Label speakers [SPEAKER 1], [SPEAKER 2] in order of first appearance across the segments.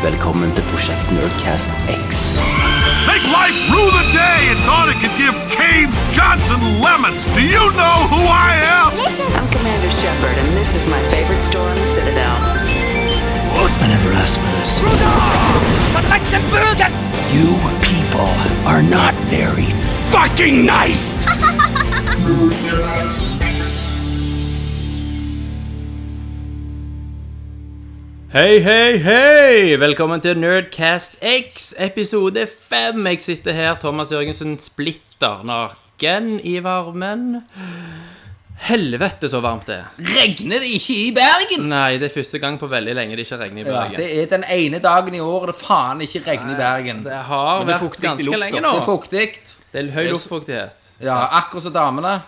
[SPEAKER 1] velkommen til Prosjekt Nerdcast X.
[SPEAKER 2] Make life rue the day and thought it could give Cave Johnson lemons. Do you know who I am?
[SPEAKER 3] I'm Commander Shepard, and this is my favorite store on the Citadel.
[SPEAKER 4] I never asked for this. You people are not very fucking nice!
[SPEAKER 5] Hei, hei, hei! Velkommen til Nerdcast X, episode 5. Jeg sitter her, Thomas Jørgensen, splitter naken i varmen. Helvete så varmt det er.
[SPEAKER 6] Regner det ikke i Bergen?
[SPEAKER 5] Nei, det er første gang på veldig lenge det ikke regner i
[SPEAKER 6] Ja,
[SPEAKER 5] Bergen.
[SPEAKER 6] det er den ene dagen i året det faen ikke regner i Bergen.
[SPEAKER 5] Det har
[SPEAKER 6] Men det er
[SPEAKER 5] vært
[SPEAKER 6] fuktig i
[SPEAKER 5] ganske
[SPEAKER 6] lufta.
[SPEAKER 5] lenge nå.
[SPEAKER 6] Det er fuktig.
[SPEAKER 5] Det er høy luftfuktighet.
[SPEAKER 6] Ja, akkurat som damene.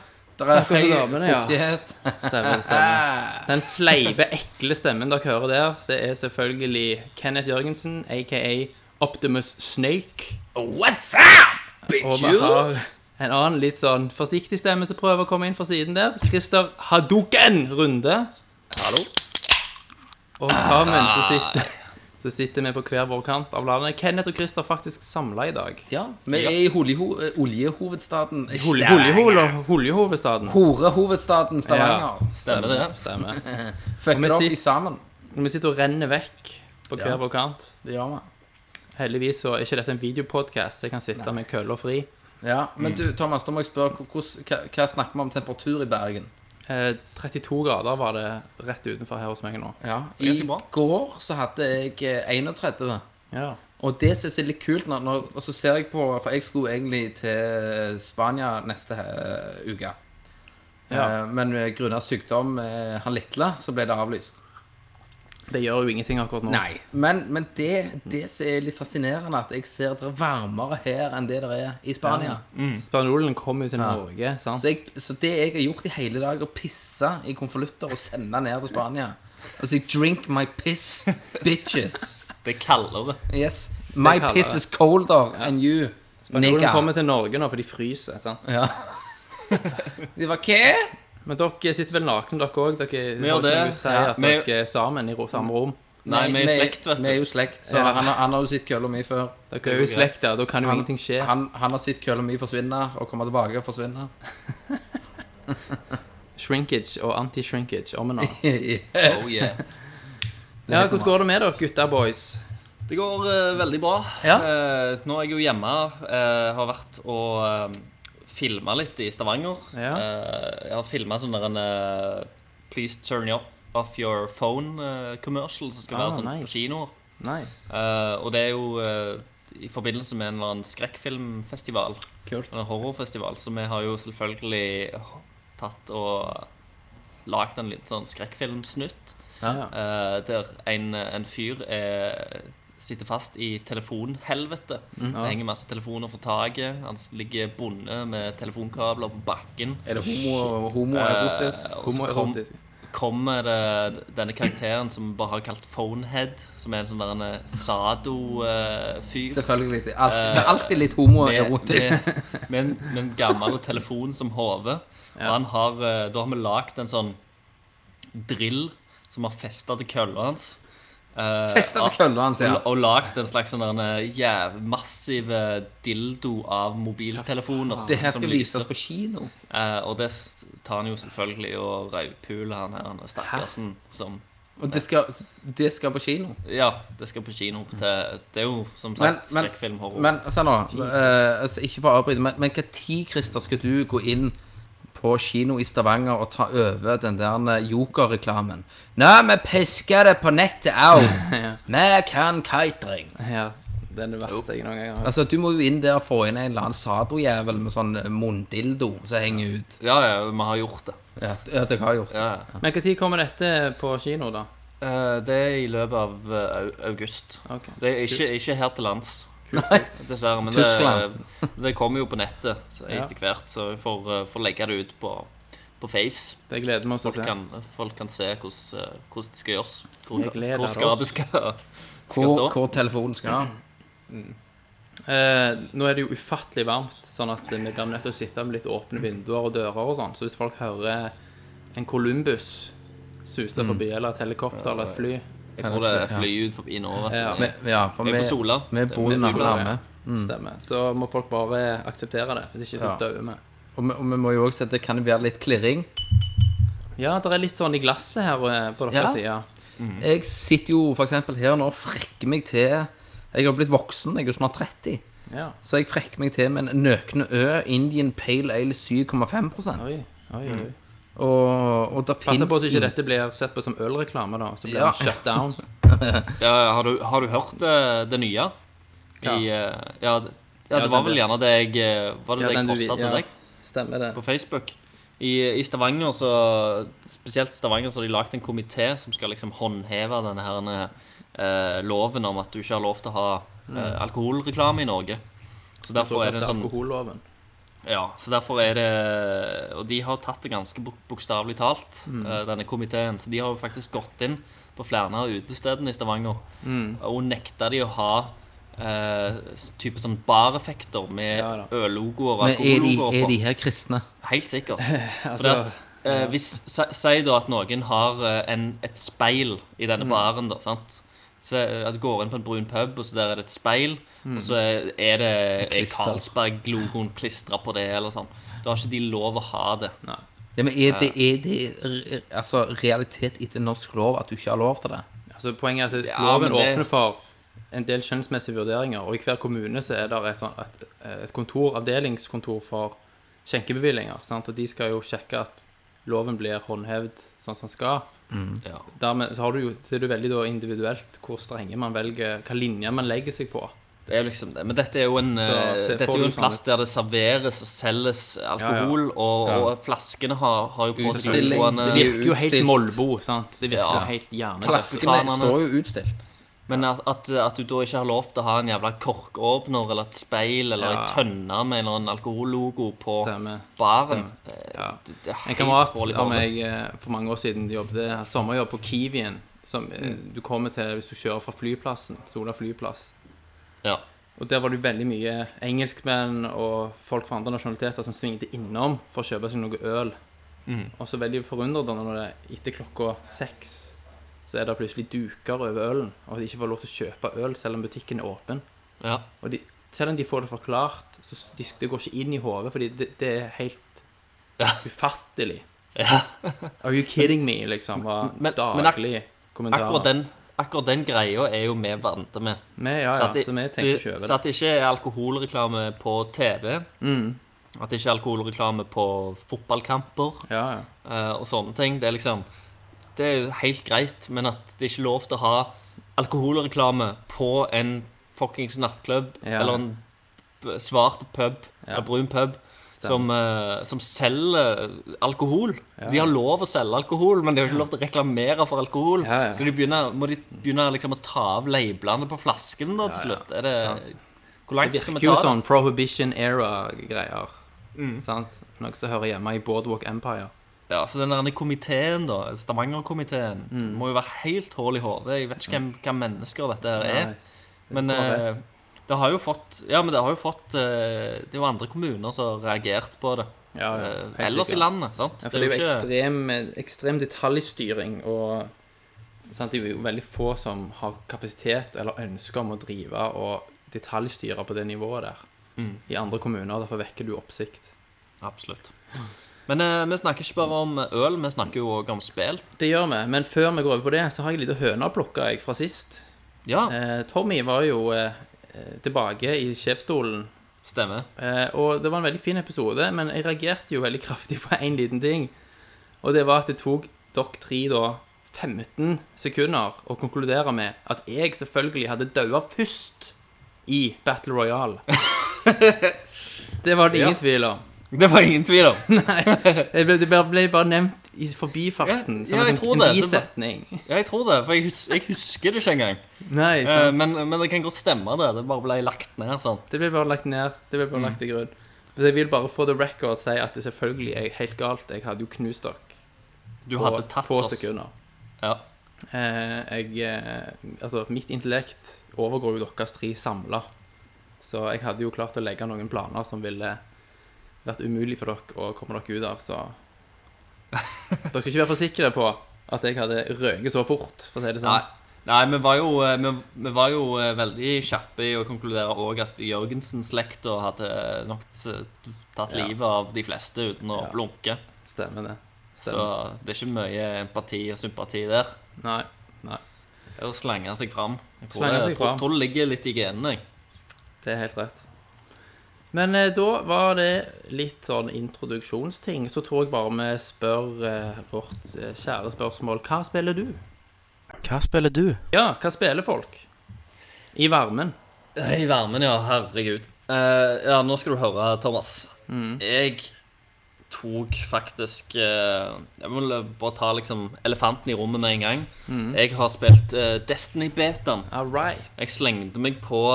[SPEAKER 6] Det er
[SPEAKER 5] som
[SPEAKER 6] høy
[SPEAKER 5] damene, ja.
[SPEAKER 6] fuktighet.
[SPEAKER 5] Stemmer, stemmer. Den sleipe, ekle stemmen dere hører der, det er selvfølgelig Kenneth Jørgensen, aka Optimus Snake.
[SPEAKER 6] What's up,
[SPEAKER 5] Og vi har en annen litt sånn forsiktig stemme som prøver å komme inn fra siden der. Christer Hadoken Runde. Og sammen så sitter, så sitter vi på hver vår kant av landet. Kenneth og Christer faktisk samla i dag.
[SPEAKER 6] Ja, vi er i Hollyho eh, oljehovedstaden. Ikke
[SPEAKER 5] Hol-
[SPEAKER 6] Stavanger.
[SPEAKER 5] Holjehol og Holjehovedstaden.
[SPEAKER 6] Horehovedstaden Stavanger.
[SPEAKER 5] Stemmer det. Stemmer.
[SPEAKER 6] Fucker
[SPEAKER 5] vi
[SPEAKER 6] det opp
[SPEAKER 5] sit-
[SPEAKER 6] i sammen.
[SPEAKER 5] Vi sitter og renner vekk på hver
[SPEAKER 6] Ja.
[SPEAKER 5] vår kant.
[SPEAKER 6] Det gjør vi.
[SPEAKER 5] Heldigvis så er ikke dette en videopodkast, så jeg kan sitte med kølla fri.
[SPEAKER 6] Ja,
[SPEAKER 5] Mm.
[SPEAKER 6] Men du, Thomas, da må jeg spørre hvordan- hva, hva snakker vi om temperatur i Bergen?
[SPEAKER 5] Eh, 32 grader var det rett utenfor her hos meg nå.
[SPEAKER 6] Ja, I går så hadde jeg eh, 31.
[SPEAKER 5] Ja.
[SPEAKER 6] Og det synes jeg er litt kult når, når, Og så ser jeg på, for jeg skulle egentlig til Spania neste eh, uke
[SPEAKER 5] Ja.
[SPEAKER 6] Eh, Men eh, grunnet sykdom eh, Han Littla, så ble det avlyst
[SPEAKER 5] Det gjør jo ingenting akkurat nå.
[SPEAKER 6] Men, men det, det som er litt fascinerende At jeg ser at det er varmere her Enn det det er i Spania
[SPEAKER 5] Spanjolen kom jo til Norge, sant?
[SPEAKER 6] Mm. så, jeg, så det jeg har gjort i hele dag Å pisse i konvolutter og sende ned til Spania Og si drink my piss Bitches
[SPEAKER 7] Det er kaldere.
[SPEAKER 6] Yes My
[SPEAKER 5] kaller
[SPEAKER 6] piss
[SPEAKER 5] det.
[SPEAKER 6] is colder than you
[SPEAKER 5] Spanjolen
[SPEAKER 6] nigga.
[SPEAKER 5] kommer til Norge nå, for de fryser. sant?
[SPEAKER 6] Ja. De var hva?
[SPEAKER 5] Men dere sitter vel nakne, dere òg? Dere
[SPEAKER 7] gjør
[SPEAKER 5] har ikke
[SPEAKER 7] det.
[SPEAKER 5] noe å Si
[SPEAKER 7] Ja,
[SPEAKER 5] at
[SPEAKER 7] vi-
[SPEAKER 5] dere er sammen i ro- samme rom.
[SPEAKER 7] Nei, vi er jo slekt, vet
[SPEAKER 6] Vi er jo
[SPEAKER 7] du.
[SPEAKER 6] slekt, så
[SPEAKER 5] Ja.
[SPEAKER 6] han, har- han har jo sett kølla mi før.
[SPEAKER 5] Dere er jo i slekt, ja. Da kan jo
[SPEAKER 6] Han,
[SPEAKER 5] ingenting skje.
[SPEAKER 6] han, han har sett kølla mi forsvinne og komme tilbake og forsvinne.
[SPEAKER 5] Shrinkage og anti-shrinkage om en annen.
[SPEAKER 6] yes.
[SPEAKER 7] Oh, yeah.
[SPEAKER 5] Ja, hvordan går det med dere, gutta boys?
[SPEAKER 7] Det går eh, veldig bra.
[SPEAKER 6] Ja.
[SPEAKER 7] Eh, nå er jeg jo hjemme. eh, har vært og uh, filma litt i Stavanger.
[SPEAKER 5] Ja.
[SPEAKER 7] Eh, jeg har filma sånn der en eh, Please turn you up off your phone-commercial som skal
[SPEAKER 5] Ah,
[SPEAKER 7] være sånn
[SPEAKER 5] nice.
[SPEAKER 7] på kinoer.
[SPEAKER 5] Nice.
[SPEAKER 7] Eh, og det er jo eh, i forbindelse med en eller annen skrekkfilmfestival.
[SPEAKER 6] sånn Kult.
[SPEAKER 7] En horrorfestival. Så vi har jo selvfølgelig tatt og lagd en litt sånn skrekkfilmsnutt.
[SPEAKER 5] Ja.
[SPEAKER 7] eh, der en, en fyr er, sitter fast i telefonhelvete. Det henger masse telefoner for taket. Han ligger bundet med telefonkabler på bakken.
[SPEAKER 6] Er det homo, homoerotisk?
[SPEAKER 7] Eh, og så kom-
[SPEAKER 5] Homoerotisk.
[SPEAKER 7] kommer det denne karakteren som vi bare har kalt Phonehead, som er en sånn der en sado-fyr.
[SPEAKER 6] Selvfølgelig. Det er alltid, det er alltid litt homoerotisk.
[SPEAKER 7] med, med, en, med en gammel telefon som hode. Og han har, eh, da har vi lagd en sånn drill som har festa til kølla hans. Eh,
[SPEAKER 6] Festa til kølla hans, ja.
[SPEAKER 7] Og, og lagd en slags sånn der en jæv, massiv eh, dildo av mobiltelefoner.
[SPEAKER 6] Det her
[SPEAKER 7] som
[SPEAKER 6] skal
[SPEAKER 7] lyser.
[SPEAKER 6] vises på kino.
[SPEAKER 7] Eh, og det s- tar han jo selvfølgelig og rødpuler han her, han stakkarsen som
[SPEAKER 6] Og det skal, det skal på kino.
[SPEAKER 7] Ja, det skal på kino. Til, det er jo som
[SPEAKER 6] Men,
[SPEAKER 7] sagt
[SPEAKER 6] men,
[SPEAKER 7] skrekkfilm, horror.
[SPEAKER 6] men se nå. eh, altså, ikke for å avbryte, men, men hva tid, Christer, skal du gå inn på kino i Stavanger og ta over den der eh, jokerreklamen? Nei, vi pisker det på nettet au! Vi kan catering.
[SPEAKER 5] Ja. Det er det verste jeg noen gang har hørt.
[SPEAKER 6] Altså, du må jo inn der og få inn en eller annen sadojævel med sånn munndildo som henger ut.
[SPEAKER 7] Ja, ja, vi har gjort det.
[SPEAKER 6] Ja, det- ja, det har jeg gjort.
[SPEAKER 7] Ja, ja.
[SPEAKER 5] Men når kommer dette på kino, da?
[SPEAKER 7] Eh, det er i løpet av eh, au- august.
[SPEAKER 5] Ok.
[SPEAKER 7] Det er ikke, ikke her til lands,
[SPEAKER 6] Nei.
[SPEAKER 7] dessverre. Men
[SPEAKER 6] Tyskland.
[SPEAKER 7] det, eh, det kommer jo på nettet så
[SPEAKER 5] Ja.
[SPEAKER 7] etter hvert, så vi får, eh, får legge det ut på, på Face.
[SPEAKER 5] Det gleder vi oss til å se.
[SPEAKER 7] Folk kan, folk kan se hvordan, eh, hvordan det skal gjøres. Hvor,
[SPEAKER 5] Jeg gleder
[SPEAKER 7] hvor skapet
[SPEAKER 5] oss.
[SPEAKER 7] skal, skal
[SPEAKER 6] Hvor,
[SPEAKER 7] stå.
[SPEAKER 6] hvor telefonen skal.
[SPEAKER 5] Eh, nå er det jo ufattelig varmt, sånn at vi blir nødt til å sitte med litt åpne vinduer og dører og sånn. Så hvis folk hører en Columbus suse forbi, eller et helikopter eller et fly
[SPEAKER 7] Jeg tror det er fly ut forbi nå. vet du.
[SPEAKER 5] Ja.
[SPEAKER 6] Vi- Ja, for
[SPEAKER 7] Vi er på Sola.
[SPEAKER 6] Vi
[SPEAKER 7] Det-
[SPEAKER 6] bor
[SPEAKER 7] vi er på
[SPEAKER 6] nærme.
[SPEAKER 7] Sola.
[SPEAKER 6] nærme.
[SPEAKER 5] stemmer, så må folk bare akseptere det. Hvis ikke så
[SPEAKER 6] Ja.
[SPEAKER 5] dør vi.
[SPEAKER 6] Og vi, og vi må jo også si at det kan være litt klirring.
[SPEAKER 5] Ja, det er litt sånn i glasset her eh, på
[SPEAKER 6] Ja.
[SPEAKER 5] deres side.
[SPEAKER 6] Jeg sitter jo for eksempel her nå og frekker meg til Jeg har blitt voksen, jeg er jo snart 30.
[SPEAKER 5] Ja.
[SPEAKER 6] Så jeg frekker meg til med en nøkne Ø Indian Pale Ale 7,5
[SPEAKER 5] Oi, oi, oi.
[SPEAKER 6] Og, og det
[SPEAKER 5] Pass
[SPEAKER 6] finnes
[SPEAKER 5] på så ikke dette blir sett på som ølreklame, da. Så blir
[SPEAKER 6] Ja.
[SPEAKER 5] den shut down.
[SPEAKER 7] Ja, har, du, har du hørt eh, det nye? I,
[SPEAKER 5] Ja.
[SPEAKER 7] eh, ja, det- ja,
[SPEAKER 5] Ja,
[SPEAKER 7] det var
[SPEAKER 5] den-
[SPEAKER 7] vel gjerne det jeg eh, Var det
[SPEAKER 5] Ja,
[SPEAKER 7] det jeg
[SPEAKER 5] den du vi-
[SPEAKER 7] posta til
[SPEAKER 5] ja.
[SPEAKER 7] deg
[SPEAKER 5] Stemmer det.
[SPEAKER 7] på Facebook? I, eh, I Stavanger, så spesielt Stavanger, så har de lagd en komité som skal liksom håndheve denne her eh, loven om at du ikke har lov til å ha eh,
[SPEAKER 5] Mm.
[SPEAKER 7] alkoholreklame i Norge. Så derfor er det en sånn
[SPEAKER 5] Alkoholloven.
[SPEAKER 7] ja, så derfor er det Og de har tatt det ganske bok- bokstavelig talt,
[SPEAKER 5] Mm.
[SPEAKER 7] eh, denne komiteen. Så de har jo faktisk gått inn på flere av utestedene i Stavanger
[SPEAKER 5] Mm.
[SPEAKER 7] og nekta de å ha eh, s- type sånn bareffekter med
[SPEAKER 5] Ja da.
[SPEAKER 7] øllogoer og
[SPEAKER 6] Men er de,
[SPEAKER 7] alkohollogoer
[SPEAKER 6] er
[SPEAKER 7] på.
[SPEAKER 6] de her kristne?
[SPEAKER 7] Helt sikkert. For
[SPEAKER 5] Altså,
[SPEAKER 7] at, eh, hvis, si, si da at noen har eh, en, et speil i denne
[SPEAKER 5] Mm.
[SPEAKER 7] baren, da, sant? Så eh, at du går inn på en brun pub, og så der er det et speil,
[SPEAKER 5] Mm.
[SPEAKER 7] og så er- er det er
[SPEAKER 6] Klister.
[SPEAKER 7] Carlsberg-logoen klistra på det, eller sånn. Da har ikke de lov å ha det.
[SPEAKER 6] Ja, men er det, er det re- altså, realitet etter norsk lov at du ikke har lov til det?
[SPEAKER 5] altså poenget er at
[SPEAKER 7] Ja, men
[SPEAKER 5] loven
[SPEAKER 7] det-
[SPEAKER 5] åpner for en del skjønnsmessige vurderinger, og i hver kommune så er det et, sånn- et, et kontor, avdelingskontor for skjenkebevillinger, sant? og de skal jo sjekke at loven blir håndhevet sånn som den skal. Mm.
[SPEAKER 7] Ja.
[SPEAKER 5] Dermed så har du jo, så er det jo veldig da individuelt hvor strenge man velger, hva linjer man legger seg på.
[SPEAKER 7] Det er jo liksom det. Men dette er jo en,
[SPEAKER 5] Så
[SPEAKER 7] eh,
[SPEAKER 5] se-
[SPEAKER 7] dette
[SPEAKER 5] får
[SPEAKER 7] er
[SPEAKER 5] du
[SPEAKER 7] jo en
[SPEAKER 5] sånn
[SPEAKER 7] plass
[SPEAKER 5] litt-
[SPEAKER 7] der det serveres og selges alkohol, Og, og flaskene har, har jo på en måte
[SPEAKER 6] Utstilling.
[SPEAKER 7] logoene-
[SPEAKER 5] Det
[SPEAKER 6] er jo
[SPEAKER 5] virker jo helt
[SPEAKER 6] utstilt.
[SPEAKER 5] Molbo, sant? Det virker
[SPEAKER 7] Ja.
[SPEAKER 5] jo helt hjernedødt.
[SPEAKER 6] Flaskene
[SPEAKER 7] Kranene.
[SPEAKER 6] står jo utstilt.
[SPEAKER 7] Men at, at, at du da ikke har lov til å ha en jævla korkåpner eller et speil eller
[SPEAKER 5] Ja.
[SPEAKER 7] ei tønne med en eller annen alkohollogo på
[SPEAKER 5] Stemmer.
[SPEAKER 7] baren eh,
[SPEAKER 5] Ja.
[SPEAKER 7] Det, det er
[SPEAKER 5] En
[SPEAKER 7] helt
[SPEAKER 5] kamerat
[SPEAKER 7] dårlig
[SPEAKER 5] av
[SPEAKER 7] dårlig.
[SPEAKER 5] meg eh, for mange år siden jobbet eh, sommerjobb på Kiwien, som eh, du kommer til hvis du kjører fra flyplassen, Sola flyplass.
[SPEAKER 7] Ja.
[SPEAKER 5] Og der var det jo veldig mye engelskmenn og folk fra andre nasjonaliteter som svingte innom for å kjøpe seg noe øl.
[SPEAKER 7] Mm.
[SPEAKER 5] Og så veldig forundret når det etter klokka seks så er det plutselig duker over ølen, og de ikke får lov til å kjøpe øl selv om butikken er åpen.
[SPEAKER 7] Ja.
[SPEAKER 5] Og de, selv om de får det forklart, så s- de, det går ikke inn i hodet, fordi det, det er helt ufattelig. Are you kidding me, liksom, var
[SPEAKER 7] Men- men ak-
[SPEAKER 5] daglig kommentar.
[SPEAKER 7] Akkurat, den, akkurat den greia er jo vi vant med.
[SPEAKER 5] Men ja, ja,
[SPEAKER 7] det-
[SPEAKER 5] så vi tenker å
[SPEAKER 7] så,
[SPEAKER 5] kjøpe
[SPEAKER 7] så
[SPEAKER 5] det.
[SPEAKER 7] at det ikke er alkoholreklame på TV,
[SPEAKER 5] Mm.
[SPEAKER 7] at det ikke er alkoholreklame på fotballkamper
[SPEAKER 5] Ja, ja.
[SPEAKER 7] eh, og sånne ting, det er liksom Det er jo helt greit, men at det ikke er lov til å ha alkoholreklame på en fuckings nattklubb
[SPEAKER 5] Ja.
[SPEAKER 7] eller en b- svart pub, eller brun pub, som, eh, som selger alkohol. De har lov å selge alkohol, men de har ikke lov til å reklamere for alkohol.
[SPEAKER 5] Ja, ja.
[SPEAKER 7] Så de begynner, må de begynne liksom å ta av labelene på flasken da, til slutt. Er det, hvor langt
[SPEAKER 5] Det
[SPEAKER 7] skal vi
[SPEAKER 5] virker jo
[SPEAKER 7] ta det?
[SPEAKER 5] sånn prohibition era-greier.
[SPEAKER 7] Mm.
[SPEAKER 5] Sant? Noe som hører hjemme i Boardwalk Empire.
[SPEAKER 7] Ja, så den der komiteen da, Stavanger-komiteen,
[SPEAKER 5] Mm.
[SPEAKER 7] må jo være helt hål i hodet. Jeg vet ikke hvem, hvem mennesker dette her er.
[SPEAKER 5] Nei.
[SPEAKER 7] Men
[SPEAKER 5] Bare-
[SPEAKER 7] eh, det har jo fått Ja, men det har jo fått eh, Det er jo andre kommuner som har reagert på det.
[SPEAKER 5] Ja, ja,
[SPEAKER 7] Eh,
[SPEAKER 5] helt
[SPEAKER 7] ellers i
[SPEAKER 5] sikkert.
[SPEAKER 7] landet, sant?
[SPEAKER 5] Ja, for det er jo ekstrem, ekstrem detaljstyring, og sant, det er jo veldig få som har kapasitet eller ønske om å drive og detaljstyre på det nivået der.
[SPEAKER 7] Mm.
[SPEAKER 5] I andre kommuner, derfor vekker du oppsikt.
[SPEAKER 7] Absolutt. Men eh, vi snakker ikke bare om øl, vi snakker jo òg om spill.
[SPEAKER 5] Det gjør vi, men før vi går over på det, så har jeg en liten høne å plukke jeg fra sist.
[SPEAKER 7] Ja,
[SPEAKER 5] Eh, Tommy var jo eh, eh, tilbake i sjefsstolen,
[SPEAKER 7] stemmer.
[SPEAKER 5] eh, og det var en veldig fin episode, men jeg reagerte jo veldig kraftig på en liten ting, og det var at det tok dere tre da 15 sekunder å konkludere med at jeg selvfølgelig hadde daua først i Battle Royale. Det var det ingen
[SPEAKER 7] Ja.
[SPEAKER 5] tvil om.
[SPEAKER 7] Det var ingen tvil om.
[SPEAKER 5] Det ble, det ble- ble bare nevnt i forbifarten.
[SPEAKER 7] Ja,
[SPEAKER 5] som
[SPEAKER 7] ja, jeg
[SPEAKER 5] en- sånn
[SPEAKER 7] tror
[SPEAKER 5] en
[SPEAKER 7] det. Det var-
[SPEAKER 5] bisetning.
[SPEAKER 7] Ja, jeg tror det, for jeg, hus jeg husker det ikke engang.
[SPEAKER 5] Nei,
[SPEAKER 7] Eh,
[SPEAKER 5] sant.
[SPEAKER 7] Men, men det kan godt stemme, det. Det bare ble lagt ned sånn.
[SPEAKER 5] Det ble bare lagt ned. Det ble bare lagt
[SPEAKER 7] Mm.
[SPEAKER 5] til grunn. Så jeg vil bare for the record si at det selvfølgelig er helt galt. Jeg hadde jo knust dere
[SPEAKER 7] Du
[SPEAKER 5] på
[SPEAKER 7] hadde tatt
[SPEAKER 5] få
[SPEAKER 7] oss.
[SPEAKER 5] sekunder.
[SPEAKER 7] Ja.
[SPEAKER 5] Eh, jeg, eh, altså, mitt intellekt overgår jo deres tre samla. Så jeg hadde jo klart å legge noen planer som ville vært umulig for dere å komme dere ut av, så Dere skal ikke være for sikre på at jeg hadde røket så fort, for å si det
[SPEAKER 7] Nei.
[SPEAKER 5] sånn.
[SPEAKER 7] Nei, vi var jo, eh, vi, vi var jo eh, veldig kjappe i å konkludere òg at Jørgensen-slekta hadde nok s- tatt
[SPEAKER 5] Ja.
[SPEAKER 7] livet av de fleste uten å
[SPEAKER 5] Ja.
[SPEAKER 7] blunke.
[SPEAKER 5] Stemmer det.
[SPEAKER 7] Så
[SPEAKER 5] Stemmer.
[SPEAKER 7] det er ikke mye empati og sympati der.
[SPEAKER 5] Nei.
[SPEAKER 7] Det er å slenge seg fram. Jeg tror,
[SPEAKER 5] Slenge
[SPEAKER 7] det,
[SPEAKER 5] seg
[SPEAKER 7] jeg tror,
[SPEAKER 5] fram.
[SPEAKER 7] tror det ligger litt i genene. jeg.
[SPEAKER 5] Det er helt rett. Men eh, da var det litt sånn introduksjonsting. Så tror jeg bare vi spør eh, vårt eh, kjære spørsmål Hva spiller du?
[SPEAKER 1] Hva spiller du?
[SPEAKER 5] Ja, hva spiller folk? I varmen.
[SPEAKER 7] I varmen, ja. Herregud. Eh, ja, nå skal du høre, Thomas. Jeg tok faktisk eh, Jeg må bare ta liksom elefanten i rommet med en gang. Jeg har spilt eh, Destiny-betaen.
[SPEAKER 5] All right.
[SPEAKER 7] Jeg slengte meg på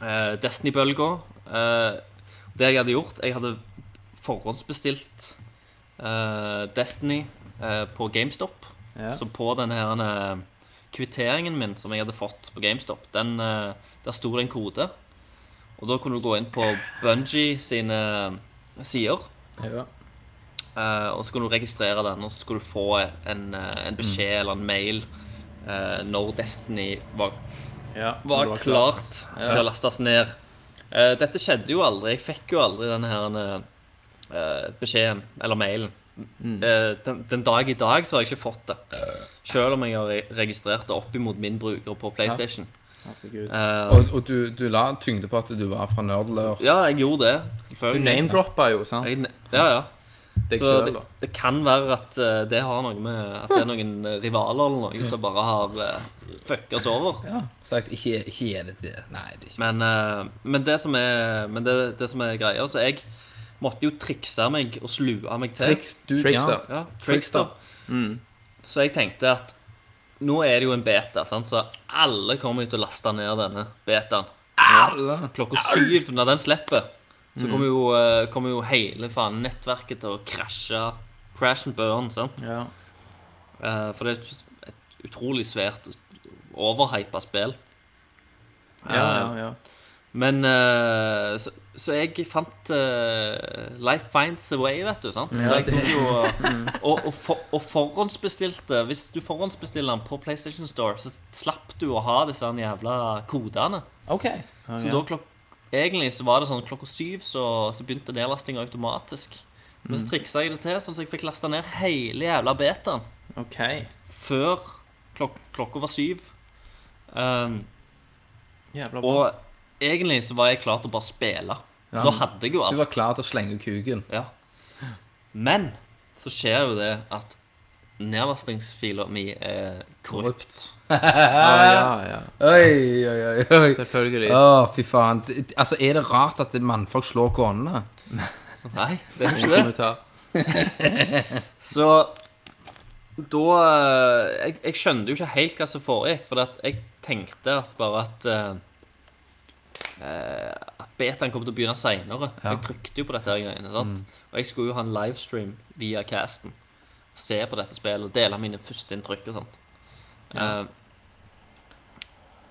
[SPEAKER 7] eh, Destiny-bølga. Eh, det jeg hadde gjort Jeg hadde forhåndsbestilt eh, Destiny eh, på GameStop.
[SPEAKER 5] Ja.
[SPEAKER 7] Så på den her eh, kvitteringen min som jeg hadde fått på GameStop, den, eh, der sto det en kode. Og da kunne du gå inn på Bungie sine eh, sider.
[SPEAKER 5] Ja.
[SPEAKER 7] Eh, og så kan du registrere den, og så skal du få en, eh, en beskjed eller en mail eh, når Destiny var,
[SPEAKER 5] Ja,
[SPEAKER 7] var,
[SPEAKER 5] det var klart.
[SPEAKER 7] klart til å lastes ned. Eh, dette skjedde jo aldri. Jeg fikk jo aldri denne her eh, beskjeden, eller mailen.
[SPEAKER 5] Mm.
[SPEAKER 7] Eh, den, den dag i dag så har jeg ikke fått det. Selv om jeg har re- registrert det opp imot min bruker på PlayStation.
[SPEAKER 5] Herregud.
[SPEAKER 7] Eh,
[SPEAKER 6] Og, og du, du la tyngde på at du var fra Nerdlør.
[SPEAKER 7] ja, jeg gjorde det.
[SPEAKER 5] Du name-droppa jo, sant?
[SPEAKER 7] Jeg, ja, ja.
[SPEAKER 5] Deg
[SPEAKER 7] Så
[SPEAKER 5] sjøl,
[SPEAKER 7] det,
[SPEAKER 5] da.
[SPEAKER 7] det kan være at eh, det har noe med At det er noen eh, rivaler eller noe som bare har uh, fucka oss over.
[SPEAKER 6] Ja. Sagt, ikke, ikke gi det til Nei, det er ikke
[SPEAKER 7] Men, eh, men, det, som er, men det, det som er greia Så jeg måtte jo trikse meg og slue meg til.
[SPEAKER 6] Triks, du,
[SPEAKER 5] Trickster.
[SPEAKER 7] Ja, trickster. Så jeg tenkte at nå er det jo en beta, sant? så alle kommer jo til å laste ned denne betaen.
[SPEAKER 6] Ja.
[SPEAKER 7] Klokka syv når den slipper, så kommer jo, eh, kommer jo hele faen nettverket til å krasje. Crash and burn, sant?
[SPEAKER 5] Ja.
[SPEAKER 7] Eh, for det er et, et utrolig svært overhypa spill.
[SPEAKER 5] Ja, ja, ja.
[SPEAKER 7] Men eh, så, så jeg fant eh, Life finds a way, vet du. sant? så jeg tok jo eh, og, og, for, og forhåndsbestilte Hvis du forhåndsbestiller den på PlayStation Store, så slapp du å ha disse her jævla kodene.
[SPEAKER 6] OK.
[SPEAKER 7] Så da klok Egentlig så var det sånn klokka syv så, så begynte nedlastinga automatisk. Men så triksa jeg det til, sånn at jeg fikk lasta ned hele jævla betaen.
[SPEAKER 5] OK.
[SPEAKER 7] før klok klokka var syv. Um,
[SPEAKER 5] Jævla bra.
[SPEAKER 7] og egentlig så var jeg klar til å bare spille.
[SPEAKER 6] Ja.
[SPEAKER 7] Da hadde jeg jo
[SPEAKER 6] Du
[SPEAKER 7] alt.
[SPEAKER 6] var klar til å slenge kuken.
[SPEAKER 7] Ja. Men så skjer jo det at nedlastingsfila mi er korrupt.
[SPEAKER 5] Ja, ja, ja.
[SPEAKER 6] Oi, oi, oi. oi.
[SPEAKER 5] Selvfølgelig.
[SPEAKER 6] Å, fy faen. Det- Altså, Er det rart at mannfolk slår konene?
[SPEAKER 7] Nei, det er jo ikke det.
[SPEAKER 5] Kommentar.
[SPEAKER 7] Så da eh, jeg, jeg skjønte jo ikke helt hva som foregikk, for at jeg tenkte at bare at eh, eh, At betaen kom til å begynne seinere. Jeg trykte jo på dette her greiene. sant? Og jeg skulle jo ha en livestream via casten. Se på dette spillet og dele mine førsteinntrykk og sånt. Eh,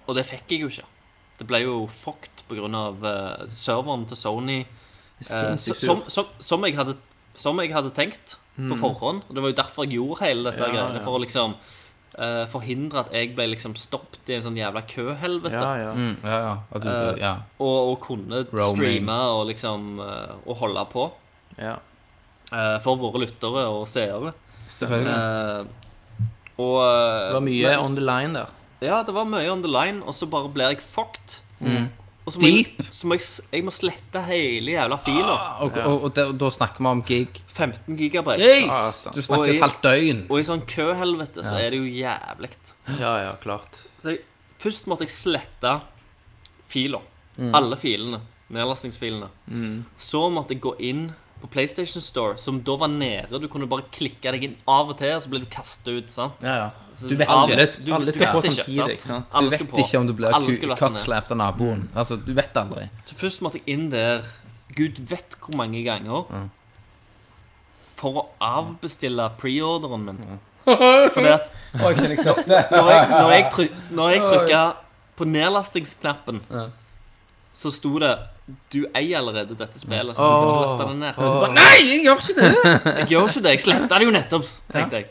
[SPEAKER 7] og det fikk jeg jo ikke. Det ble jo fucked pga. Uh, serveren til Sony. Eh,
[SPEAKER 5] Sinnssykt
[SPEAKER 7] så-
[SPEAKER 5] sur.
[SPEAKER 7] som, som, som, jeg hadde, som jeg hadde tenkt på forhånd. Og det var jo derfor jeg gjorde hele dette
[SPEAKER 5] Mm. Ja,
[SPEAKER 7] greiene.
[SPEAKER 5] ja.
[SPEAKER 7] For å liksom eh, forhindre at jeg ble liksom stoppet i en sånn jævla køhelvete.
[SPEAKER 5] Ja, ja.
[SPEAKER 6] Mm, ja, ja. At du,
[SPEAKER 7] Eh,
[SPEAKER 6] ja.
[SPEAKER 7] Og, og kunne
[SPEAKER 6] Roaming.
[SPEAKER 7] streame og liksom eh, og holde på
[SPEAKER 5] ja.
[SPEAKER 7] eh, for våre lyttere og seere.
[SPEAKER 6] Selvfølgelig.
[SPEAKER 7] Eh, og
[SPEAKER 5] Mm.
[SPEAKER 7] eh,
[SPEAKER 5] Det var mye on the line der.
[SPEAKER 7] Ja, det var mye on the line, og så bare blir jeg fucked.
[SPEAKER 5] Mm.
[SPEAKER 7] Og så må,
[SPEAKER 6] Deep.
[SPEAKER 7] Jeg, så må jeg, s- jeg må slette hele jævla fila.
[SPEAKER 5] Ah.
[SPEAKER 6] Og, og, og, da- da snakker vi om gig.
[SPEAKER 7] 15 gigabyte.
[SPEAKER 6] Jeez! Du
[SPEAKER 7] Og
[SPEAKER 6] snakker
[SPEAKER 7] i-
[SPEAKER 6] et halvt døgn.
[SPEAKER 7] Og i sånn køhelvete så er det jo jævlig.
[SPEAKER 5] Ja, ja, klart.
[SPEAKER 6] Mm.
[SPEAKER 7] Så jeg, først måtte jeg slette fila. Alle filene. nedlastingsfilene. Så måtte jeg gå inn på PlayStation Store, som da var nede. Du kunne bare klikke deg inn av og til, og så ble du kasta ut. sant?
[SPEAKER 5] Ja, ja.
[SPEAKER 7] Så
[SPEAKER 6] Du vet
[SPEAKER 7] av-
[SPEAKER 6] ikke.
[SPEAKER 7] du-
[SPEAKER 5] Alle
[SPEAKER 7] du
[SPEAKER 5] skal
[SPEAKER 7] vet
[SPEAKER 5] på
[SPEAKER 6] sånn
[SPEAKER 7] ikke,
[SPEAKER 5] samtidig, sant?
[SPEAKER 7] Alle
[SPEAKER 6] Du vet
[SPEAKER 7] skal på.
[SPEAKER 6] ikke om du blir
[SPEAKER 7] Alle skal Mm. laste ned.
[SPEAKER 6] cockslapped av naboen. Altså, du vet aldri.
[SPEAKER 7] Så først måtte jeg inn der Gud vet hvor mange ganger for å avbestille preorderen min. Fordi at
[SPEAKER 6] Å, jeg kjenner jeg
[SPEAKER 5] liksom.
[SPEAKER 6] svette.
[SPEAKER 7] når jeg, når jeg, tryk, når jeg trykka på nedlastingsknappen, så sto det 'Du eier allerede dette spillet', så du kan ikke laste det ned.
[SPEAKER 6] Bare, Nei, jeg gjør ikke det!
[SPEAKER 7] Jeg gjør ikke det. Jeg sletta det jo nettopp, tenkte jeg.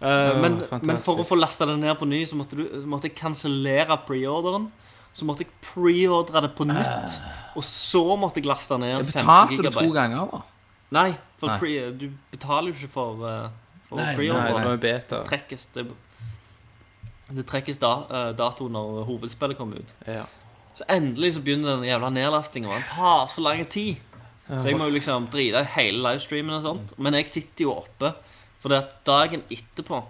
[SPEAKER 7] Eh, men,
[SPEAKER 5] fantastisk.
[SPEAKER 7] men for å få lasta det ned på ny, så måtte, du, måtte jeg kansellere preorderen. Så måtte jeg preordre det på nytt, og så måtte jeg laste ned
[SPEAKER 6] Jeg
[SPEAKER 7] 50
[SPEAKER 6] betalte det to
[SPEAKER 7] gigabyte.
[SPEAKER 6] ganger, da.
[SPEAKER 7] Nei, for
[SPEAKER 6] Nei.
[SPEAKER 7] pre, du betaler jo ikke for, eh, for
[SPEAKER 5] Nei, nei, det
[SPEAKER 7] preordre.
[SPEAKER 5] var jo beta.
[SPEAKER 7] Det trekkes, det, det trekkes da, eh, dato når hovedspillet kommer ut.
[SPEAKER 5] Ja.
[SPEAKER 7] Så endelig så begynner den jævla nedlastinga. Den tar så lang tid. Så jeg må jo liksom drite i hele livestreamen og sånt. Men jeg sitter jo oppe. For det at dagen etterpå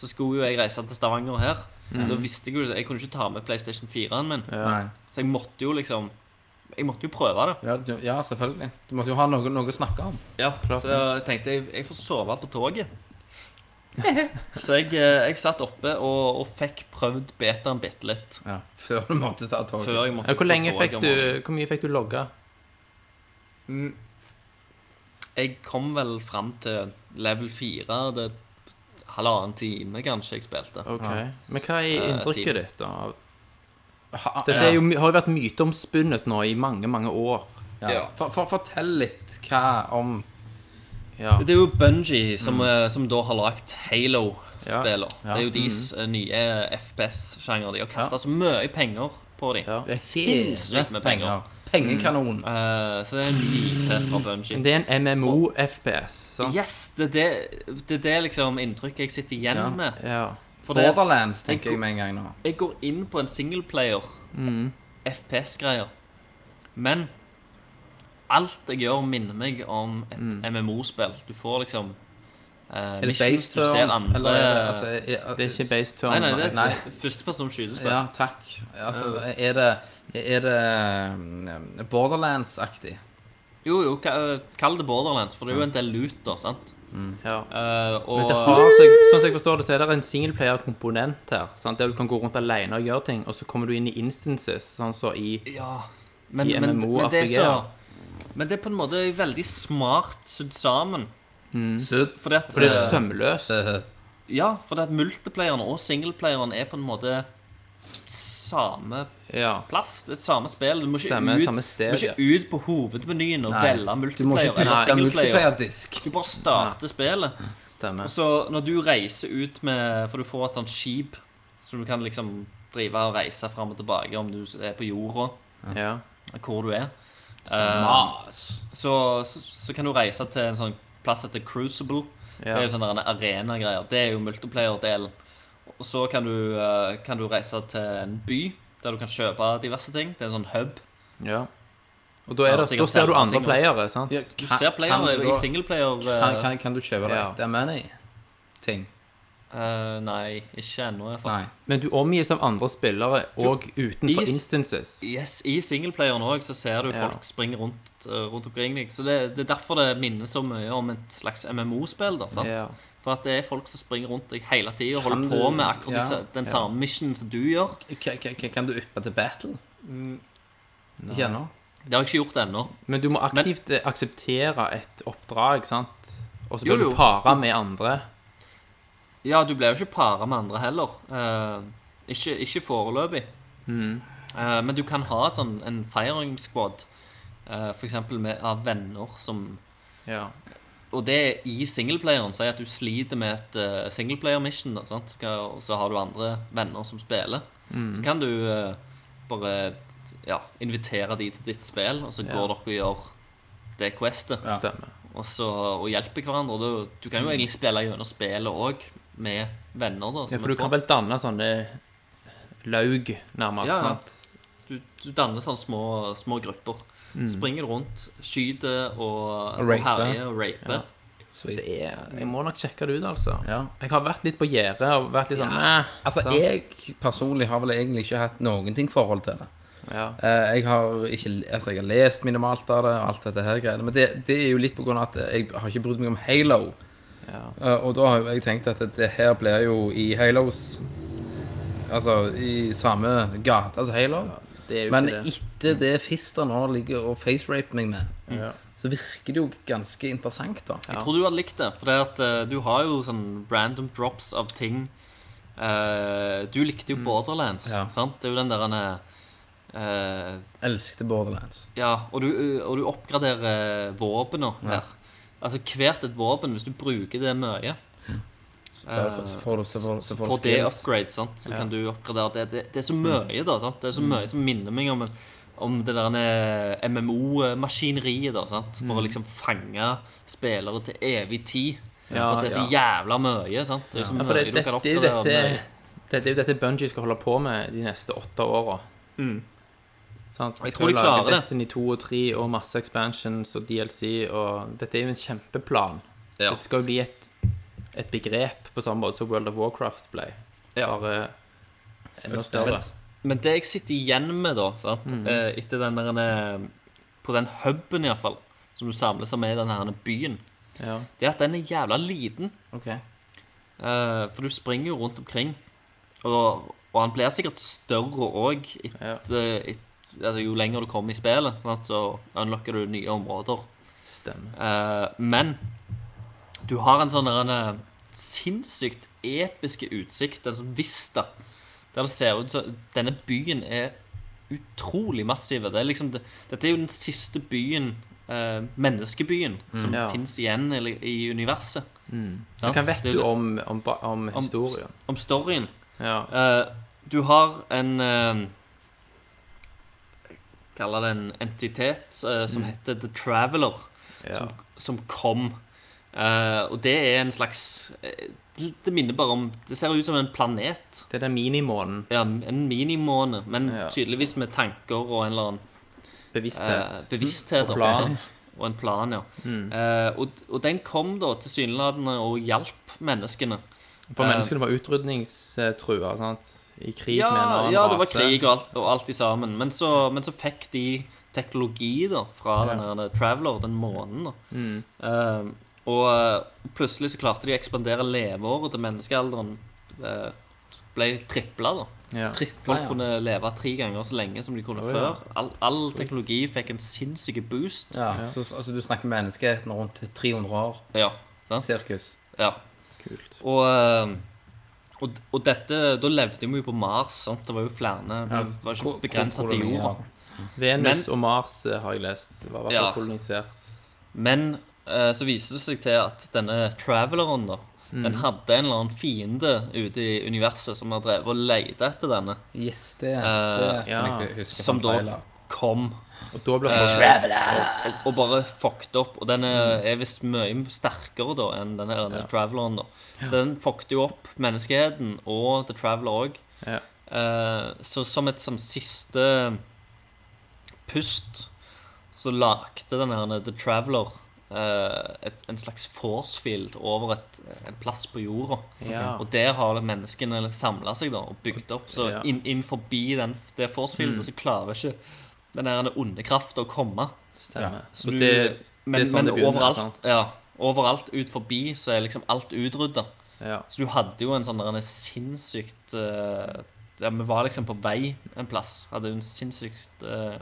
[SPEAKER 7] så skulle jo jeg reise til Stavanger her. Da visste jeg jo Jeg kunne ikke ta med PlayStation 4-en min.
[SPEAKER 6] Nei.
[SPEAKER 7] Så jeg måtte jo liksom Jeg måtte jo prøve det.
[SPEAKER 6] Ja, du, ja, selvfølgelig. Du måtte jo ha noe, noe å snakke om.
[SPEAKER 7] Ja,
[SPEAKER 5] klart
[SPEAKER 7] Så jeg tenkte jeg, jeg får sove på toget. så jeg, eh, jeg satt oppe og, og fikk prøvd betaen bitte litt.
[SPEAKER 6] Ja, Før du måtte ta toget.
[SPEAKER 7] Før jeg måtte
[SPEAKER 5] Ja, hvor,
[SPEAKER 7] på
[SPEAKER 5] lenge
[SPEAKER 7] toget
[SPEAKER 5] fikk
[SPEAKER 7] om
[SPEAKER 5] du,
[SPEAKER 7] morgenen.
[SPEAKER 5] hvor mye fikk du logga?
[SPEAKER 7] Jeg kom vel fram til level 4 Det halvannen time kanskje jeg spilte
[SPEAKER 5] Ok. Men hva er
[SPEAKER 7] Eh,
[SPEAKER 5] inntrykket
[SPEAKER 7] tid.
[SPEAKER 5] ditt da? av-
[SPEAKER 6] Ha-
[SPEAKER 5] Dette er jo, my- har jo vært myteomspunnet nå i mange, mange år.
[SPEAKER 6] ja. Ja. For, for, fortell litt hva om
[SPEAKER 5] Ja.
[SPEAKER 7] Det er jo Bungie som,
[SPEAKER 5] Mm.
[SPEAKER 7] eh, som da har lagt Halo-spiller
[SPEAKER 6] Ja. Ja.
[SPEAKER 7] Det er jo deres eh, nye FPS-sjanger De har kastet så mye penger på dem
[SPEAKER 5] Ja.
[SPEAKER 7] Sinnssykt med penger
[SPEAKER 6] Pengekanon.
[SPEAKER 7] Eh, Så det er en lite fra Bungie
[SPEAKER 5] Men Det er en MMO-FPS, sant?
[SPEAKER 7] Yes, det er det, det, er det liksom inntrykket jeg sitter igjen
[SPEAKER 6] Ja.
[SPEAKER 7] med
[SPEAKER 5] Ja.
[SPEAKER 7] For det at
[SPEAKER 6] Borderlands,
[SPEAKER 7] jeg
[SPEAKER 6] tenker jeg med en gang nå.
[SPEAKER 7] jeg går inn på en singleplayer
[SPEAKER 6] Mm.
[SPEAKER 7] FPS-greier. Men alt jeg gjør, minner meg om et MMO-spill. Du får liksom eh,
[SPEAKER 6] Mm. Er det
[SPEAKER 7] missions,
[SPEAKER 6] based
[SPEAKER 7] du ser
[SPEAKER 6] turn,
[SPEAKER 7] andre
[SPEAKER 6] eller er det altså, er,
[SPEAKER 5] Det er ikke based turn.
[SPEAKER 7] Nei, nei, det er
[SPEAKER 6] Nei.
[SPEAKER 7] et førsteperson skytespill.
[SPEAKER 6] Ja, takk. Altså, er det, er det mm, Borderlands-aktig?
[SPEAKER 7] Mm. Jo, jo, ka- eh, kall det Borderlands, for det er jo en del loot, da, sant?
[SPEAKER 5] Ja.
[SPEAKER 7] Eh, og
[SPEAKER 5] Men det har, så jeg, sånn som jeg forstår det, så er det en singleplayer-komponent her. Sant? Der du kan gå rundt alene og gjøre ting, og så kommer du inn i instances, sånn som så i
[SPEAKER 7] Ja, men,
[SPEAKER 5] I
[SPEAKER 7] men,
[SPEAKER 5] MMO,
[SPEAKER 7] men det er
[SPEAKER 5] RPG,
[SPEAKER 7] så Men det er på en måte veldig smart sydd sammen.
[SPEAKER 6] Sudd?
[SPEAKER 7] Fordi at,
[SPEAKER 5] For det er
[SPEAKER 7] eh,
[SPEAKER 5] sømløst.
[SPEAKER 7] Ja, for det at multiplayeren og singleplayeren er på en måte samme
[SPEAKER 5] Ja.
[SPEAKER 7] plass. Det er et samme spill. Du må ikke,
[SPEAKER 5] Stemmer,
[SPEAKER 7] ut,
[SPEAKER 5] samme sted,
[SPEAKER 7] du må ikke ut på hovedmenyen og velge
[SPEAKER 6] Du må
[SPEAKER 7] multiplayer
[SPEAKER 6] ikke
[SPEAKER 7] eller
[SPEAKER 6] bruke
[SPEAKER 7] singleplayer.
[SPEAKER 6] multiplayer-disk.
[SPEAKER 7] Du bare starter spillet.
[SPEAKER 5] Stemmer.
[SPEAKER 7] Og så når du reiser ut med For du får et sånt skip som du kan liksom drive og reise fram og tilbake om du er på jorda,
[SPEAKER 5] Ja.
[SPEAKER 7] hvor du er. Eh, så, så, så kan du reise til en sånn plass etter Crucible. Det er jo sånn
[SPEAKER 5] ja.
[SPEAKER 7] sånne der arena-greier. Det er jo multiplayer-delen. Og så kan du, eh, kan du reise til en by der du kan kjøpe diverse ting. Det er en sånn hub.
[SPEAKER 5] ja. Og da, er det, da
[SPEAKER 7] sikkert
[SPEAKER 5] ser du
[SPEAKER 7] selve
[SPEAKER 5] andre
[SPEAKER 7] ting også.
[SPEAKER 5] playere, sant?
[SPEAKER 6] Ja,
[SPEAKER 7] Du
[SPEAKER 6] kan-
[SPEAKER 7] ser
[SPEAKER 6] kan
[SPEAKER 7] player
[SPEAKER 6] du
[SPEAKER 7] i
[SPEAKER 6] da-
[SPEAKER 7] singleplayer
[SPEAKER 6] Kan,
[SPEAKER 7] eh,
[SPEAKER 6] kan, kan du kjøpe
[SPEAKER 5] Ja.
[SPEAKER 6] deg Det er money? Ting?
[SPEAKER 7] eh, Nei, ikke ennå. i hvert fall.
[SPEAKER 6] Nei.
[SPEAKER 5] Men du omgis av andre spillere og utenfor
[SPEAKER 7] is-
[SPEAKER 5] instances.
[SPEAKER 7] Yes, I singleplayeren òg ser du
[SPEAKER 5] Ja.
[SPEAKER 7] folk springe rundt, eh, rundt omkring deg. Så det, det er derfor det minner så mye om et slags MMO-spill. da, sant?
[SPEAKER 5] Ja.
[SPEAKER 7] For at det er folk som springer rundt deg hele tida og
[SPEAKER 6] Kan
[SPEAKER 7] holder
[SPEAKER 6] du-
[SPEAKER 7] på med akkurat
[SPEAKER 6] ja,
[SPEAKER 7] disse- den samme mission som du gjør.
[SPEAKER 6] K k k kan du yppe til battle?
[SPEAKER 7] Mm.
[SPEAKER 6] Ikke ennå?
[SPEAKER 7] Det har jeg ikke gjort ennå.
[SPEAKER 5] Men du må aktivt eh, akseptere et oppdrag, sant? Og så
[SPEAKER 7] Jo,
[SPEAKER 5] blir du
[SPEAKER 7] jo.
[SPEAKER 5] para med andre.
[SPEAKER 7] Ja, du ble jo ikke para med andre heller. Eh, ikke, ikke foreløpig. Eh, men du kan ha et sånn, en firing squad, eh, for eksempel med, av venner som
[SPEAKER 5] Ja.
[SPEAKER 7] Og det er i singleplayeren sier at du sliter med et eh, singleplayer mission, da, sant? Skal, og så har du andre venner som spiller. Så kan du eh, bare ja, invitere de til ditt spill, og så
[SPEAKER 5] Ja.
[SPEAKER 7] går dere og gjør det questet.
[SPEAKER 5] Stemmer.
[SPEAKER 7] og, så, og hjelper hverandre. Og du, du kan jo egentlig spille gjennom spillet òg med venner. da
[SPEAKER 5] Ja,
[SPEAKER 7] som
[SPEAKER 5] for
[SPEAKER 7] er
[SPEAKER 5] du kan
[SPEAKER 7] på.
[SPEAKER 5] vel danne sånne laug, nærmest,
[SPEAKER 7] Ja, ja.
[SPEAKER 5] sant?
[SPEAKER 7] du, du danner sånne små, små grupper.
[SPEAKER 5] Mm.
[SPEAKER 7] Springer rundt, skyter og,
[SPEAKER 6] Og
[SPEAKER 7] og
[SPEAKER 6] raper.
[SPEAKER 7] herjer og raper.
[SPEAKER 6] Sweet.
[SPEAKER 5] Det er, jeg må nok sjekke det ut, altså.
[SPEAKER 6] Ja.
[SPEAKER 5] Jeg har vært litt på gjerdet og vært litt sånn ja.
[SPEAKER 6] Altså, jeg personlig har vel egentlig ikke hatt noen ting forhold til det.
[SPEAKER 5] Ja.
[SPEAKER 6] Eh, Jeg har ikke altså jeg har lest minimalt av det, og alt dette her greiene. Men det, det er jo litt på grunn av at jeg har ikke brydd meg om Halo. Eh, Og da har jo jeg tenkt at det her blir jo i Halos Altså i samme gate som Halo.
[SPEAKER 5] Det er jo
[SPEAKER 6] Men
[SPEAKER 5] ikke det. Mm.
[SPEAKER 6] etter det Fister nå ligger og facerape meg med, så virker det jo ganske interessant, da.
[SPEAKER 7] Jeg tror du hadde likt det, for det at, eh, du har jo sånn random drops av ting. Eh, du likte jo
[SPEAKER 5] Mm.
[SPEAKER 7] Borderlands,
[SPEAKER 6] Ja.
[SPEAKER 7] sant? Det er jo den der han eh,
[SPEAKER 6] Elskte Borderlands.
[SPEAKER 7] Ja, og du, og du oppgraderer våpnene her. Altså hvert et våpen, hvis du bruker det mye,
[SPEAKER 5] Eh,
[SPEAKER 6] Bare for- Så får du, så får, du- så får du
[SPEAKER 7] får det
[SPEAKER 6] skills.
[SPEAKER 7] upgrade, sant? så kan du oppgradere det. Det, det er så
[SPEAKER 5] Mm.
[SPEAKER 7] mye, da. sant? Det er så mye som minner meg om, om det der eh, MMO-maskineriet, da, sant?
[SPEAKER 5] Mm.
[SPEAKER 7] for å liksom fange spillere til evig tid.
[SPEAKER 5] Ja,
[SPEAKER 7] For at det er så jævla mye. sant? Det er så
[SPEAKER 5] Ja,
[SPEAKER 7] mye
[SPEAKER 5] for det,
[SPEAKER 7] du
[SPEAKER 5] det,
[SPEAKER 7] kan
[SPEAKER 5] det, er jo
[SPEAKER 7] oppgradere.
[SPEAKER 5] dette,
[SPEAKER 7] mye.
[SPEAKER 5] det, det er jo dette Bungie skal holde på med de neste åtte åra. Sant?
[SPEAKER 7] Mm.
[SPEAKER 5] Skal
[SPEAKER 7] Jeg tror de
[SPEAKER 5] lage
[SPEAKER 7] klarer det.
[SPEAKER 5] Destiny 2 og 3 og masse expansions og DLC og Dette er jo en kjempeplan.
[SPEAKER 7] Ja.
[SPEAKER 5] Dette skal jo bli et, et begrep på samme måte som World of Warcraft ble.
[SPEAKER 7] Ja.
[SPEAKER 5] Bare enda større.
[SPEAKER 7] Men det jeg sitter igjen med, da, sant?
[SPEAKER 5] Mm.
[SPEAKER 7] eh, etter den der eh, På den huben, iallfall, som du samles om i den her byen,
[SPEAKER 5] Ja.
[SPEAKER 7] det er at den er jævla liten.
[SPEAKER 6] Ok.
[SPEAKER 7] Eh, for du springer jo rundt omkring. Og, og han blir sikkert større òg altså, jo lenger du kommer i spillet. Sant? Så unlocker du nye områder.
[SPEAKER 5] Stemmer.
[SPEAKER 7] Eh, men du har en sånn der en eh, sinnssykt episke utsikt, en sånn vista, der det ser ut som denne byen er utrolig massiv. Det er liksom, det, dette er jo den siste byen, eh, menneskebyen, Mm. som
[SPEAKER 5] Ja.
[SPEAKER 7] finnes igjen i, i universet. Sant?
[SPEAKER 5] Hva vet
[SPEAKER 7] Det er
[SPEAKER 5] du
[SPEAKER 7] jo
[SPEAKER 5] om, om, ba- om
[SPEAKER 7] om-
[SPEAKER 5] historien?
[SPEAKER 7] Om storyen.
[SPEAKER 5] Ja.
[SPEAKER 7] Eh, du har en eh, Kaller det en entitet eh, som
[SPEAKER 5] Mm.
[SPEAKER 7] heter The Traveler,
[SPEAKER 5] ja.
[SPEAKER 7] som, som kom. Eh, og det er en slags eh, Det det minner bare om Det ser ut som en planet.
[SPEAKER 5] Det er den minimånen.
[SPEAKER 7] Ja, en minimåne, men
[SPEAKER 5] Ja.
[SPEAKER 7] tydeligvis med tanker og en eller annen
[SPEAKER 5] Bevissthet. Mm.
[SPEAKER 7] Eh, bevissthet
[SPEAKER 5] Og
[SPEAKER 7] og,
[SPEAKER 5] plan. Mm.
[SPEAKER 7] plan. og en plan. ja Eh, og, og den kom da tilsynelatende og hjalp menneskene.
[SPEAKER 5] For
[SPEAKER 7] eh,
[SPEAKER 5] menneskene var utrydningstrua, sant? I krig
[SPEAKER 7] Ja,
[SPEAKER 5] med en annen
[SPEAKER 7] ja, det var
[SPEAKER 5] rase.
[SPEAKER 7] krig og alt, og alt i sammen. Men så, men så fikk de teknologi da, fra den her eh, Traveler, den månen. da.
[SPEAKER 5] Mm.
[SPEAKER 7] Eh, og eh, plutselig så klarte de å ekspandere leveåret til menneskealderen. eh, ble tripla, da.
[SPEAKER 5] Ja.
[SPEAKER 7] Folk
[SPEAKER 6] ja.
[SPEAKER 7] kunne leve tre ganger så lenge som de kunne
[SPEAKER 5] Å, ja.
[SPEAKER 7] før. All, all teknologi fikk en sinnssyk boost.
[SPEAKER 6] Ja, Så, altså du snakker menneskeheten rundt 300 år.
[SPEAKER 7] Ja, sant?
[SPEAKER 6] Sirkus.
[SPEAKER 7] Ja.
[SPEAKER 5] Kult.
[SPEAKER 7] Og, eh, og, og dette Da levde vi jo på Mars, sant? Det var jo flere. Vi var ikke begrensa til
[SPEAKER 6] Kolonier.
[SPEAKER 7] jorda.
[SPEAKER 5] Venus
[SPEAKER 7] Men-
[SPEAKER 5] og Mars eh, har jeg lest. Det var i hvert fall
[SPEAKER 7] Ja.
[SPEAKER 5] kolonisert.
[SPEAKER 7] Men eh, så viser det seg til at denne traveleren da, den hadde en eller annen fiende ute i universet som har drevet og leid etter denne,
[SPEAKER 6] Yes, det,
[SPEAKER 7] Eh,
[SPEAKER 6] det kan jeg
[SPEAKER 5] ja.
[SPEAKER 6] huske. fra
[SPEAKER 7] som da
[SPEAKER 6] trailer.
[SPEAKER 7] kom
[SPEAKER 5] Og da ble folk
[SPEAKER 7] og, og bare fucked opp. Og den er,
[SPEAKER 5] Mm.
[SPEAKER 7] er visst mye sterkere da enn denne denne traveleren. da. Så den fucked jo opp menneskeheten og The Traveler òg.
[SPEAKER 5] Ja.
[SPEAKER 7] så som et som siste pust så lagde den her The Traveler eh, et, en slags force field over et, en plass på jorda.
[SPEAKER 5] Ja.
[SPEAKER 7] Og der har menneskene samla seg da og bygd opp. Så
[SPEAKER 5] Ja. Mm.
[SPEAKER 7] inn, inn forbi den, det force fieldet så klarer ikke den her onde krafta å komme.
[SPEAKER 5] Stemmer. Så
[SPEAKER 7] Du-
[SPEAKER 5] det,
[SPEAKER 7] men,
[SPEAKER 5] det er sånn
[SPEAKER 7] men
[SPEAKER 5] det begynner.
[SPEAKER 7] overalt,
[SPEAKER 5] Sant?
[SPEAKER 7] Ja, overalt ut forbi så er liksom alt utrydda.
[SPEAKER 5] Ja.
[SPEAKER 7] Så du hadde jo en sånn der, en sinnssykt eh, Ja, vi var liksom på vei en plass. Hadde jo en sinnssykt eh,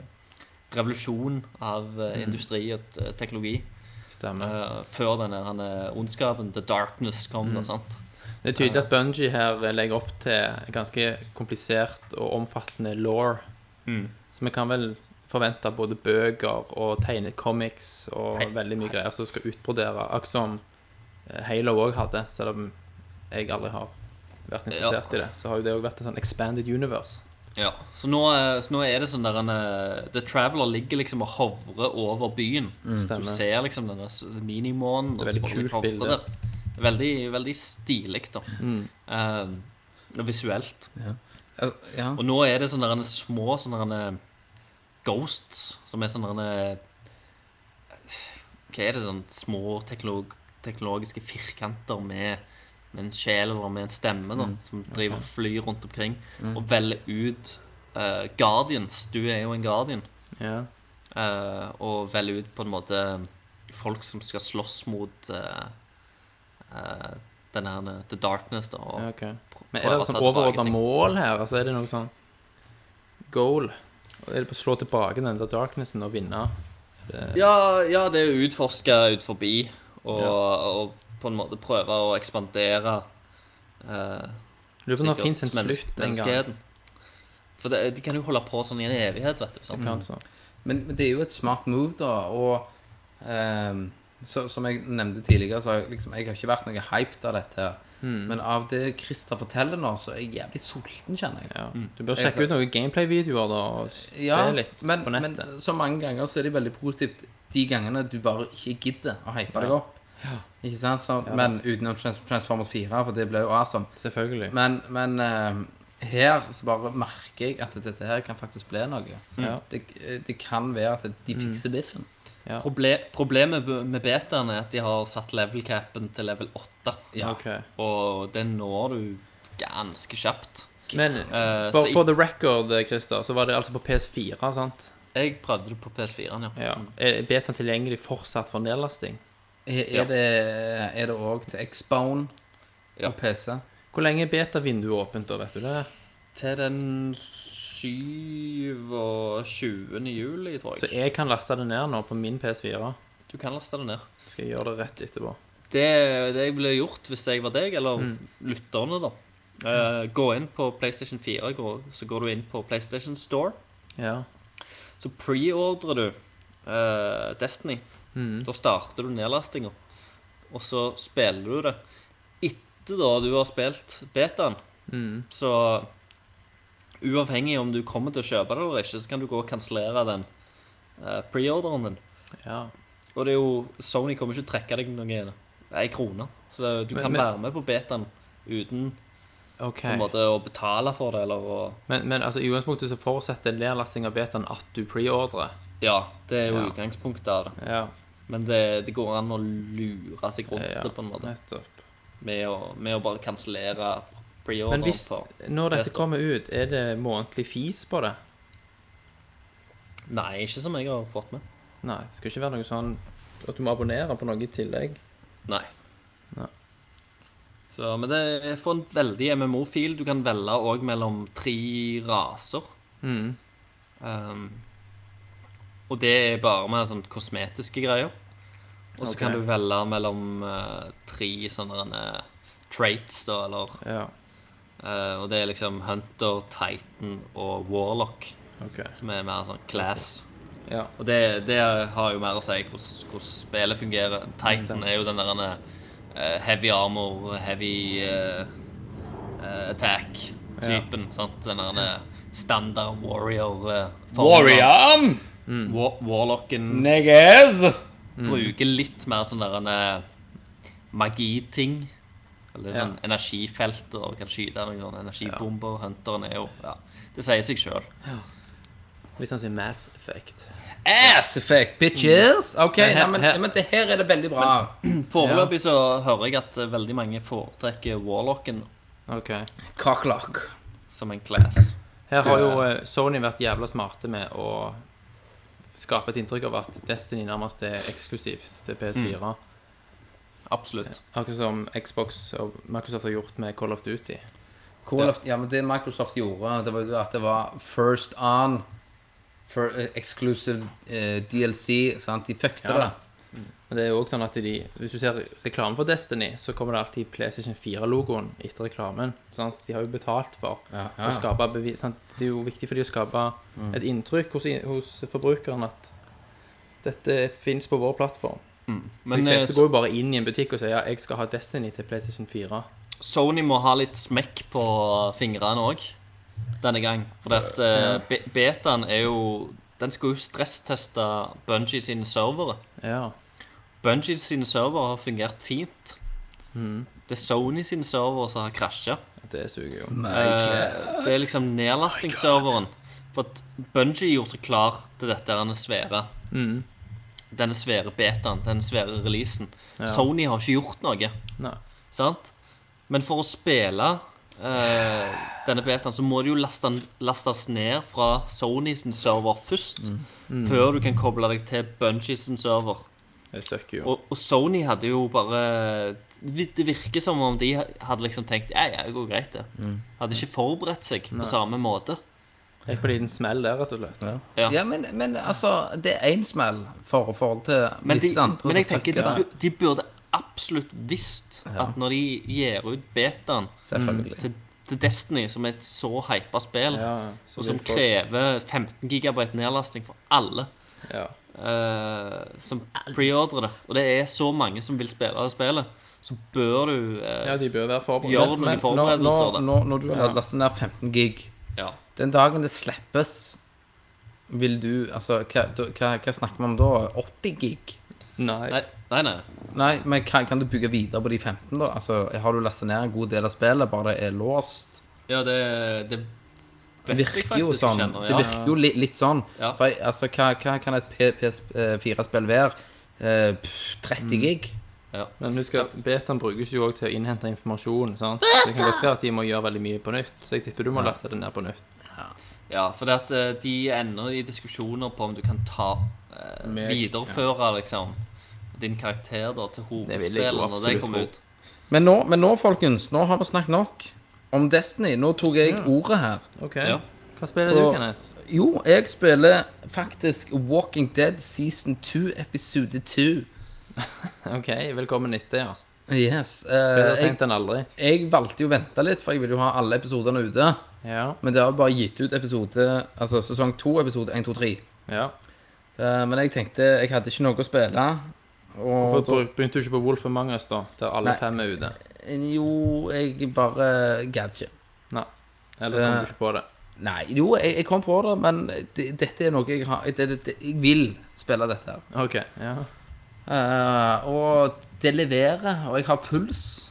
[SPEAKER 7] revolusjon av
[SPEAKER 5] Mhm.
[SPEAKER 7] eh, industri og eh, teknologi
[SPEAKER 5] Stemmer.
[SPEAKER 7] eh, før den der han, eh, ondskapen, the darkness,
[SPEAKER 5] Mhm.
[SPEAKER 7] kom. Da, sant?
[SPEAKER 5] Det er tydelig at Bungie her eh, legger opp til en ganske komplisert og omfattende law.
[SPEAKER 7] Mm.
[SPEAKER 5] Så vi kan vel forvente både bøker og tegnecomics og veldig mye greier som skal utbrodere. Akkurat som eh, Halo òg hadde, selv om jeg aldri har vært interessert i det. Så har jo det òg vært en sånn expanded universe.
[SPEAKER 7] Ja, så nå, eh, så nå er det sånn der en, eh, The Traveler ligger liksom og hovrer over byen. Så du
[SPEAKER 5] Mm, Stemmer.
[SPEAKER 7] ser liksom denne s- minimånen.
[SPEAKER 5] Det er veldig
[SPEAKER 7] og så bare
[SPEAKER 5] kult
[SPEAKER 7] hovrer
[SPEAKER 5] bilde. Mm.
[SPEAKER 7] der. Veldig, veldig stilig, da. Eh, og visuelt.
[SPEAKER 6] Eh, Ja.
[SPEAKER 7] Og nå er det sånne der små sånne der ghosts, som er sånne der Hva er det, sånn små teknolog, teknologiske firkanter med,
[SPEAKER 5] Mm.
[SPEAKER 7] med en sjel eller med en stemme, da, som driver og flyr rundt omkring og velger ut eh, eh, Guardians. Du er jo en Guardian.
[SPEAKER 5] Ja.
[SPEAKER 7] eh, og velger ut på en måte folk som skal slåss mot eh, eh, den her eh, The Darkness, da. Og
[SPEAKER 5] ja, ok.
[SPEAKER 7] pr-
[SPEAKER 5] Men er
[SPEAKER 7] prøver
[SPEAKER 5] det
[SPEAKER 7] å
[SPEAKER 5] sånn
[SPEAKER 7] ta tilbake
[SPEAKER 5] overordna
[SPEAKER 7] ting.
[SPEAKER 5] mål her? Altså er det noe sånn goal? Og Er det på å slå tilbake den der darknessen og vinne?
[SPEAKER 7] Ja, ja, det er å utforske ut forbi og, og på en måte prøve å ekspandere eh,
[SPEAKER 5] Lurer på om det
[SPEAKER 7] sikkert
[SPEAKER 5] fins en
[SPEAKER 7] mennes-
[SPEAKER 5] slutt en gang.
[SPEAKER 7] menneskeheten. For det, de kan jo holde på sånn i en evighet, vet du. sant?
[SPEAKER 5] Kanskje.
[SPEAKER 6] Men, men det er jo et smart move, da. Og ehm, så, som jeg nevnte tidligere, så har jeg liksom, jeg har ikke vært noe hyped av dette. her.
[SPEAKER 5] Hmm.
[SPEAKER 6] Men av det Christer forteller nå, så er jeg jævlig sulten, kjenner jeg.
[SPEAKER 5] Ja.
[SPEAKER 7] Mm.
[SPEAKER 5] Du bør sjekke ut noen gameplay-videoer da, og s- se litt
[SPEAKER 6] men,
[SPEAKER 5] på
[SPEAKER 6] men
[SPEAKER 5] nettet.
[SPEAKER 6] så mange ganger så er det veldig positivt de gangene du bare ikke gidder å hype deg opp. Ikke sant? Så, Men utenom Trans- Transformers 4, for det ble jo awesome.
[SPEAKER 5] Selvfølgelig.
[SPEAKER 6] Men, men eh, her så bare merker jeg at dette her kan faktisk bli noe.
[SPEAKER 5] Ja.
[SPEAKER 6] Det, eh, det kan være at de fikser biffen.
[SPEAKER 7] Proble problemet b- med betaen er at de har satt level capen til level 8.
[SPEAKER 6] Ja.
[SPEAKER 5] Ok.
[SPEAKER 7] Og det når du ganske kjapt.
[SPEAKER 5] Men
[SPEAKER 7] Eh, så
[SPEAKER 5] for,
[SPEAKER 7] i-
[SPEAKER 5] for the record, eh, Christer, så var det altså på PS4, sant?
[SPEAKER 7] Jeg prøvde det på PS4-en, ja.
[SPEAKER 5] Ja. Er betaen tilgjengelig fortsatt for nedlasting?
[SPEAKER 6] Er, er, det, er det også til Xbone
[SPEAKER 7] Ja.
[SPEAKER 6] og PC?
[SPEAKER 5] Hvor lenge er beta-vinduet åpent, da, vet du det?
[SPEAKER 7] Til den 27. juli, tror
[SPEAKER 5] Så
[SPEAKER 7] jeg.
[SPEAKER 5] jeg kan laste det ned nå på min PS4.
[SPEAKER 7] Du kan laste det ned.
[SPEAKER 5] Så skal jeg gjøre det rett etterpå.
[SPEAKER 7] Det, det ville gjort hvis jeg var deg, eller lytterne, da. Eh, gå inn på PlayStation 4, gå- så går du inn på PlayStation Store.
[SPEAKER 5] Ja.
[SPEAKER 7] Så preordrer du eh, Destiny.
[SPEAKER 5] Mm,
[SPEAKER 7] Da starter du nedlastinga, og så spiller du det. Etter da du har spilt betaen,
[SPEAKER 5] mm,
[SPEAKER 7] så Uavhengig om du kommer til å kjøpe det eller ikke, så kan du gå og kansellere den eh, preorderen din.
[SPEAKER 5] ja.
[SPEAKER 7] Og det er jo Sony kommer ikke til å trekke deg noen ei krone. Så det, du
[SPEAKER 5] Men-
[SPEAKER 7] kan
[SPEAKER 5] men-
[SPEAKER 7] være med på betaen uten
[SPEAKER 5] OK.
[SPEAKER 7] på en måte å betale for det, eller å
[SPEAKER 5] Men, men altså, i utgangspunktet så forutsetter nedlasting av betaen at du preordrer.
[SPEAKER 7] Ja, det er
[SPEAKER 5] Ja.
[SPEAKER 7] jo utgangspunktet av det.
[SPEAKER 5] Ja.
[SPEAKER 7] Men det, det går an å lure seg rundt det på en måte
[SPEAKER 5] Nettopp.
[SPEAKER 7] med å, med å bare kansellere
[SPEAKER 5] Men
[SPEAKER 7] preorderen
[SPEAKER 5] hvis,
[SPEAKER 7] på
[SPEAKER 5] når dette
[SPEAKER 7] Rester.
[SPEAKER 5] kommer ut, er det månedlig fis på det?
[SPEAKER 7] Nei, ikke som jeg har fått med.
[SPEAKER 5] Nei, det skal ikke være noe sånn at du må abonnere på noe i tillegg.
[SPEAKER 7] Nei.
[SPEAKER 5] Nei.
[SPEAKER 7] Så, men det er for en veldig MMO-fil. Du kan velge òg mellom tre raser.
[SPEAKER 5] Mm.
[SPEAKER 7] Um, og det er bare med sånn kosmetiske greier. Og så
[SPEAKER 5] Ok.
[SPEAKER 7] kan du velge mellom eh, tre sånne eh, traits, da, eller
[SPEAKER 5] Ja,
[SPEAKER 7] eh, Og det er liksom Hunter, Titan og Warlock,
[SPEAKER 5] ok.
[SPEAKER 7] som er mer sånn class.
[SPEAKER 5] Ja,
[SPEAKER 7] Og det, det har jo mer å si hvordan, hvordan spillet fungerer. Titan er jo den der eh, heavy armor, heavy eh, eh, attack-typen. sant? Den der eh, standard warrior eh, formen.
[SPEAKER 5] Mm.
[SPEAKER 7] Wa Warlocken
[SPEAKER 6] Niggas!
[SPEAKER 7] bruker litt mer sånn der en eh, magiting. Eller
[SPEAKER 5] Ja.
[SPEAKER 7] sånn energifelt og kan skyte noen sånne energibomber. Hunteren er jo ja, Det sier seg sjøl.
[SPEAKER 5] Hvis han sier Mass Effect.
[SPEAKER 6] Ass effect, bitches! Ok,
[SPEAKER 5] Men her-
[SPEAKER 6] nei, men,
[SPEAKER 5] her-
[SPEAKER 6] men det her er det veldig bra.
[SPEAKER 7] Foreløpig så hører jeg at eh, veldig mange foretrekker Warlocken
[SPEAKER 5] Ok.
[SPEAKER 6] Cocklock.
[SPEAKER 7] som en class.
[SPEAKER 5] Her har jo eh, Sony vært jævla smarte med å skape et inntrykk av at Destiny nærmest er eksklusivt til PS4.
[SPEAKER 7] Absolutt.
[SPEAKER 5] Akkurat som Xbox og Microsoft har gjort med Call of Duty.
[SPEAKER 6] Call of, ja, men det Microsoft gjorde, det var jo at det var first on for eh, exclusive eh, DLC, sant? De fuckte
[SPEAKER 5] Ja,
[SPEAKER 6] det.
[SPEAKER 5] Men det er jo også sånn at de, Hvis du ser reklame for Destiny, så kommer det alltid PlayStation 4-logoen etter reklamen. Sant? De har jo betalt for
[SPEAKER 6] Ja, ja,
[SPEAKER 5] å
[SPEAKER 6] ja.
[SPEAKER 5] skape bevi- sant? Det er jo viktig for de å skape et inntrykk hos, hos forbrukeren at dette fins på vår plattform.
[SPEAKER 7] Men
[SPEAKER 5] de
[SPEAKER 7] eh,
[SPEAKER 5] fleste går jo bare inn i en butikk og sier ja, jeg skal ha Destiny til PlayStation 4.
[SPEAKER 7] Sony må ha litt smekk på fingrene òg denne gang. For at eh, be- betaen er jo Den skulle jo stressteste Bungie sine servere.
[SPEAKER 5] Ja.
[SPEAKER 7] Bungie sine servere har fungert fint.
[SPEAKER 5] Mm.
[SPEAKER 7] Det er Sony sine servere som har krasja.
[SPEAKER 5] Det suger jo.
[SPEAKER 7] Eh, det er liksom nedlastingsserveren. For at Bungie gjorde seg klar til dette denne svære Denne svære betaen, den svære releasen. Sony har ikke gjort noe.
[SPEAKER 5] Nei.
[SPEAKER 7] Sant? Men for å spille eh, denne betaen, så må det jo laste, lastes ned fra Sony sin server først. Før du kan koble deg til Bungie sin server.
[SPEAKER 5] Jeg søker jo.
[SPEAKER 7] Og, og Sony hadde jo bare Det virker som om de hadde liksom tenkt Ja, ja, det går greit, det.
[SPEAKER 6] Mm.
[SPEAKER 7] Hadde ikke forberedt seg på samme måte.
[SPEAKER 5] Jeg er på en liten smell der, rett og slett.
[SPEAKER 7] Ja.
[SPEAKER 6] Ja, men, men altså, det er én smell for forhold til
[SPEAKER 7] Men, de,
[SPEAKER 6] visse andre
[SPEAKER 7] men jeg
[SPEAKER 6] som
[SPEAKER 7] tenker
[SPEAKER 6] fucker
[SPEAKER 7] de,
[SPEAKER 6] det.
[SPEAKER 7] bu- de burde absolutt visst at når de gir ut betaen
[SPEAKER 6] Selvfølgelig.
[SPEAKER 7] Mm. til, til Destiny, som er et så hypa spill,
[SPEAKER 5] Ja, så
[SPEAKER 7] og som
[SPEAKER 5] vil folk-
[SPEAKER 7] krever 15 gigabyte nedlasting for alle
[SPEAKER 5] Ja.
[SPEAKER 7] eh, som preordrer det, og det er så mange som vil spille det spillet, så bør du eh,
[SPEAKER 5] ja, de bør være
[SPEAKER 7] Gjør
[SPEAKER 5] forberedt.
[SPEAKER 7] noen
[SPEAKER 6] Men når,
[SPEAKER 7] forberedelser,
[SPEAKER 6] når,
[SPEAKER 7] da.
[SPEAKER 6] når, når du har lastet ned 15 gig
[SPEAKER 7] Ja.
[SPEAKER 6] Den dagen det slippes, vil du Altså, hva, da- hva, hva snakker vi om da? 80 gig?
[SPEAKER 5] Nei.
[SPEAKER 7] Nei, nei. nei.
[SPEAKER 6] Nei, men kan, kan du bygge videre på de 15, da? Altså, Har du lastet ned en god del av spillet, bare det er låst?
[SPEAKER 7] Ja, det, det
[SPEAKER 6] Det
[SPEAKER 7] vet jeg
[SPEAKER 6] virker jo
[SPEAKER 7] faktisk
[SPEAKER 6] sånn.
[SPEAKER 7] ikke ennå,
[SPEAKER 6] Det virker jo li, litt sånn.
[SPEAKER 7] Ja.
[SPEAKER 6] For, jeg- altså, hva, hva kan et PS4-spill være? Eh, pff,
[SPEAKER 7] Mm.
[SPEAKER 6] 30 gig?
[SPEAKER 5] Men husk at betaen brukes jo også til å innhente informasjon. sant? Så det kan godt være at de må gjøre veldig mye på nytt. Så jeg tipper du må laste det ned på nytt.
[SPEAKER 7] Ja, for det at eh, de ender i diskusjoner på om du kan ta eh,
[SPEAKER 6] Med-
[SPEAKER 7] videreføre liksom, din karakter da, til
[SPEAKER 5] Det vil jeg jo
[SPEAKER 7] hovedspillet når det
[SPEAKER 5] absolutt
[SPEAKER 7] kommer
[SPEAKER 5] tro.
[SPEAKER 7] ut.
[SPEAKER 6] Men nå, men nå, folkens, nå har vi snakket nok om Destiny. Nå tok jeg ordet her.
[SPEAKER 5] Ok.
[SPEAKER 7] Ja.
[SPEAKER 5] Hva spiller du,
[SPEAKER 6] Og-
[SPEAKER 5] Kenneth?
[SPEAKER 6] Jo, jeg spiller faktisk Walking Dead Season 2, Episode 2.
[SPEAKER 5] Ok, velkommen etter, ja.
[SPEAKER 6] Yes. eh,
[SPEAKER 5] Bedre
[SPEAKER 6] jeg,
[SPEAKER 5] sent enn aldri.
[SPEAKER 6] jeg valgte jo å vente litt, for jeg ville jo ha alle episodene ute.
[SPEAKER 5] Ja.
[SPEAKER 6] Men det har bare gitt ut episode, altså sesong 2, episode 1, 2, 3.
[SPEAKER 5] ja.
[SPEAKER 6] Eh, men jeg tenkte jeg hadde ikke noe å spille.
[SPEAKER 5] Hvorfor
[SPEAKER 6] Og da,
[SPEAKER 5] bruk- begynte du ikke på Wolf of Mangas, da? Der alle
[SPEAKER 6] Nei.
[SPEAKER 5] fem er ute?
[SPEAKER 6] jo, jeg bare gadd ikke.
[SPEAKER 5] Nei. Eller kom
[SPEAKER 6] Eh.
[SPEAKER 5] du ikke på det?
[SPEAKER 6] Nei, jo, jeg, jeg kom på det, men det, dette er noe jeg har det, det, det, Jeg vil spille dette her.
[SPEAKER 5] OK. Ja.
[SPEAKER 6] Eh, og det leverer, og jeg har puls.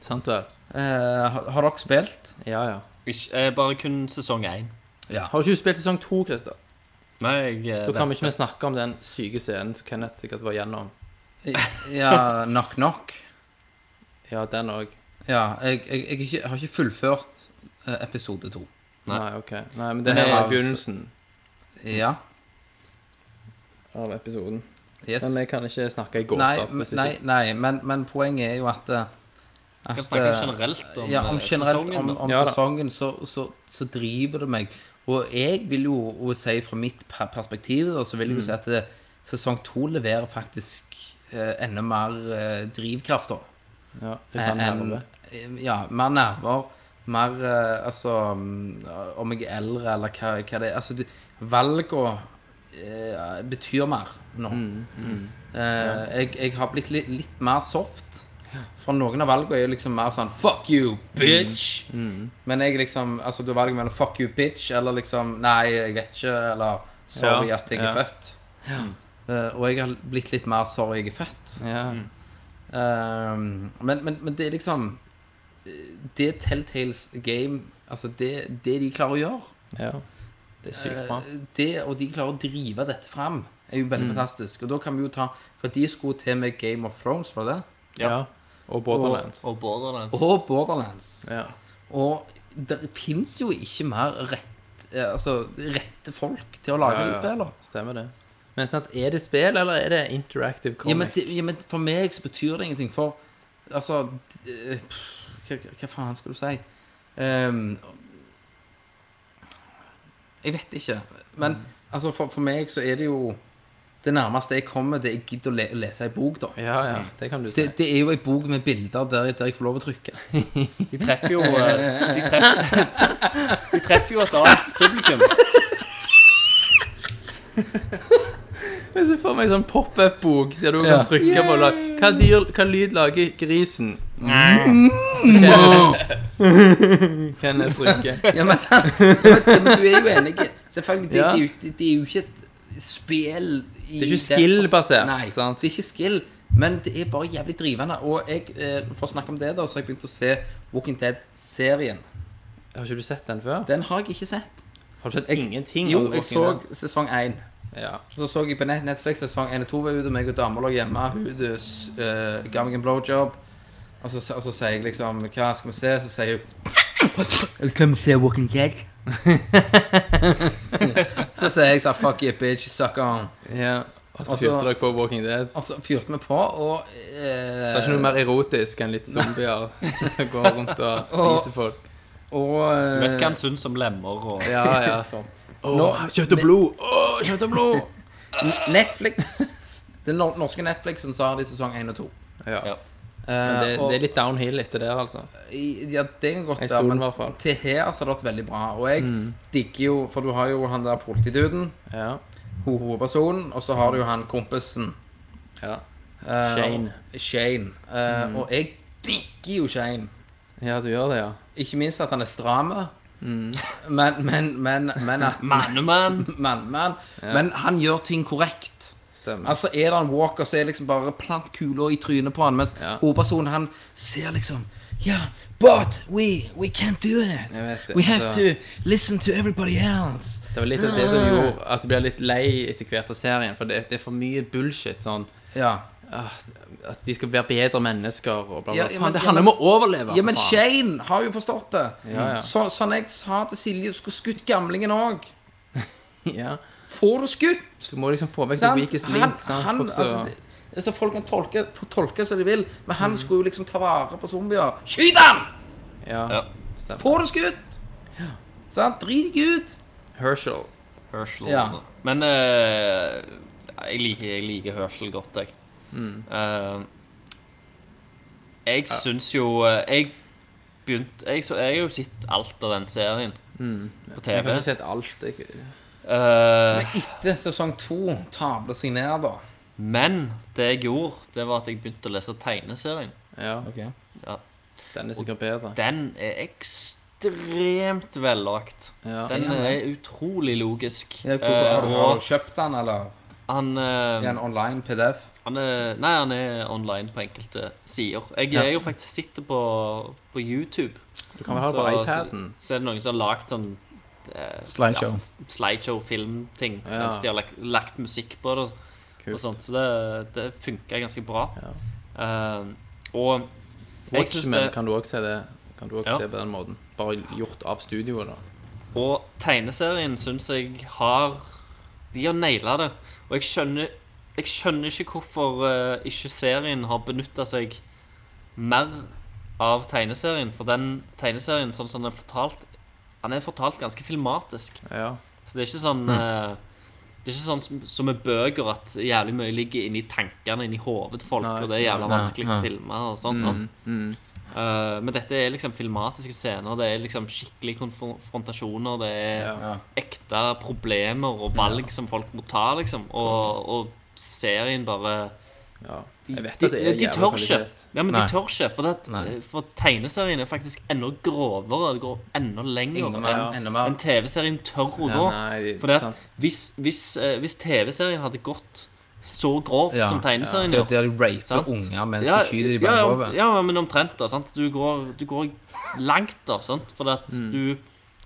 [SPEAKER 5] Sant vel.
[SPEAKER 6] Eh, har, har dere spilt?
[SPEAKER 5] Ja, ja.
[SPEAKER 7] Ikke, eh, bare kun sesong én.
[SPEAKER 5] Har ikke du spilt sesong to, Christer?
[SPEAKER 7] Nei, jeg eh,
[SPEAKER 5] Da kan vi
[SPEAKER 7] vet-
[SPEAKER 5] ikke mer snakke om den syke scenen som Kenneth sikkert var gjennom.
[SPEAKER 6] Ja, Knock Knock.
[SPEAKER 5] Ja, den òg.
[SPEAKER 6] Ja, jeg, jeg, jeg, er ikke, jeg har ikke fullført eh, episode to.
[SPEAKER 5] Nei.
[SPEAKER 7] Nei.
[SPEAKER 5] OK. Nei, men det
[SPEAKER 6] Men
[SPEAKER 5] her
[SPEAKER 6] jeg-
[SPEAKER 5] er begynnelsen
[SPEAKER 6] Ja.
[SPEAKER 5] av episoden.
[SPEAKER 6] Yes.
[SPEAKER 5] Men vi kan ikke snakke i gåter.
[SPEAKER 6] Nei,
[SPEAKER 5] hvis ikke-
[SPEAKER 6] nei, nei men, men poenget er jo at, eh, at
[SPEAKER 7] kan snakke
[SPEAKER 6] eh,
[SPEAKER 7] generelt om,
[SPEAKER 6] ja, om
[SPEAKER 7] eh,
[SPEAKER 6] generelt
[SPEAKER 7] sesongen.
[SPEAKER 6] om,
[SPEAKER 7] da.
[SPEAKER 6] om
[SPEAKER 5] Ja da.
[SPEAKER 6] sesongen, så, så, så driver det meg. Og jeg vil jo og si fra mitt per- perspektiv, da, så vil jeg jo si
[SPEAKER 5] Mm.
[SPEAKER 6] at det, sesong to leverer faktisk eh, enda mer eh, drivkraft, da.
[SPEAKER 5] Ja, det kan
[SPEAKER 6] enn
[SPEAKER 5] nerve.
[SPEAKER 6] Eh, Ja, mer nerver. Mer eh, Altså mm, Om jeg er eldre, eller hva, hva det er. Altså, du- valgene eh, betyr mer nå.
[SPEAKER 5] Mm,
[SPEAKER 6] Eh, jeg, jeg har blitt litt, litt mer soft. For noen av valgene er liksom mer sånn Fuck you, bitch!
[SPEAKER 5] Mm,
[SPEAKER 6] Men jeg liksom Altså, du valger mellom fuck you, bitch, eller liksom Nei, jeg vet ikke, eller Sorry
[SPEAKER 5] Ja,
[SPEAKER 6] at jeg
[SPEAKER 5] ja.
[SPEAKER 6] er født. Eh, og jeg har blitt litt mer sorry jeg er født.
[SPEAKER 5] Ja.
[SPEAKER 6] Ehm, men, men, men det er liksom Det er Telltales game Altså det, det de klarer å gjøre
[SPEAKER 5] ja. Det er sykt bra. Mm.
[SPEAKER 6] eh, det, Og de klarer å drive dette frem Er jo veldig fantastisk Og da kan vi jo ta For de skulle til med Game of Thrones for det
[SPEAKER 5] Ja. Og Borderlands.
[SPEAKER 7] Og Borderlands.
[SPEAKER 6] Og Borderlands
[SPEAKER 5] Ja.
[SPEAKER 6] Og det finnes jo ikke mer rett eh, Altså rette folk til å lage
[SPEAKER 5] Ja, ja.
[SPEAKER 6] de spillene
[SPEAKER 5] Stemmer det. Men sant, er det spill, eller er det interactive comic?
[SPEAKER 6] ja men, det, ja, men for meg så betyr det ingenting. For altså eh, pff, Hva, hva- hva faen skal du si? Ehm, jeg vet ikke. Men altså, for, for meg så er det jo Det nærmeste jeg kommer, det er jeg gidder å le, lese ei bok, da.
[SPEAKER 5] ja, ja, Mm, det kan du si.
[SPEAKER 6] Det, det er jo ei bok med bilder der, der jeg får lov å trykke.
[SPEAKER 7] De treffer jo eh, de treffer, de treffer jo et annet publikum.
[SPEAKER 5] Jeg ser for meg en sånn pop-up-bok der du
[SPEAKER 6] Ja.
[SPEAKER 5] kan trykke på lag. Hva, dyr, hva lyd lager grisen?
[SPEAKER 6] Mm.
[SPEAKER 5] Kenneth trykker.
[SPEAKER 6] Ja, men, sant? ja, men, ja, men du er jo enig. Selvfølgelig. Det,
[SPEAKER 5] Ja.
[SPEAKER 6] det, er, jo, det, det er jo ikke et
[SPEAKER 5] er
[SPEAKER 6] spill i
[SPEAKER 5] ikke
[SPEAKER 6] den forstand-
[SPEAKER 5] skill-basert,
[SPEAKER 6] Nei,
[SPEAKER 5] sant?
[SPEAKER 6] det er ikke skill. Men det er bare jævlig drivende. Og jeg, eh, for å snakke om det, da, så har jeg begynt å se Walking Dead-serien.
[SPEAKER 5] Har ikke du sett den før?
[SPEAKER 6] Den har jeg ikke sett.
[SPEAKER 5] Har du sett
[SPEAKER 6] Jeg-
[SPEAKER 5] ingenting?
[SPEAKER 6] Jo,
[SPEAKER 5] av
[SPEAKER 6] jeg
[SPEAKER 5] Walking
[SPEAKER 6] så
[SPEAKER 5] Dead?
[SPEAKER 6] sesong én.
[SPEAKER 5] ja.
[SPEAKER 6] Så så jeg på net- Netflix sesong 1 og 2 var ute, meg og dama lå hjemme. eh, Hun uh, ga meg en blowjob. Og så, og så sier jeg liksom Hva skal vi se? Så sier hun Come see Walking Dead. så sier jeg sånn Fuck you, bitch. Suck on.
[SPEAKER 5] Ja. Og så
[SPEAKER 6] Altså-
[SPEAKER 5] fyrte dere på Walking Dead.
[SPEAKER 6] Og så fyrte vi på, og eh,
[SPEAKER 5] Det er ikke noe mer erotisk enn litt zombier som går rundt og spiser folk.
[SPEAKER 6] Og eh,
[SPEAKER 7] Vet hva han syns om lemmer og
[SPEAKER 5] Ja, ja, sånt.
[SPEAKER 6] nå,
[SPEAKER 5] Kjøtt og blod! Åh, kjøtt og blod!
[SPEAKER 6] Netflix Den nor- norske Netflixen så har de sesong 1 og Eh, 2.
[SPEAKER 5] Ja.
[SPEAKER 7] Ja.
[SPEAKER 5] Men det,
[SPEAKER 6] og-
[SPEAKER 5] det er litt downhill etter det, altså.
[SPEAKER 6] I- Ja, det kan godt
[SPEAKER 5] Jeg
[SPEAKER 6] være,
[SPEAKER 5] stoler
[SPEAKER 6] men
[SPEAKER 5] i hvert fall.
[SPEAKER 6] til her så har det vært veldig bra. Og jeg
[SPEAKER 5] Mm.
[SPEAKER 6] digger jo For du har jo han der politiduden,
[SPEAKER 5] Ja.
[SPEAKER 6] ho- hovedpersonen, og så har du jo han kompisen.
[SPEAKER 5] Ja.
[SPEAKER 6] eh,
[SPEAKER 5] Shane. Mm.
[SPEAKER 6] Shane. Eh, Og jeg digger jo Shane.
[SPEAKER 5] ja, du gjør det, ja.
[SPEAKER 6] Ikke minst at han er stram.
[SPEAKER 5] Mm.
[SPEAKER 6] Men, men, men, men at
[SPEAKER 7] Mannemann!
[SPEAKER 6] men, men, men han gjør ting korrekt.
[SPEAKER 5] Stemmer.
[SPEAKER 6] Altså Er det en walker, så er det liksom bare plant kula i trynet på han, mens
[SPEAKER 5] Ja.
[SPEAKER 6] hovedpersonen han ser liksom Yeah, but we, we can't do it.
[SPEAKER 5] Jeg vet det,
[SPEAKER 6] We have
[SPEAKER 5] altså.
[SPEAKER 6] to listen to everybody else. Ah.
[SPEAKER 5] Det var litt av det som gjorde at du ble litt lei etter hvert av serien, for det, det er for mye bullshit sånn
[SPEAKER 6] Ja.
[SPEAKER 5] ah, At de skal være bedre mennesker og bla, bla.
[SPEAKER 6] Ja,
[SPEAKER 5] Faen,
[SPEAKER 6] ja, men-
[SPEAKER 5] det
[SPEAKER 6] ja,
[SPEAKER 5] handler
[SPEAKER 6] men-
[SPEAKER 5] om å overleve!
[SPEAKER 6] ja, men
[SPEAKER 5] faen.
[SPEAKER 6] Shane har jo forstått det.
[SPEAKER 5] Ja, ja.
[SPEAKER 6] Så, sånn jeg sa til Silje, du skulle skutt gamlingen òg.
[SPEAKER 5] Ja.
[SPEAKER 6] Får du skutt?
[SPEAKER 5] Du må liksom få vekk the
[SPEAKER 6] sant?
[SPEAKER 5] weakest
[SPEAKER 6] Han,
[SPEAKER 5] link. Sant?
[SPEAKER 6] han,
[SPEAKER 5] Folk så-
[SPEAKER 6] altså, det, altså Folk kan tolke, få tolke som de vil, men han skulle jo liksom ta vare på zombier. Skyt han!
[SPEAKER 5] ja.
[SPEAKER 7] Ja.
[SPEAKER 6] Får du skutt? Sant? Drit deg ut.
[SPEAKER 5] Herschel.
[SPEAKER 7] Herschel.
[SPEAKER 6] Ja.
[SPEAKER 7] Men eh, jeg, liker, jeg liker Herschel godt, jeg.
[SPEAKER 5] Mm.
[SPEAKER 7] Eh, jeg syns jo eh, Jeg begynte jeg, så, jeg har jo sett alt av den serien på
[SPEAKER 5] Mm. Jeg
[SPEAKER 7] TV.
[SPEAKER 5] har ikke sett alt. Jeg,
[SPEAKER 7] Eh,
[SPEAKER 6] Men etter sesong to tabler seg ned, da.
[SPEAKER 7] men det jeg gjorde, det var at jeg begynte å lese tegneserien.
[SPEAKER 5] ja,
[SPEAKER 7] Ja.
[SPEAKER 5] Den er sikkert bedre.
[SPEAKER 7] Den er ekstremt vellagt.
[SPEAKER 5] Ja.
[SPEAKER 7] Den er utrolig logisk.
[SPEAKER 6] Ja, hvor,
[SPEAKER 7] Eh,
[SPEAKER 6] har, du, har du
[SPEAKER 7] og
[SPEAKER 6] kjøpt den, eller?
[SPEAKER 7] han eh,
[SPEAKER 6] I en online PDF?
[SPEAKER 7] Han er, nei, han er online på enkelte sider. Jeg, jeg jo faktisk sitter på, på YouTube.
[SPEAKER 5] Du kan vel ha det på
[SPEAKER 7] Så-
[SPEAKER 5] iPaden.
[SPEAKER 7] Så, så er det noen som har lagd sånn
[SPEAKER 6] Slideshow.
[SPEAKER 7] slideshow-filmting
[SPEAKER 5] Ja.
[SPEAKER 7] mens de har lagt, lagt musikk på det. og- Og
[SPEAKER 5] Kult.
[SPEAKER 7] sånt, så det, det funker ganske bra. Eh, og jeg synes
[SPEAKER 5] Watchmen
[SPEAKER 7] det,
[SPEAKER 5] kan du også se det Kan du også
[SPEAKER 7] Ja.
[SPEAKER 5] se på den måten. Bare gjort av studioet, da.
[SPEAKER 7] Og tegneserien syns jeg har De har naila det. Og jeg skjønner, jeg skjønner ikke hvorfor eh, ikke serien har benytta seg mer av tegneserien. For den tegneserien, sånn som den er fortalt, han er fortalt ganske filmatisk.
[SPEAKER 5] Ja.
[SPEAKER 7] Så det er ikke sånn eh, Det er ikke sånn som, som med bøker at jævlig mye ligger inni tankene, inni hodet til folk,
[SPEAKER 5] Nei. Mm,
[SPEAKER 7] og det er jævla
[SPEAKER 6] Nei,
[SPEAKER 7] vanskelig å
[SPEAKER 6] nei.
[SPEAKER 7] filme og sånt. sånn. Eh, men dette er liksom filmatiske scener, det er liksom skikkelig konfrontasjoner, det er
[SPEAKER 5] Ja.
[SPEAKER 7] ekte problemer og valg som folk må ta, liksom. Og, og serien bare
[SPEAKER 5] ja.
[SPEAKER 7] de,
[SPEAKER 5] Jeg vet at det er
[SPEAKER 7] de
[SPEAKER 5] jævla
[SPEAKER 7] tør ikke.
[SPEAKER 5] kvalitet.
[SPEAKER 7] Ja, men
[SPEAKER 6] Nei.
[SPEAKER 7] de tør ikke, for, det,
[SPEAKER 6] Nei.
[SPEAKER 7] at- for tegneserien er faktisk enda grovere. Det går enda lenger
[SPEAKER 6] Enda mer.
[SPEAKER 7] enn
[SPEAKER 6] Enda mer.
[SPEAKER 7] enn TV-serien tør å gå.
[SPEAKER 5] Nei,
[SPEAKER 7] For det,
[SPEAKER 5] sant.
[SPEAKER 7] at hvis, hvis, eh, hvis TV-serien hadde gått så grovt
[SPEAKER 6] Ja,
[SPEAKER 7] som tegneserien
[SPEAKER 6] Det
[SPEAKER 7] gjør
[SPEAKER 6] er der de raper
[SPEAKER 7] Sant.
[SPEAKER 6] unger mens
[SPEAKER 7] ja,
[SPEAKER 6] de skyter de
[SPEAKER 7] ja,
[SPEAKER 6] bare
[SPEAKER 7] ja,
[SPEAKER 6] over.
[SPEAKER 7] Ja, men omtrent, da. Sant? Du, går, du går langt, da. Sant? For at
[SPEAKER 5] Mm.
[SPEAKER 7] du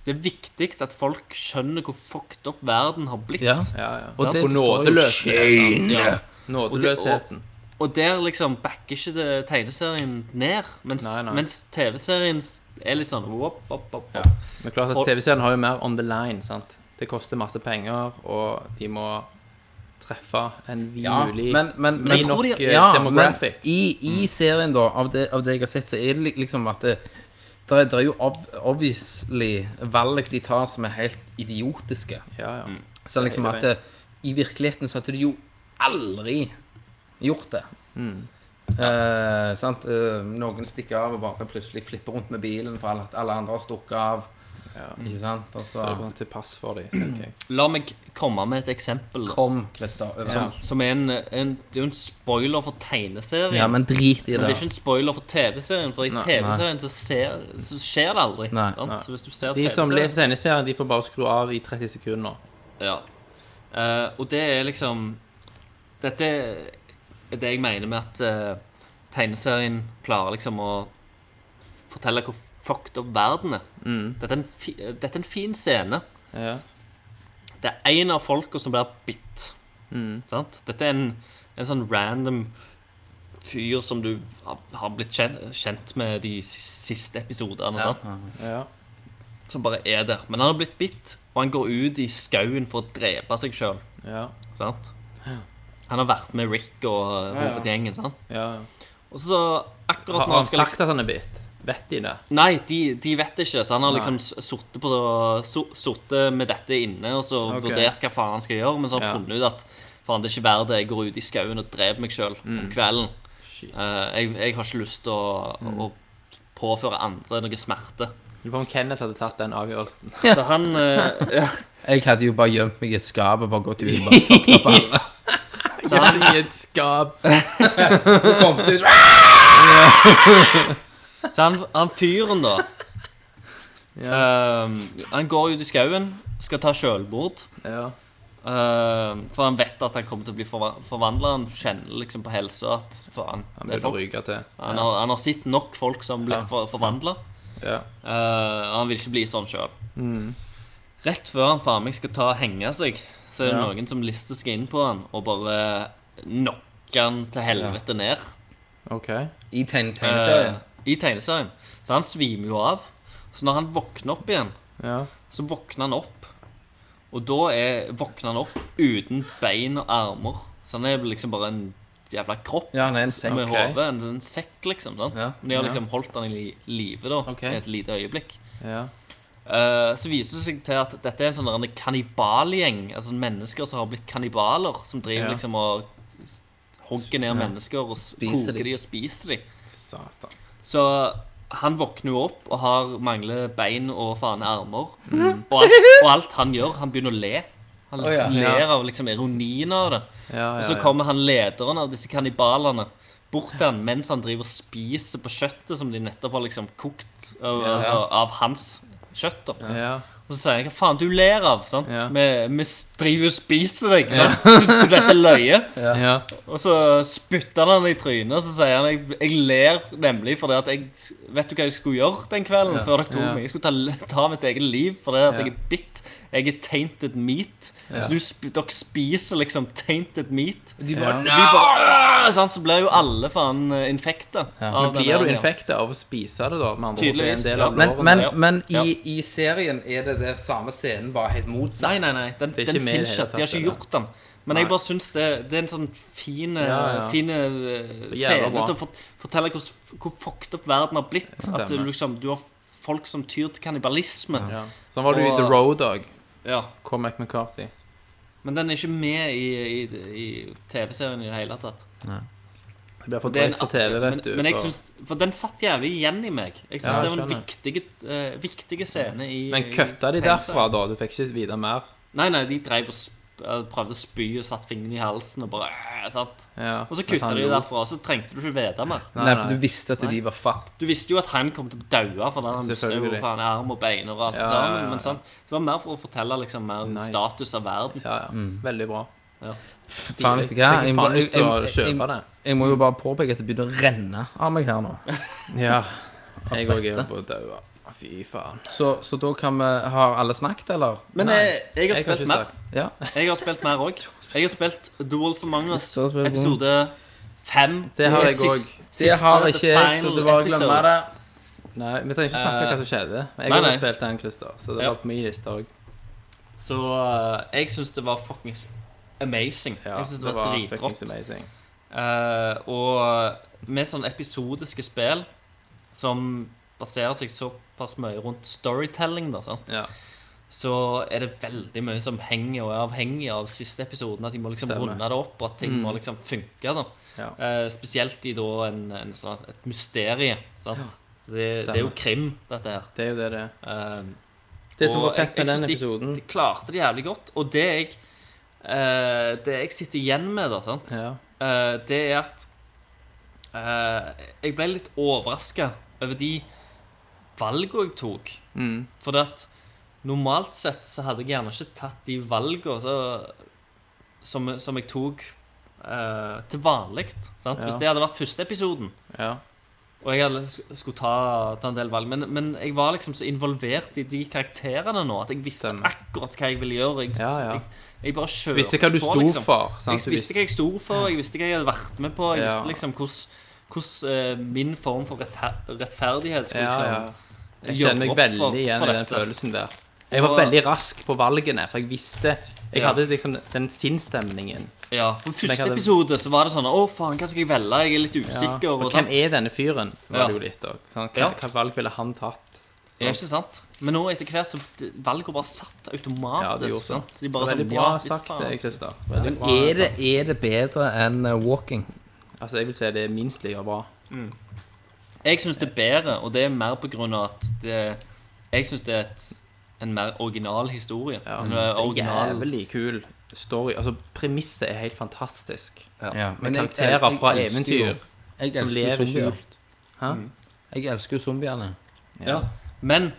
[SPEAKER 7] Det er viktig at folk skjønner hvor fucked up verden har blitt.
[SPEAKER 6] Ja.
[SPEAKER 5] Ja, ja.
[SPEAKER 6] Og
[SPEAKER 5] Sant?
[SPEAKER 6] det
[SPEAKER 5] Hvor
[SPEAKER 6] står jo
[SPEAKER 5] nådeløs-
[SPEAKER 7] Ja.
[SPEAKER 5] nådeløsheten.
[SPEAKER 7] Og der liksom backer ikke det tegneserien ned, mens,
[SPEAKER 5] Nei, nei.
[SPEAKER 7] mens TV-serien er litt sånn wop, wop, wop, wop.
[SPEAKER 5] Men klart at
[SPEAKER 7] Og-
[SPEAKER 5] TV-serien har jo mer on the line. sant? Det koster masse penger, og de må treffe en vid
[SPEAKER 6] Ja,
[SPEAKER 5] mulig
[SPEAKER 6] men, men,
[SPEAKER 5] bred
[SPEAKER 6] men jeg tror
[SPEAKER 5] nok
[SPEAKER 6] de-
[SPEAKER 5] eh,
[SPEAKER 6] ja,
[SPEAKER 5] demographic.
[SPEAKER 6] Men i, I serien, da, av det, av det jeg har sett, så er det li- liksom at det, der er, der er jo ob obviously valg de tar som er helt idiotiske.
[SPEAKER 5] ja, ja.
[SPEAKER 6] Så liksom at eh, i virkeligheten så hadde du jo aldri gjort det. Mm. Eh, sant? Eh, noen stikker av og bare plutselig flipper rundt med bilen for alle, at alle andre har stukket av. Ikke sant? Og så
[SPEAKER 5] Det er bare til pass for dem, tenker jeg.
[SPEAKER 7] La meg komme med et eksempel. da.
[SPEAKER 6] kom Christer overalt.
[SPEAKER 7] Som er en, en, det er jo en spoiler for tegneserien.
[SPEAKER 6] Ja, men drit i
[SPEAKER 7] Men det
[SPEAKER 6] det.
[SPEAKER 7] er ikke en spoiler for TV-serien, for i TV-serien så, ser- så skjer det aldri.
[SPEAKER 6] Nei,
[SPEAKER 7] sant? Så hvis du ser
[SPEAKER 5] De som
[SPEAKER 7] TV-serien-
[SPEAKER 5] leser tegneserien, de får bare skru av i 30 sekunder.
[SPEAKER 7] Ja. Eh, og det er liksom Dette er det jeg mener med at eh, tegneserien klarer liksom å fortelle hvor fucked up verden er. Dette, er en fi, dette er en fin scene.
[SPEAKER 5] Ja.
[SPEAKER 7] Det er en av folka som blir bitt. Sant? Dette er en, en sånn random fyr som du har- har blitt kjent, kjent med de si- siste episodene. sant?
[SPEAKER 5] Ja.
[SPEAKER 7] Som bare er der. Men han har blitt bitt, og han går ut i skauen for å drepe seg sjøl.
[SPEAKER 5] Ja.
[SPEAKER 7] Han har vært med Rick og eh, hovedgjengen. sant?
[SPEAKER 5] ja.
[SPEAKER 7] Og så akkurat
[SPEAKER 5] Har, har
[SPEAKER 7] når han
[SPEAKER 5] han
[SPEAKER 7] skal liksom-
[SPEAKER 5] sagt at han er bitt? Vet de det?
[SPEAKER 7] Nei, de, de vet ikke. Så han har
[SPEAKER 5] Nei.
[SPEAKER 7] liksom sittet på so- sittet med dette inne og så
[SPEAKER 5] Ok.
[SPEAKER 7] vurdert hva faen han skal gjøre, men så har han
[SPEAKER 5] Ja.
[SPEAKER 7] funnet ut at faen, det er ikke verdt det. Jeg går ut i skauen og dreper meg sjøl om kvelden.
[SPEAKER 5] Mm. Shit. Mm.
[SPEAKER 7] Eh, jeg, jeg har ikke lyst til å, å påføre andre noe smerte.
[SPEAKER 5] Lurer på om Kenneth hadde tatt den avgjørelsen.
[SPEAKER 7] Så han eh, ja,
[SPEAKER 6] Jeg hadde jo bare gjemt meg i et skap og bare gått ut og bare fucked opp alle.
[SPEAKER 5] Så han i et skap.
[SPEAKER 6] Kom til-
[SPEAKER 7] Så han, han fyren, da eh, Han går ut i skauen, skal ta sjølmord.
[SPEAKER 5] Ja.
[SPEAKER 7] Eh, for han vet at han kommer til å bli forvandla. Han kjenner liksom på helsa at faen,
[SPEAKER 5] Han
[SPEAKER 7] det er
[SPEAKER 5] burde
[SPEAKER 7] fucked.
[SPEAKER 5] ryke til.
[SPEAKER 7] Han har, han har sett nok folk som blir for, forvandla.
[SPEAKER 5] Ja.
[SPEAKER 7] han vil ikke bli sånn sjøl.
[SPEAKER 5] Mm.
[SPEAKER 7] Rett før han faen meg skal ta og henge seg, så er det
[SPEAKER 5] Ja.
[SPEAKER 7] noen som lister seg inn på han og bare knocker han til helvete ned.
[SPEAKER 5] OK.
[SPEAKER 6] I tegn-
[SPEAKER 7] Eh,
[SPEAKER 6] tegneserien.
[SPEAKER 7] I tegneserien. Så han svimer jo av. Så når han våkner opp igjen,
[SPEAKER 5] Ja.
[SPEAKER 7] så våkner han opp. Og da er, våkner han opp uten bein og armer. Så han er liksom bare en jævla kropp
[SPEAKER 6] Ja, han er en sekk.
[SPEAKER 7] med hodet. En, en sekk, liksom. Sant?
[SPEAKER 6] Ja.
[SPEAKER 7] Men de har liksom holdt han i li- live da,
[SPEAKER 6] Ok.
[SPEAKER 7] i et lite øyeblikk.
[SPEAKER 5] Ja.
[SPEAKER 7] Eh, så viser det seg til at dette er en sånn der en kannibalgjeng. Altså mennesker som har blitt kannibaler, som driver
[SPEAKER 5] Ja.
[SPEAKER 7] liksom og s- hogger ned mennesker og s-
[SPEAKER 6] Spiser de.
[SPEAKER 7] koker de og spiser de.
[SPEAKER 5] Satan.
[SPEAKER 7] Så han våkner jo opp og har mangler bein og faen armer. Og, alt, og alt han gjør, han begynner å le. Han
[SPEAKER 6] Å, ja.
[SPEAKER 7] ler av liksom ironien av det.
[SPEAKER 5] Ja,
[SPEAKER 7] Og
[SPEAKER 5] ja,
[SPEAKER 7] så
[SPEAKER 5] ja.
[SPEAKER 7] kommer han lederen av disse kannibalene bort til han mens han driver og spiser på kjøttet som de nettopp har liksom kokt av, av, av hans kjøtt. da.
[SPEAKER 5] Ja.
[SPEAKER 7] Og så sier han hva faen du ler av. sant?
[SPEAKER 5] Ja.
[SPEAKER 7] Vi, vi driver og spiser deg. sant? Syns du dette er løye?
[SPEAKER 5] Ja.
[SPEAKER 7] Og så spytter han han i trynet, og så sier han jeg, jeg ler nemlig fordi at jeg s- Vet du hva jeg skulle gjøre den kvelden før dere tok
[SPEAKER 5] Ja.
[SPEAKER 7] meg? Jeg skulle ta, ta mitt eget liv fordi at
[SPEAKER 5] Ja.
[SPEAKER 7] jeg er bitt. Jeg er tainted meat. Så du, sp- dere spiser liksom tainted meat.
[SPEAKER 6] De bare
[SPEAKER 7] Og de bare, «Åh!» sant? Så blir jo alle faen eh, infekta.
[SPEAKER 5] Men
[SPEAKER 7] av den
[SPEAKER 5] blir
[SPEAKER 7] der-
[SPEAKER 5] du infekta av å spise det, da? Med andre ord, det er en
[SPEAKER 7] Tydeligvis,
[SPEAKER 5] del
[SPEAKER 7] ja.
[SPEAKER 5] av
[SPEAKER 6] Men,
[SPEAKER 5] loven.
[SPEAKER 6] men,
[SPEAKER 7] Ja.
[SPEAKER 6] men
[SPEAKER 7] Ja.
[SPEAKER 6] i, i serien er det det samme scenen, bare helt motsatt.
[SPEAKER 7] Nei, nei, nei. Den,
[SPEAKER 5] Det er
[SPEAKER 7] den
[SPEAKER 5] ikke med i det
[SPEAKER 7] finnes ikke.
[SPEAKER 5] hele
[SPEAKER 7] De har
[SPEAKER 5] tatt,
[SPEAKER 7] ikke
[SPEAKER 5] det.
[SPEAKER 7] gjort den. Men jeg bare syns det, det er en sånn fin eh, ja,
[SPEAKER 5] Ja, ja. er jævla
[SPEAKER 7] scene
[SPEAKER 5] bra.
[SPEAKER 7] til å fort- fortelle hvor, hvor fucked up verden har blitt. At du,
[SPEAKER 5] stemmer.
[SPEAKER 7] liksom, du har folk som tyr til kannibalisme. Ja.
[SPEAKER 5] Ja. Sånn var det jo i The Road Dog. Cormac McCarthy.
[SPEAKER 7] Men den er ikke med i, i, i TV-serien i det hele tatt.
[SPEAKER 5] Det blir for
[SPEAKER 7] Det er en-
[SPEAKER 5] drøyt for TV, vet
[SPEAKER 7] men,
[SPEAKER 5] du.
[SPEAKER 7] Men jeg
[SPEAKER 5] for-
[SPEAKER 7] syns, for den satt jævlig igjen i meg. Jeg
[SPEAKER 5] Ja,
[SPEAKER 7] syns det var en
[SPEAKER 5] skjønner.
[SPEAKER 7] viktig, eh, viktig scene i
[SPEAKER 5] Men kutta de
[SPEAKER 7] i-
[SPEAKER 5] derfra, da? Du fikk ikke vite mer?
[SPEAKER 7] Nei, nei, de drev og sp eh, prøvde å spy og satte fingeren i halsen og bare eh, sant?
[SPEAKER 5] Ja,
[SPEAKER 7] Og så
[SPEAKER 5] mens han
[SPEAKER 7] kutta de
[SPEAKER 5] lo.
[SPEAKER 7] derfra, og så trengte du ikke vite mer.
[SPEAKER 6] Nei, for du visste at de var fucked.
[SPEAKER 7] Du visste jo at han kom til å daue fordi han mistet jo
[SPEAKER 5] Selvfølgelig.
[SPEAKER 7] faen arm og bein og alt
[SPEAKER 5] Ja, ja,
[SPEAKER 7] sammen.
[SPEAKER 5] ja,
[SPEAKER 7] Men
[SPEAKER 5] ja.
[SPEAKER 7] sant? Det var mer for å fortelle liksom mer
[SPEAKER 5] Nice.
[SPEAKER 7] status av verden.
[SPEAKER 5] Ja, ja. Veldig bra.
[SPEAKER 6] Faen, vet
[SPEAKER 5] Jeg
[SPEAKER 6] du hva? Jeg
[SPEAKER 5] fikk
[SPEAKER 6] må-
[SPEAKER 5] Mm. faen
[SPEAKER 6] jeg-
[SPEAKER 5] lyst til å
[SPEAKER 6] jeg- jeg-
[SPEAKER 5] kjøpe det.
[SPEAKER 6] Jeg må jo bare påpeke at det begynner å renne av meg her nå.
[SPEAKER 5] Ja. Jeg òg er
[SPEAKER 6] svette.
[SPEAKER 5] på å daue. Fy faen.
[SPEAKER 6] Så, så da kan vi Har alle snakket, eller?
[SPEAKER 7] Men eh, jeg, jeg har
[SPEAKER 5] Jeg kan
[SPEAKER 7] spilt
[SPEAKER 5] ikke
[SPEAKER 7] mer.
[SPEAKER 5] sagt
[SPEAKER 6] Ja.
[SPEAKER 7] Jeg har spilt mer òg. Jeg har spilt The Wolf Among Us
[SPEAKER 6] Så spiller vi på.
[SPEAKER 7] episode fem.
[SPEAKER 5] Det har jeg
[SPEAKER 7] Sist-
[SPEAKER 5] også.
[SPEAKER 7] siste
[SPEAKER 6] Det har ikke
[SPEAKER 7] The
[SPEAKER 6] jeg, så
[SPEAKER 7] Final
[SPEAKER 6] det var å glemme
[SPEAKER 7] Episode.
[SPEAKER 6] det.
[SPEAKER 5] Nei, vi trenger ikke snakke om hva som skjedde. Men Jeg
[SPEAKER 7] Eh, nei,
[SPEAKER 5] har
[SPEAKER 7] nei.
[SPEAKER 5] også spilt den, Christer, så det
[SPEAKER 7] Ja.
[SPEAKER 5] var på min liste òg.
[SPEAKER 7] Så eh, jeg syns det var fuckings amazing.
[SPEAKER 5] Ja,
[SPEAKER 7] jeg syns det, var
[SPEAKER 5] fuckings
[SPEAKER 7] dritrått.
[SPEAKER 5] amazing.
[SPEAKER 7] Eh, og med sånne episodiske spill som baserer seg såpass mye rundt storytelling, da, sant?
[SPEAKER 5] Ja.
[SPEAKER 7] så er det veldig mye som henger og er avhengig av siste episoden. At de må liksom
[SPEAKER 5] Stemmer. Mm.
[SPEAKER 7] runde det opp, og at ting må liksom funke. da.
[SPEAKER 5] Ja.
[SPEAKER 7] Eh, spesielt i da en, en sånn, et mysterie. sant? Det, det er jo
[SPEAKER 5] Stemmer.
[SPEAKER 7] krim, dette her.
[SPEAKER 5] Det er jo det det er.
[SPEAKER 7] Eh,
[SPEAKER 5] Det som
[SPEAKER 7] Og
[SPEAKER 5] var fett
[SPEAKER 7] jeg-
[SPEAKER 5] med
[SPEAKER 7] jeg
[SPEAKER 5] den
[SPEAKER 7] synes de-
[SPEAKER 5] episoden
[SPEAKER 7] de klarte det jævlig godt. Og det jeg, eh, det jeg sitter igjen med, da, sant?
[SPEAKER 5] Ja.
[SPEAKER 7] Eh, det er at eh, Jeg ble litt overraska over de valgene jeg tok.
[SPEAKER 5] Mm.
[SPEAKER 7] For at normalt sett så hadde jeg gjerne ikke tatt de valgene så, som, som jeg tok eh, til vanlig. sant?
[SPEAKER 5] Ja.
[SPEAKER 7] Hvis det hadde vært første episoden,
[SPEAKER 5] ja.
[SPEAKER 7] Og jeg hadde, sk- skulle ta, ta en del valg. Men, men jeg var liksom så involvert i de karakterene nå at jeg visste
[SPEAKER 5] Stemmer.
[SPEAKER 7] akkurat hva jeg ville gjøre. Jeg,
[SPEAKER 5] Ja, ja.
[SPEAKER 7] Jeg, jeg bare kjørte
[SPEAKER 5] Visste hva du
[SPEAKER 7] på,
[SPEAKER 5] sto
[SPEAKER 7] liksom.
[SPEAKER 5] for. Sant?
[SPEAKER 7] Jeg visste
[SPEAKER 5] Du
[SPEAKER 7] hva jeg sto for, jeg visste hva jeg hadde vært med på. Jeg
[SPEAKER 5] Ja.
[SPEAKER 7] visste liksom hvordan, hvordan eh, min form for retthe- rettferdighet skulle
[SPEAKER 5] Ja, ja.
[SPEAKER 7] liksom
[SPEAKER 5] Jeg kjenner meg
[SPEAKER 7] jobbe opp for-
[SPEAKER 5] veldig igjen
[SPEAKER 7] for
[SPEAKER 5] i den
[SPEAKER 7] dette.
[SPEAKER 5] følelsen der. Jeg var
[SPEAKER 7] Og-
[SPEAKER 5] veldig rask på valgene, for jeg visste Jeg
[SPEAKER 7] Ja.
[SPEAKER 5] hadde liksom den sinnsstemningen.
[SPEAKER 7] Ja, for
[SPEAKER 5] Men jeg
[SPEAKER 7] første
[SPEAKER 5] hadde-
[SPEAKER 7] episode så var det sånn Å, faen, hva skal jeg velge? Jeg er litt
[SPEAKER 5] Ja.
[SPEAKER 7] usikker.
[SPEAKER 5] For
[SPEAKER 7] og
[SPEAKER 5] hvem
[SPEAKER 7] sånn.
[SPEAKER 5] er denne fyren, var
[SPEAKER 7] Ja.
[SPEAKER 5] det jo litt òg. Hva,
[SPEAKER 7] Ja.
[SPEAKER 5] hva valg ville han tatt?
[SPEAKER 7] Ja, ikke sant? Men nå etter hvert så valget bare satt automatisk.
[SPEAKER 5] Ja, det gjorde sånn.
[SPEAKER 7] sant? De bare
[SPEAKER 5] veldig bra
[SPEAKER 7] sånn, ja, visst
[SPEAKER 5] sagt,
[SPEAKER 7] faen.
[SPEAKER 5] det, Christer. Veldig
[SPEAKER 6] Men
[SPEAKER 5] bra,
[SPEAKER 6] er det, er det bedre enn eh, walking?
[SPEAKER 5] Altså, jeg vil si det er minst like bra.
[SPEAKER 7] Jeg syns det er bedre, og det er mer på grunn av at det Jeg syns det er et, en mer original historie.
[SPEAKER 5] Ja.
[SPEAKER 7] En eh, original
[SPEAKER 5] Mm. Jævlig kul story. Altså, premisset er helt fantastisk.
[SPEAKER 6] men jeg-
[SPEAKER 5] karakterer
[SPEAKER 6] jeg- jeg
[SPEAKER 5] fra
[SPEAKER 6] elsker
[SPEAKER 5] eventyr
[SPEAKER 6] jo- Mm. jeg
[SPEAKER 5] som
[SPEAKER 6] elsker
[SPEAKER 5] lever
[SPEAKER 6] zombier.
[SPEAKER 5] skjult. Hæ?
[SPEAKER 6] Jeg elsker jo zombiene.
[SPEAKER 7] ja. Men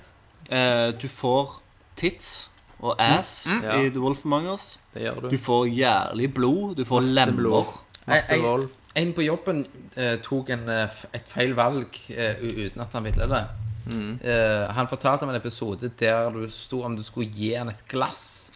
[SPEAKER 7] eh, du får tits
[SPEAKER 5] Mm.
[SPEAKER 7] og ass i The Wolf Among Us.
[SPEAKER 5] Det gjør
[SPEAKER 7] Du
[SPEAKER 5] du.
[SPEAKER 7] får jævlig blod. Du får
[SPEAKER 5] Masse blod.
[SPEAKER 7] lemmer.
[SPEAKER 6] Jeg-
[SPEAKER 5] Masse
[SPEAKER 6] jeg-
[SPEAKER 5] vold.
[SPEAKER 6] En på jobben eh, tok en, eh, f- et feil valg eh, u- uten at han ville det.
[SPEAKER 5] Mm.
[SPEAKER 6] Eh, han fortalte om en episode der du sto om du skulle gi han et glass.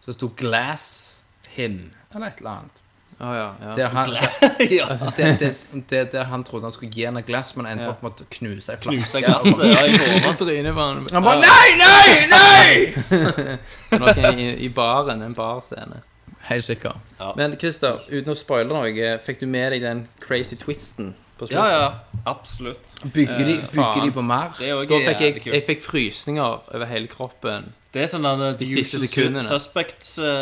[SPEAKER 6] Så det sto 'glass him' eller et eller annet.
[SPEAKER 5] Å ja. ja.
[SPEAKER 6] Der han,
[SPEAKER 7] ja.
[SPEAKER 6] der, der, der, der han trodde han skulle gi han et glass, men endte
[SPEAKER 5] Ja.
[SPEAKER 6] opp med å knuse ei
[SPEAKER 7] Knuse
[SPEAKER 6] flaske.
[SPEAKER 7] glasset ja, i hodet.
[SPEAKER 5] Trynet på han.
[SPEAKER 6] Han bare Nei, nei, nei!
[SPEAKER 5] Noen i, i baren. En barscene.
[SPEAKER 6] Helt sikker.
[SPEAKER 5] Men Christer, uten å spoile noe, fikk du med deg den crazy twisten på
[SPEAKER 7] Ja,
[SPEAKER 5] slutten?
[SPEAKER 7] ja. Absolutt.
[SPEAKER 6] Bygger de,
[SPEAKER 5] Eh,
[SPEAKER 6] bygger de
[SPEAKER 5] faen.
[SPEAKER 6] på mer?
[SPEAKER 7] Det er jo
[SPEAKER 5] Da fikk jeg,
[SPEAKER 7] jævlig
[SPEAKER 5] jeg
[SPEAKER 7] kult.
[SPEAKER 5] fikk frysninger over hele kroppen.
[SPEAKER 7] Det er sånn der,
[SPEAKER 5] De siste sekundene.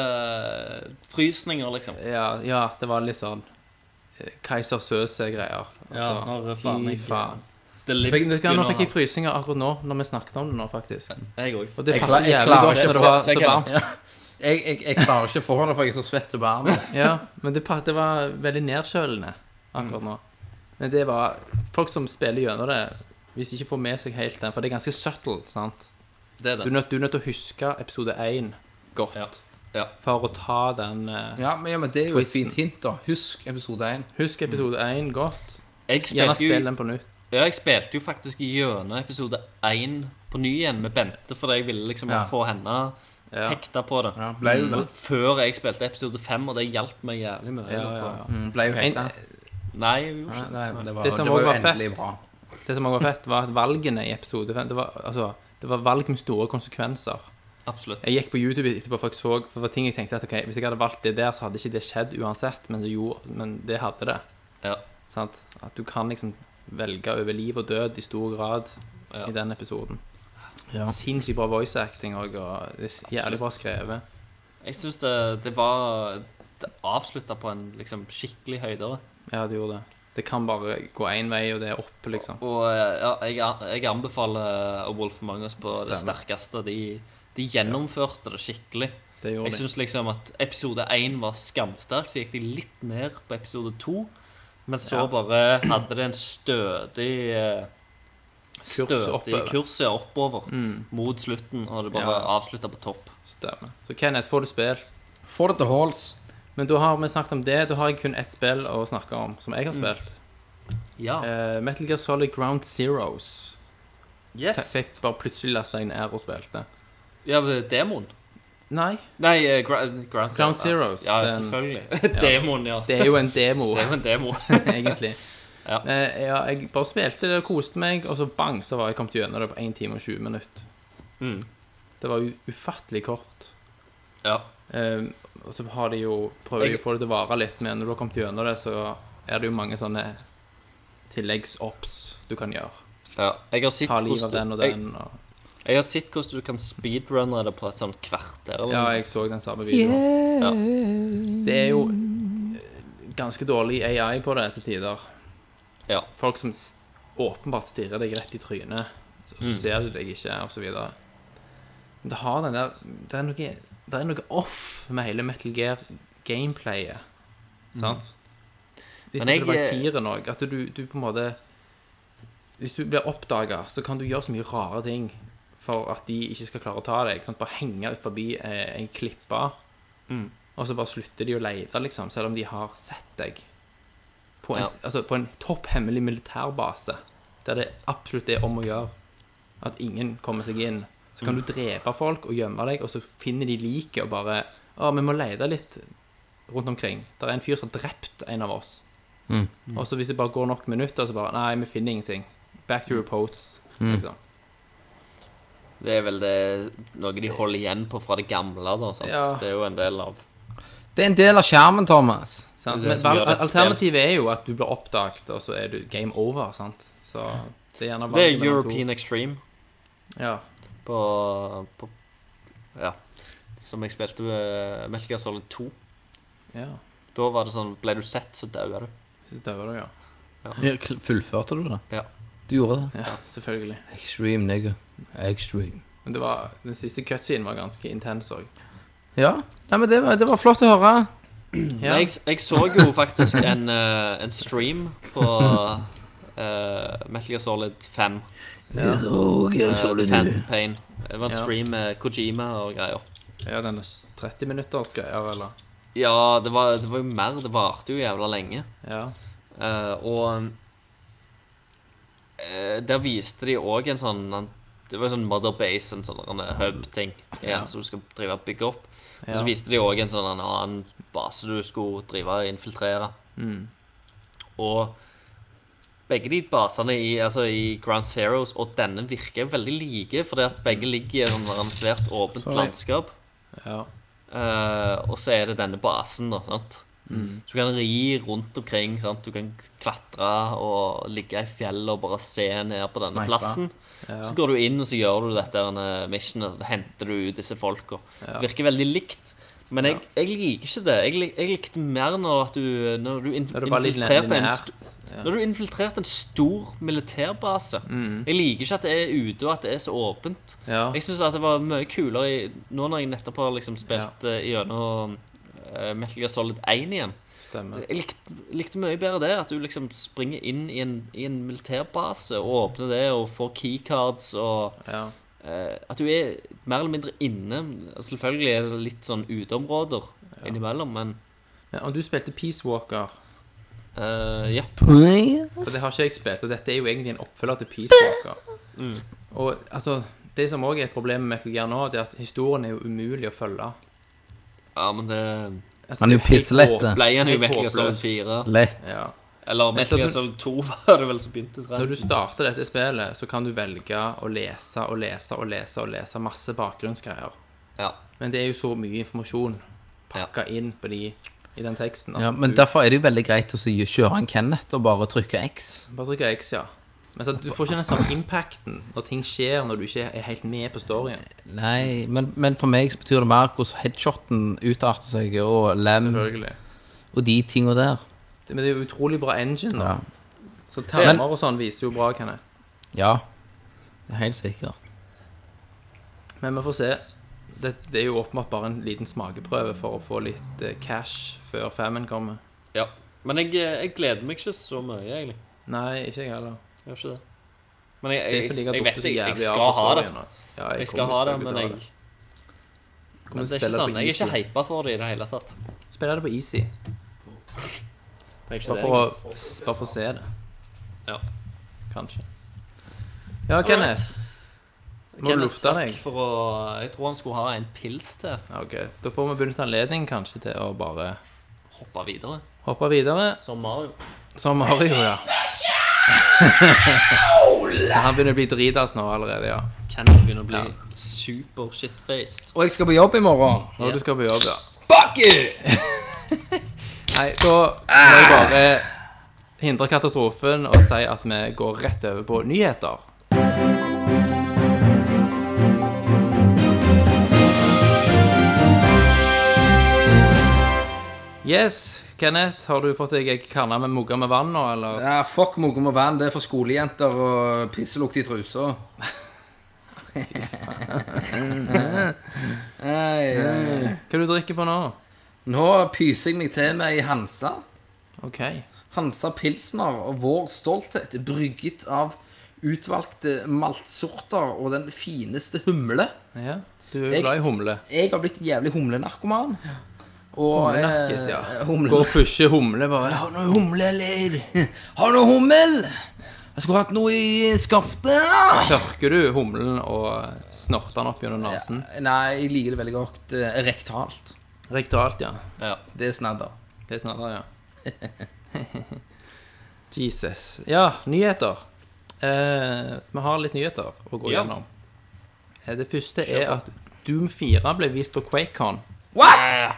[SPEAKER 7] Suspects-frysninger, eh, liksom.
[SPEAKER 5] Ja, ja det var litt sånn eh, Keiser Søse-greier.
[SPEAKER 7] Ja, når faen
[SPEAKER 5] fy
[SPEAKER 7] jeg-
[SPEAKER 5] faen.
[SPEAKER 7] Det er litt
[SPEAKER 5] Fikk, vet du hva, nå
[SPEAKER 7] under
[SPEAKER 5] fikk jeg
[SPEAKER 7] her.
[SPEAKER 5] frysninger akkurat nå, når vi snakket om det nå, faktisk.
[SPEAKER 7] Jeg òg.
[SPEAKER 5] Og det
[SPEAKER 6] Jeg klar-
[SPEAKER 5] passet
[SPEAKER 6] jeg
[SPEAKER 5] jævlig
[SPEAKER 6] klarer
[SPEAKER 5] godt
[SPEAKER 6] ikke
[SPEAKER 5] når det
[SPEAKER 6] å
[SPEAKER 5] var
[SPEAKER 6] få-
[SPEAKER 5] så varmt.
[SPEAKER 6] Ja. Jeg, jeg, jeg klarer ikke å få det, for jeg er så svett og varm.
[SPEAKER 5] Ja, men det, pa- det var veldig nedkjølende akkurat
[SPEAKER 7] Mm.
[SPEAKER 5] nå. Men det var Folk som spiller gjennom det, hvis de ikke får med seg helt den, for det er ganske subtle, sant?
[SPEAKER 7] Det er
[SPEAKER 5] Du er nødt, du er nødt til å huske episode 1 godt
[SPEAKER 7] Ja. Ja.
[SPEAKER 5] for å ta den eh,
[SPEAKER 6] Ja, men, ja, men det er jo et
[SPEAKER 5] Twisten.
[SPEAKER 6] fint hint, da. Husk episode 1.
[SPEAKER 5] Husk episode 1 godt.
[SPEAKER 7] Jeg
[SPEAKER 5] Gjerne
[SPEAKER 7] spilte,
[SPEAKER 5] spill
[SPEAKER 7] jo,
[SPEAKER 5] den på nytt.
[SPEAKER 7] ja, jeg spilte jo faktisk gjennom episode 1 på ny igjen med Bente, fordi jeg ville liksom
[SPEAKER 6] Ja.
[SPEAKER 7] få henne
[SPEAKER 5] Ja.
[SPEAKER 7] hekta på det.
[SPEAKER 6] Ja, ble jo det.
[SPEAKER 7] Og Før jeg spilte episode 5, og det hjalp meg jævlig mye.
[SPEAKER 5] Ja, ja, ja.
[SPEAKER 6] Mm, ble jo hekta.
[SPEAKER 5] En-
[SPEAKER 7] Nei, jeg gjorde
[SPEAKER 6] Ja,
[SPEAKER 7] ikke det.
[SPEAKER 6] det, det var,
[SPEAKER 5] Det
[SPEAKER 6] det
[SPEAKER 5] som
[SPEAKER 6] var
[SPEAKER 5] også
[SPEAKER 6] jo
[SPEAKER 5] var
[SPEAKER 6] endelig
[SPEAKER 5] fett.
[SPEAKER 6] bra.
[SPEAKER 5] Det som også var fett, var at valgene i episode 5 det var, altså, det var valg med store konsekvenser.
[SPEAKER 7] Absolutt.
[SPEAKER 5] Jeg gikk på YouTube etterpå, for jeg så for det var ting jeg tenkte at ok, hvis jeg hadde valgt det der, så hadde ikke det skjedd uansett, men det, gjorde, men det hadde det.
[SPEAKER 7] Ja.
[SPEAKER 5] Sant? At du kan liksom velge over liv og død i stor grad
[SPEAKER 7] Ja.
[SPEAKER 5] i den episoden. Sinnssykt bra voice acting og, og det er jævlig bra skrevet.
[SPEAKER 7] Jeg syns det, det var Det avslutta på en liksom skikkelig høydere.
[SPEAKER 5] Ja, det gjorde det. Det kan bare gå én vei, og det er opp, liksom.
[SPEAKER 7] Og eh, ja, jeg, an- jeg anbefaler A Wolf Among Us på det
[SPEAKER 5] Stemmer.
[SPEAKER 7] sterkeste. De, de gjennomførte det skikkelig.
[SPEAKER 5] Det gjorde
[SPEAKER 7] Jeg
[SPEAKER 5] det.
[SPEAKER 7] syns liksom at episode 1 var skamsterk, så gikk de litt ned på episode 2. Men så
[SPEAKER 5] Ja.
[SPEAKER 7] bare hadde det en stødig eh,
[SPEAKER 5] Kurs
[SPEAKER 7] Stødig
[SPEAKER 5] oppover.
[SPEAKER 7] kurs ja, oppover mot slutten, og det bare
[SPEAKER 5] Ja.
[SPEAKER 7] avslutta på topp.
[SPEAKER 5] Mm, Stemmer. Så Kenneth, får du spill?
[SPEAKER 6] Få det til halls.
[SPEAKER 5] Men da har vi snakket om det. Da har jeg kun ett spill å snakke om, som
[SPEAKER 7] Mm.
[SPEAKER 5] jeg har spilt.
[SPEAKER 7] Ja.
[SPEAKER 5] Eh, Metal Gear Solid Ground Zeros. Eh,
[SPEAKER 7] Yes.
[SPEAKER 5] Fikk bare plutselig lasta jeg ned og spilte.
[SPEAKER 7] Ja, men Demon.
[SPEAKER 5] Nei,
[SPEAKER 7] Nei, eh, Gra Ground,
[SPEAKER 5] Ground
[SPEAKER 7] Zero.
[SPEAKER 5] Zeros,
[SPEAKER 7] Ja,
[SPEAKER 5] den-
[SPEAKER 7] selvfølgelig. Demon, ja.
[SPEAKER 5] det er jo en demo,
[SPEAKER 7] Det er jo en demo.
[SPEAKER 5] egentlig.
[SPEAKER 7] Ja.
[SPEAKER 5] Eh, ja, jeg bare spilte det og koste meg, og så bang, så var jeg kommet gjennom det på 1 time og 20 minutter.
[SPEAKER 7] Mm.
[SPEAKER 5] Det var u- ufattelig kort.
[SPEAKER 7] Ja.
[SPEAKER 5] Eh, og så har de jo prøver de
[SPEAKER 7] Jeg-
[SPEAKER 5] å få det til å vare litt, men når du har kommet gjennom det, så er det jo mange sånne tilleggs-ops du kan gjøre.
[SPEAKER 7] ja. Jeg har sett
[SPEAKER 5] Ta livet av den
[SPEAKER 7] hvordan du-
[SPEAKER 5] og den. Og...
[SPEAKER 7] Jeg, jeg har sett hvordan du kan speedrunne det på et sånt kvarter. eller
[SPEAKER 5] Ja,
[SPEAKER 7] noe.
[SPEAKER 5] jeg så den samme videoen.
[SPEAKER 7] Ja.
[SPEAKER 5] Det er jo eh, ganske dårlig AI på det til tider.
[SPEAKER 7] Ja.
[SPEAKER 5] Folk som s- åpenbart stirrer deg rett i trynet, og så ser du deg ikke, og så videre. Men det har den der Det er noe, det er noe off med hele Metal Gear gameplayet. Sant? Hvis
[SPEAKER 7] Mm. Men
[SPEAKER 5] ikke det var i
[SPEAKER 7] jeg- eh,
[SPEAKER 5] firen òg, at du, du på en måte Hvis du blir oppdaga, så kan du gjøre så mye rare ting for at de ikke skal klare å ta deg. Sant? Bare henge ut forbi eh, en klippe,
[SPEAKER 7] Mm.
[SPEAKER 5] og så bare slutter de å lete, liksom, selv om de har sett deg. På en,
[SPEAKER 7] Ja.
[SPEAKER 5] altså, på en topphemmelig militærbase. der det absolutt er om å gjøre at ingen kommer seg inn. Så kan
[SPEAKER 7] Mm.
[SPEAKER 5] du drepe folk og gjemme deg, og så finner de liket og bare Å, vi må lete litt rundt omkring. Der er en fyr som har drept en av oss.
[SPEAKER 7] Mm.
[SPEAKER 5] Og så hvis det bare går nok minutter, så bare Nei, vi finner ingenting. Back
[SPEAKER 7] Mm.
[SPEAKER 5] to repose. Liksom.
[SPEAKER 7] Det er vel det, noe de holder igjen på fra det gamle. da, sant?
[SPEAKER 5] Ja.
[SPEAKER 7] Det er jo en del av
[SPEAKER 6] Det er en del av skjermen, Thomas.
[SPEAKER 5] Sant?
[SPEAKER 7] Det er det
[SPEAKER 5] Men
[SPEAKER 7] som gjør
[SPEAKER 5] al-
[SPEAKER 7] et spill.
[SPEAKER 5] alternativet er jo at du blir oppdaget, og så er du game over, sant? Så det er gjerne
[SPEAKER 7] Det
[SPEAKER 5] valget
[SPEAKER 7] er
[SPEAKER 5] mellom to.
[SPEAKER 7] European Extreme
[SPEAKER 5] Ja.
[SPEAKER 7] på, på Ja. Som jeg spilte med Metal Gear Solid 2.
[SPEAKER 5] ja.
[SPEAKER 7] Da var det sånn Ble du sett, så daua du.
[SPEAKER 5] Så dør du, ja.
[SPEAKER 6] Ja, kl- Fullførte du det?
[SPEAKER 7] Ja.
[SPEAKER 6] Du gjorde det?
[SPEAKER 5] ja. Selvfølgelig.
[SPEAKER 6] Extreme, nigga. Extreme.
[SPEAKER 5] Men det var, den siste cutscenen var ganske intens òg.
[SPEAKER 6] Ja. Nei, men det var, det var flott å høre.
[SPEAKER 5] Ja.
[SPEAKER 7] Men Jeg, jeg så jo faktisk en, eh, en stream på eh, Metal Gear Solid 5. eh, The Phantom Pain. Det var en
[SPEAKER 5] Ja.
[SPEAKER 7] stream med Kojima og greier.
[SPEAKER 5] ja, denne s- 30 minutters greier, eller?
[SPEAKER 7] Ja, det var, det var jo mer. Det varte jo jævla lenge.
[SPEAKER 5] Ja.
[SPEAKER 7] Eh, og eh, der viste de òg en sånn en- Det var en sånn Mother Base, en sånn en hub-ting, ja. som du skal drive og bygge opp. Og
[SPEAKER 5] Ja.
[SPEAKER 7] så viste de òg en sånn en annen base du skulle drive og infiltrere.
[SPEAKER 5] Mm,
[SPEAKER 7] Og begge de basene i, altså i Ground Zeroes og denne virker jo veldig like, fordi at begge ligger i et sånn svært åpent
[SPEAKER 6] Sorry.
[SPEAKER 7] landskap.
[SPEAKER 5] ja.
[SPEAKER 7] Eh, og så er det denne basen, da. sant? Så du kan ri rundt omkring. sant? Du kan klatre og ligge i fjellet og bare se ned på
[SPEAKER 6] Snipe.
[SPEAKER 7] denne plassen. Så går du inn og så gjør du dette her, eh, missionet, og så henter du ut disse folka. Det Virker veldig likt. Men jeg, jeg liker ikke det. Jeg, lik- jeg likte mer når at du, når du inf
[SPEAKER 5] Da er det bare litt
[SPEAKER 7] infiltrerte en
[SPEAKER 5] lineært.
[SPEAKER 7] st- når du infiltrerte en stor militærbase Jeg liker ikke at det er ute og at det er så åpent.
[SPEAKER 5] Mm, Ja.
[SPEAKER 7] Jeg syns det var mye kulere i, nå når jeg nettopp har liksom spilt eh, gjennom eh, Metal Gear Solid 1 igjen.
[SPEAKER 5] Stemmer.
[SPEAKER 7] Jeg likte, likte mye bedre det, at du liksom springer inn i en, i en militærbase og åpner det og får keycards og
[SPEAKER 5] Ja.
[SPEAKER 7] eh, At du er mer eller mindre inne. Selvfølgelig er det litt sånn uteområder innimellom, men
[SPEAKER 5] Men om du spilte Peace Walker
[SPEAKER 7] eh, ja.
[SPEAKER 5] For det har ikke jeg spilt, og dette er jo egentlig en oppfølger til Peace Walker.
[SPEAKER 6] Mm.
[SPEAKER 5] Og altså Det som òg er et problem med Metal Gear nå, det er at historien er jo umulig å følge.
[SPEAKER 7] ja, men det
[SPEAKER 5] Altså,
[SPEAKER 6] Han er jo
[SPEAKER 5] helt
[SPEAKER 6] pisselett, det.
[SPEAKER 5] håp-
[SPEAKER 7] ble igjen i
[SPEAKER 5] helt
[SPEAKER 7] Metal Gear Solid
[SPEAKER 5] håpløst.
[SPEAKER 7] 4.
[SPEAKER 6] Lett.
[SPEAKER 5] Ja.
[SPEAKER 7] Eller Metal Gear Solid 2 var det vel som begynte. tror jeg.
[SPEAKER 5] Når du starter dette spillet, så kan du velge å lese og lese og lese og lese masse bakgrunnsgreier.
[SPEAKER 7] Ja.
[SPEAKER 5] Men det er jo så mye informasjon pakka inn på de, i den teksten. at
[SPEAKER 6] Ja, men
[SPEAKER 5] du,
[SPEAKER 6] derfor er det jo veldig greit å så kjøre en Kenneth og bare trykke X.
[SPEAKER 5] Bare trykker X, ja. Men så, du får ikke den samme impacten når ting skjer når du ikke er helt med på storyen.
[SPEAKER 6] Nei, men, men for meg så betyr det mer hvordan headshoten utarter seg, og lem,
[SPEAKER 5] Selvfølgelig.
[SPEAKER 6] og de tinga der.
[SPEAKER 5] Det- Men det er jo utrolig bra engine. da.
[SPEAKER 6] Ja.
[SPEAKER 5] Så termer
[SPEAKER 6] Men-
[SPEAKER 5] og sånn viser jo bra, kan jeg.
[SPEAKER 6] ja. Det er Helt sikkert.
[SPEAKER 5] Men vi får se. Det, det er jo åpenbart bare en liten smakeprøve for å få litt eh, cash før femmen kommer.
[SPEAKER 7] ja. Men jeg, eh, jeg gleder meg ikke så mye, egentlig.
[SPEAKER 5] Nei, ikke jeg heller.
[SPEAKER 7] Jeg gjør ikke det. Men jeg,
[SPEAKER 5] Det
[SPEAKER 7] jeg,
[SPEAKER 5] er fordi
[SPEAKER 7] jeg,
[SPEAKER 5] jeg har
[SPEAKER 7] vet
[SPEAKER 5] datt så
[SPEAKER 7] jeg,
[SPEAKER 5] jævlig
[SPEAKER 7] jeg
[SPEAKER 5] av
[SPEAKER 7] skal
[SPEAKER 5] på
[SPEAKER 7] ha det.
[SPEAKER 5] storyen. nå. Ja,
[SPEAKER 7] Jeg skal ha det, men jeg
[SPEAKER 5] Kommer
[SPEAKER 7] men
[SPEAKER 5] til å
[SPEAKER 7] det er ikke
[SPEAKER 5] spille det
[SPEAKER 7] sånn,
[SPEAKER 5] på
[SPEAKER 7] jeg er ikke
[SPEAKER 5] easy.
[SPEAKER 7] hypa for det i det hele tatt.
[SPEAKER 5] Spiller det på easy.
[SPEAKER 7] Det er ikke
[SPEAKER 5] Bare
[SPEAKER 7] det.
[SPEAKER 5] for, å, s- bare for å se det.
[SPEAKER 7] Ja.
[SPEAKER 5] Kanskje. Ja, Kenneth. Må du
[SPEAKER 7] Kenneth
[SPEAKER 5] lufte deg?
[SPEAKER 7] stakk For å, jeg tror han skulle ha en pils til.
[SPEAKER 5] Ja, Ok, Da får vi benytte anledningen kanskje til å bare
[SPEAKER 7] Hoppe videre.
[SPEAKER 5] hoppe videre.
[SPEAKER 7] Som Mario.
[SPEAKER 5] Som Mario, ja. Så han begynner å bli dritas nå allerede, ja.
[SPEAKER 7] Kenneth begynner å bli super shitfaced.
[SPEAKER 6] Og jeg skal på jobb i morgen.
[SPEAKER 5] Når du skal på jobb, ja.
[SPEAKER 6] Fuck you!
[SPEAKER 5] Nei, da må jeg bare hindre katastrofen og si at vi går rett over på nyheter. Yes, Kenneth, har du fått deg ei kanne med mugger med vann nå, eller?
[SPEAKER 6] Ja, fuck mugg og vann. Det er for skolejenter og pisselukt i trusa. Ei, ei.
[SPEAKER 5] Hva du drikker på nå?
[SPEAKER 6] Nå pyser jeg meg til med ei Hansa.
[SPEAKER 5] OK.
[SPEAKER 6] Hansa Pilsner og vår stolthet, brygget av utvalgte maltsorter og den fineste humle.
[SPEAKER 5] Ja, du er jo
[SPEAKER 6] Jeg-
[SPEAKER 5] glad i humle.
[SPEAKER 6] Jeg har blitt jævlig humlenarkoman. Og,
[SPEAKER 5] Humlenarkist, ja.
[SPEAKER 6] eh, Humle.
[SPEAKER 5] Går og pusher humle, bare.
[SPEAKER 6] Har du noe humle, eller? Har du noe hummel? Jeg skulle hatt noe i skaftet!
[SPEAKER 5] Tørker du humlen og snorter den opp gjennom nesen?
[SPEAKER 6] Nei, jeg liker det veldig godt eh, rektalt.
[SPEAKER 5] Rektalt, ja.
[SPEAKER 7] Ja.
[SPEAKER 6] Det er snadder.
[SPEAKER 5] Det er snarere, ja. Jesus. Ja, nyheter. Eh, vi har litt nyheter å gå
[SPEAKER 7] Ja.
[SPEAKER 5] gjennom. Eh, Det første er at Doom 4 ble vist på QuakeCon. Eh,
[SPEAKER 6] What?!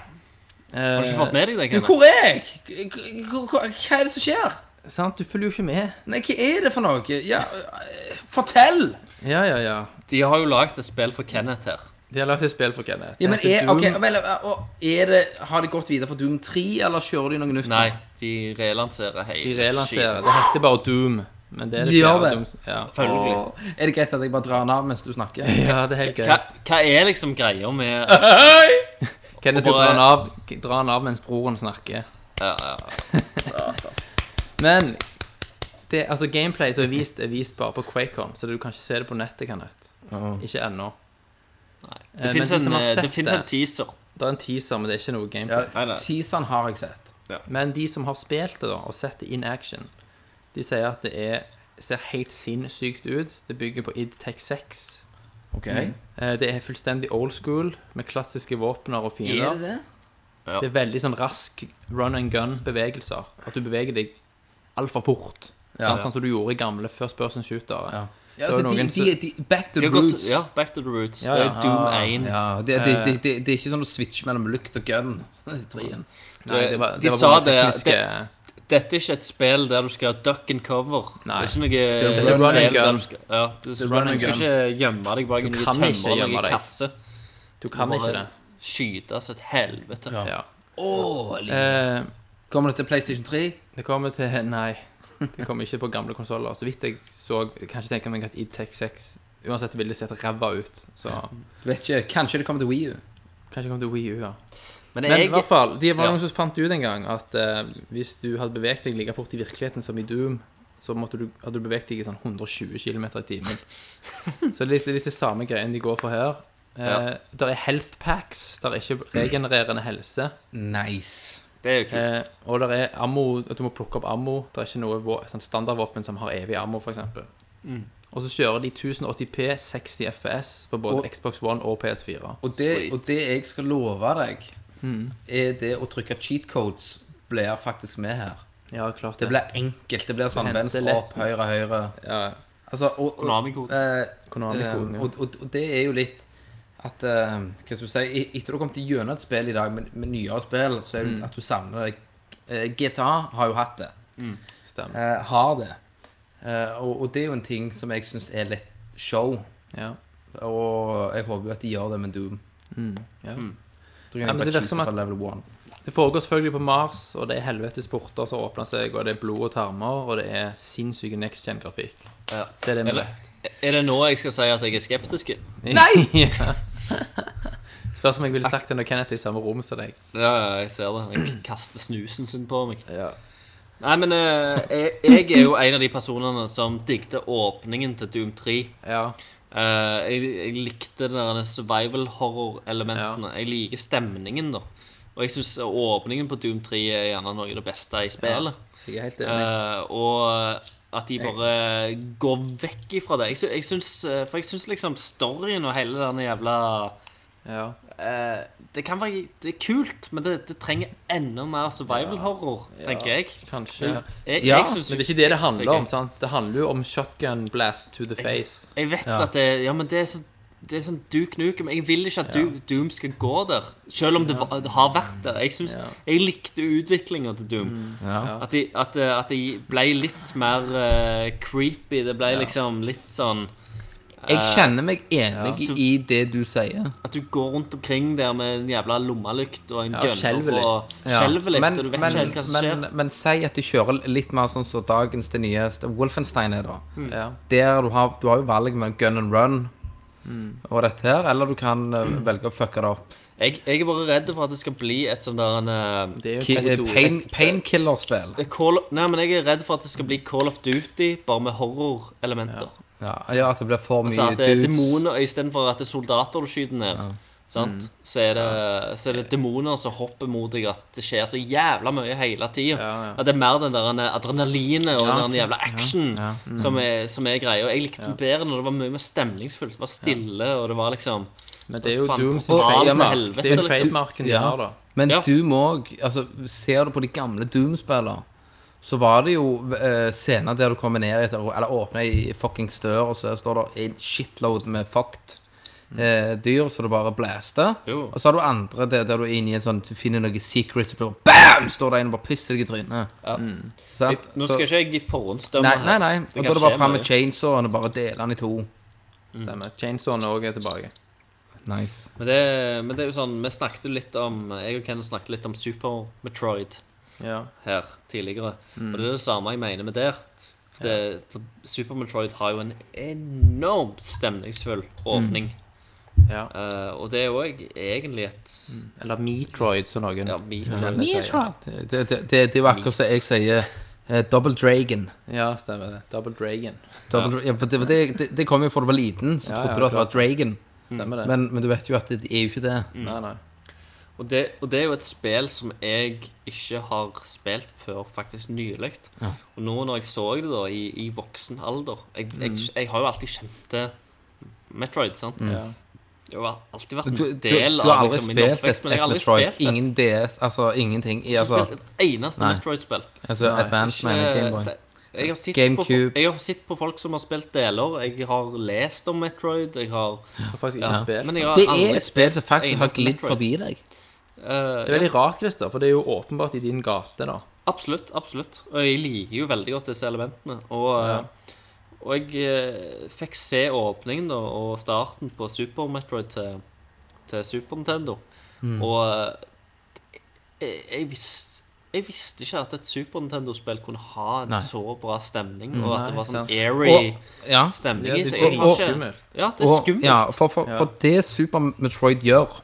[SPEAKER 7] Har du ikke fått med deg det?
[SPEAKER 6] Du,
[SPEAKER 7] Kenneth?
[SPEAKER 6] hvor er jeg? K- k- k- Hva er det som skjer?
[SPEAKER 5] Sant, du følger jo ikke med.
[SPEAKER 6] Nei, hva er det for noe? Ja, eh, fortell!
[SPEAKER 5] Ja, ja, ja.
[SPEAKER 7] De har jo lagd et spill for Kenneth her.
[SPEAKER 5] De har lagt et spill for Kenneth.
[SPEAKER 6] Ja, men
[SPEAKER 5] Det heter
[SPEAKER 6] er, ok,
[SPEAKER 5] Doom-
[SPEAKER 6] vel, eh, og er det, Har de gått videre for Doom 3, eller kjører de noe nytt? nå?
[SPEAKER 7] Nei, de relanserer hele
[SPEAKER 5] De relanserer.
[SPEAKER 7] skiten.
[SPEAKER 5] Det heter bare Doom. Men det er det
[SPEAKER 6] De gjør
[SPEAKER 5] flere
[SPEAKER 6] det.
[SPEAKER 5] Dooms- Ja.
[SPEAKER 7] Selvfølgelig.
[SPEAKER 6] Åh, Er det greit at jeg bare drar den av mens du snakker?
[SPEAKER 5] ja, det er helt
[SPEAKER 7] Hva,
[SPEAKER 5] greit.
[SPEAKER 7] hva er liksom greia med
[SPEAKER 5] Kenneth skal
[SPEAKER 7] Og
[SPEAKER 5] dra
[SPEAKER 7] eh, bare-
[SPEAKER 5] den av, dra den av mens broren snakker.
[SPEAKER 7] ja, ja.
[SPEAKER 5] Men det, altså gameplay som er vist, er vist bare på QuakeCon, så du kan ikke se det på nettet, Kenneth. Ikke ennå.
[SPEAKER 7] Det
[SPEAKER 5] Eh, men
[SPEAKER 7] fins
[SPEAKER 5] de
[SPEAKER 7] en,
[SPEAKER 5] som har
[SPEAKER 7] eh,
[SPEAKER 5] sett
[SPEAKER 7] det finnes
[SPEAKER 5] det-
[SPEAKER 7] en teaser.
[SPEAKER 5] Det er en teaser, men det er ikke noe gameplay.
[SPEAKER 6] Ja,
[SPEAKER 7] Nei, nei.
[SPEAKER 6] Teaseren har jeg sett.
[SPEAKER 5] Men de som har spilt det, da, og sett det in action, de sier at det er, ser helt sinnssykt ut. Det bygger på id Tech 6.
[SPEAKER 6] Ok
[SPEAKER 5] Eh, Det er fullstendig old school, med klassiske våpner og
[SPEAKER 6] Er
[SPEAKER 5] fiender.
[SPEAKER 6] det det?
[SPEAKER 5] Det er veldig sånn rask run and gun-bevegelser. At du beveger deg altfor fort.
[SPEAKER 6] Ja.
[SPEAKER 5] sant? Sånn som du gjorde i gamle first person shootere.
[SPEAKER 6] Ja,
[SPEAKER 5] Det er
[SPEAKER 6] altså,
[SPEAKER 5] noen
[SPEAKER 6] de,
[SPEAKER 5] som-
[SPEAKER 6] de, de, back to
[SPEAKER 7] De har gått,
[SPEAKER 6] roots. Ah,
[SPEAKER 7] ja, back to the roots.
[SPEAKER 5] Ja,
[SPEAKER 7] Det er
[SPEAKER 5] ja.
[SPEAKER 7] jo Doom 1.
[SPEAKER 6] Ja, det, det, det, det, det er ikke sånn å switche mellom lukt og gun. i trien.
[SPEAKER 5] Nei, det var,
[SPEAKER 7] De
[SPEAKER 5] det var
[SPEAKER 7] sa
[SPEAKER 5] bare
[SPEAKER 7] det-
[SPEAKER 5] tekniske
[SPEAKER 7] Dette er ikke et spill der du skal duck and cover.
[SPEAKER 5] Nei.
[SPEAKER 7] Det er ikke noe
[SPEAKER 6] er
[SPEAKER 7] spill
[SPEAKER 5] run and
[SPEAKER 7] der
[SPEAKER 5] gun.
[SPEAKER 7] du Skal, ja, du skal,
[SPEAKER 6] run and
[SPEAKER 7] du skal
[SPEAKER 6] gun.
[SPEAKER 7] ikke gjemme deg bak en
[SPEAKER 5] Du
[SPEAKER 7] ny
[SPEAKER 5] kan ikke
[SPEAKER 7] tømmer
[SPEAKER 5] gjemme
[SPEAKER 7] eller
[SPEAKER 5] deg.
[SPEAKER 7] en kasse.
[SPEAKER 5] Du kan
[SPEAKER 7] må
[SPEAKER 5] ikke det.
[SPEAKER 7] Skyte som et helvete.
[SPEAKER 6] Ja.
[SPEAKER 5] Ja.
[SPEAKER 6] Åh, li-
[SPEAKER 5] Eh,
[SPEAKER 6] Kommer det til PlayStation 3?
[SPEAKER 5] det kommer til Nei. Det kommer ikke på gamle konsoller. Så vidt jeg så jeg Kan ikke tenke meg at Idtech 6 Uansett ville det sett ræva ut. Så
[SPEAKER 6] Du vet ikke, Kanskje det kommer til Wii U.
[SPEAKER 5] kanskje det kommer til Wii U, ja.
[SPEAKER 7] Men
[SPEAKER 5] Men
[SPEAKER 7] jeg
[SPEAKER 5] i hvert fall, det var
[SPEAKER 7] Ja.
[SPEAKER 5] noen som fant ut en gang at eh, hvis du hadde beveget deg like fort i virkeligheten som i Doom, så måtte du, hadde du beveget deg i sånn 120 km i timen. så det er litt, litt det samme greien de går for her. Uh,
[SPEAKER 7] Ja.
[SPEAKER 5] Der er health packs, der er ikke regenererende helse.
[SPEAKER 6] Nice.
[SPEAKER 7] Det er jo kult.
[SPEAKER 5] Eh, og der er ammo, at du må plukke opp ammo. Det er ikke noe vå- sånn standardvåpen som har evig ammo, f.eks. Og så kjører de 1080p 60 FPS på både
[SPEAKER 6] Og-
[SPEAKER 5] Xbox One og PS4.
[SPEAKER 6] Og det,
[SPEAKER 7] Sweet.
[SPEAKER 6] og det jeg skal love deg, er det å trykke cheat codes blir faktisk med her.
[SPEAKER 5] Ja, klart det.
[SPEAKER 6] Det blir enkelt. Det blir sånn
[SPEAKER 5] Hente
[SPEAKER 6] venstre
[SPEAKER 5] lett.
[SPEAKER 6] opp, høyre, høyre.
[SPEAKER 5] ja,
[SPEAKER 6] Altså, og, og,
[SPEAKER 7] Konami-kode.
[SPEAKER 6] eh,
[SPEAKER 5] Konami-koden,
[SPEAKER 6] eh,
[SPEAKER 5] ja.
[SPEAKER 6] og, og, og det er jo litt at eh, Hva skal du si e- Etter du har kommet gjennom et spill i dag med, med nyere spill, så er det at du savner deg. Eh, GTA har jo hatt det.
[SPEAKER 5] stemmer.
[SPEAKER 6] eh, har det. Eh, og, og det er jo en ting som jeg syns er litt show.
[SPEAKER 5] Ja.
[SPEAKER 6] Og jeg håper jo at de gjør det med Doom.
[SPEAKER 5] ja.
[SPEAKER 6] Da kan
[SPEAKER 5] Mm. Ja,
[SPEAKER 6] jeg
[SPEAKER 5] men det
[SPEAKER 6] bare
[SPEAKER 5] virker
[SPEAKER 6] cheate
[SPEAKER 5] som at-
[SPEAKER 6] fra level 1.
[SPEAKER 5] Det foregår selvfølgelig på Mars, og det er helvetes porter som åpner seg, og det er blod og tarmer, og det er sinnssyke next gen-grafikk.
[SPEAKER 7] Ja.
[SPEAKER 5] Det er det vi
[SPEAKER 7] Eller-
[SPEAKER 5] vet.
[SPEAKER 7] Er det nå jeg skal si at jeg er skeptisk?
[SPEAKER 5] Nei! Spørs om jeg ville sagt det når Kenneth er i samme rom som deg.
[SPEAKER 7] Ja, ja, jeg ser det. Jeg kaster snusen sin på meg.
[SPEAKER 5] Ja.
[SPEAKER 7] Nei, men eh, jeg, jeg er jo en av de personene som digget åpningen til Doom 3.
[SPEAKER 5] Ja.
[SPEAKER 7] Eh, jeg, jeg likte de der survival horror-elementene. Jeg liker stemningen, da. Og jeg syns åpningen på Doom 3 er gjerne noe av det beste i spillet.
[SPEAKER 5] Jeg er helt enig.
[SPEAKER 7] Eh, og at de bare går vekk ifra det. Jeg, sy- jeg syns, eh, for jeg syns liksom storyen og hele den jævla
[SPEAKER 5] Ja.
[SPEAKER 7] eh, Det kan være det er kult, men det, det trenger enda mer survival horror, tenker jeg.
[SPEAKER 5] Kanskje.
[SPEAKER 7] jeg,
[SPEAKER 6] Ja,
[SPEAKER 7] jeg syns-
[SPEAKER 5] Men det er ikke det
[SPEAKER 7] jeg
[SPEAKER 5] det
[SPEAKER 7] syns
[SPEAKER 5] handler
[SPEAKER 7] gøy.
[SPEAKER 5] om. sant? Det handler jo om shotgun blast to the face.
[SPEAKER 7] Jeg vet at det, ja, men det er sånn det er sånn Duke Nukem. Jeg vil ikke at du, Doom skal gå der. Selv om det, var, det har vært der. Jeg, synes, jeg likte utviklinga til Doom.
[SPEAKER 5] Mm.
[SPEAKER 7] At, de, at, eh, at de ble litt mer eh, creepy. Det ble liksom litt sånn
[SPEAKER 6] Jeg
[SPEAKER 5] Eh,
[SPEAKER 6] kjenner meg enig
[SPEAKER 7] Ja.
[SPEAKER 6] i det du sier.
[SPEAKER 7] At du går rundt omkring der med en jævla lommelykt og en
[SPEAKER 5] Ja,
[SPEAKER 7] gunner
[SPEAKER 5] skjelver litt.
[SPEAKER 7] og
[SPEAKER 6] Ja.
[SPEAKER 7] skjelver litt.
[SPEAKER 6] Men,
[SPEAKER 7] og du vet
[SPEAKER 6] men,
[SPEAKER 7] ikke helt hva som
[SPEAKER 6] men,
[SPEAKER 7] skjer.
[SPEAKER 6] men si at de kjører litt mer sånn som dagens det nyeste Wolfenstein er, da.
[SPEAKER 7] Hmm.
[SPEAKER 5] Ja.
[SPEAKER 6] Der du har, du har jo valg mellom gun and run
[SPEAKER 5] Mm.
[SPEAKER 6] og dette her, eller du kan eh, velge å fucke det opp.
[SPEAKER 7] Jeg, jeg er bare redd for at det skal bli et sånn der en eh,
[SPEAKER 5] Det er
[SPEAKER 6] Ki-
[SPEAKER 5] jo
[SPEAKER 6] eh,
[SPEAKER 5] et
[SPEAKER 6] pain- Painkiller-spill.
[SPEAKER 7] Call, Nei, men jeg er redd for at det skal bli Call of Duty, bare med horrorelementer.
[SPEAKER 6] Ja, ja, at det blir for mye
[SPEAKER 7] Så Altså, at det er
[SPEAKER 6] dudes.
[SPEAKER 7] demoner istedenfor at det er soldater du skyter ned. Sant? Så er det, så er det demoner som hopper mot deg, at det skjer så jævla mye hele tida.
[SPEAKER 5] Ja, ja.
[SPEAKER 7] At det er mer den der adrenalinet og den der jævla action
[SPEAKER 6] ja, Mm.
[SPEAKER 7] som, er, som er greia. Og jeg likte den bedre når det var mye mer stemningsfullt. Det var stille, og det var liksom
[SPEAKER 5] Men det er jo
[SPEAKER 7] Faen, liksom.
[SPEAKER 5] Doom sin
[SPEAKER 7] og-
[SPEAKER 5] trademark.
[SPEAKER 7] Ja, men-
[SPEAKER 5] Det er jo
[SPEAKER 7] Men-
[SPEAKER 5] trademarken de
[SPEAKER 6] Ja.
[SPEAKER 5] har, da.
[SPEAKER 6] Men
[SPEAKER 7] Ja.
[SPEAKER 6] du må òg altså, Ser du på de gamle Doom-spillene, så var det jo eh, scener der du kommer ned etter, eller åpner ei fuckings dør, og så står det en shitload med fucked eh, dyr som du bare blaster.
[SPEAKER 7] Mm. Jo.
[SPEAKER 6] Og så har du andre der, der du er inne i en sånn Du finner noen secrets, og bare BAM! Står det en og bare pisser deg i trynet. Sant?
[SPEAKER 7] Nå
[SPEAKER 6] Så-
[SPEAKER 7] skal ikke jeg forhåndsdømme
[SPEAKER 6] Nei,
[SPEAKER 7] her.
[SPEAKER 6] nei, nei. Og
[SPEAKER 7] kan
[SPEAKER 6] da er det bare
[SPEAKER 7] skje
[SPEAKER 6] fram
[SPEAKER 7] mye.
[SPEAKER 6] med chainsawen og bare dele den i to.
[SPEAKER 7] Hmm.
[SPEAKER 5] Stemmer. Chainsawen òg er tilbake.
[SPEAKER 6] Nice.
[SPEAKER 7] Men det, men det er jo sånn, vi snakket jo litt om Jeg og Ken snakket litt om Super Metroid
[SPEAKER 5] Ja.
[SPEAKER 7] her tidligere. Og det er det samme jeg mener med der. For, det, for Super Metroid har jo en enormt stemningsfull åpning.
[SPEAKER 5] Mm. ja.
[SPEAKER 7] Eh, og det er jo jeg- egentlig et
[SPEAKER 5] Eller Metroid, som noen
[SPEAKER 7] Ja,
[SPEAKER 5] ja.
[SPEAKER 7] Metroid.
[SPEAKER 6] Det, det, det, det, det er jo akkurat som jeg sier eh, double dragon.
[SPEAKER 5] ja, stemmer det. Double Dragon.
[SPEAKER 6] Double, ja, for det, det, det, det kom jo fra du var liten, så
[SPEAKER 5] Ja,
[SPEAKER 6] trodde
[SPEAKER 5] ja,
[SPEAKER 6] du at det var dragon.
[SPEAKER 5] Stemmer det.
[SPEAKER 6] Men, men du vet jo at det er jo ikke det.
[SPEAKER 5] Nei, nei.
[SPEAKER 7] Og, det, og det er jo et spill som jeg ikke har spilt før faktisk nylig. Og nå når jeg så det da i, i voksen alder jeg,
[SPEAKER 6] Mm.
[SPEAKER 7] jeg, jeg har jo alltid kjent til Metroid, sant?
[SPEAKER 5] Ja.
[SPEAKER 7] Det har jo alltid vært
[SPEAKER 6] Du,
[SPEAKER 7] en
[SPEAKER 6] Mm. du, du
[SPEAKER 7] del
[SPEAKER 6] har
[SPEAKER 7] av
[SPEAKER 6] aldri
[SPEAKER 7] liksom, min
[SPEAKER 6] spilt
[SPEAKER 7] oppvekst,
[SPEAKER 6] et,
[SPEAKER 7] men jeg
[SPEAKER 6] et
[SPEAKER 7] har aldri
[SPEAKER 6] Metroid.
[SPEAKER 7] spilt det.
[SPEAKER 6] Ingen DS, altså ingenting. I,
[SPEAKER 7] Jeg har
[SPEAKER 6] altså,
[SPEAKER 7] spilt et eneste
[SPEAKER 6] Nei.
[SPEAKER 7] Metroid-spill.
[SPEAKER 6] altså Advance,
[SPEAKER 7] Ikke-
[SPEAKER 6] mener jeg, Gameboy.
[SPEAKER 7] det- Jeg har, sett
[SPEAKER 6] GameCube.
[SPEAKER 7] På, jeg har sett på folk som har spilt deler. Jeg har lest om Metroid. Jeg har,
[SPEAKER 5] Jeg har faktisk ikke spilt.
[SPEAKER 7] men jeg har
[SPEAKER 6] Det
[SPEAKER 7] aldri
[SPEAKER 6] er et spill som faktisk har
[SPEAKER 7] eneste
[SPEAKER 6] glidd
[SPEAKER 7] Metroid.
[SPEAKER 6] forbi deg.
[SPEAKER 7] eh,
[SPEAKER 5] Det er veldig rart, Christer, for det er jo åpenbart i din gate, da.
[SPEAKER 7] Absolutt. absolutt Og jeg liker jo veldig godt disse elementene. Og, eh, og jeg eh, fikk se åpningen da, og starten på Super Metroid til, til Super Nintendo.
[SPEAKER 6] Mm.
[SPEAKER 7] Og eh, jeg, jeg, visste, jeg visste ikke at et Super Nintendo-spill kunne ha en
[SPEAKER 6] Nei.
[SPEAKER 7] så bra stemning,
[SPEAKER 6] Mm.
[SPEAKER 7] og at det var sånn
[SPEAKER 5] sant.
[SPEAKER 7] airy
[SPEAKER 6] Og, ja,
[SPEAKER 7] stemning
[SPEAKER 5] Ja,
[SPEAKER 7] i
[SPEAKER 5] det
[SPEAKER 7] seg.
[SPEAKER 5] er
[SPEAKER 7] Jeg har ikke-
[SPEAKER 5] dritskummelt.
[SPEAKER 7] Ja, det er
[SPEAKER 6] og,
[SPEAKER 7] skummelt.
[SPEAKER 6] ja for, for, for det Super Metroid gjør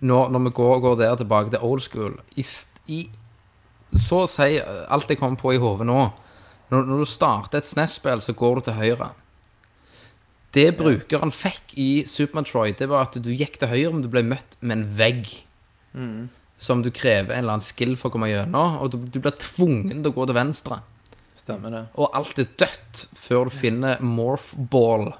[SPEAKER 6] når, når vi går, går der tilbake til old school i, st- i, Så å si eh, alt jeg kommer på i hodet nå når, når du starter et SNES-spill, så går du til høyre. Det brukeren fikk i Super Metroid, det var at du gikk til høyre, men du ble møtt med en vegg. Som du krever en eller annen skill for å komme gjennom, og du, du blir tvungen til å gå til venstre.
[SPEAKER 5] Stemmer det.
[SPEAKER 6] Og alt er dødt før du finner Morph Ball.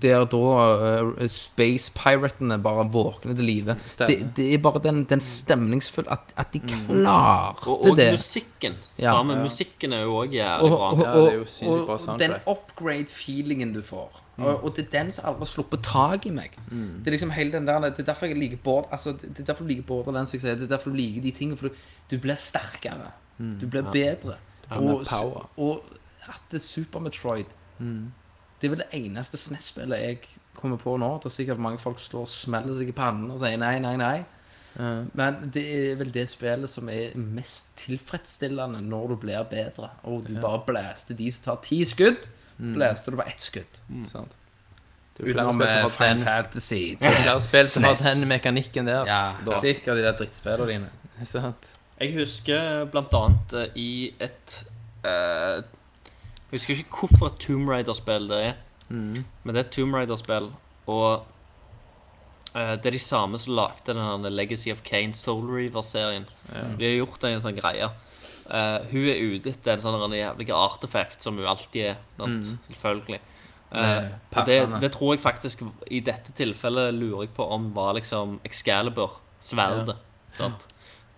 [SPEAKER 6] Der da eh, Space Piratene bare våkner til live. Det,
[SPEAKER 5] Stemmer.
[SPEAKER 6] det er bare den, den stemningsfulle at, at de klarte
[SPEAKER 7] Og, og
[SPEAKER 6] det.
[SPEAKER 7] musikken.
[SPEAKER 6] Ja.
[SPEAKER 7] Sammen musikken er jo òg jævlig
[SPEAKER 6] Og,
[SPEAKER 7] bra.
[SPEAKER 6] og,
[SPEAKER 5] Ja, det er jo
[SPEAKER 6] og,
[SPEAKER 5] sinnssykt bra
[SPEAKER 6] og
[SPEAKER 5] soundtrack.
[SPEAKER 6] den upgrade-feelingen du får. Og, og det er den som aldri har sluppet tak i meg. Det er liksom hele den der Det er derfor jeg liker Bård altså, Det er derfor du liker Bård og den som jeg sier. Det er derfor du liker de tingene. For du, du blir sterkere. Du blir bedre.
[SPEAKER 5] mer
[SPEAKER 6] Og,
[SPEAKER 5] power.
[SPEAKER 6] og at det er Super Metroid Det er vel det eneste SNES-spillet jeg kommer på nå. Det er sikkert mange folk som står og smeller seg i pannen og sier nei, nei, nei. Men det er vel det spillet som er mest tilfredsstillende når du blir bedre. Og du bare blæster de som tar ti skudd, blæster du bare ett skudd.
[SPEAKER 5] Sant. Det er jo flere
[SPEAKER 6] Mm. Utenom
[SPEAKER 5] spill
[SPEAKER 6] eh,
[SPEAKER 5] som har
[SPEAKER 6] Final
[SPEAKER 5] den,
[SPEAKER 6] Fantasy.
[SPEAKER 5] det er flere spill som har
[SPEAKER 6] SNES.
[SPEAKER 5] den mekanikken der.
[SPEAKER 6] Ja,
[SPEAKER 5] da.
[SPEAKER 6] sikkert de der drittspillene dine.
[SPEAKER 5] Sant.
[SPEAKER 7] Jeg husker blant annet eh, i et eh, Jeg husker ikke hvorfor et Tomb Raider-spill det er, men det er et Tomb Raider-spill, og eh, det er de samme som lagde den her Legacy of Kane Soul Reaver-serien. De har gjort det i en sånn greie. Eh, hun er ute etter en sånn her jævlig artefakt, som hun alltid er. Sant? Selvfølgelig. Eh,
[SPEAKER 6] Med
[SPEAKER 7] og det,
[SPEAKER 6] pattene.
[SPEAKER 7] det tror jeg faktisk I dette tilfellet lurer jeg på om var liksom Excalibur, sverdet. Sant?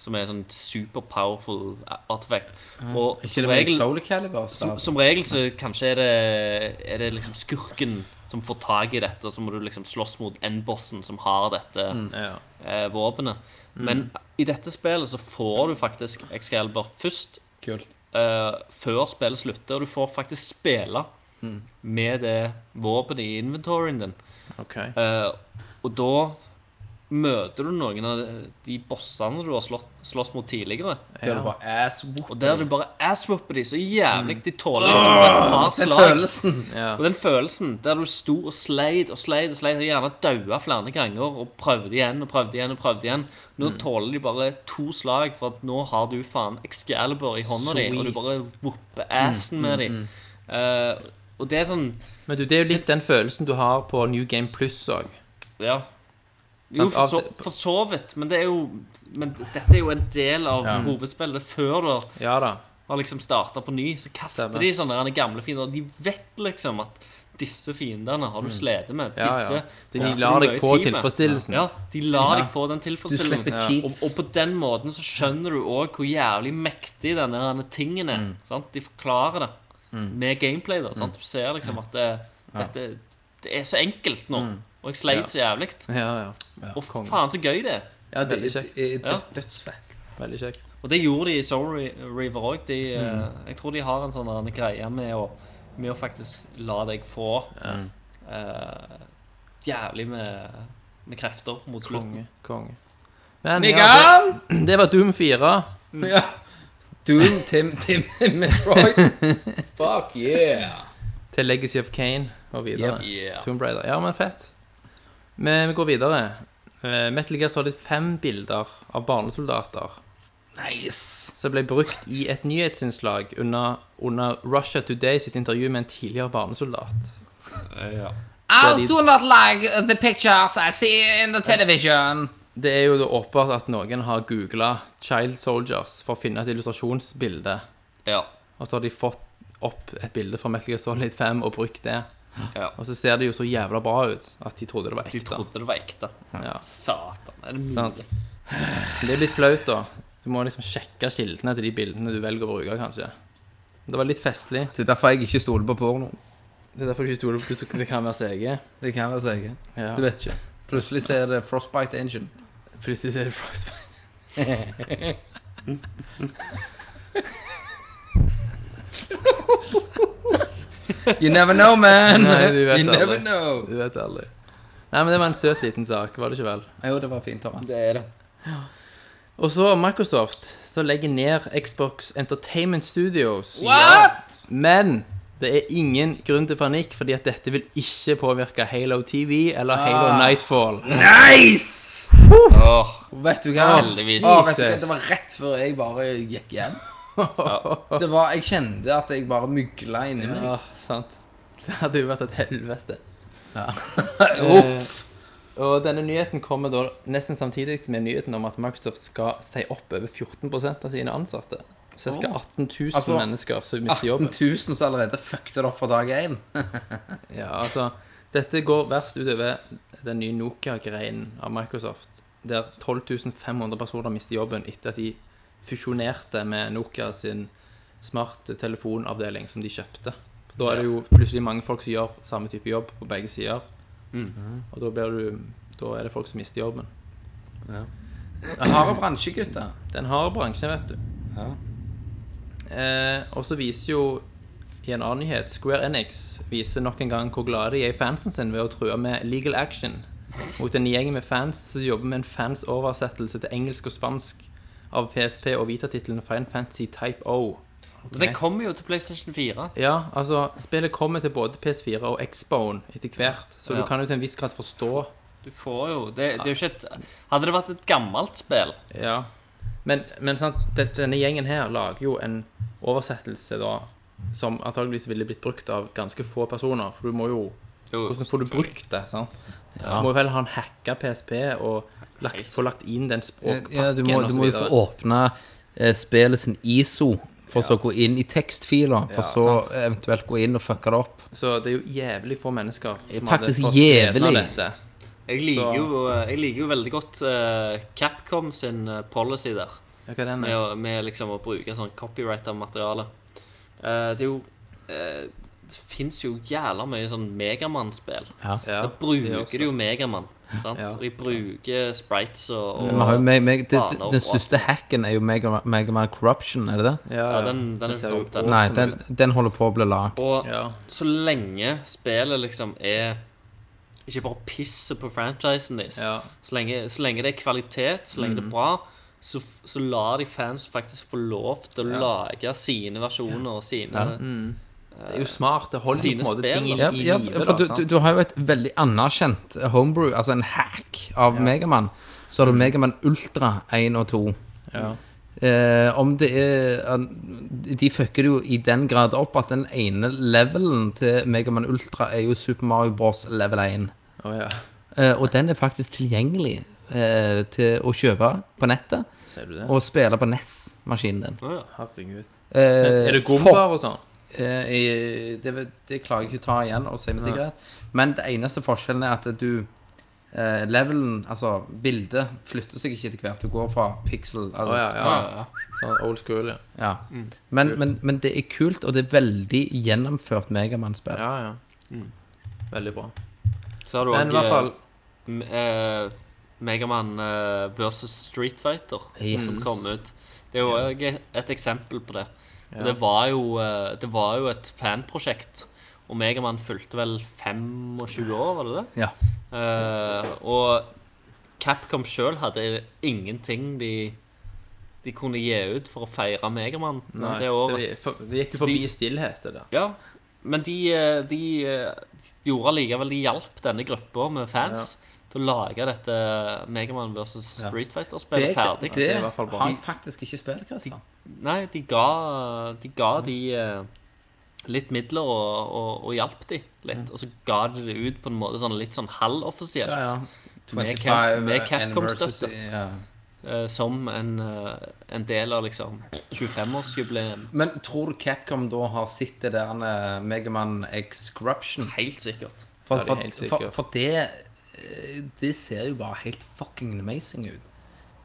[SPEAKER 7] Som er en sånn super powerful artefakt. Og
[SPEAKER 6] Ikke
[SPEAKER 7] som
[SPEAKER 6] det med
[SPEAKER 7] regel,
[SPEAKER 6] Soul Calibur?
[SPEAKER 7] som,
[SPEAKER 6] Stav?
[SPEAKER 7] som regel så kanskje er det, er det liksom skurken som får tak i dette, og så må du liksom slåss mot endbossen som har dette
[SPEAKER 6] Mm.
[SPEAKER 5] Ja.
[SPEAKER 7] eh, våpenet. Men i dette spillet så får du faktisk Excalibur først
[SPEAKER 6] Kult.
[SPEAKER 7] eh, før spillet slutter, og du får faktisk spille
[SPEAKER 6] Mm.
[SPEAKER 7] med det våpenet i inventoryen din.
[SPEAKER 5] OK.
[SPEAKER 7] Eh, og da møter du noen av de bossene du har slått, slåss mot tidligere.
[SPEAKER 6] Det er bare ass
[SPEAKER 7] Og der du bare asswhopper de så jævlig de tåler liksom et par
[SPEAKER 6] Mm. Den
[SPEAKER 7] slag.
[SPEAKER 6] følelsen.
[SPEAKER 7] Og den følelsen der du sto og sleit og sleit og sleit og gjerne daua flere ganger og prøvde igjen og prøvde igjen og prøvde igjen.
[SPEAKER 6] Mm.
[SPEAKER 7] Nå tåler de bare to slag, for at nå har du faen Excalibur i hånda di, og du
[SPEAKER 5] Sweet.
[SPEAKER 7] bare whopper
[SPEAKER 6] Mm,
[SPEAKER 7] assen med de. Eh, og det er sånn
[SPEAKER 5] Men du, det er jo litt den følelsen du har på New Game Plus òg.
[SPEAKER 7] Ja. Jo,
[SPEAKER 6] Sant?
[SPEAKER 7] for så,
[SPEAKER 6] Av-
[SPEAKER 7] for så vidt, men det er jo Men dette er jo en del av
[SPEAKER 6] Ja.
[SPEAKER 7] hovedspillet. Før du
[SPEAKER 5] Ja da.
[SPEAKER 7] har liksom starta på ny, så kaster
[SPEAKER 5] Stemmer.
[SPEAKER 7] de sånne der gamle fiender. De vet liksom at disse fiendene har du slitt med.
[SPEAKER 5] Mm. Ja,
[SPEAKER 7] Disse
[SPEAKER 5] ja. De
[SPEAKER 7] brukte
[SPEAKER 5] lar
[SPEAKER 7] du
[SPEAKER 5] deg
[SPEAKER 7] mye
[SPEAKER 5] få
[SPEAKER 7] tid med.
[SPEAKER 5] tilfredsstillelsen.
[SPEAKER 7] Ja, de lar
[SPEAKER 6] Ja.
[SPEAKER 7] deg få den
[SPEAKER 6] Du
[SPEAKER 7] tilfredsstillelsen.
[SPEAKER 6] slipper
[SPEAKER 7] Og,
[SPEAKER 6] cheats.
[SPEAKER 7] og på den måten så skjønner du òg hvor jævlig mektig denne her tingen er.
[SPEAKER 5] Mm.
[SPEAKER 7] Sant? De forklarer det med gameplay. da sant? Du ser liksom at det, dette, det er så enkelt nå. Og jeg sleit så jævlig.
[SPEAKER 5] Mm. Ja, ja.
[SPEAKER 7] Og
[SPEAKER 5] konge.
[SPEAKER 7] faen, så gøy det er.
[SPEAKER 6] Ja, det,
[SPEAKER 5] Veldig
[SPEAKER 6] det,
[SPEAKER 5] kjekt.
[SPEAKER 6] det er
[SPEAKER 7] Ja.
[SPEAKER 6] død- dødsfett.
[SPEAKER 5] Veldig kjekt.
[SPEAKER 7] Og det gjorde de i Soul Re- River òg.
[SPEAKER 5] Mm.
[SPEAKER 7] Jeg tror de har en sånn der greie med å, med å faktisk la deg få eh, jævlig med, med krefter mot slutten.
[SPEAKER 5] Konge. Konge. Men ja,
[SPEAKER 6] Mikael!
[SPEAKER 5] det, det var Doom 4.
[SPEAKER 6] Ja. Doom, Tim, Tim, Metroid. Fuck yeah.
[SPEAKER 5] til Legacy of Kane og videre.
[SPEAKER 6] Yep.
[SPEAKER 7] Yeah.
[SPEAKER 5] Tomb Raider. Ja, men fett. Men vi går videre. Eh, Metal Gear Solid 5 bilder av barnesoldater
[SPEAKER 6] Nice.
[SPEAKER 5] som ble brukt i et nyhetsinnslag under, under Russia Today sitt intervju med en tidligere barnesoldat.
[SPEAKER 6] I do not like the pictures I see in the television.
[SPEAKER 5] Det er jo da åpenbart at noen har googla 'Child Soldiers' for å finne et illustrasjonsbilde,
[SPEAKER 7] Ja.
[SPEAKER 5] og så har de fått opp et bilde fra Metal Gear Solid 5 og brukt det.
[SPEAKER 7] ja.
[SPEAKER 5] Og så ser det jo så jævla bra ut at de trodde det var
[SPEAKER 7] De
[SPEAKER 5] ekte.
[SPEAKER 7] trodde det var ekte.
[SPEAKER 5] Ja.
[SPEAKER 7] Satan. Er det
[SPEAKER 5] Sant.
[SPEAKER 7] mulig?
[SPEAKER 5] Men Det er litt flaut, da. Du må liksom sjekke kildene til de bildene du velger å bruke, kanskje. Det var litt festlig.
[SPEAKER 6] Det er derfor jeg ikke stoler på porno.
[SPEAKER 5] Det er derfor du ikke stoler på at det kan være CG.
[SPEAKER 6] Det kan være sikkert.
[SPEAKER 5] Ja.
[SPEAKER 6] Du vet ikke. Plutselig så er det Frostbite Engine.
[SPEAKER 5] Plutselig så er det Frostbite.
[SPEAKER 6] You never know, man.
[SPEAKER 5] Nei, du vet
[SPEAKER 6] you
[SPEAKER 5] aldri.
[SPEAKER 6] never know.
[SPEAKER 5] Du vet aldri. Nei, men det var en søt liten sak, var det ikke vel?
[SPEAKER 6] Jo, det var fint, Thomas.
[SPEAKER 5] Og så Microsoft, så legger ned Xbox Entertainment Studios.
[SPEAKER 6] What?
[SPEAKER 5] Men det er ingen grunn til panikk, fordi at dette vil ikke påvirke Halo TV eller Halo Nightfall.
[SPEAKER 6] Nice!
[SPEAKER 7] Åh,
[SPEAKER 6] Vet du hva?
[SPEAKER 7] heldigvis.
[SPEAKER 6] Å, vet du hva?
[SPEAKER 5] Jesus.
[SPEAKER 6] Det var rett før jeg bare gikk hjem.
[SPEAKER 5] Ah,
[SPEAKER 6] Det var, Jeg kjente at jeg bare mygla inni meg.
[SPEAKER 5] Ja, sant. Det hadde jo vært et helvete. Eh,
[SPEAKER 6] Uff.
[SPEAKER 5] Og denne nyheten kommer da nesten samtidig med nyheten om at Microsoft skal si opp over 14 av sine ansatte. Cirka
[SPEAKER 6] Åh.
[SPEAKER 5] 18 000
[SPEAKER 6] Altså,
[SPEAKER 5] mennesker som
[SPEAKER 6] 18
[SPEAKER 5] mister jobben.
[SPEAKER 6] 000 som allerede fucket det opp fra dag én.
[SPEAKER 5] Ja, altså, dette går verst utover den nye Nokia-greinen av Microsoft, der 12 500 personer mister jobben etter at de fusjonerte med Nokia sin smarttelefonavdeling som de kjøpte. Så da er det jo plutselig mange folk som gjør samme type jobb på begge sider.
[SPEAKER 6] Mm.
[SPEAKER 5] Og da, blir du, da er det folk som mister jobben.
[SPEAKER 6] Harde bransje, gutter.
[SPEAKER 5] Den harde bransjen, vet du.
[SPEAKER 6] Ja.
[SPEAKER 5] Eh, og så viser jo i en annen nyhet Square Enix viser nok en gang hvor glade de er i fansen sin ved å true med legal action mot en gjeng med fans som jobber med en fans oversettelse til engelsk og spansk av PSP og Vita-tittelen Fine Fantasy Type O.
[SPEAKER 7] Men Den kommer jo til PlayStation 4.
[SPEAKER 5] Ja, altså, spillet kommer til både PS4 og Xbone etter hvert, så
[SPEAKER 7] Ja.
[SPEAKER 5] du kan jo til en viss grad forstå
[SPEAKER 7] Du får jo det, det er jo ikke et Hadde det vært et gammelt spill
[SPEAKER 5] Ja. Men, men sant, det- denne gjengen her lager jo en oversettelse da som antageligvis ville blitt brukt av ganske få personer. For du må jo Hvordan får du brukt det? sant? Du må vel ha en hacka PSP og lagt, få lagt inn den språkpakken
[SPEAKER 6] Ja, du må,
[SPEAKER 5] og
[SPEAKER 6] du
[SPEAKER 5] så
[SPEAKER 6] må jo
[SPEAKER 5] videre.
[SPEAKER 6] få åpne eh, spillet sin ISO, for så å gå inn i tekstfiler, for
[SPEAKER 5] Ja,
[SPEAKER 6] så
[SPEAKER 5] sant.
[SPEAKER 6] eventuelt gå inn og fucke det opp.
[SPEAKER 5] Så det er jo jævlig få mennesker som
[SPEAKER 6] Faktisk
[SPEAKER 5] hadde fått gleden av
[SPEAKER 6] jævlig.
[SPEAKER 5] dette.
[SPEAKER 7] Jeg liker jo, jeg liker jo veldig godt eh, Capcom sin eh, policy der.
[SPEAKER 5] Ja, hva er den
[SPEAKER 7] Med,
[SPEAKER 5] er?
[SPEAKER 7] å- med liksom å bruke sånn copyright av materiale. Eh, det er jo eh, Det fins jo jævla mye sånn Megamann-spill.
[SPEAKER 5] Ja,
[SPEAKER 7] Da
[SPEAKER 5] det
[SPEAKER 7] bruker
[SPEAKER 5] også.
[SPEAKER 7] de jo Megamann. sant?
[SPEAKER 5] Ja.
[SPEAKER 7] De bruker sprites og,
[SPEAKER 6] Vi har jo
[SPEAKER 7] og
[SPEAKER 6] meg, meg, det, det,
[SPEAKER 7] Faen,
[SPEAKER 6] den
[SPEAKER 7] og-
[SPEAKER 6] største hacken er jo Megaman Mega Man Corruption, er det det?
[SPEAKER 5] Ja,
[SPEAKER 7] ja, den, den
[SPEAKER 5] Det
[SPEAKER 7] er
[SPEAKER 5] ser
[SPEAKER 7] jo
[SPEAKER 5] jo
[SPEAKER 7] dumt, den.
[SPEAKER 6] Nei, den, den holder på å bli lagd.
[SPEAKER 7] Og
[SPEAKER 5] Ja.
[SPEAKER 7] så lenge spillet liksom er Ikke bare pisser på franchisen deres.
[SPEAKER 5] Ja. Mhm.
[SPEAKER 7] Så, lenge, så lenge det er kvalitet, så lenge det er bra, så, f- så lar de fans faktisk få lov til å lage sine versjoner og sine
[SPEAKER 6] Ja.
[SPEAKER 5] Mm. Det er jo smart. Det holder på
[SPEAKER 7] Sine
[SPEAKER 5] en måte
[SPEAKER 7] spill,
[SPEAKER 5] ting i,
[SPEAKER 7] da.
[SPEAKER 6] Ja,
[SPEAKER 5] i
[SPEAKER 6] ja,
[SPEAKER 5] live.
[SPEAKER 6] for
[SPEAKER 5] da,
[SPEAKER 6] du,
[SPEAKER 5] sant?
[SPEAKER 6] du, du har jo et veldig anerkjent homebrew, altså en hack av Megaman. Så har
[SPEAKER 5] Mm.
[SPEAKER 6] du Megaman Ultra 1 og 2.
[SPEAKER 5] Ja.
[SPEAKER 6] Eh, om det er an- De fucker det jo i den grad opp at den ene levelen til Megaman Ultra er jo Super Mario Bros. level 1.
[SPEAKER 5] Å, ja.
[SPEAKER 6] Eh, og den er faktisk tilgjengelig eh, til å kjøpe på nettet
[SPEAKER 5] Ser du det?
[SPEAKER 6] og spille på NES-maskinen din.
[SPEAKER 7] Å, ja.
[SPEAKER 5] Herregud.
[SPEAKER 6] Eh,
[SPEAKER 5] Er det
[SPEAKER 6] for-
[SPEAKER 5] gombar og sånn?
[SPEAKER 6] Eh, i- det, det klarer jeg ikke å ta igjen og si med sikkerhet. Men det eneste forskjellen er at du eh, Levelen, altså bildet, flytter seg ikke etter hvert. Du går fra pixel
[SPEAKER 5] Å,
[SPEAKER 6] altså,
[SPEAKER 5] ja, ja.
[SPEAKER 7] Ja, ja, ja.
[SPEAKER 5] Sånn old school, ja.
[SPEAKER 6] fra- ja.
[SPEAKER 5] Mm.
[SPEAKER 6] Men, men, men det er kult, og det er veldig gjennomført Megamann-spill.
[SPEAKER 5] Ja, ja. Veldig bra.
[SPEAKER 7] Så har du
[SPEAKER 5] Men i hvert fall
[SPEAKER 7] òg eh, Megaman eh, versus Street Fighter
[SPEAKER 6] Yes.
[SPEAKER 7] som kom ut. Det er jo òg et eksempel på det. Og det var jo, eh, det var jo et fanprosjekt. Og Megaman fulgte vel 25 år, var det det?
[SPEAKER 6] Ja.
[SPEAKER 7] Eh, og Capcom sjøl hadde ingenting de, de kunne gi ut for å feire Megaman
[SPEAKER 5] Nei,
[SPEAKER 7] det året.
[SPEAKER 5] det, for, det gikk jo forbi stillhet, det der.
[SPEAKER 7] Ja, Men de, eh, de eh, gjorde allikevel De hjalp denne gruppa med fans til å lage dette Megaman versus Street Fighter-spillet ferdig.
[SPEAKER 6] det
[SPEAKER 5] er altså, i hvert fall bra.
[SPEAKER 6] har jeg faktisk ikke spilt, Christian.
[SPEAKER 7] Nei, de ga de, ga de eh, litt midler og, og, og hjalp de litt.
[SPEAKER 6] Mm.
[SPEAKER 7] Og så ga de det ut på en måte sånn, litt sånn halvoffisielt.
[SPEAKER 6] Ja, ja.
[SPEAKER 7] Med Cap-
[SPEAKER 6] 25
[SPEAKER 7] med
[SPEAKER 6] eh,
[SPEAKER 7] Capcom-støtte.
[SPEAKER 6] anniversary, Ja.
[SPEAKER 7] eh, som en, eh, en del av liksom 25-årsjubileum.
[SPEAKER 6] Men tror du Capcom da har sett det der eh, Megamann X Corruption?
[SPEAKER 7] Helt sikkert.
[SPEAKER 6] For,
[SPEAKER 5] Ja, det er helt
[SPEAKER 6] for, for,
[SPEAKER 5] sikkert.
[SPEAKER 6] for det eh, Det ser jo bare helt fucking amazing ut.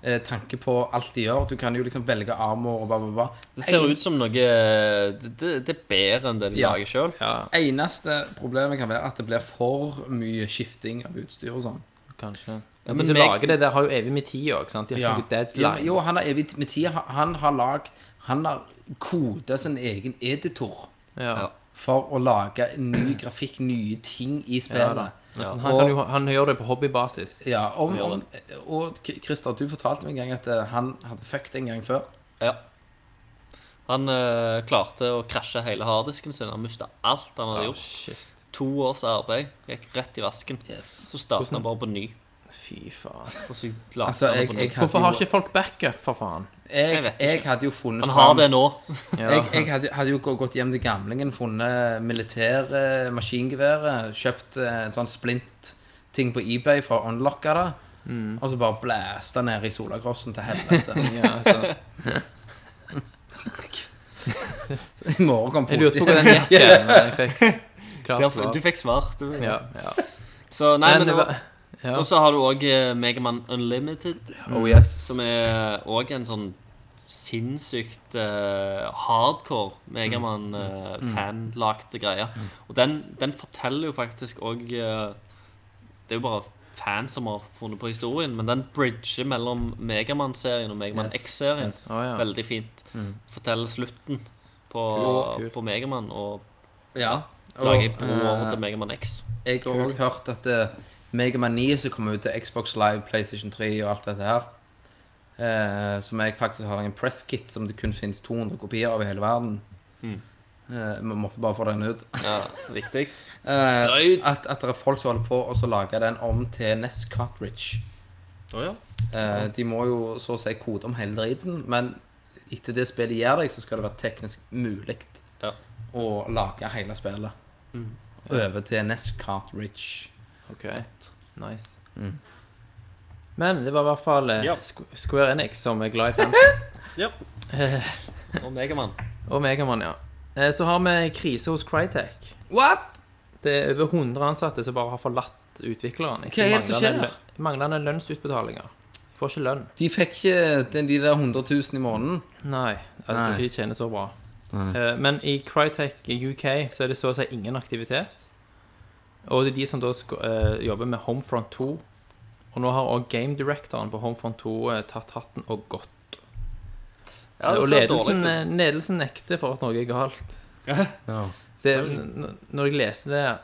[SPEAKER 6] Eh, tanke på alt de gjør. Du kan jo liksom velge armor og bla, bla, bla.
[SPEAKER 7] Det ser ut som noe eh, Det, det- det er bedre enn det de
[SPEAKER 6] Ja.
[SPEAKER 7] lager sjøl.
[SPEAKER 6] Eneste problemet kan være at det blir for mye skifting av utstyr og sånn.
[SPEAKER 5] Kanskje.
[SPEAKER 7] Ja,
[SPEAKER 5] Men
[SPEAKER 7] men
[SPEAKER 5] de som
[SPEAKER 7] meg-
[SPEAKER 5] lager det der, har jo evig med tida, ikke sant? De har
[SPEAKER 6] Ja.
[SPEAKER 5] ikke noe deadline.
[SPEAKER 6] Jo, han har evig med tid. Han- Han har lagd Han har koda sin egen editor
[SPEAKER 5] Ja.
[SPEAKER 6] for å lage ny grafikk, nye ting i spillet.
[SPEAKER 5] Altså, han, kan jo, han gjør det på hobbybasis.
[SPEAKER 6] Ja, om, om, og K- Christer, du fortalte meg en gang at eh, han hadde fucket en gang før.
[SPEAKER 7] Ja. Han eh, klarte å krasje hele harddisken sin. Han mista alt han hadde gjort.
[SPEAKER 5] Shit.
[SPEAKER 7] To års arbeid gikk rett i vasken. Så startet han bare på ny.
[SPEAKER 5] Fy faen.
[SPEAKER 7] Og så lagde
[SPEAKER 6] Altså,
[SPEAKER 7] han det
[SPEAKER 6] jeg,
[SPEAKER 7] på
[SPEAKER 6] jeg,
[SPEAKER 7] ny.
[SPEAKER 6] hadde
[SPEAKER 5] Hvorfor har
[SPEAKER 6] jo-
[SPEAKER 5] ikke folk backup, for faen?
[SPEAKER 6] Jeg,
[SPEAKER 7] Jeg vet
[SPEAKER 6] jeg
[SPEAKER 7] ikke.
[SPEAKER 6] hadde jo funnet
[SPEAKER 7] Han har det nå.
[SPEAKER 6] Jeg, jeg hadde, hadde jo gå- gått hjem til gamlingen, funnet militære maskingeværet, kjøpt eh, en sånn splint-ting på eBay for å unlocke det,
[SPEAKER 5] Mm.
[SPEAKER 6] og så bare blæsta ned i solagrossen til helvete.
[SPEAKER 5] altså.
[SPEAKER 6] I morgen kom
[SPEAKER 5] Jeg lurte på hva
[SPEAKER 6] politiet.
[SPEAKER 5] den gikk igjen, men jeg fikk klart
[SPEAKER 7] Derfor,
[SPEAKER 5] svar.
[SPEAKER 7] du fikk svar. Du.
[SPEAKER 5] Ja, ja.
[SPEAKER 7] Så, nei,
[SPEAKER 5] Men
[SPEAKER 7] men,
[SPEAKER 5] det
[SPEAKER 7] det var-
[SPEAKER 5] var- ja.
[SPEAKER 7] Og så har du òg Megaman Unlimited.
[SPEAKER 6] Oh yes.
[SPEAKER 7] Som er òg en sånn sinnssykt eh, hardcore
[SPEAKER 6] Mm.
[SPEAKER 7] Megaman-fanlagte greie. Og den, den forteller jo faktisk òg Det er jo bare fans som har funnet på historien, men den bridger mellom Megaman-serien og Megaman
[SPEAKER 6] Yes,
[SPEAKER 7] X-serien
[SPEAKER 6] yes. Mm.
[SPEAKER 5] Å, ja.
[SPEAKER 7] veldig fint. Forteller slutten på,
[SPEAKER 6] Kult,
[SPEAKER 7] på Megaman og
[SPEAKER 6] Ja.
[SPEAKER 7] lager broer
[SPEAKER 6] eh,
[SPEAKER 7] til Megaman X.
[SPEAKER 6] Jeg har også hørt at eh, Megaman 9 som kommer ut til Xbox Live, PlayStation 3 og alt dette her, eh, som jeg faktisk har i en presskit som det kun finnes 200 kopier av i hele verden.
[SPEAKER 7] Mm.
[SPEAKER 6] Eh, Vi måtte bare få den ut.
[SPEAKER 7] Ja, viktig.
[SPEAKER 6] Eh,
[SPEAKER 7] Skryt!
[SPEAKER 6] at, at det er folk som holder på å så lage den om til NES Cartridge.
[SPEAKER 7] Å ja.
[SPEAKER 6] Eh, de må jo så å si kode om hele driten, men etter det spillet gjør deg, så skal det være teknisk mulig
[SPEAKER 7] Ja. Mm.
[SPEAKER 6] å lage hele spillet. Over til NES Cartridge.
[SPEAKER 5] Ok, nice.
[SPEAKER 6] Mm.
[SPEAKER 5] Men det var i hvert fall eh,
[SPEAKER 7] Ja.
[SPEAKER 5] Squ- Square Enix som er glad i fansen.
[SPEAKER 7] Og Megaman.
[SPEAKER 5] Og Megamann, ja. Eh, Så har vi krise hos Crytek.
[SPEAKER 6] What?!
[SPEAKER 5] Det er over 100 ansatte som bare har forlatt utvikleren.
[SPEAKER 6] Hva er det som
[SPEAKER 5] manglende
[SPEAKER 6] skjer?
[SPEAKER 5] lø- Manglende lønnsutbetalinger. Får ikke lønn.
[SPEAKER 6] De fikk ikke den, de der 100 000 i måneden.
[SPEAKER 5] Nei, jeg tror
[SPEAKER 6] Nei.
[SPEAKER 5] Altså, ikke de tjener så bra. Eh, Men i Crytek UK så er det så å si ingen aktivitet. Og det er de som da sk- eh, jobber med Homefront 2. Og nå har også game directoren på Homefront 2 eh, tatt hatten og gått.
[SPEAKER 7] Ja, det
[SPEAKER 5] og
[SPEAKER 7] ser dårlig
[SPEAKER 5] ledelsen,
[SPEAKER 7] ut.
[SPEAKER 5] eh, ledelsen nekter for at noe er galt. Det, n- når jeg leste det,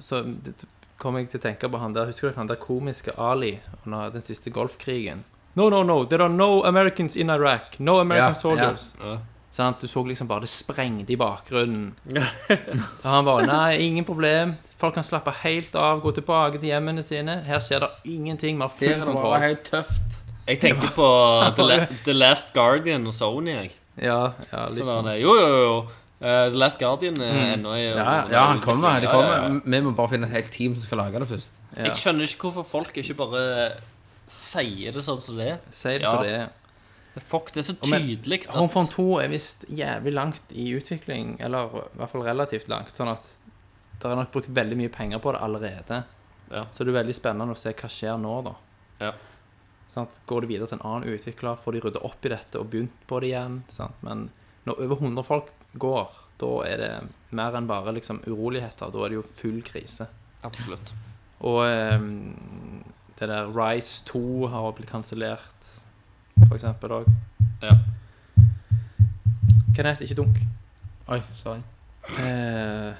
[SPEAKER 5] så det- kom jeg til å tenke på han der Husker dere han der komiske Ali under den siste golfkrigen? No, no, no, there are no Americans in Iraq. No American
[SPEAKER 6] Ja,
[SPEAKER 5] soldiers.
[SPEAKER 7] ja.
[SPEAKER 5] Sant? Du så liksom bare det sprengte i bakgrunnen. Og han bare Nei, ingen problem. Folk kan slappe helt av, gå tilbake til hjemmene sine. Her skjer det ingenting. Vi har
[SPEAKER 6] Her
[SPEAKER 5] full
[SPEAKER 6] er det bare
[SPEAKER 5] kontroll.
[SPEAKER 6] helt tøft.
[SPEAKER 7] Jeg tenker på The, La The Last Guardian og Sony. Jeg.
[SPEAKER 5] Ja, ja, litt
[SPEAKER 7] Sånn der,
[SPEAKER 5] sånn.
[SPEAKER 7] jo, jo, jo. Eh, The Last Guardian er ennå i
[SPEAKER 6] Ja, ja, han kommer. De kommer. Vi må bare finne et helt team som skal lage det først.
[SPEAKER 7] Jeg skjønner ikke hvorfor folk ikke bare sier det sånn som det er.
[SPEAKER 5] Si det
[SPEAKER 7] Ja.
[SPEAKER 5] som det er.
[SPEAKER 7] Fuck, det er så
[SPEAKER 5] Og men-
[SPEAKER 7] tydelig at
[SPEAKER 5] Homefront 2 er visst jævlig langt i utvikling, eller i hvert fall relativt langt. Sånn at det er nok brukt veldig mye penger på det allerede.
[SPEAKER 7] Ja.
[SPEAKER 5] Så det er veldig spennende å se hva skjer nå, da.
[SPEAKER 7] Ja.
[SPEAKER 5] Sånn at går det videre til en annen utvikler, får de rydda opp i dette og begynt på det igjen. Sant? Men når over 100 folk går, da er det mer enn bare liksom uroligheter. Da er det jo full krise.
[SPEAKER 7] Absolutt.
[SPEAKER 5] Og ehm, det der Rise 2 har blitt kansellert, for eksempel òg.
[SPEAKER 7] Ja.
[SPEAKER 5] Kenneth, ikke dunk.
[SPEAKER 6] Oi, sorry.
[SPEAKER 5] Eh,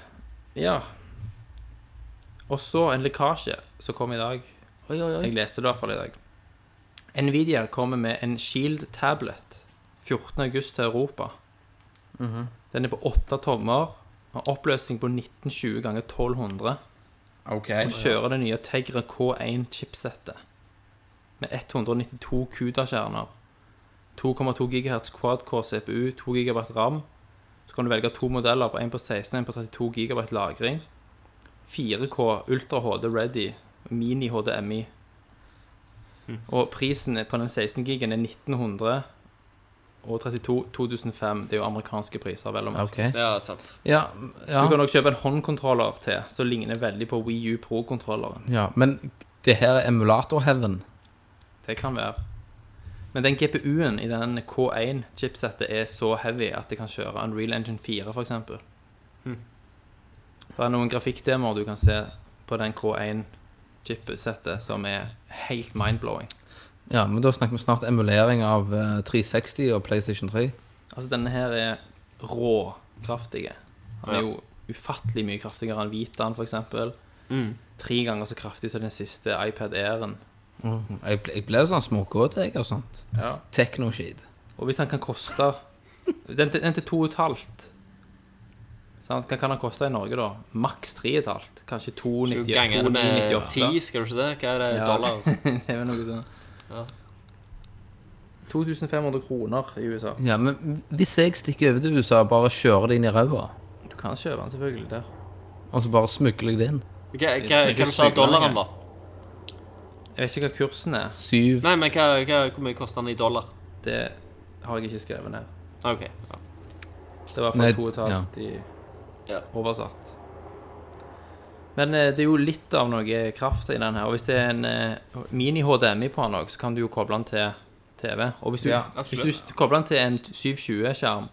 [SPEAKER 5] ja. Og så en lekkasje som kom i dag.
[SPEAKER 6] Oi, oi, oi.
[SPEAKER 5] Jeg leste det i hvert fall i dag. Nvidia kommer med en Shield Tablet 14. august til Europa. Den er på 8 tommer, har oppløsning på 1920 ganger 1200
[SPEAKER 6] OK.
[SPEAKER 5] og kjører det nye Tegra K1-chipsettet med 192 CUDA-kjerner, 2,2 GHz quad-core CPU, 2 GB RAM. Så kan du velge to modeller, på en på 16 og en på 32 GB lagring. 4K Ultra HD Ready, Mini HDMI. Og prisen på den 16 gigen er 1900 og 32 2005. Det er jo amerikanske priser, vel å merke.
[SPEAKER 6] Ok.
[SPEAKER 7] Det er sant.
[SPEAKER 6] Ja, ja.
[SPEAKER 5] Du kan også kjøpe en håndkontroller til, som ligner veldig på Wii U Pro-kontrolleren.
[SPEAKER 6] ja. Men det her er emulator-heaven.
[SPEAKER 5] Det kan være. Men den GPU-en i den K1-chipsettet er så heavy at det kan kjøre Unreal Engine 4, f.eks. eksempel. Det er noen grafikkdemoer du kan se på den K1-chipsettet som er helt mind-blowing.
[SPEAKER 6] Ja, men da snakker vi snart emulering av eh, 360 og PlayStation 3.
[SPEAKER 5] Altså, denne her er råkraftige. Han er jo ufattelig mye kraftigere enn Vitaen, f.eks. eksempel Tre ganger så kraftig som den siste iPad Air-en.
[SPEAKER 6] Jeg, ble- jeg ble sånn smågåt, jeg, og sånt.
[SPEAKER 5] Ja.
[SPEAKER 6] Techno-shit.
[SPEAKER 5] Og hvis han kan koste Den, til- den til 2,5 Sant? Hva kan han koste i Norge, da? Maks 3,5? Kanskje
[SPEAKER 7] Du ganger det med 10,
[SPEAKER 5] 2,98?
[SPEAKER 7] skal du ikke det? Hva er det?
[SPEAKER 5] Ja.
[SPEAKER 7] Dollar?
[SPEAKER 5] Det er vel noe sånn.
[SPEAKER 7] Ja.
[SPEAKER 5] 2500 kroner i USA.
[SPEAKER 6] Ja, men hvis jeg stikker over til USA og bare kjører det inn i ræva,
[SPEAKER 5] Du kan kjøpe den selvfølgelig der.
[SPEAKER 6] og så bare smugler jeg det inn
[SPEAKER 7] Hva,
[SPEAKER 5] Det
[SPEAKER 7] hva,
[SPEAKER 5] er ikke
[SPEAKER 7] hva sa
[SPEAKER 5] smuglere, jeg.
[SPEAKER 7] dollaren, da?
[SPEAKER 5] Jeg vet ikke hva kursen er.
[SPEAKER 6] Syv
[SPEAKER 7] Nei, men hva, hva, hvor mye koster den i dollar?
[SPEAKER 5] Det har jeg ikke skrevet ned.
[SPEAKER 7] Ah, Ok. Ja.
[SPEAKER 5] Det var
[SPEAKER 6] Nei,
[SPEAKER 5] fra 2,5 i
[SPEAKER 7] Ja.
[SPEAKER 5] oversatt. Men eh, det er jo litt av noe kraft i den her. Og hvis det er en eh, mini-HDMI på den òg, så kan du jo koble den til TV. Og hvis du,
[SPEAKER 6] Ja,
[SPEAKER 5] hvis du st- kobler den til en 720-skjerm,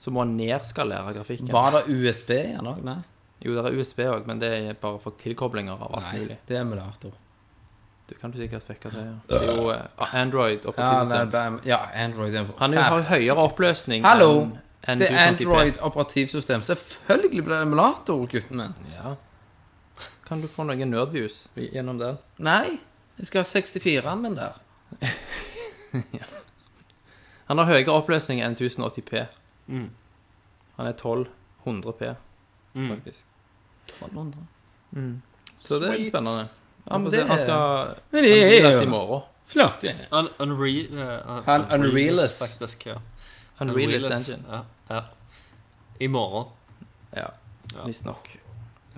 [SPEAKER 5] så må den nedskalere grafikken.
[SPEAKER 6] Var det USB igjen òg? Nei.
[SPEAKER 5] Jo, det er USB òg, men det er bare for tilkoblinger av alt mulig.
[SPEAKER 6] Det er emulator.
[SPEAKER 5] Du kan du sikkert fucka til. ja. Det er jo eh, Android
[SPEAKER 6] Ja, det
[SPEAKER 5] operativsystem.
[SPEAKER 6] ble, ja Android er
[SPEAKER 5] Han er jo, har jo høyere oppløsning
[SPEAKER 6] Hallo!
[SPEAKER 5] enn
[SPEAKER 6] Det er
[SPEAKER 5] 1080p.
[SPEAKER 6] Android operativsystem. Selvfølgelig blir det emulator, gutten min.
[SPEAKER 5] Ja. Kan du få noen nerdviews gjennom den?
[SPEAKER 6] Nei. Jeg skal ha 64-en min der.
[SPEAKER 5] Mm. Han har høyere oppløsning enn 1080p.
[SPEAKER 7] Mm.
[SPEAKER 5] Han er 1200p, faktisk.
[SPEAKER 6] 1200.
[SPEAKER 5] Så det er litt spennende.
[SPEAKER 6] Mm. Ja, men
[SPEAKER 5] Får se,
[SPEAKER 6] det
[SPEAKER 5] Han skal
[SPEAKER 6] Men det er
[SPEAKER 5] anmeldes i
[SPEAKER 6] jo
[SPEAKER 5] morgen.
[SPEAKER 6] flott.
[SPEAKER 7] Un unreal, eh,
[SPEAKER 6] Han-
[SPEAKER 7] unrealist,
[SPEAKER 6] unrealist.
[SPEAKER 7] faktisk. Ja.
[SPEAKER 5] Unrealist Engine.
[SPEAKER 7] Ja, ja. I morgen.
[SPEAKER 5] Ja,
[SPEAKER 7] Ja.
[SPEAKER 5] visstnok.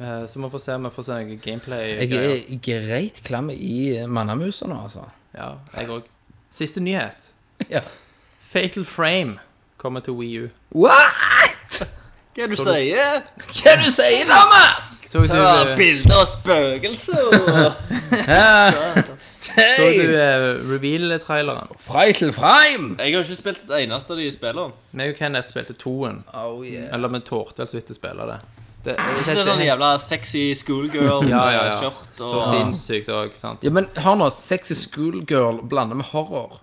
[SPEAKER 5] Eh, Så vi får se om vi får se noe gameplay.
[SPEAKER 6] Jeg er greit klam i mannamusa nå, altså.
[SPEAKER 5] Ja, jeg òg. Siste nyhet.
[SPEAKER 6] Ja.
[SPEAKER 5] Fatal Frame kommer til Wii U.
[SPEAKER 6] What?!
[SPEAKER 7] Hva er det du sier?
[SPEAKER 6] Hva er det du sier, Thomas?!
[SPEAKER 5] Så du,
[SPEAKER 7] Ta
[SPEAKER 5] eh,
[SPEAKER 7] bilder av spøkelser!
[SPEAKER 5] så du
[SPEAKER 6] Hey!
[SPEAKER 5] eh, reveal-traileren?
[SPEAKER 6] Freitel Freim!
[SPEAKER 7] Jeg har ikke spilt et eneste av de spillene.
[SPEAKER 5] Vi og Kenneth spilte toen.
[SPEAKER 6] Oh yeah.
[SPEAKER 5] Eller vi torde altså ikke å spille det. det,
[SPEAKER 7] Ikke det sånn jævla sexy schoolgirl
[SPEAKER 5] Ja, ja, ja.
[SPEAKER 7] med skjørt
[SPEAKER 5] Så
[SPEAKER 7] og
[SPEAKER 5] sinnssykt òg, sant.
[SPEAKER 6] Ja, men hør nå. Sexy schoolgirl blander med horror.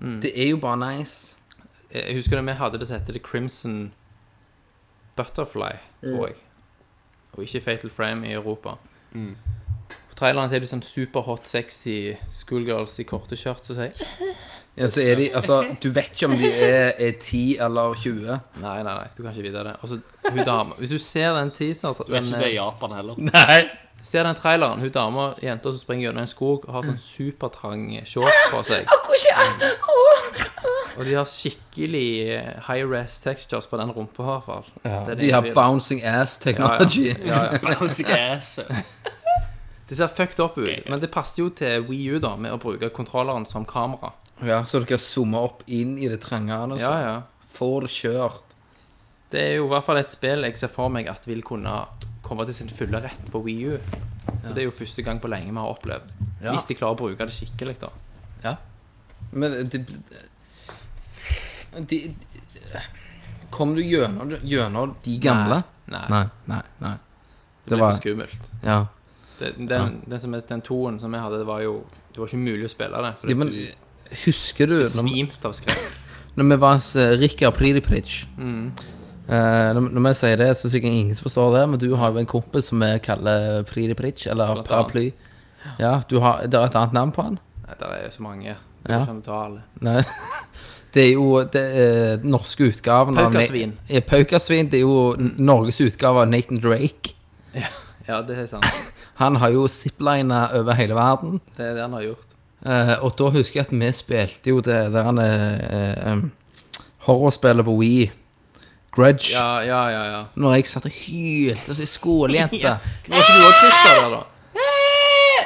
[SPEAKER 6] Det er jo bare nice.
[SPEAKER 5] Jeg Eh, husker da vi hadde det som heter The Crimson Butterfly, tror jeg. Og ikke Fatal Frame i Europa.
[SPEAKER 7] Mm.
[SPEAKER 5] På traileren ser du sånn superhot, sexy schoolgirls i korte sånn. skjørt som sier
[SPEAKER 6] Ja, så er de Altså, du vet ikke om de er, er 10 eller 20.
[SPEAKER 5] Nei, nei, nei, du kan ikke vite det. Og så hun dama Hvis du ser den teaser
[SPEAKER 7] Du vet ikke det
[SPEAKER 5] den,
[SPEAKER 7] i Japan heller.
[SPEAKER 6] Nei.
[SPEAKER 5] Ser den traileren, hun dama, jenta som springer gjennom en skog, har sånn
[SPEAKER 7] Mm.
[SPEAKER 5] supertrang shorts på seg. Mm. Og de har skikkelig high res textures på den rumpa, i hvert fall. Det er det
[SPEAKER 6] De
[SPEAKER 5] jeg
[SPEAKER 6] har
[SPEAKER 5] vil.
[SPEAKER 6] bouncing ass technology.
[SPEAKER 5] Ja, ja.
[SPEAKER 7] Bouncing ass.
[SPEAKER 5] Det ser fucked up ut, men det passer jo til Wii U da, med å bruke kontrolleren som kamera.
[SPEAKER 6] Ja, så dere zoomer opp inn i det trange. Altså.
[SPEAKER 5] Ja, ja.
[SPEAKER 6] Får det kjørt.
[SPEAKER 5] Det er jo i hvert fall et spill jeg ser for meg at vil kunne komme til sin fulle rett på Wii U. Og Det er jo første gang på lenge vi har opplevd.
[SPEAKER 6] Ja.
[SPEAKER 5] Hvis de klarer å bruke det skikkelig, da.
[SPEAKER 6] Men det de, Kom du gjennom, gjennom de gamle?
[SPEAKER 5] Nei,
[SPEAKER 6] nei. nei.
[SPEAKER 5] det ble for
[SPEAKER 6] var-
[SPEAKER 5] skummelt.
[SPEAKER 6] Ja.
[SPEAKER 5] Det, den, den, som er, den toen som jeg hadde, det var jo Det var ikke mulig å spille det. For
[SPEAKER 6] ja men
[SPEAKER 5] du
[SPEAKER 6] husker du når,
[SPEAKER 5] svimte av skrekk.
[SPEAKER 6] når vi var hos eh, Rikard Plidiplic
[SPEAKER 5] Mm.
[SPEAKER 6] Eh, når, når vi sier det, så er det sikkert ingen som forstår det, men du har jo en kompis som vi kaller Plidiplic, eller
[SPEAKER 5] Blant annet.
[SPEAKER 6] Paraply. Ja, du har, Det er et annet navn på han?
[SPEAKER 5] Nei, Der er jo så mange. Du
[SPEAKER 6] Ja.
[SPEAKER 5] kan ta alle.
[SPEAKER 6] Nei. Det er jo det er den norske utgaven av-
[SPEAKER 5] Paukasvin.
[SPEAKER 6] Ja, Paukasvin. Det er jo N- Norges utgave av Nathan Drake.
[SPEAKER 5] Ja, det er sant.
[SPEAKER 6] Han har jo ziplina over hele verden.
[SPEAKER 5] Det er det han har gjort.
[SPEAKER 6] Eh, og da husker jeg at vi spilte jo det der han eh, eh, horrorspillet på Wii. Grudge.
[SPEAKER 5] Ja, ja, ja. ja.
[SPEAKER 6] Når jeg satt altså, og hylte som ei skolejente.
[SPEAKER 5] Var ikke du òg Christer der, da?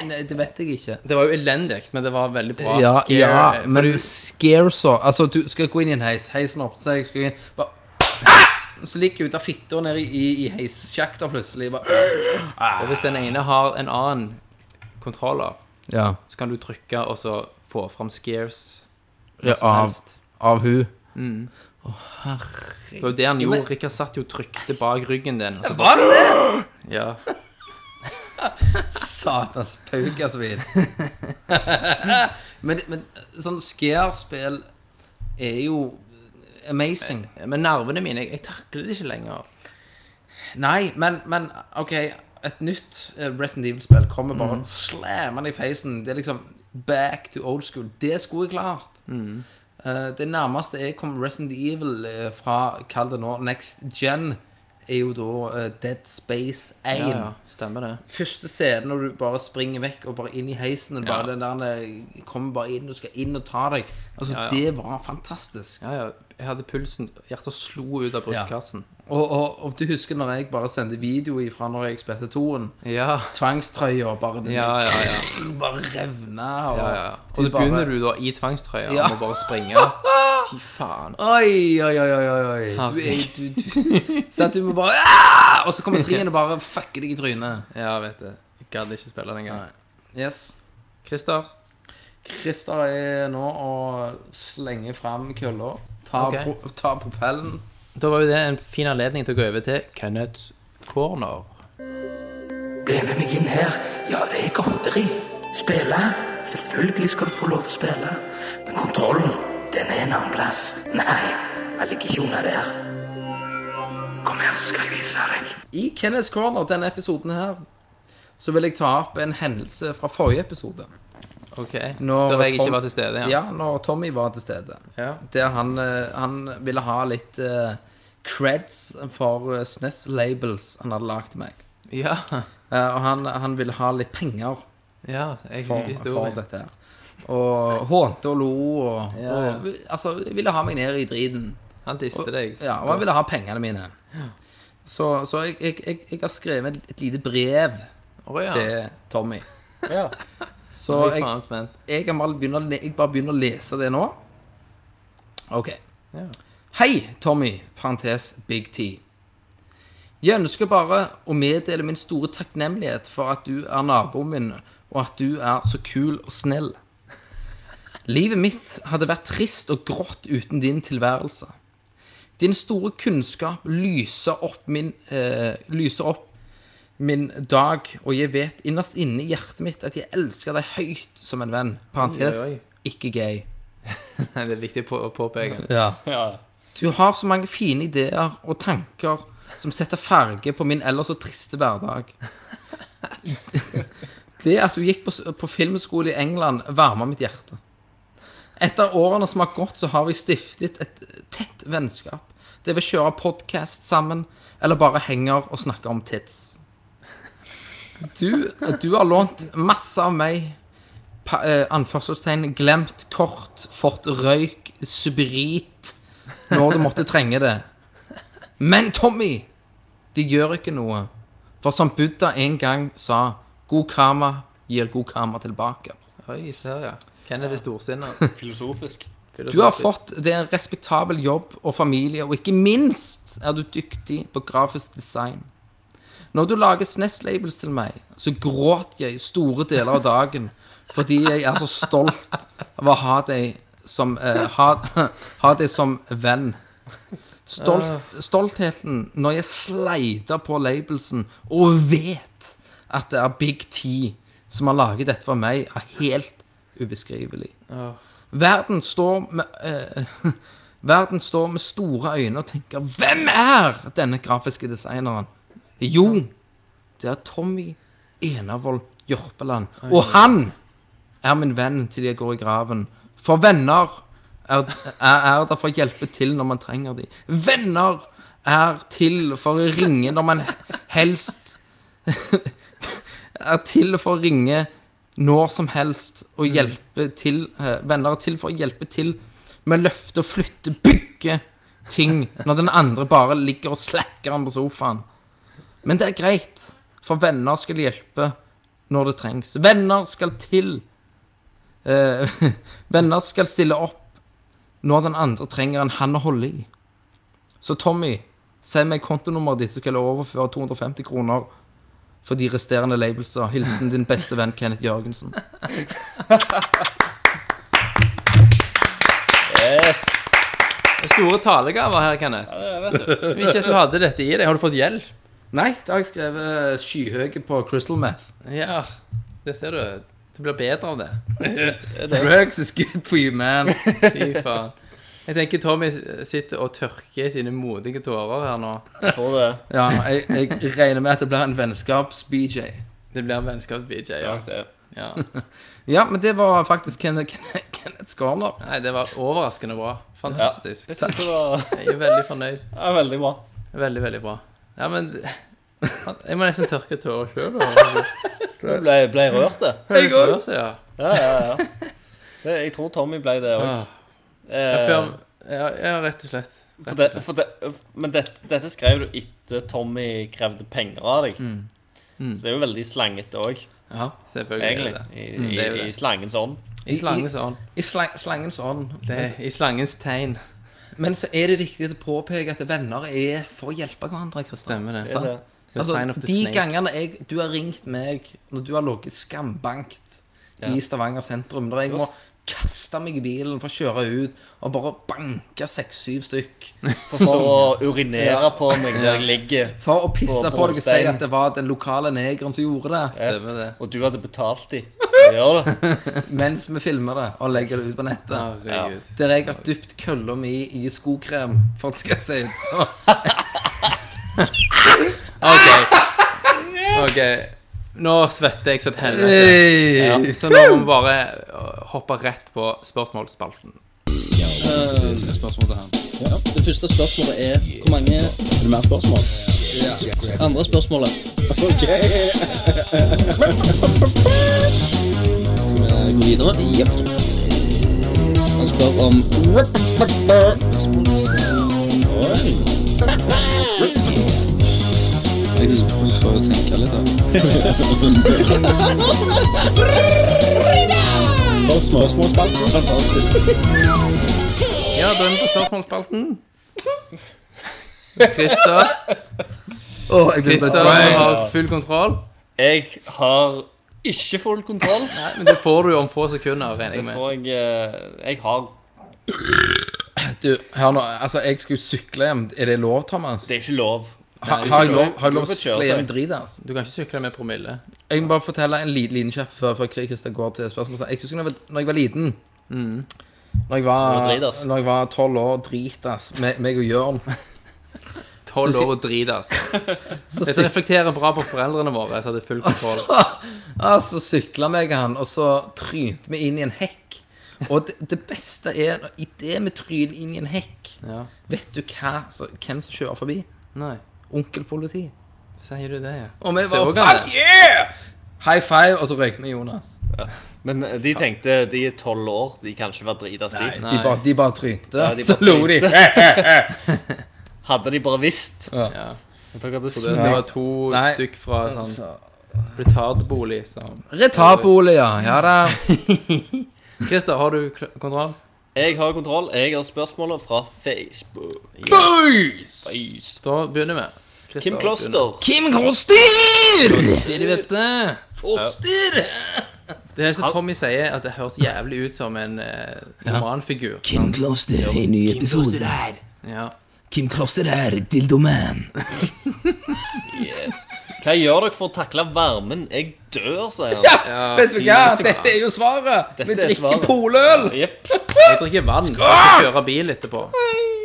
[SPEAKER 6] Nei, Det vet jeg ikke.
[SPEAKER 5] Det var jo elendig, men det var veldig bra.
[SPEAKER 6] Ja,
[SPEAKER 5] Scare- eh,
[SPEAKER 6] ja,
[SPEAKER 5] for
[SPEAKER 6] men
[SPEAKER 5] du-
[SPEAKER 6] scare så Altså, du skal gå inn i en heis, heisen opp til seg, skal gå inn bare, ah! Så ligger jeg ute av fitta nede i, i, i heissjakta plutselig. Bare,
[SPEAKER 5] Og hvis den ene har en annen kontroller,
[SPEAKER 6] ja,
[SPEAKER 5] så kan du trykke og så få fram scares.
[SPEAKER 6] ja, av,
[SPEAKER 5] helst.
[SPEAKER 6] av hun. Mm.
[SPEAKER 5] Det var jo det han gjorde.
[SPEAKER 6] men-
[SPEAKER 5] Rikard satt jo og trykte bak ryggen din. og så bare-
[SPEAKER 6] Var det det?!
[SPEAKER 5] ja.
[SPEAKER 6] Satans paukasvin. men, men sånn scare-spill er jo amazing.
[SPEAKER 5] Men nervene mine Jeg, jeg takler det ikke lenger.
[SPEAKER 6] Nei, men, men OK. Et nytt eh, Resident Evil-spill kommer bare mm. slammende i feisen. Det er liksom back to old school. Det skulle jeg klart.
[SPEAKER 5] Mm.
[SPEAKER 6] Eh, det nærmeste jeg kom Resident Evil eh, fra, kall det nå, next gen, er jo da eh, Dead Space 1.
[SPEAKER 5] Ja, ja, stemmer det.
[SPEAKER 6] Første scenen når du bare springer vekk og bare inn i heisen. og Bare den der eh, kommer bare inn, du skal inn og ta deg. Altså,
[SPEAKER 5] ja.
[SPEAKER 6] det var fantastisk.
[SPEAKER 5] Ja, ja. Jeg hadde pulsen Hjertet slo ut av brystkassen.
[SPEAKER 6] Og, og, og du husker når jeg bare sendte video ifra når jeg spilte toen?
[SPEAKER 5] Ja.
[SPEAKER 6] tvangstrøya bare den
[SPEAKER 5] Ja, ja, ja.
[SPEAKER 6] bare revna. Og,
[SPEAKER 5] ja, ja. Og så
[SPEAKER 6] bare-
[SPEAKER 5] begynner du da i tvangstrøya
[SPEAKER 6] Ja.
[SPEAKER 5] og må bare springe. Fy faen.
[SPEAKER 6] Oi, oi, oi, oi, oi, oi. Du er du, du, Så at du må bare «Ah!» Og så kommer trien og bare fucker deg i trynet.
[SPEAKER 5] Ja, vet du. Jeg gadd ikke spille den gangen.
[SPEAKER 6] Yes.
[SPEAKER 5] Christer?
[SPEAKER 6] Christer er nå å slenge fram kølla. Ta,
[SPEAKER 5] Ok.
[SPEAKER 6] pro, ta propellen.
[SPEAKER 5] Da var jo det en fin anledning til å gå over til Kenneths corner.
[SPEAKER 8] Bli med meg inn her. Ja, det er godteri. Spille? Selvfølgelig skal du få lov å spille. Men kontrollen, den er en annen plass. Nei, jeg ligger ikke under der. Kom her, skal jeg vise deg.
[SPEAKER 6] I Kenneths Corner, denne episoden her, så vil jeg ta opp en hendelse fra forrige episode.
[SPEAKER 5] Ok,
[SPEAKER 6] Når
[SPEAKER 5] Der jeg
[SPEAKER 6] Tom-
[SPEAKER 5] ikke var til stede, ja.
[SPEAKER 6] Ja, når Tommy var til stede.
[SPEAKER 5] Ja.
[SPEAKER 6] Der han, eh, han ville ha litt eh, creds for eh, SNES-labels han hadde lagd til meg.
[SPEAKER 5] Ja,
[SPEAKER 6] Eh, og han, han ville ha litt penger
[SPEAKER 5] ja jeg
[SPEAKER 6] for,
[SPEAKER 5] husker
[SPEAKER 6] for
[SPEAKER 5] historien.
[SPEAKER 6] dette her. Og hånte og lo og,
[SPEAKER 5] Ja, ja.
[SPEAKER 6] og Altså, ville ha meg ned i driten.
[SPEAKER 5] Han diste deg.
[SPEAKER 6] Ja, og han ville ha pengene mine. Så, så jeg, jeg, jeg, jeg har skrevet et lite brev
[SPEAKER 5] Å ja.
[SPEAKER 6] til Tommy. Så
[SPEAKER 5] Nå er jeg
[SPEAKER 6] jeg,
[SPEAKER 5] faen spent.
[SPEAKER 6] jeg, kan bare begynne, å le- jeg bare begynner å lese det nå. Ok.
[SPEAKER 5] Ja.
[SPEAKER 6] Hei, Tommy, parentes Big T. Jeg ønsker bare å meddele min store takknemlighet for at du er naboen min, og at du er så kul og snill. Livet mitt hadde vært trist og grått uten din tilværelse. Din store kunnskap lyser opp min, eh, lyser opp min dag, og jeg vet innerst inne i hjertet mitt at jeg elsker deg høyt som en venn. Parentes
[SPEAKER 5] Oi, oi.
[SPEAKER 6] ikke gay.
[SPEAKER 5] Nei, Det er viktig å på- å påpeke.
[SPEAKER 6] Ja.
[SPEAKER 7] Ja.
[SPEAKER 6] Du har så mange fine ideer og tanker som setter farge på min ellers så triste hverdag. Det at du gikk på, s- på filmskole i England, varma mitt hjerte. Etter årene som har gått, så har vi stiftet et tett vennskap. Det vi kjører podkast sammen, eller bare henger og snakker om tits. Du, du har lånt masse av meg. Pa, eh, anførselstegn, glemt kort, fått røyk, sprit når du måtte trenge det. Men Tommy, det gjør ikke noe. For som Buddha en gang sa, God karma gir god karma tilbake.
[SPEAKER 5] Oi, ser jeg. Kenneth er storsinna.
[SPEAKER 7] Filosofisk.
[SPEAKER 6] Du har fått det en respektabel jobb og familie, og ikke minst er du dyktig på grafisk design. Når du lager SNES-labels til meg, så gråter jeg store deler av dagen fordi jeg er så stolt av å ha deg som, eh, ha, ha deg som venn. Stolt, stoltheten når jeg sleider på labelsen og vet at det er Big T som har laget dette for meg, er helt ubeskrivelig. Verden står med eh, Verden står med store øyne og tenker Hvem er denne grafiske designeren? Jo, det er Tommy Enervold Jørpeland. Og han er min venn til jeg går i graven. For venner er, er, er der for å hjelpe til når man trenger dem. Venner er til for å ringe når man helst Er til for å ringe når som helst og hjelpe til eh, Venner er til for å hjelpe til med løfte og flytte, bygge ting når den andre bare ligger og slacker han på sofaen. Men det er greit, for venner skal hjelpe når det trengs. Venner skal til. Eh, venner skal stille opp når den andre trenger en hand å holde i. Så Tommy, send meg kontonummeret ditt, så skal jeg overføre 250 kroner for de resterende labelser. Hilsen din beste venn Kenneth Jørgensen.
[SPEAKER 5] Store talegaver her, Kenneth. Ikke at du hadde dette i deg. Har du fått hjelp?
[SPEAKER 6] Nei, da har jeg skrevet skyhøye på Crystal Meth.
[SPEAKER 5] Ja, det ser du. Du blir bedre av det.
[SPEAKER 6] Drugs is good for you, man.
[SPEAKER 5] Fy faen. Jeg tenker Tommy sitter og tørker sine modige tårer her nå.
[SPEAKER 7] Jeg tror det.
[SPEAKER 6] Ja, jeg, jeg regner med at det blir en vennskaps-BJ.
[SPEAKER 5] Det blir en vennskaps-BJ. Ja.
[SPEAKER 7] Takk, det.
[SPEAKER 5] Ja.
[SPEAKER 6] Ja, men det var faktisk Kenneth, Kenneth, Kenneth Skåner.
[SPEAKER 5] Nei, det var overraskende bra. Fantastisk.
[SPEAKER 7] Jeg synes det var
[SPEAKER 5] Jeg er veldig fornøyd.
[SPEAKER 7] det er veldig bra.
[SPEAKER 5] Veldig, veldig bra. Ja, men Jeg må nesten tørke tårer sjøl.
[SPEAKER 7] Du ble, ble rørt, det.
[SPEAKER 5] Jeg òg. Ja.
[SPEAKER 7] Ja, ja, ja. Det, jeg tror Tommy ble det òg.
[SPEAKER 5] Ah. Ja, før- ja, ja, rett og slett.
[SPEAKER 7] For det, for det, men dette, dette skrev du etter Tommy krevde penger av deg.
[SPEAKER 5] Mm.
[SPEAKER 7] Så det er jo veldig slangete òg,
[SPEAKER 5] Selvfølgelig.
[SPEAKER 7] egentlig.
[SPEAKER 5] er det
[SPEAKER 7] I,
[SPEAKER 5] det. Mm,
[SPEAKER 7] i,
[SPEAKER 5] det er jo
[SPEAKER 7] i
[SPEAKER 5] det.
[SPEAKER 7] slangens ånd.
[SPEAKER 5] I slangens ånd.
[SPEAKER 6] I slang, slangens ånd.
[SPEAKER 5] Det
[SPEAKER 6] Men,
[SPEAKER 5] er- I slangens tegn.
[SPEAKER 6] men så er det viktig å påpeke at venner er for å hjelpe hverandre. Kristian.
[SPEAKER 5] Stemmer det.
[SPEAKER 6] Sant?
[SPEAKER 7] det.
[SPEAKER 5] The
[SPEAKER 6] Altså,
[SPEAKER 5] sign of the
[SPEAKER 6] de
[SPEAKER 5] snake.
[SPEAKER 6] gangene jeg, du har ringt meg når du har ligget skambankt i Stavanger sentrum, der jeg må kaste meg i bilen for å kjøre ut og bare banke seks-syv stykk
[SPEAKER 7] For så å urinere
[SPEAKER 6] Ja.
[SPEAKER 7] på meg der jeg ligger,
[SPEAKER 6] for å pisse
[SPEAKER 7] På
[SPEAKER 6] på deg og si
[SPEAKER 7] brostein.
[SPEAKER 6] at det var den lokale negeren som gjorde det,
[SPEAKER 5] Stemmer det.
[SPEAKER 7] og du hadde betalt de. Jeg gjør det.
[SPEAKER 6] mens vi filmer det og legger det ut på nettet.
[SPEAKER 5] Herregud.
[SPEAKER 6] Der jeg har dypt kølla mi i skokrem, for det skal se ut som.
[SPEAKER 5] OK. Ok. Nå svetter jeg så til helvete. Ja,
[SPEAKER 6] Hey.
[SPEAKER 5] så nå må vi bare øh, hoppe rett på spørsmålsspalten.
[SPEAKER 9] Det første spørsmålet er Hvor mange Er det mer spørsmål? Andre spørsmålet Ok Skal vi gå videre? Jep Han spør om Oi Jeg får tenke litt her Spørsmål Spørsmålspalten Fantastisk
[SPEAKER 5] Ja, da er vi på spørsmålsspalten. Christer,
[SPEAKER 6] Åh, jeg begynte å
[SPEAKER 5] Christer
[SPEAKER 6] dry.
[SPEAKER 5] har full kontroll.
[SPEAKER 7] Jeg har ikke full kontroll.
[SPEAKER 5] Men det får du om få sekunder, regner
[SPEAKER 7] Det
[SPEAKER 5] jeg med.
[SPEAKER 7] får jeg eh, Jeg har
[SPEAKER 6] Du, hør nå, altså, jeg skulle sykle hjem. Er det lov, Thomas?
[SPEAKER 7] Det er ikke lov.
[SPEAKER 6] Ha,
[SPEAKER 7] Nei,
[SPEAKER 6] har jeg
[SPEAKER 7] du-
[SPEAKER 6] lov, har jeg lov
[SPEAKER 7] du
[SPEAKER 6] å
[SPEAKER 7] får kjøre
[SPEAKER 6] sykle hjem
[SPEAKER 7] deg.
[SPEAKER 6] i drit, altså?
[SPEAKER 5] Du kan ikke sykle med promille.
[SPEAKER 6] Jeg må bare fortelle en liten liten kjapp før, før Christer går til spørsmålet. Jeg husker når jeg var, når jeg var liten Når jeg
[SPEAKER 7] Du var
[SPEAKER 6] var,
[SPEAKER 7] dritas.
[SPEAKER 6] når jeg var 12 år, dritas, meg, meg og Jørn
[SPEAKER 5] Tolv
[SPEAKER 6] Så si-
[SPEAKER 5] år og drit, altså.
[SPEAKER 6] Så
[SPEAKER 5] Dette reflekterer bra på foreldrene våre, som hadde full kontroll.
[SPEAKER 6] Så, altså, sykla meg han, og så trynte vi inn i en hekk. Og det, det beste er når- i det vi tryner inn i en hekk
[SPEAKER 5] Ja.
[SPEAKER 6] Vet du hva, så, hvem som kjører forbi?
[SPEAKER 5] Nei,
[SPEAKER 6] Onkel politi.
[SPEAKER 5] sier du det, ja?
[SPEAKER 6] Og vi
[SPEAKER 5] Så
[SPEAKER 6] bare
[SPEAKER 5] kan
[SPEAKER 6] Fuck yeah! High five, og så røykte vi Jonas.
[SPEAKER 7] Men eh, de tenkte de er tolv år, de kan ikke være dritas, de.
[SPEAKER 6] De bare, de bare trynte.
[SPEAKER 7] de
[SPEAKER 6] så
[SPEAKER 7] bare
[SPEAKER 6] lo de.
[SPEAKER 7] Hadde de bare visst.
[SPEAKER 5] Ja.
[SPEAKER 7] Dere hadde
[SPEAKER 5] Det
[SPEAKER 7] smukt
[SPEAKER 5] var to
[SPEAKER 6] Nei.
[SPEAKER 5] stykk fra sånn
[SPEAKER 6] Så,
[SPEAKER 5] Retardbolig. som-
[SPEAKER 6] Retarbolig, ja. Ja da.
[SPEAKER 5] Christer, har du kl- kontroll?
[SPEAKER 7] Jeg har kontroll. Jeg har spørsmålet fra Facebook.
[SPEAKER 6] Boys!
[SPEAKER 7] Yes.
[SPEAKER 5] Da begynner vi. Christer,
[SPEAKER 7] Kim
[SPEAKER 5] begynner.
[SPEAKER 7] Kloster.
[SPEAKER 6] Kim Kroster!
[SPEAKER 5] Det er de vet det.
[SPEAKER 6] Foster!
[SPEAKER 5] Det er som Tommy sier, at det høres jævlig ut som en eh, romanfigur.
[SPEAKER 4] Kim Kloster, en ny episode.
[SPEAKER 5] Ja.
[SPEAKER 4] Kim Kloster her, dildoman.
[SPEAKER 7] Yes. Hva gjør dere for å takle varmen? Jeg dør, sier han.
[SPEAKER 6] Ja, vet du hva?
[SPEAKER 5] fy-
[SPEAKER 6] Dette er jo svaret. Vi
[SPEAKER 7] Dette er
[SPEAKER 6] drikker
[SPEAKER 7] svaret.
[SPEAKER 6] poløl.
[SPEAKER 7] Jepp.
[SPEAKER 5] Jeg drikker vann. Jeg skal kjøre bil etterpå.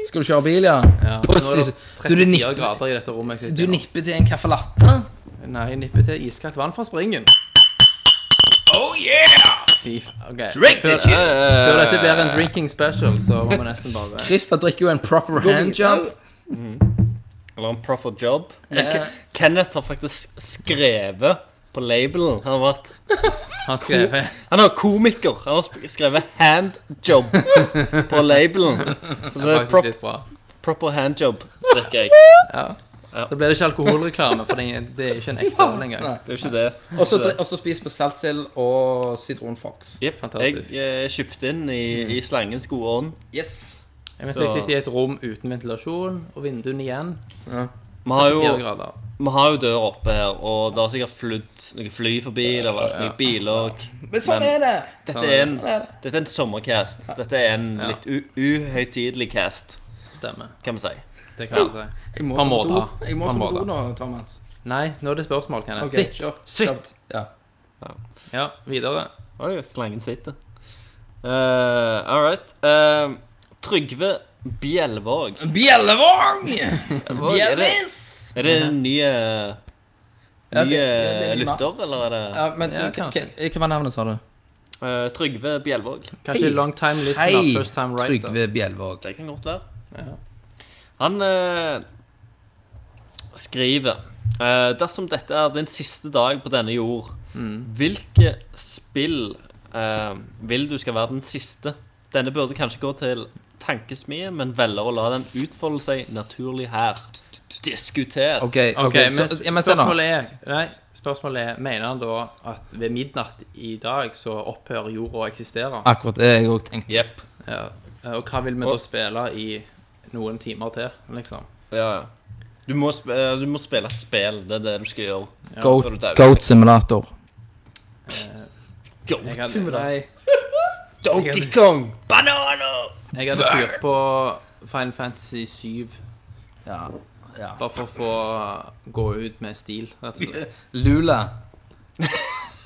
[SPEAKER 6] Skal du kjøre bil, ja?
[SPEAKER 5] Ja, nå
[SPEAKER 6] Pussy.
[SPEAKER 5] er det
[SPEAKER 6] Du, du
[SPEAKER 5] 34
[SPEAKER 6] nipper,
[SPEAKER 5] grader i dette rommet jeg
[SPEAKER 6] du
[SPEAKER 5] sitter i.
[SPEAKER 6] nipper til en caffè latte?
[SPEAKER 5] nå. Nei, jeg nipper til iskaldt vann fra springen.
[SPEAKER 6] Oh yeah!
[SPEAKER 5] Fy f- ok.
[SPEAKER 6] Drink
[SPEAKER 5] Før,
[SPEAKER 6] it, kid.
[SPEAKER 5] før dette blir en drinking special, så må vi nesten bare
[SPEAKER 6] Christer drikker jo en proper handjob.
[SPEAKER 7] Eller en proper job. Men Ke- Kenneth har faktisk skrevet på labelen. Han har vært
[SPEAKER 5] Han skrev
[SPEAKER 7] Han er komiker. Han har sp- skrevet 'handjob' på labelen. Så det er
[SPEAKER 5] faktisk
[SPEAKER 7] prop
[SPEAKER 5] litt bra.
[SPEAKER 7] proper handjob, drikker jeg.
[SPEAKER 5] Da blir det ikke alkoholreklame, for det er- det er ikke en ekte øl engang.
[SPEAKER 7] Det er jo ikke det.
[SPEAKER 6] Og så dri- og så spiser vi saltsild og sitronfox.
[SPEAKER 7] Jepp. Jeg
[SPEAKER 5] Fantastisk.
[SPEAKER 7] eh, kjøpte inn i, i slangens gode ånd.
[SPEAKER 6] Yes.
[SPEAKER 5] Jeg mens jeg sitter i et rom uten ventilasjon, og vinduene igjen,
[SPEAKER 7] Vi har jo,
[SPEAKER 5] 4 grader.
[SPEAKER 7] vi har jo døra oppe her, og det har sikkert flydd noen fly forbi, det har vært noen biler og
[SPEAKER 6] Men sånn
[SPEAKER 7] Men-
[SPEAKER 6] er det.
[SPEAKER 7] Dette er en, dette er en sommercast. Dette er en litt u- uhøytidelig cast,
[SPEAKER 5] Stemmer.
[SPEAKER 7] kan vi si.
[SPEAKER 5] Det kan jeg si.
[SPEAKER 6] Jeg må
[SPEAKER 5] Man
[SPEAKER 6] så
[SPEAKER 5] må
[SPEAKER 6] på
[SPEAKER 5] da.
[SPEAKER 6] do. Jeg må
[SPEAKER 5] Man
[SPEAKER 6] så
[SPEAKER 5] må
[SPEAKER 6] på do
[SPEAKER 5] da.
[SPEAKER 6] nå, Thomas.
[SPEAKER 5] Nei, nå er det spørsmål, Kenneth.
[SPEAKER 6] Ok,
[SPEAKER 5] Sitt!
[SPEAKER 6] kjør.
[SPEAKER 5] Sitt!
[SPEAKER 6] Ja.
[SPEAKER 5] Ja, videre.
[SPEAKER 7] Oi, slangen sitter. Uh, All right. Eh, Trygve Bjelvåg.
[SPEAKER 6] Bjellevåg!
[SPEAKER 7] Er det,
[SPEAKER 6] Bjellis!
[SPEAKER 7] er det en ny eh,
[SPEAKER 6] Ja, det- ja, det
[SPEAKER 7] Ny
[SPEAKER 6] er
[SPEAKER 7] eh,
[SPEAKER 6] ny mann.
[SPEAKER 7] lytter, eller er det
[SPEAKER 6] Ja, men du,
[SPEAKER 5] Ja,
[SPEAKER 6] hva
[SPEAKER 5] kanskje.
[SPEAKER 6] hva var navnet, sa du?
[SPEAKER 7] Eh, Trygve Bjelvåg.
[SPEAKER 5] Kanskje long time listener, first time writer.
[SPEAKER 6] Trygve Bjelvåg.
[SPEAKER 7] Det kan godt være. Han eh, skriver eh, Dersom dette er din siste dag på denne jord, hvilke spill eh, vil du skal være den siste? Denne burde kanskje gå til tankesmien, men velger å la den utfolde seg naturlig her. Diskuter.
[SPEAKER 6] OK,
[SPEAKER 5] Ok,
[SPEAKER 6] ok,
[SPEAKER 5] men,
[SPEAKER 6] så, ja, men se nå.
[SPEAKER 5] spørsmålet er Nei, spørsmålet er Mener han da at ved midnatt i dag så opphører jorda å eksistere?
[SPEAKER 6] Akkurat det jeg òg tenkte.
[SPEAKER 7] Jepp.
[SPEAKER 5] Ja. Og hva vil vi da spille i noen timer til, liksom?
[SPEAKER 7] Ja, ja. Du må, sp eh, du må spille et spill. Det er det du skal gjøre. før du
[SPEAKER 6] Goat,
[SPEAKER 7] dauer.
[SPEAKER 6] goat simulator.
[SPEAKER 7] Goat
[SPEAKER 5] Jeg hadde,
[SPEAKER 7] Simulator.
[SPEAKER 5] nei,
[SPEAKER 7] Donkey Kong! Bananer!
[SPEAKER 5] jeg hadde fyrt på Final Fantasy 7
[SPEAKER 6] Ja.
[SPEAKER 5] bare for å få gå ut med stil, rett og slett.
[SPEAKER 6] Lula.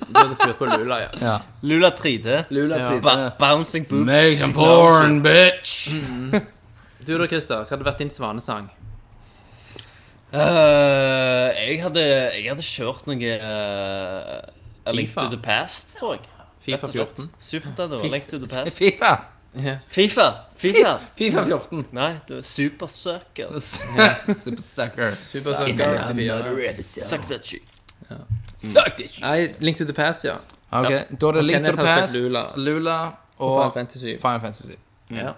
[SPEAKER 5] Du hadde fyrt på Lula, ja.
[SPEAKER 7] Lula 3D.
[SPEAKER 6] Lula
[SPEAKER 5] Ja.
[SPEAKER 6] Trine.
[SPEAKER 7] Ba bouncing boobs.
[SPEAKER 6] Make porn, bitch!
[SPEAKER 5] Du da, Christer, hva hadde vært din svanesang?
[SPEAKER 7] Eh, jeg, hadde, jeg hadde kjørt noe eh, A Link
[SPEAKER 5] FIFA.
[SPEAKER 7] to the Past, tror jeg.
[SPEAKER 5] Fifa 14.
[SPEAKER 7] Supernintendo. A Link to the Past.
[SPEAKER 6] Fifa.
[SPEAKER 7] Fifa! Fifa!
[SPEAKER 6] Fifa 14.
[SPEAKER 7] Nei, du er supersøker.
[SPEAKER 6] Super suckers.
[SPEAKER 5] Super Sucker 64.
[SPEAKER 7] Suck that shit. Mm.
[SPEAKER 5] Nei, Link to the Past, ja.
[SPEAKER 6] Ok, Da er det Link
[SPEAKER 5] Kenneth
[SPEAKER 6] to the
[SPEAKER 5] har
[SPEAKER 6] Past,
[SPEAKER 5] spilt Lula.
[SPEAKER 6] Lula
[SPEAKER 5] Og Final
[SPEAKER 6] og
[SPEAKER 5] Fantasy 7.
[SPEAKER 6] Final Fantasy 7.
[SPEAKER 5] Ja.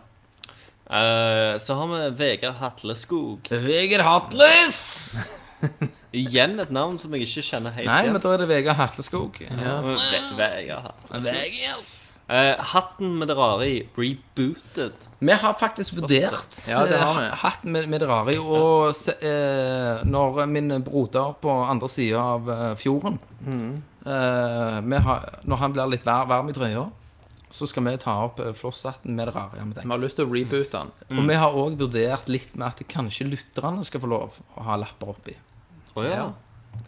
[SPEAKER 7] Eh, så har vi Vegard Hatleskog.
[SPEAKER 6] Vegard Hatles!
[SPEAKER 7] Igjen et navn som jeg ikke kjenner helt
[SPEAKER 6] Nei,
[SPEAKER 7] igjen.
[SPEAKER 6] men da er det Vegard Hatleskog.
[SPEAKER 7] Ve- Vegard Hatleskog. Eh, hatten med det rare i. Rebooted.
[SPEAKER 6] Vi har faktisk vurdert
[SPEAKER 5] Ja, det har vi.
[SPEAKER 6] eh, hatten med, med det rare. Og se, eh, når min broder på andre sida av eh, fjorden
[SPEAKER 5] Mm.
[SPEAKER 6] eh, vi har, Når han blir litt varm, varm i trøya, så skal vi ta opp eh, flosshatten med det rare. Ja, med
[SPEAKER 5] Vi har lyst til å reboote den.
[SPEAKER 6] Og vi har òg vurdert litt med at kanskje lytterne skal få lov å ha lapper oppi.
[SPEAKER 7] Å ja.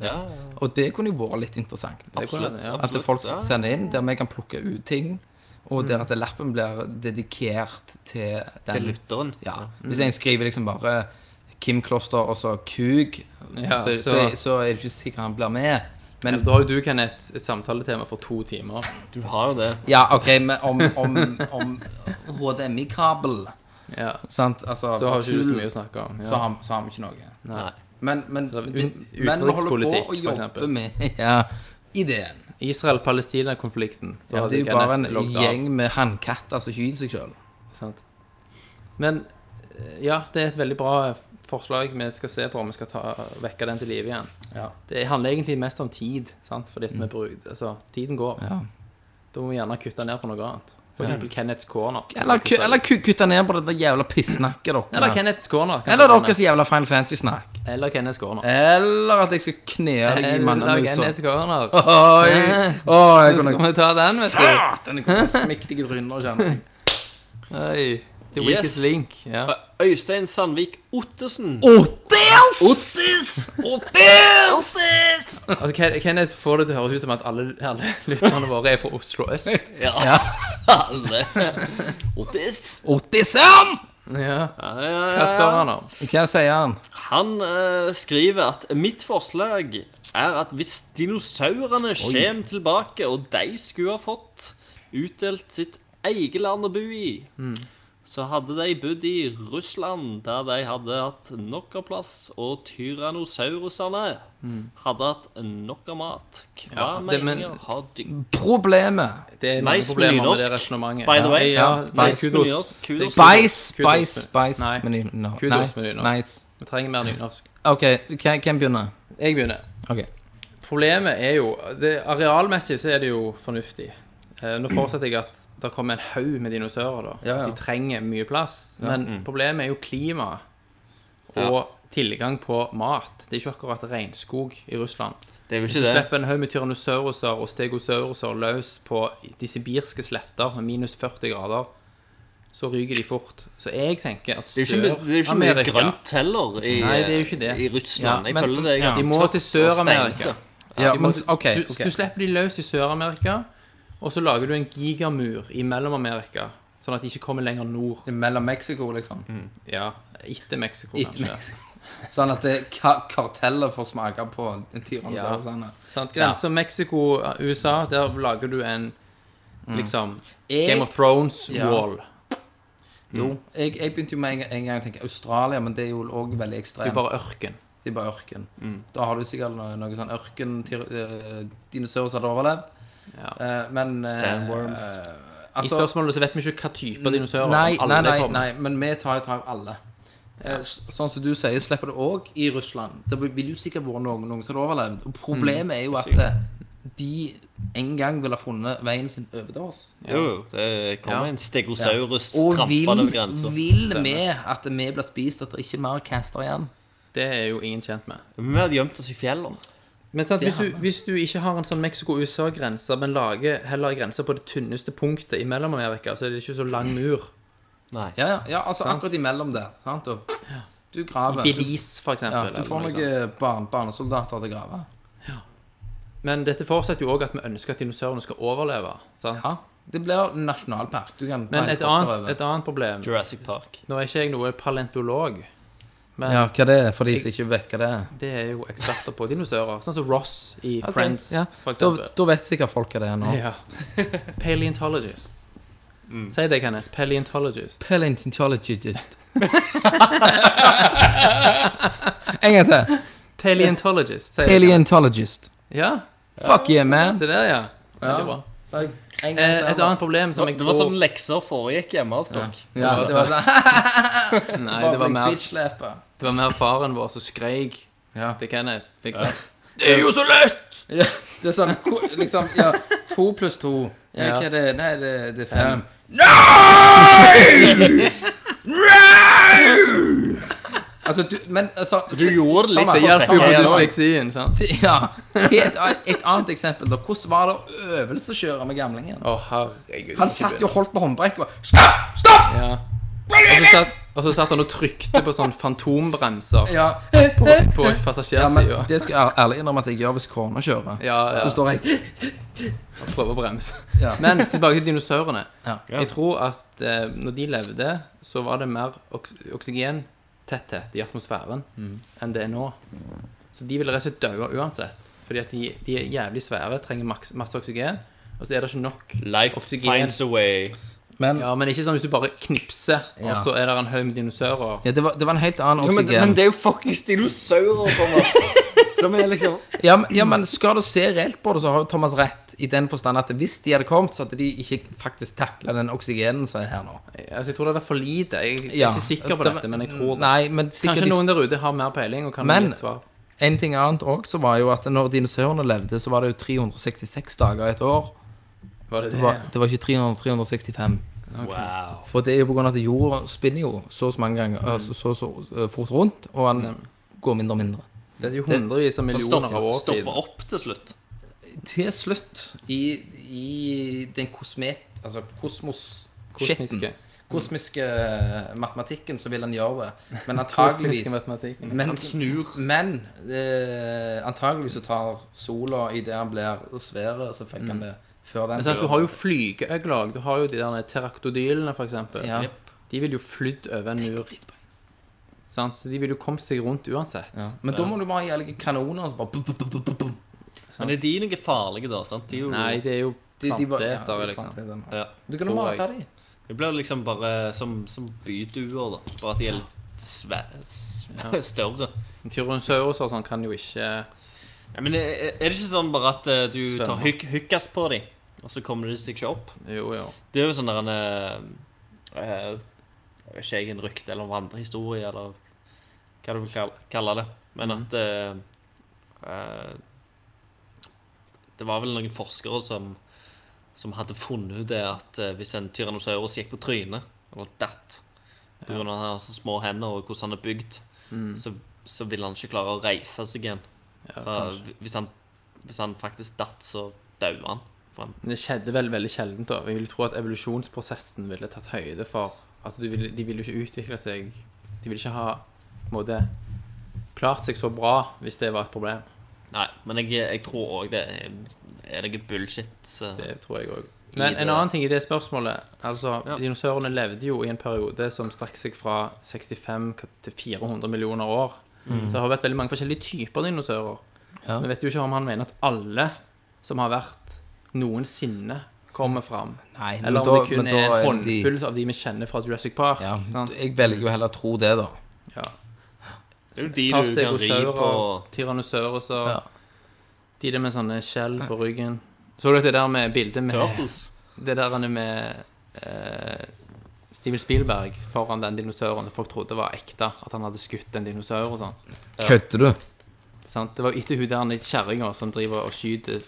[SPEAKER 7] ja.
[SPEAKER 6] Og det kunne jo vært litt interessant.
[SPEAKER 7] Absolutt.
[SPEAKER 5] ja. Mm.
[SPEAKER 6] At
[SPEAKER 7] absolutt.
[SPEAKER 6] folk
[SPEAKER 7] Ja.
[SPEAKER 6] sender inn, der vi kan plukke ut ting, og der at lappen blir dedikert til den
[SPEAKER 7] Til lytteren.
[SPEAKER 6] Ja. Hvis en skriver liksom bare Kim Kloster og så Kug,
[SPEAKER 5] Ja,
[SPEAKER 6] så, så,
[SPEAKER 5] så-
[SPEAKER 6] så, er det ikke sikkert han blir med. Men
[SPEAKER 5] Da har jo du, Kenneth, et samtaletema for to timer.
[SPEAKER 7] Du har jo det.
[SPEAKER 6] ja, OK, men om, om, om HDMI-kabel,
[SPEAKER 5] Ja.
[SPEAKER 6] sant altså,
[SPEAKER 5] Så har ikke du så
[SPEAKER 6] tull,
[SPEAKER 5] mye å snakke om.
[SPEAKER 6] Så
[SPEAKER 5] Ja.
[SPEAKER 6] har, så har vi ikke noe.
[SPEAKER 7] Nei.
[SPEAKER 6] Men, men,
[SPEAKER 5] Eller
[SPEAKER 6] det-
[SPEAKER 5] ut-
[SPEAKER 6] men vi holder
[SPEAKER 5] utenrikspolitikk,
[SPEAKER 6] på å
[SPEAKER 5] for eksempel.
[SPEAKER 6] jobbe med ja, ideen.
[SPEAKER 5] Israel-Palestina-konflikten. Da
[SPEAKER 6] Ja,
[SPEAKER 5] hadde
[SPEAKER 6] det er jo
[SPEAKER 5] Kenneth
[SPEAKER 6] bare en
[SPEAKER 5] logget av,
[SPEAKER 6] gjeng med hannkatter som skyter seg sjøl.
[SPEAKER 5] sant? Men eh, ja, det er et veldig bra forslag vi skal se på om vi skal ta, vekke den til live igjen.
[SPEAKER 6] Ja. Mm.
[SPEAKER 5] Det handler egentlig mest om tid, sant? fordi at vi bruker Altså, tiden går.
[SPEAKER 6] Ja.
[SPEAKER 5] Da må vi gjerne kutte ned på noe annet. For eksempel Kenneths corner.
[SPEAKER 6] Eller, ku- eller ku- kutte ned på det der jævla pissnakket deres.
[SPEAKER 5] Eller Kenneths corner. kan
[SPEAKER 6] Eller
[SPEAKER 5] vi ta
[SPEAKER 6] deres jævla Final Fantasy-snakk.
[SPEAKER 5] ned. Eller Kenneths corner.
[SPEAKER 6] Eller at jeg skal kne deg i
[SPEAKER 5] Eller Kenneths
[SPEAKER 6] mannemusa.
[SPEAKER 5] corner.
[SPEAKER 6] Oi, oi, jeg
[SPEAKER 5] Så
[SPEAKER 6] kunne Ah,
[SPEAKER 5] skal vi ta den, vet du.
[SPEAKER 6] Satan, jeg kunne smekt deg i trynet, kjenner jeg.
[SPEAKER 5] Oi. The weakest
[SPEAKER 7] Yes.
[SPEAKER 5] link. Ja.
[SPEAKER 7] Øystein Sandvik Ottesen.
[SPEAKER 5] Altså, Ken- Kenneth får det til å høres ut som at alle, alle lytterne våre er fra Oslo øst.
[SPEAKER 7] Ja, alle. Ottis.
[SPEAKER 6] Otisam!
[SPEAKER 5] Ja.
[SPEAKER 7] Ja, ja,
[SPEAKER 5] Hva
[SPEAKER 7] ja.
[SPEAKER 5] spør han om?
[SPEAKER 6] Hva sier han?
[SPEAKER 7] Han eh, skriver at mitt forslag er at hvis dinosaurene kommer tilbake, og de skulle ha fått utdelt sitt eget land å bo i,
[SPEAKER 5] Mm.
[SPEAKER 7] så hadde de bodd i Russland, der de hadde hatt nok av plass, og tyrannosaurusene hadde hatt nok av mat. Hva
[SPEAKER 5] Mm. Ja, det- men-
[SPEAKER 7] meninger har du?
[SPEAKER 6] Problemet.
[SPEAKER 5] Det er mange
[SPEAKER 7] Nice
[SPEAKER 5] problemer med det
[SPEAKER 7] nynorsk,
[SPEAKER 5] resonnementet.
[SPEAKER 7] by the way.
[SPEAKER 5] Ja,
[SPEAKER 6] Ja,
[SPEAKER 5] nei,
[SPEAKER 6] nice
[SPEAKER 5] kudos.
[SPEAKER 7] nynorsk, kudos.
[SPEAKER 5] Det er
[SPEAKER 6] Bæsj,
[SPEAKER 5] kudos.
[SPEAKER 6] bæsj, bæsj.
[SPEAKER 5] Nei,
[SPEAKER 6] Men i- no,
[SPEAKER 5] kudos
[SPEAKER 6] nei,
[SPEAKER 5] med nynorsk.
[SPEAKER 6] nice.
[SPEAKER 5] Vi trenger mer nynorsk.
[SPEAKER 6] OK, hvem hvem begynner?
[SPEAKER 5] Jeg begynner.
[SPEAKER 6] Ok.
[SPEAKER 5] Problemet er jo det, Arealmessig så er det jo fornuftig. Eh, nå forutsetter jeg at det kommer en haug med dinosaurer. da
[SPEAKER 6] Ja, ja.
[SPEAKER 5] De trenger mye plass. Men problemet er jo klimaet og tilgang på mat. Det er ikke akkurat regnskog i Russland.
[SPEAKER 7] Det er jo
[SPEAKER 5] Hvis du slipper en haug med tyrannosauruser og stegosauruser løs på de sibirske sletter med minus 40 grader, så ryker de fort. Så jeg tenker at
[SPEAKER 7] Det er jo ikke, det er jo ikke mye
[SPEAKER 5] Sør-Amerika-
[SPEAKER 7] grønt heller i,
[SPEAKER 5] Nei, det er jo ikke det.
[SPEAKER 7] i Russland.
[SPEAKER 6] Ja,
[SPEAKER 7] jeg
[SPEAKER 6] men-
[SPEAKER 7] føler det er
[SPEAKER 6] ja.
[SPEAKER 7] ganske
[SPEAKER 5] De må
[SPEAKER 7] tørt
[SPEAKER 5] til
[SPEAKER 7] og
[SPEAKER 5] Sør-Amerika.
[SPEAKER 7] steinte.
[SPEAKER 6] Ja,
[SPEAKER 5] De må
[SPEAKER 6] men,
[SPEAKER 5] til-
[SPEAKER 6] ok,
[SPEAKER 5] du,
[SPEAKER 6] ok.
[SPEAKER 5] du slipper de løs i Sør-Amerika, og så lager du en gigamur i Mellom-Amerika, sånn at de ikke kommer lenger nord.
[SPEAKER 6] Mellom Mexico, liksom.
[SPEAKER 5] Ja, etter Mexico,
[SPEAKER 6] Etter
[SPEAKER 5] Mm, kanskje.
[SPEAKER 6] Mexico. Sånn at det ka kartellet får smake på tyrannosaurene.
[SPEAKER 5] Sant? Grenser Mexico-USA, der lager du en liksom
[SPEAKER 6] Jeg-
[SPEAKER 5] Game of Mm. Thrones-wall.
[SPEAKER 6] Jo, jeg, jeg begynte jo med en, gang- en gang å tenke Australia, men det er jo også veldig
[SPEAKER 5] Det
[SPEAKER 6] ekstremt.
[SPEAKER 5] er bare ørken.
[SPEAKER 6] Det er bare ørken.
[SPEAKER 5] Mm.
[SPEAKER 6] Da har du sikkert noe, noe sånn ørken tyr- eh, Dinosaurer som hadde overlevd.
[SPEAKER 5] Ja.
[SPEAKER 6] Eh, men eh,
[SPEAKER 7] Sandworms.
[SPEAKER 6] eh,
[SPEAKER 5] I
[SPEAKER 6] altså,
[SPEAKER 5] spørsmålet så vet vi ikke hva type dinosaurer
[SPEAKER 6] Nei,
[SPEAKER 5] alle
[SPEAKER 6] nei, nei,
[SPEAKER 5] kommer.
[SPEAKER 6] nei, men vi tar jo tak i alle. Eh, s- Sånn som du sier, slipper det òg i Russland. Det vil jo sikkert vært noen, noen som hadde overlevd. Og problemet er
[SPEAKER 5] Mm.
[SPEAKER 6] jo at eh, de en gang ville ha funnet veien sin over til oss.
[SPEAKER 7] Jo, jo, det kommer en stegosaurus
[SPEAKER 6] Og vil,
[SPEAKER 7] trampende over grensa.
[SPEAKER 6] vil vi at vi blir spist, at det ikke er mer caster igjen?
[SPEAKER 5] Det er jo ingen tjent med.
[SPEAKER 7] Vi hadde gjemt oss i fjellene.
[SPEAKER 5] Men sant, hvis,
[SPEAKER 6] har
[SPEAKER 5] du, hvis du ikke har en sånn Mexico-USA-grense, men lager heller en grense på det tynneste punktet i Mellom-Amerika, så er det ikke så lang mur.
[SPEAKER 6] Ja, ja, ja altså akkurat imellom der. Sant? Og, du graver. Du,
[SPEAKER 5] Belize, for
[SPEAKER 6] ja,
[SPEAKER 5] eksempel.
[SPEAKER 6] du
[SPEAKER 5] eller
[SPEAKER 6] får
[SPEAKER 5] noe sånt.
[SPEAKER 6] noen barn, barnesoldater til å grave.
[SPEAKER 5] Men dette forutsetter jo òg at vi ønsker at dinosaurene skal overleve. Sant?
[SPEAKER 6] Ja, det blir nasjonalpark. Du kan ta
[SPEAKER 5] Men et
[SPEAKER 6] helikopter
[SPEAKER 5] annet,
[SPEAKER 6] over.
[SPEAKER 5] et annet problem
[SPEAKER 7] Jurassic Park.
[SPEAKER 5] Nå er ikke jeg noe palentolog, men
[SPEAKER 6] Ja, hva det er, for de som ikke vet hva det er.
[SPEAKER 5] det er jo eksperter på dinosaurer. Sånn som Ross i
[SPEAKER 6] Ok,
[SPEAKER 5] Friends,
[SPEAKER 6] ja.
[SPEAKER 5] for
[SPEAKER 6] Da,
[SPEAKER 5] eksempel.
[SPEAKER 6] da vet sikkert folk hva det er nå.
[SPEAKER 5] Ja. Paleontologist.
[SPEAKER 6] Mm.
[SPEAKER 5] Si det, Kenneth. Paleontologist.
[SPEAKER 6] Paleontologist. en gang til.
[SPEAKER 5] Paleontologist. Si det.
[SPEAKER 6] Paleontologist.
[SPEAKER 5] Ja,
[SPEAKER 6] Fuck yeah, man.
[SPEAKER 5] se der, ja. Veldig bra.
[SPEAKER 6] En gang
[SPEAKER 5] Eh, Et annet problem som jeg
[SPEAKER 7] Det var sånn lekser foregikk hjemme hos dere.
[SPEAKER 6] Ja, det var sånn
[SPEAKER 5] Nei, det var mer,
[SPEAKER 6] Bitch-leper.
[SPEAKER 5] det var mer faren vår som skreik
[SPEAKER 6] Ja.
[SPEAKER 5] til Kenneth. Liksom.
[SPEAKER 6] ja. Det er sånn ko- liksom Ja, to pluss to. Ja,
[SPEAKER 5] Ja.
[SPEAKER 6] hva er det? Nei, det, det er fem. Nei! Nei! Altså, du Men altså
[SPEAKER 7] Du gjorde litt
[SPEAKER 6] Thomas,
[SPEAKER 7] det hjelper jo på
[SPEAKER 6] Thomas,
[SPEAKER 7] dysleksi.
[SPEAKER 5] Leksien, sant?
[SPEAKER 6] Ja. Et, et annet eksempel, da. Hvordan var det å øvelseskjøre med gamlingen?
[SPEAKER 5] Å, herregud.
[SPEAKER 6] Han satt jo og holdt på håndbrekket og bare, Stopp! Stopp!
[SPEAKER 5] Ja. Og så satt, og så satt han og trykte på sånn fantombremser
[SPEAKER 6] Ja,
[SPEAKER 5] på, på
[SPEAKER 6] ja men
[SPEAKER 5] passasjersida.
[SPEAKER 6] det skal jeg ærlig innrømme at jeg gjør hvis kona kjører.
[SPEAKER 5] Ja, ja.
[SPEAKER 6] Så står jeg
[SPEAKER 5] og Prøver å bremse.
[SPEAKER 6] Ja.
[SPEAKER 5] Men tilbake til dinosaurene.
[SPEAKER 6] Ja.
[SPEAKER 5] Jeg tror at eh, når de levde, så var det mer oks oksygentetthet i atmosfæren enn det er nå. Så de ville rett og slett daue uansett. Fordi at de, de er jævlig svære, trenger maks, masse oksygen. Og så er det ikke nok
[SPEAKER 7] Life
[SPEAKER 5] oksygen.
[SPEAKER 7] finds a way.
[SPEAKER 6] Men ja.
[SPEAKER 5] Ja, men ikke sånn hvis du bare knipser,
[SPEAKER 6] Ja.
[SPEAKER 5] og så er det en haug med dinosaurer.
[SPEAKER 6] det, var, det var en helt annen
[SPEAKER 7] men,
[SPEAKER 6] oksygen. Ja,
[SPEAKER 7] men det er jo fuckings dinosaurer, Thomas. Som er liksom
[SPEAKER 6] men, ja, men skal du se reelt på det, så har jo Thomas rett. I den forstand at hvis de hadde kommet, så hadde de ikke faktisk takla den oksygenen som er her nå.
[SPEAKER 5] Altså, jeg tror det er for lite. Jeg er
[SPEAKER 6] Ja.
[SPEAKER 5] ikke sikker på
[SPEAKER 6] Det-
[SPEAKER 5] dette, men jeg tror det.
[SPEAKER 6] Nei, men sikkert
[SPEAKER 5] Kanskje
[SPEAKER 6] de-
[SPEAKER 5] noen der ute har mer peiling og kan
[SPEAKER 6] Men-
[SPEAKER 5] gi et svar.
[SPEAKER 6] En ting annet òg, så var jo at når dinosaurene levde, så var det jo 366 dager i et år.
[SPEAKER 5] Var det
[SPEAKER 6] Det
[SPEAKER 5] det?
[SPEAKER 6] var, det var ikke 300, 365. For det er jo på grunn av at jorda spinner jo så og så mange ganger, altså så, så, så fort rundt, og han går mindre og mindre.
[SPEAKER 5] Det er jo hundrevis av millioner av år siden.
[SPEAKER 7] Stopper opp til slutt.
[SPEAKER 6] Til slutt, i, i den kosmet... Altså kosmos...
[SPEAKER 5] Kosmiske.
[SPEAKER 6] skitten, Kosmiske eh, matematikken, så vil han gjøre det. Men
[SPEAKER 5] Kosmiske
[SPEAKER 6] antageligvis
[SPEAKER 5] matematikken.
[SPEAKER 6] Men, Men eh, antagelig så tar sola idet han blir svære, så fikk han det før
[SPEAKER 5] Mm.
[SPEAKER 6] den.
[SPEAKER 5] Men sant, du har jo flygeøgler. Du har jo de der terraktodylene, for eksempel.
[SPEAKER 6] Ja.
[SPEAKER 5] De vil jo flydd over en mur. Sant? Så de vil jo komme seg rundt uansett.
[SPEAKER 6] Ja. Men da må du bare ha jævlige kanoner. og Så bare, bum, bum, bum, bum, bum, bum.
[SPEAKER 7] Men er de noe farlige, da? sant? De er jo,
[SPEAKER 5] Nei, det er jo
[SPEAKER 6] De- de bare- ja,
[SPEAKER 5] planteter, liksom.
[SPEAKER 6] planteter, ja.
[SPEAKER 7] ja.
[SPEAKER 6] Du kan jo
[SPEAKER 5] Tror
[SPEAKER 6] bare
[SPEAKER 5] jeg.
[SPEAKER 6] ta dem.
[SPEAKER 7] De blir liksom bare som, som byduer, da. Bare at de er litt svæ s- større.
[SPEAKER 5] Tyrannosaurus og sånn kan jo ikke
[SPEAKER 7] Ja, men er er det ikke sånn bare at eh, du
[SPEAKER 5] Svømmer.
[SPEAKER 7] tar hyk hykkas på dem, og så kommer de seg ikke opp?
[SPEAKER 5] Jo, jo.
[SPEAKER 7] Det er jo sånn der en eh, eh, Jeg vet ikke jeg en rykte eller en vandrehistorie, eller hva du vil kal- kalle det. Men at eh, eh, Det var vel noen forskere som, som hadde funnet ut det at eh, hvis en tyrannosaurus gikk på trynet, eller datt, pga. at han har så små hender og hvordan han er bygd, så, så ville han ikke klare å reise seg igjen. så, hvis, han, hvis han faktisk datt, så døde han. For han
[SPEAKER 5] Men det skjedde vel veldig sjeldent, da. Jeg vil tro at evolusjonsprosessen ville tatt høyde for Altså, du vil, de ville jo ikke utvikle seg De ville ikke ha på en måte klart seg så bra hvis det var et problem.
[SPEAKER 7] Nei, men jeg, jeg tror òg det er, er noe bullshit. Så.
[SPEAKER 5] Det tror jeg òg. Men
[SPEAKER 7] det-
[SPEAKER 5] en annen ting i det spørsmålet Altså,
[SPEAKER 7] Ja.
[SPEAKER 5] Dinosaurene levde jo i en periode som strakk seg fra 65 til 400 millioner år.
[SPEAKER 6] Mm.
[SPEAKER 5] Så det har vært veldig mange forskjellige typer dinosaurer. Så vi vet jo ikke om han mener at alle som har vært noensinne, kommer fram.
[SPEAKER 6] Nei, men
[SPEAKER 5] Eller om
[SPEAKER 6] da-
[SPEAKER 5] det kun
[SPEAKER 6] men
[SPEAKER 5] er
[SPEAKER 6] da
[SPEAKER 5] en
[SPEAKER 6] er det de-
[SPEAKER 5] håndfull av de vi kjenner fra Jurassic Park.
[SPEAKER 6] Ja.
[SPEAKER 5] sant?
[SPEAKER 6] Jeg velger jo heller å tro det, da.
[SPEAKER 5] Ja.
[SPEAKER 7] Det er jo de du kan ri på
[SPEAKER 5] Pastegosaurer, tyrannosaurer
[SPEAKER 6] Ja.
[SPEAKER 5] De der med sånne skjell på ryggen. Så du det der med bildet med
[SPEAKER 7] Turtles.
[SPEAKER 5] Det der han er med eh, Steven Spielberg foran den dinosauren folk trodde var ekte, at han hadde skutt en dinosaur og sånn.
[SPEAKER 6] Kødder du?
[SPEAKER 5] Sant? Det var jo etter hun der kjerringa som driver og skyter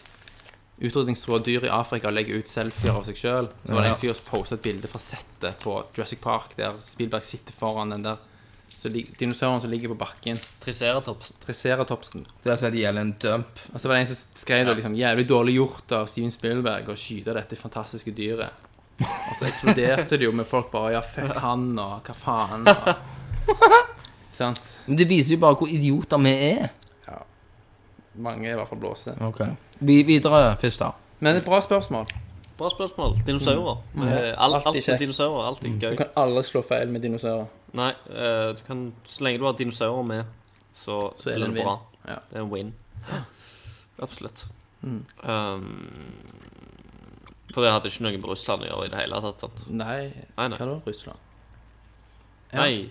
[SPEAKER 5] utrydningstruede dyr i Afrika og legger ut selfier av seg sjøl. Så var det en fyr som postet et bilde fra settet på Jurassic Park, der Spielberg sitter foran den der så lig- dinosauren som ligger på bakken.
[SPEAKER 7] Triceratops.
[SPEAKER 5] Triceratopsen.
[SPEAKER 6] Det er altså at det gjelder en dump.
[SPEAKER 5] Og så var det en som skrev da liksom Jævlig dårlig gjort av Steven Spielberg å skyte dette fantastiske dyret. Og så eksploderte det jo med folk bare Ja, fuck han, og hva faen? Og, sant?
[SPEAKER 6] Men det viser jo bare hvor idioter vi er.
[SPEAKER 5] Mange i hvert fall blåser.
[SPEAKER 6] Ok. Vi, videre først, da.
[SPEAKER 5] Men et bra spørsmål.
[SPEAKER 7] Bra spørsmål. Dinosaurer. Eh, Alt,
[SPEAKER 5] Alltid
[SPEAKER 7] alt
[SPEAKER 5] kjekt.
[SPEAKER 7] med dinosaurer. Alltid
[SPEAKER 5] Mm. Du
[SPEAKER 7] gøy.
[SPEAKER 5] kan aldri slå feil med dinosaurer.
[SPEAKER 7] Nei, eh, du kan, så lenge du har dinosaurer med, så,
[SPEAKER 5] Så er det en
[SPEAKER 7] bra.
[SPEAKER 5] win. Ja. Mm.
[SPEAKER 7] Det er en win. Absolutt. Um, for det hadde ikke noe med Russland å gjøre i det hele tatt. sant?
[SPEAKER 5] Nei,
[SPEAKER 7] Nei,
[SPEAKER 5] hva
[SPEAKER 7] nei.
[SPEAKER 5] da? Russland? Ja.
[SPEAKER 7] nei.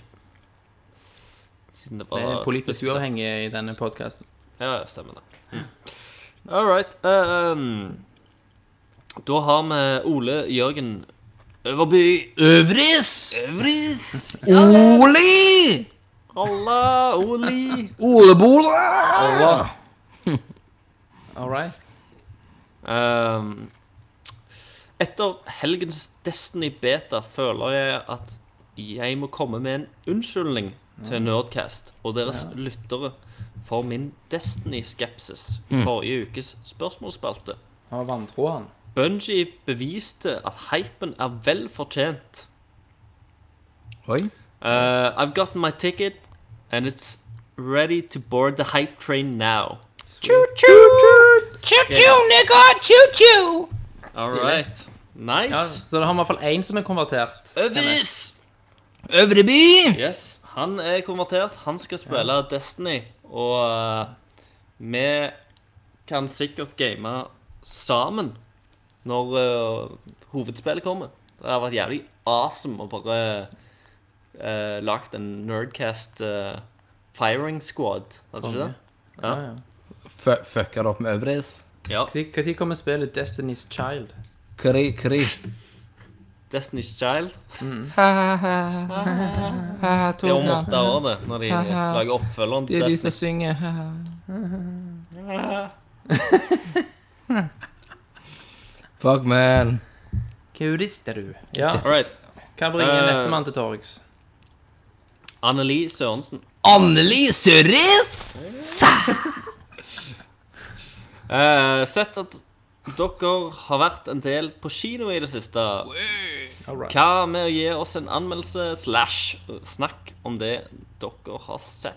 [SPEAKER 7] Siden det
[SPEAKER 5] Vi
[SPEAKER 7] var
[SPEAKER 5] er politisk
[SPEAKER 7] spesifisert.
[SPEAKER 5] uavhengige i denne podkasten.
[SPEAKER 7] Ja, ja, stemmer det. Mm. All right. ehm, da har vi Ole Jørgen Øverby.
[SPEAKER 6] Øvris!
[SPEAKER 7] Øvris!
[SPEAKER 6] Oli!
[SPEAKER 7] Halla, Oli.
[SPEAKER 6] Olebola!
[SPEAKER 5] All right.
[SPEAKER 7] Ehm, etter helgens Destiny Beta føler jeg at jeg må komme med en unnskyldning til Nerdcast og deres lyttere for min Destiny-skepsis i forrige ukes spørsmålsspalte.
[SPEAKER 5] Han var vantro, han.
[SPEAKER 7] Bungie beviste at hypen er vel fortjent.
[SPEAKER 6] Oi.
[SPEAKER 7] Uh, I've gotten my ticket, and it's ready to board the hype train now. All right.
[SPEAKER 5] Ja,
[SPEAKER 7] Nice.
[SPEAKER 5] så da har vi i hvert fall én som er konvertert.
[SPEAKER 7] Øvis!
[SPEAKER 6] Øvre by!
[SPEAKER 7] Yes, han er konvertert. Han skal spille Destiny, og uh, vi kan sikkert game sammen når uh, hovedspillet kommer. Det har vært jævlig awesome å bare uh, lagt en Nerdcast uh, firing squad, hadde du ikke det?
[SPEAKER 5] Ja, ja.
[SPEAKER 6] Fø- Fucka det opp med Øvris?
[SPEAKER 7] Ja.
[SPEAKER 5] Når kommer spillet Destiny's Child?
[SPEAKER 6] Kri, kri.
[SPEAKER 7] Destiny's Child. Det er om
[SPEAKER 6] Tunga.
[SPEAKER 7] åtte år, det, når de lager oppfølgeren
[SPEAKER 6] Det
[SPEAKER 7] til
[SPEAKER 6] er de som
[SPEAKER 7] Destiny.
[SPEAKER 6] synger. Fuck, man.
[SPEAKER 5] Kurist er du. Ja,
[SPEAKER 7] All right.
[SPEAKER 5] Hva bringer
[SPEAKER 7] Eh.
[SPEAKER 5] nestemann til torgs?
[SPEAKER 7] Anneli Sørensen.
[SPEAKER 6] Anneli Sørris!
[SPEAKER 7] Eh, sett at dere har vært en del på kino i det siste.
[SPEAKER 5] Alright.
[SPEAKER 7] Hva med å gi oss en anmeldelse slash snakk om det dere har sett?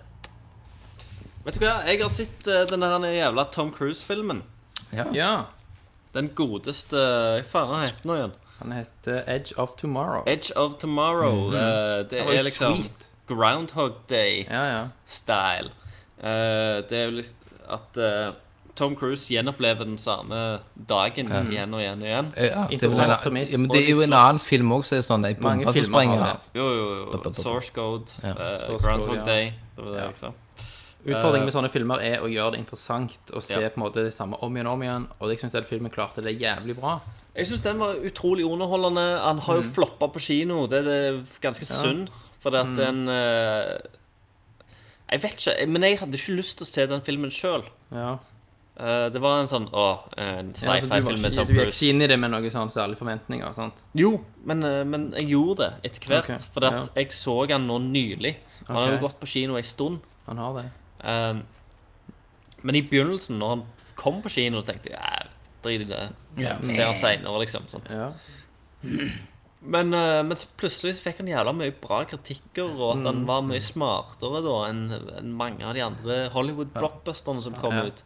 [SPEAKER 7] Vet du hva, jeg har sett eh, den der jævla Tom Cruise-filmen.
[SPEAKER 5] Ja,
[SPEAKER 7] Den godeste Hva faen er den nå igjen?
[SPEAKER 5] han heter Edge of Tomorrow.
[SPEAKER 7] Edge of Tomorrow. eh, det
[SPEAKER 5] Mhm. Det var
[SPEAKER 7] er
[SPEAKER 5] jo
[SPEAKER 7] liksom
[SPEAKER 5] sweet.
[SPEAKER 7] Groundhog Day.
[SPEAKER 5] Ja, ja.
[SPEAKER 7] style. Eh, det er jo liksom at eh, Tom Cruise gjenopplever den samme dagen igjen og igjen og igjen.
[SPEAKER 6] Ja, det, er
[SPEAKER 5] Interessant
[SPEAKER 6] vel en,
[SPEAKER 5] premiss.
[SPEAKER 6] ja, men det er jo en annen film også, er sånn, ei
[SPEAKER 5] Mange
[SPEAKER 6] bombe som
[SPEAKER 5] filmer har
[SPEAKER 6] sprenger.
[SPEAKER 7] Jo, jo,
[SPEAKER 6] da,
[SPEAKER 7] jo.
[SPEAKER 6] da.
[SPEAKER 7] Source Code,
[SPEAKER 6] Ja.
[SPEAKER 7] eh,
[SPEAKER 5] Source
[SPEAKER 7] Groundhog
[SPEAKER 5] Code, ja.
[SPEAKER 7] Day. Det var det,
[SPEAKER 5] Ja.
[SPEAKER 7] liksom.
[SPEAKER 5] Utfordringen med sånne filmer er å gjøre det interessant og se
[SPEAKER 7] Ja.
[SPEAKER 5] på en måte det samme om igjen og om igjen. Og jeg syns den filmen klarte det jævlig bra.
[SPEAKER 7] Jeg syns den var utrolig underholdende. Han har jo floppa på kino. Det er det ganske synd. For at den eh, Jeg vet ikke, men jeg hadde ikke lyst til å se den filmen sjøl.
[SPEAKER 5] Ja.
[SPEAKER 7] det var en sånn Å, en
[SPEAKER 5] Ja, altså, du, var
[SPEAKER 7] sci-fi-film med
[SPEAKER 5] ikke,
[SPEAKER 7] Tom
[SPEAKER 5] du gikk
[SPEAKER 7] Cruise.
[SPEAKER 5] ikke inn i det med noen sånn særlige forventninger. sant?
[SPEAKER 7] Jo, men, eh, men jeg gjorde det etter hvert.
[SPEAKER 5] Ok,
[SPEAKER 7] For at jeg så han nå nylig. Han har
[SPEAKER 5] Ok.
[SPEAKER 7] jo gått på kino en stund.
[SPEAKER 5] Han har det.
[SPEAKER 7] Um, men i begynnelsen, når han kom på kino, tenkte jeg "Æ, drit i det.
[SPEAKER 6] Ja.
[SPEAKER 5] Mm.
[SPEAKER 7] Se han seinere, liksom. Sant?
[SPEAKER 5] Ja.
[SPEAKER 7] Men, eh, men så plutselig så fikk han jævla mye bra kritikker, og at
[SPEAKER 5] Mm.
[SPEAKER 7] han var mye smartere da enn enn mange av de andre Hollywood-blockbusterne som kom
[SPEAKER 5] Ja.
[SPEAKER 7] ut.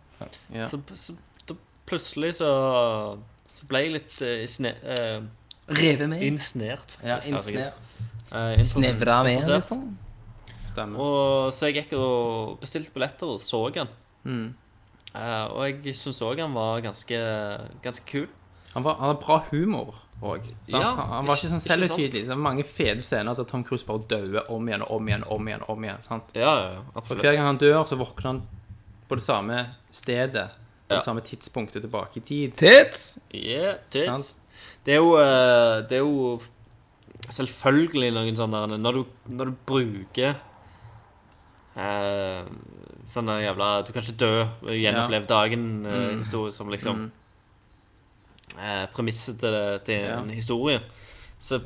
[SPEAKER 5] Ja.
[SPEAKER 7] Så, så da plutselig så, så ble jeg litt eh, sne, eh,
[SPEAKER 6] Revet med.
[SPEAKER 7] innsnert.
[SPEAKER 6] Ja,
[SPEAKER 7] faktisk, herregud.
[SPEAKER 6] innsnert.
[SPEAKER 7] Eh, interessant-
[SPEAKER 6] Snevra med,
[SPEAKER 7] interessert.
[SPEAKER 6] liksom.
[SPEAKER 5] Stemmer.
[SPEAKER 7] Og, så jeg gikk og bestilte billetter og så han.
[SPEAKER 5] Mm.
[SPEAKER 7] Eh, og jeg syns òg han var ganske, ganske kul.
[SPEAKER 5] Han, var, han har bra humor òg.
[SPEAKER 7] Ja,
[SPEAKER 5] han, han var ikke sånn
[SPEAKER 7] ikke- ikke sant?
[SPEAKER 5] selvhøytidelig. Det er mange fede scener der Tom Cruise bare dør om igjen og om igjen. om igjen, om igjen, sant?
[SPEAKER 7] Ja, ja,
[SPEAKER 5] Og
[SPEAKER 7] absolutt.
[SPEAKER 5] Hver gang han dør, så våkner han på det samme stedet. På
[SPEAKER 7] Ja.
[SPEAKER 5] det samme tidspunktet tilbake i tid.
[SPEAKER 6] Tits!
[SPEAKER 7] Yeah, tits.
[SPEAKER 5] Sant?
[SPEAKER 7] Det er jo eh, Det er jo selvfølgelig noen sånne der, Når du, når du bruker eh, sånne jævla Du kan ikke dø, gjenoppleve
[SPEAKER 5] Mm.
[SPEAKER 7] dagen-historie eh, som liksom eh, Premisset til, til
[SPEAKER 5] Ja.
[SPEAKER 7] en historie. Så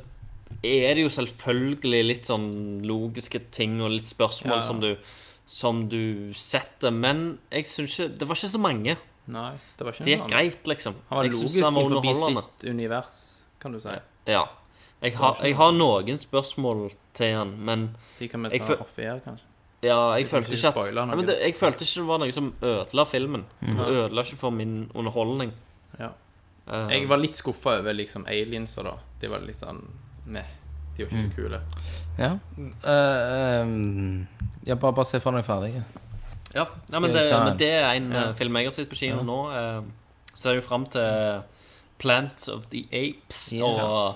[SPEAKER 7] er det jo selvfølgelig litt sånn logiske ting og litt
[SPEAKER 5] Ja.
[SPEAKER 7] spørsmål som du som du setter, men jeg synes ikke Det var ikke så mange.
[SPEAKER 5] Nei, det var ikke
[SPEAKER 7] Det
[SPEAKER 5] noe
[SPEAKER 7] gikk
[SPEAKER 5] annet.
[SPEAKER 7] greit, liksom.
[SPEAKER 5] Han var
[SPEAKER 7] Jeg synes
[SPEAKER 5] logisk
[SPEAKER 7] han var
[SPEAKER 5] forbi
[SPEAKER 7] underholdende.
[SPEAKER 5] sitt univers, kan du si.
[SPEAKER 7] Ja. Jeg har, jeg har noen spørsmål til han, men
[SPEAKER 5] De kan vi
[SPEAKER 7] Jeg
[SPEAKER 5] ta
[SPEAKER 7] føl-
[SPEAKER 5] off air, kanskje.
[SPEAKER 7] ja, jeg
[SPEAKER 5] Hvis
[SPEAKER 7] følte
[SPEAKER 5] ikke
[SPEAKER 7] ikke at
[SPEAKER 5] spoiler
[SPEAKER 7] Nei,
[SPEAKER 5] noe.
[SPEAKER 7] men det, Jeg følte ikke det var noe som ødela filmen.
[SPEAKER 6] Mhm.
[SPEAKER 7] Det ødela ikke for min underholdning.
[SPEAKER 5] Ja.
[SPEAKER 7] Eh,
[SPEAKER 5] Jeg var litt skuffa over liksom aliens og da. De var litt sånn Meh. De var ikke så kule.
[SPEAKER 6] Ja. Eh, ehm, ja, bare, bare se for deg ferdig.
[SPEAKER 7] ja. Nei, men, det,
[SPEAKER 6] Skal jeg ta
[SPEAKER 7] men
[SPEAKER 6] en?
[SPEAKER 7] det er en eh, film jeg har sett på kino nå. eh, ser jo fram til Plants of the Apes. Og,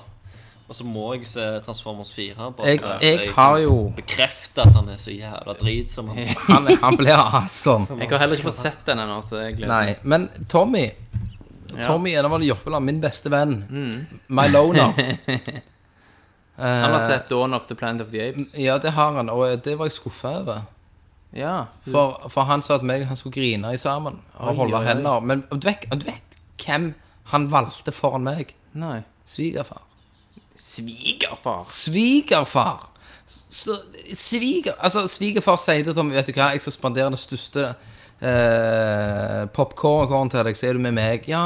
[SPEAKER 7] og så må jeg se Transformers 4. Bare,
[SPEAKER 6] Jeg,
[SPEAKER 7] for at
[SPEAKER 6] jeg har jo
[SPEAKER 7] Bekrefte at han er så jævla drit som han
[SPEAKER 6] Han, han blir awesome.
[SPEAKER 5] Jeg har heller ikke fått sett den ennå, så jeg gleder meg.
[SPEAKER 6] Nei, men Tommy Tommy er nemlig Jørpeland, min beste venn. My loner.
[SPEAKER 5] Han har sett Dawn of the Planet of the Apes.
[SPEAKER 6] Ja, det har han, og det var jeg skuffa over.
[SPEAKER 5] Ja. fy-
[SPEAKER 6] For, for han sa at meg og han skulle grine i sammen og
[SPEAKER 5] Oi, oi,
[SPEAKER 6] holde
[SPEAKER 5] oi.
[SPEAKER 6] hender. Men du vet, du vet hvem han valgte foran meg?
[SPEAKER 5] Nei.
[SPEAKER 6] Svigerfar.
[SPEAKER 5] Svigerfar!
[SPEAKER 6] Svigerfar! Så, sviger, altså, svigerfar sier det til meg, vet du hva, jeg skal spandere det største eh, popcorn til deg, så er du med meg. Ja,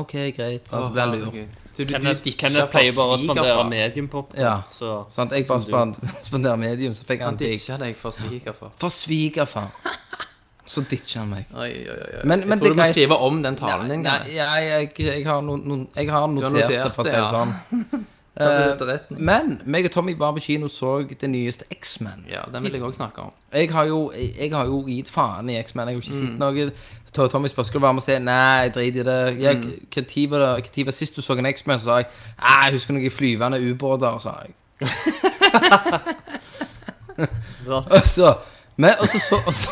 [SPEAKER 6] ok, greit. Altså, blir jeg lurt.
[SPEAKER 5] Ok. Så du, du
[SPEAKER 7] Kenneth,
[SPEAKER 5] ditcha
[SPEAKER 7] Kenneth pleier bare å spandere
[SPEAKER 5] svigerfar?
[SPEAKER 7] mediumpop.
[SPEAKER 6] Ja.
[SPEAKER 7] Så
[SPEAKER 6] Sant? Jeg bare spand, spanderer medium, så fikk han
[SPEAKER 5] Han
[SPEAKER 6] digg.
[SPEAKER 5] ditcha deg for svigerfar.
[SPEAKER 6] For svigerfar. Så ditcher han meg.
[SPEAKER 5] Oi, oi, oi. oi.
[SPEAKER 6] Men- men
[SPEAKER 5] jeg tror
[SPEAKER 6] det
[SPEAKER 5] du må
[SPEAKER 6] kan-
[SPEAKER 5] skrive om den talen din.
[SPEAKER 6] Nei, jeg, jeg, jeg, har no, no, jeg har notert,
[SPEAKER 5] notert
[SPEAKER 6] det, for å
[SPEAKER 5] det,
[SPEAKER 6] si det
[SPEAKER 5] ja.
[SPEAKER 6] sånn. Eh,
[SPEAKER 5] Nei.
[SPEAKER 6] Men meg og Tommy var på kino og så det nyeste X-Men.
[SPEAKER 5] Ja, den vil jeg òg snakke om.
[SPEAKER 6] Jeg har jo, jeg har jo gitt faen i X-Men. Jeg har jo ikke sett noe. To- Tommy spør skal du være med og se. Nei, drit i det. Jeg, hva tid var det? Hva tid var sist du så en X-Men? Så sa jeg «Nei, jeg husker noen flyvende ubåter, sa jeg. Og så Men og så så Og så,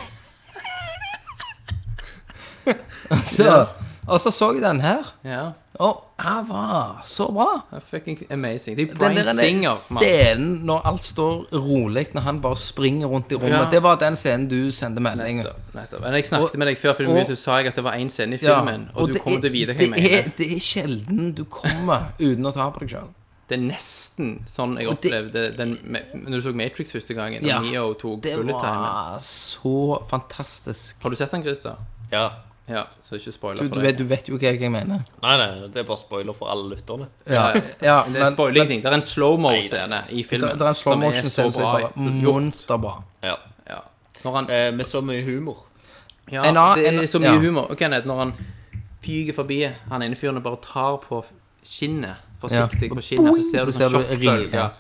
[SPEAKER 6] og så Og så så jeg den her,
[SPEAKER 5] Ja.
[SPEAKER 6] og han var så bra.
[SPEAKER 5] det er Fucking amazing. Det er
[SPEAKER 6] Den
[SPEAKER 5] Brian
[SPEAKER 6] der
[SPEAKER 5] Singer, mann.
[SPEAKER 6] scenen når alt står rolig, når han bare springer rundt i rommet,
[SPEAKER 5] Ja.
[SPEAKER 6] det var den scenen du sendte melding om.
[SPEAKER 5] Nettopp. Men jeg snakket
[SPEAKER 6] Og-
[SPEAKER 5] med deg før filmen
[SPEAKER 6] og-
[SPEAKER 5] begynte, så sa jeg at det var én scene i
[SPEAKER 6] Ja,
[SPEAKER 5] filmen, og, du
[SPEAKER 6] det
[SPEAKER 5] kommer
[SPEAKER 6] er-
[SPEAKER 5] til å vite hva jeg
[SPEAKER 6] det er-
[SPEAKER 5] mener.
[SPEAKER 6] Det er sjelden du kommer uten å ta på deg sjøl.
[SPEAKER 5] Det er nesten sånn jeg
[SPEAKER 6] Og det-
[SPEAKER 5] opplevde den, når du så Matrix første gangen,
[SPEAKER 6] Ja,
[SPEAKER 5] og Neo tok
[SPEAKER 6] Det
[SPEAKER 5] bullet time.
[SPEAKER 6] var så fantastisk.
[SPEAKER 5] Har du sett den, Christer?
[SPEAKER 7] Ja.
[SPEAKER 5] Ja, så ikke spoiler
[SPEAKER 6] Du,
[SPEAKER 5] for
[SPEAKER 6] du,
[SPEAKER 5] deg.
[SPEAKER 6] vet, du vet jo hva jeg mener.
[SPEAKER 7] Nei, nei, det er bare spoiler for alle lytterne.
[SPEAKER 6] Ja, ja, men,
[SPEAKER 5] Det er spoiler
[SPEAKER 6] men
[SPEAKER 5] ingenting. Det er en slow-mo-scene i
[SPEAKER 6] det,
[SPEAKER 5] filmen
[SPEAKER 6] det er en slow
[SPEAKER 5] som er
[SPEAKER 6] motion
[SPEAKER 5] så
[SPEAKER 6] scene som er
[SPEAKER 5] bra.
[SPEAKER 6] bare mm. monsterbra.
[SPEAKER 7] Ja.
[SPEAKER 5] Ja. Når han,
[SPEAKER 7] Eh, med så mye humor.
[SPEAKER 5] ja,
[SPEAKER 6] en annen-
[SPEAKER 5] det er
[SPEAKER 6] en-
[SPEAKER 5] så mye
[SPEAKER 6] ja.
[SPEAKER 5] humor. Og Kenneth, når han fyker forbi, han ene fyren og bare tar på skinnet, forsiktig
[SPEAKER 6] Ja.
[SPEAKER 5] på skinnet, så ser
[SPEAKER 6] Så
[SPEAKER 5] du
[SPEAKER 6] ser
[SPEAKER 5] sånn
[SPEAKER 6] du ring, ja.
[SPEAKER 5] sjokkbølge.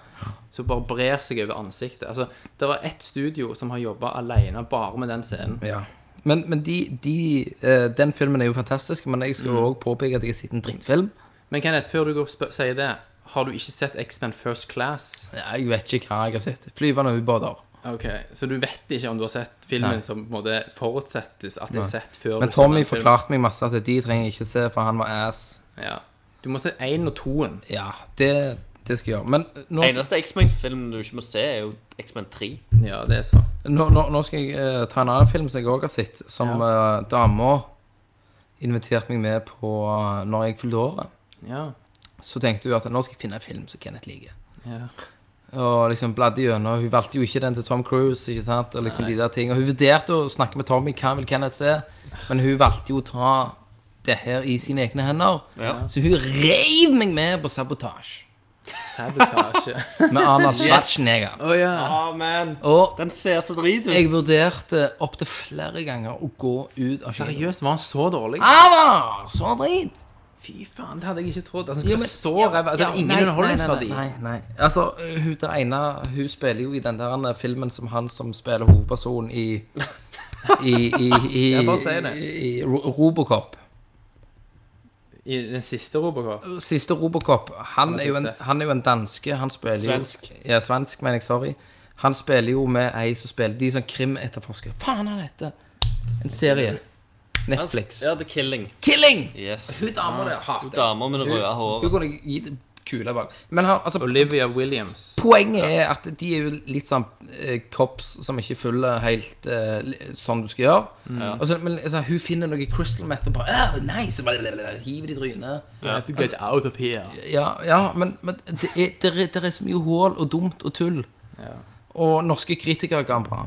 [SPEAKER 5] Som bare brer seg over ansiktet. Altså, det var ett studio som har jobba aleine bare med den scenen.
[SPEAKER 6] Ja. Men, men de, de, eh, den filmen er jo fantastisk, men jeg skal jo
[SPEAKER 5] Mm.
[SPEAKER 6] også påpeke at jeg har sett en drittfilm.
[SPEAKER 5] Men Kenneth, før du går og spør- sier det, har du ikke sett X-Men First Class?
[SPEAKER 6] Ja, Jeg vet ikke hva jeg har sett. Flyvende ubåter.
[SPEAKER 5] Ok, Så du vet ikke om du har sett filmen
[SPEAKER 6] Nei.
[SPEAKER 5] som på en måte forutsettes at det er sett før
[SPEAKER 6] Men
[SPEAKER 5] du ser
[SPEAKER 6] Tommy
[SPEAKER 5] den filmen?
[SPEAKER 6] forklarte meg masse at de trenger jeg ikke se, for han var ass.
[SPEAKER 5] Ja. Du må se én og toen.
[SPEAKER 6] Ja, det, det skal jeg gjøre. Men nå,
[SPEAKER 7] Eneste X-Men-filmen du ikke må se, er jo X-Men 3.
[SPEAKER 5] Ja, det er så.
[SPEAKER 6] nå, nå, nå skal jeg eh, ta en annen film som jeg òg har sett, som ja. dama inviterte meg med på eh, når jeg fylte året.
[SPEAKER 5] Ja.
[SPEAKER 6] Så tenkte hun at nå skal jeg finne en film som Kenneth liker.
[SPEAKER 5] ja.
[SPEAKER 6] Og liksom bladde gjennom. Hun valgte jo ikke den til Tom Cruise. ikke sant? Og liksom de der ting. Og hun vurderte å snakke med Tommy hva vil Kenneth se, men hun valgte jo å ta det her i sine egne hender.
[SPEAKER 7] Ja.
[SPEAKER 6] Så hun reiv meg med på sabotasje.
[SPEAKER 5] Sabotasje.
[SPEAKER 6] Med Arnold Schwarzenegger.
[SPEAKER 5] Å ja.
[SPEAKER 7] Amen.
[SPEAKER 6] Og
[SPEAKER 7] Den ser så drit ut.
[SPEAKER 6] jeg vurderte opptil flere ganger å gå ut av kinoen.
[SPEAKER 5] Seriøst, var han så dårlig?
[SPEAKER 6] Ah. Ava! Så drit!
[SPEAKER 5] Fy faen, det hadde jeg ikke trodd. Altså,
[SPEAKER 6] Jo,
[SPEAKER 5] hva
[SPEAKER 6] men-
[SPEAKER 5] så
[SPEAKER 6] ja,
[SPEAKER 5] ræva Det
[SPEAKER 6] ja,
[SPEAKER 5] er ingen
[SPEAKER 6] nei,
[SPEAKER 5] underholdningsverdi.
[SPEAKER 6] Nei, nei, nei, nei. Altså, hun der ene Hun spiller jo i den der andre filmen som han som spiller hovedpersonen i I, i, i,
[SPEAKER 5] Jeg bare sier det.
[SPEAKER 6] i, i Ro- Robocop.
[SPEAKER 5] I den siste Robocop.
[SPEAKER 6] Siste Robocop. Han er jo en,
[SPEAKER 5] suksess.
[SPEAKER 6] han er jo en danske. Han spiller jo
[SPEAKER 7] Svensk.
[SPEAKER 6] Ja, svensk, mener jeg. Sorry. Han spiller jo med ei som spiller de som krimetterforsker. Faen, han heter En serie. Netflix.
[SPEAKER 7] Ja, The Killing.
[SPEAKER 6] Killing!
[SPEAKER 7] Yes.
[SPEAKER 6] Hun dama der hater jeg.
[SPEAKER 7] Damer med det røde
[SPEAKER 6] Hun
[SPEAKER 7] håret.
[SPEAKER 6] kunne gitt kula bak. Men han, altså,
[SPEAKER 5] Olivia Williams.
[SPEAKER 6] poenget er at de er jo litt sånn eh, cops som ikke følger helt eh, li- sånn du skal gjøre.
[SPEAKER 7] Mm.
[SPEAKER 6] Og så, men altså, hun finner noe crystal meth og bare «Åh, nei, så bare blablabla, hiver de trynet.
[SPEAKER 5] You have to get out of here.
[SPEAKER 6] Ja, ja, men, men det, er, det, er, det er så mye hål og dumt og tull. Og norske kritikere ga han bra.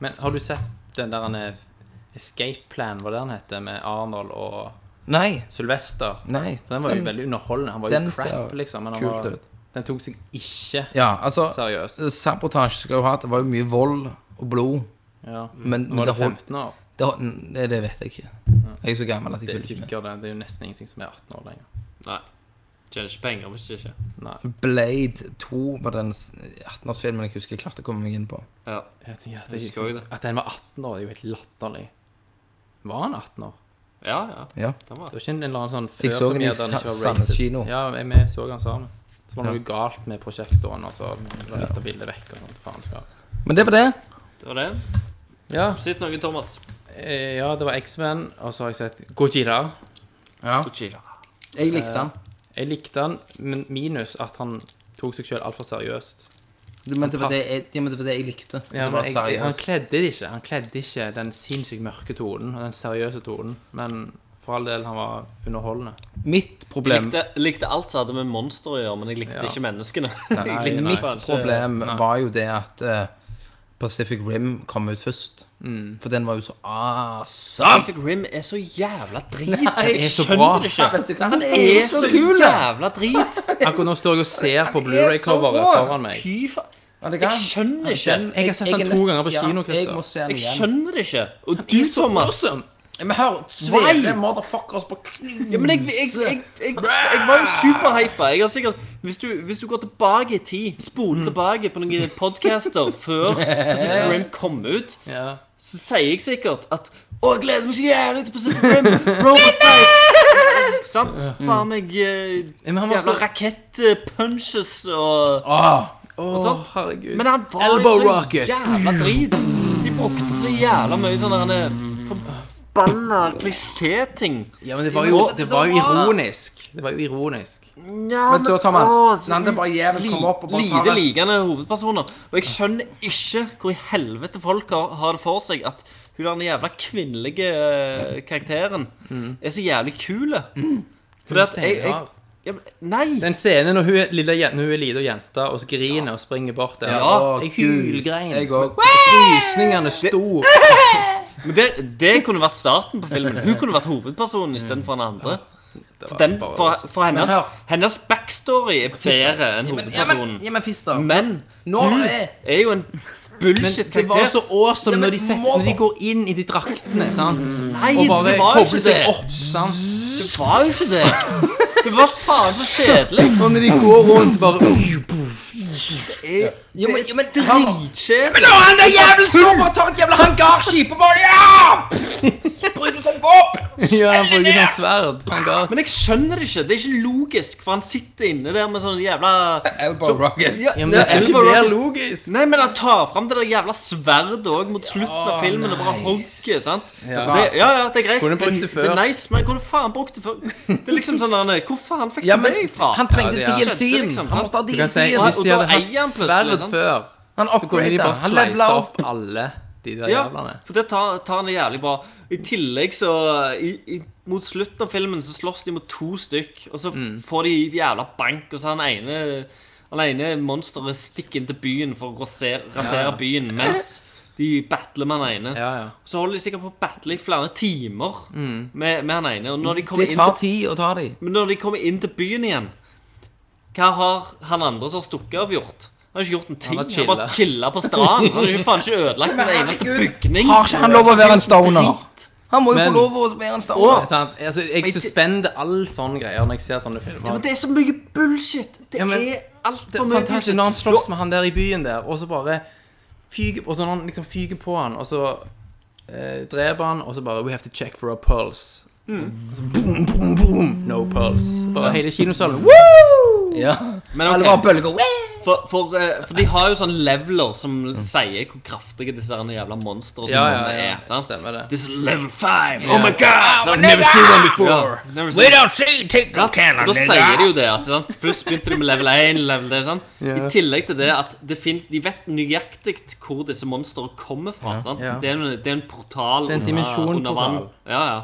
[SPEAKER 5] Men har du sett den der han er- Escape Plan, hva det han heter, med Arnold og
[SPEAKER 6] Nei.
[SPEAKER 5] Sylvester?
[SPEAKER 6] Nei.
[SPEAKER 5] For den var jo veldig underholdende. Han var
[SPEAKER 6] den
[SPEAKER 5] jo
[SPEAKER 6] ser
[SPEAKER 5] crap, liksom. Men han
[SPEAKER 6] kult
[SPEAKER 5] var,
[SPEAKER 6] ut.
[SPEAKER 5] den tok seg ikke
[SPEAKER 6] Ja, altså
[SPEAKER 5] seriøst.
[SPEAKER 6] Sabotasje skal jo ha. Det var jo mye vold og blod.
[SPEAKER 5] Ja.
[SPEAKER 6] Men,
[SPEAKER 5] Nå
[SPEAKER 6] men
[SPEAKER 5] Mm. var
[SPEAKER 6] det,
[SPEAKER 5] det
[SPEAKER 6] holdt,
[SPEAKER 5] 15 år.
[SPEAKER 6] det, holdt- det, det vet jeg ikke. Jeg er så gammel at jeg
[SPEAKER 5] Det er
[SPEAKER 6] følger ikke med.
[SPEAKER 5] sikkert det. Det er jo nesten ingenting som er 18 år lenger.
[SPEAKER 7] Nei. Tjener ikke penger hvis ikke.
[SPEAKER 5] Nei.
[SPEAKER 6] Blade 2 var den s- 18-årsfilmen jeg husker jeg klarte å komme meg inn på.
[SPEAKER 7] Ja.
[SPEAKER 5] Jeg tenker at,
[SPEAKER 7] Jeg husker jo det.
[SPEAKER 5] at den var 18 år, det er jo helt latterlig. Var han 18 år?
[SPEAKER 7] Ja, ja.
[SPEAKER 6] Ja.
[SPEAKER 7] Den var
[SPEAKER 5] Det var ikke en eller annen sånn
[SPEAKER 6] Jeg så den i
[SPEAKER 5] førpremiere der ikke
[SPEAKER 6] Sa-
[SPEAKER 5] var
[SPEAKER 6] Sandnes
[SPEAKER 5] rated.
[SPEAKER 6] kino.
[SPEAKER 5] Ja, jeg- vi så den sammen. Så var det
[SPEAKER 6] Ja.
[SPEAKER 5] noe galt med prosjektoren, og så la litt av bildet vekk og sånn, sånt faenskap.
[SPEAKER 6] Men det var det.
[SPEAKER 7] Det var det.
[SPEAKER 5] Ja,
[SPEAKER 7] Sitt noe, Thomas.
[SPEAKER 5] eh, ja, det var X-Men, og så har jeg sett Gojira.
[SPEAKER 7] Kuchira.
[SPEAKER 6] Jeg likte den.
[SPEAKER 5] Jeg likte han, men minus at han tok seg sjøl altfor seriøst.
[SPEAKER 6] Men det var det jeg, ja, men det var det jeg likte.
[SPEAKER 5] Eh, Ja,
[SPEAKER 6] det
[SPEAKER 5] men
[SPEAKER 6] var
[SPEAKER 5] jeg, jeg, han
[SPEAKER 6] seriøst.
[SPEAKER 5] kledde det ikke. Han kledde ikke den sinnssykt mørke tonen og den seriøse tonen, men for all del, han var underholdende.
[SPEAKER 6] Mitt problem
[SPEAKER 7] Likte, likte alt som hadde med monstre å gjøre, men jeg likte
[SPEAKER 5] Ja.
[SPEAKER 7] ikke menneskene. Jeg likte
[SPEAKER 6] Mitt
[SPEAKER 7] kanskje-
[SPEAKER 6] problem var jo det at eh, Pacific Rim kom ut først.
[SPEAKER 7] Mm.
[SPEAKER 6] For den var jo så awesome!
[SPEAKER 7] Pacific Rim er så jævla drit.
[SPEAKER 6] det er
[SPEAKER 5] så bra.
[SPEAKER 7] skjønner
[SPEAKER 6] vet
[SPEAKER 7] det ikke.
[SPEAKER 6] du hva, han er jo så kul! da.
[SPEAKER 7] jævla drit.
[SPEAKER 5] Akkurat nå står jeg og ser på Blu-ray-coveret
[SPEAKER 6] rå.
[SPEAKER 5] foran meg.
[SPEAKER 7] Fy faen.
[SPEAKER 6] Vet du hva?
[SPEAKER 7] Jeg skjønner det ikke.
[SPEAKER 6] Den-
[SPEAKER 5] Jeg har sett den
[SPEAKER 6] er
[SPEAKER 5] to
[SPEAKER 6] nødt-
[SPEAKER 5] ganger på
[SPEAKER 6] ja,
[SPEAKER 5] kino,
[SPEAKER 6] Jeg
[SPEAKER 5] Christer.
[SPEAKER 6] må se den
[SPEAKER 7] Jeg
[SPEAKER 6] igjen.
[SPEAKER 7] skjønner det ikke. Og du, Thomas
[SPEAKER 6] Men hør,
[SPEAKER 7] Why?
[SPEAKER 6] svære motherfuckers på knuse
[SPEAKER 7] ja, men jeg, jeg, jeg, jeg, jeg var jo superhypa. Jeg har sikkert Hvis du, hvis du går tilbake i tid,
[SPEAKER 5] Mm.
[SPEAKER 7] spoler tilbake på noen podcaster før Pacific Rim kom ut,
[SPEAKER 5] Ja.
[SPEAKER 7] så sier jeg sikkert at Å, jeg gleder meg så jævlig til Pacific Rim! Robot Fight! Sant? Faen meg eh,
[SPEAKER 5] men han var
[SPEAKER 7] Jævla
[SPEAKER 5] så-
[SPEAKER 7] rakettpunches og
[SPEAKER 6] Åh,
[SPEAKER 5] Åh,
[SPEAKER 7] sant?
[SPEAKER 5] herregud.
[SPEAKER 7] Men han var
[SPEAKER 5] Elbow
[SPEAKER 7] jo så
[SPEAKER 5] rocket.
[SPEAKER 7] jævla drit. De brukte så jævla mye sånn der eh, forbanna klisjé-ting.
[SPEAKER 5] Ja, men det var, jo, det var jo ironisk. Det var jo ironisk.
[SPEAKER 7] Ja,
[SPEAKER 6] Men da, Thomas, la det bare jævel komme opp og bare ta
[SPEAKER 7] Lite
[SPEAKER 6] det.
[SPEAKER 7] likende hovedpersoner. Og jeg skjønner ikke hvor i helvete folk har, har det for seg at hun der jævla kvinnelige eh, karakteren er så jævlig kul.
[SPEAKER 6] Mm.
[SPEAKER 7] Fordi at jeg, jeg, ja, men- Nei!
[SPEAKER 5] Den scenen når hun er lille, jen- når hun er liten jente og så griner og springer bort der.
[SPEAKER 7] Ja,
[SPEAKER 6] Å,
[SPEAKER 5] jeg
[SPEAKER 6] Gud.
[SPEAKER 5] hylgrein.
[SPEAKER 6] Jeg òg.
[SPEAKER 5] Frysningene sto.
[SPEAKER 7] Men det, det kunne vært starten på filmen. Hun kunne vært hovedpersonen istedenfor den andre. For, den, for, for
[SPEAKER 6] Men
[SPEAKER 7] hennes,
[SPEAKER 6] hør.
[SPEAKER 7] hennes backstory er bedre enn
[SPEAKER 6] Ja, men,
[SPEAKER 7] hovedpersonen.
[SPEAKER 6] ja, men fister.
[SPEAKER 7] Men
[SPEAKER 6] Nå
[SPEAKER 7] hun
[SPEAKER 6] er
[SPEAKER 7] er jo en
[SPEAKER 5] Det var
[SPEAKER 7] bullshit-karakter.
[SPEAKER 5] så awesome
[SPEAKER 6] Ja, men
[SPEAKER 5] når, de setter,
[SPEAKER 6] må-
[SPEAKER 5] når de går inn i de draktene sant?
[SPEAKER 7] Nei,
[SPEAKER 5] og
[SPEAKER 7] det
[SPEAKER 5] bare
[SPEAKER 7] var jo
[SPEAKER 5] kobler
[SPEAKER 7] ikke
[SPEAKER 5] seg
[SPEAKER 7] det!
[SPEAKER 5] opp. Sant?
[SPEAKER 7] Det var jo ikke det! Det var faen så kjedelig.
[SPEAKER 5] Og når de går rundt bare
[SPEAKER 6] Jo, men, jo, men
[SPEAKER 7] Dritkjedelig.
[SPEAKER 6] Nå, han der jævelen står bare og tar et jævla hangarskip og bare Ja! Bryter seg opp!
[SPEAKER 5] Ja, han bruker sånn sverd. Han ga
[SPEAKER 7] Men jeg skjønner det ikke. Det er ikke logisk, for han sitter inne der med sånn jævla
[SPEAKER 6] Elbow rocket.
[SPEAKER 7] ja,
[SPEAKER 5] Ja, men det
[SPEAKER 7] er
[SPEAKER 5] er
[SPEAKER 7] ikke
[SPEAKER 5] ikke mer
[SPEAKER 7] logisk.
[SPEAKER 5] logisk.
[SPEAKER 7] Nei, men han tar fram det der jævla sverdet òg mot slutten av filmen og bare hogger. sant? Ja. Det, ja, ja, det er greit.
[SPEAKER 5] Kunne brukt det
[SPEAKER 7] det,
[SPEAKER 5] før.
[SPEAKER 7] er nice, men hvor faen brukt det før? Det er liksom sånn han er, Hvor faen fikk
[SPEAKER 6] Ja,
[SPEAKER 7] du
[SPEAKER 6] men
[SPEAKER 7] det ifra?
[SPEAKER 6] han trengte
[SPEAKER 5] Ja, det er-
[SPEAKER 6] DLC-en.
[SPEAKER 7] Liksom,
[SPEAKER 6] Han måtte ha
[SPEAKER 5] Du kan si,
[SPEAKER 6] DLC-en.
[SPEAKER 5] Hvis de
[SPEAKER 7] og da
[SPEAKER 5] hadde hatt
[SPEAKER 7] eier han plutselig,
[SPEAKER 5] sverd
[SPEAKER 7] sant?
[SPEAKER 5] før,
[SPEAKER 6] Han
[SPEAKER 5] så kunne de
[SPEAKER 6] upgrada.
[SPEAKER 5] bare
[SPEAKER 6] Han levela
[SPEAKER 5] sleisa
[SPEAKER 6] opp.
[SPEAKER 5] opp alle de der
[SPEAKER 7] Ja,
[SPEAKER 5] jævlene.
[SPEAKER 7] for det tar, tar han jævlig bra. I tillegg så i, i, Mot slutten av filmen så slåss de mot to stykk, og så f-
[SPEAKER 5] Mm.
[SPEAKER 7] får de jævla bank, og så han ene Han ene monsteret stikker inn til byen for å rasere, rasere byen mens de battler med han ene.
[SPEAKER 5] Ja, Mm. ja.
[SPEAKER 7] Så holder de sikkert på å battle i flere timer med, med han ene. Og når de kommer
[SPEAKER 6] Det
[SPEAKER 7] inn
[SPEAKER 6] tar
[SPEAKER 7] til,
[SPEAKER 6] tid å ta de.
[SPEAKER 7] men når de kommer inn til byen igjen, hva har han andre som har stukket av, gjort? Han har ikke gjort en ting.
[SPEAKER 5] har
[SPEAKER 7] Han har bare chilla på stranden. Han har ikke, faen ikke ødelagt en eneste bygning.
[SPEAKER 6] Har ikke han lov å være en stoner?
[SPEAKER 7] Drit.
[SPEAKER 6] Han må jo
[SPEAKER 5] Men-
[SPEAKER 6] få lov å være en stoner.
[SPEAKER 5] Sant? Altså, jeg suspender all sånne greier når jeg ser sånne
[SPEAKER 7] Ja, men
[SPEAKER 5] filmer.
[SPEAKER 7] det er så mye bullshit. Det
[SPEAKER 5] Ja, men-
[SPEAKER 7] er
[SPEAKER 5] Det
[SPEAKER 7] altfor
[SPEAKER 5] er
[SPEAKER 7] mye
[SPEAKER 5] fantastisk
[SPEAKER 7] bullshit.
[SPEAKER 5] når han slåss med han der i byen der, og så bare fyger, og så når han liksom fyger på han, og så eh, dreper han, og så bare We have to check for a pulse. Og så Boom, boom, boom! No pulse. Og hele kinosalen Woo!
[SPEAKER 6] Ja.
[SPEAKER 7] Men ok,
[SPEAKER 6] Alle bare bølger.
[SPEAKER 7] for, for, eh, for de har jo sånn leveler som sier hvor kraftige disse her jævla monstrene som
[SPEAKER 5] Ja, ja,
[SPEAKER 7] noen
[SPEAKER 5] ja.
[SPEAKER 7] er. sant?
[SPEAKER 5] Stemmer det.
[SPEAKER 7] This is level 5. Oh my god!
[SPEAKER 5] I've never seen one before.
[SPEAKER 7] Never seen
[SPEAKER 4] don't see tickle
[SPEAKER 7] Og Da sier de jo det. at sant? Først begynte de med level 1, level det, sant? I tillegg til det at det finnes, de vet nøyaktig hvor disse monstrene kommer fra. Sant?
[SPEAKER 5] Ja.
[SPEAKER 7] Det, er en, det er en portal
[SPEAKER 5] Det er en
[SPEAKER 7] under,
[SPEAKER 5] dimensjonportal.
[SPEAKER 7] under vann. Ja, ja.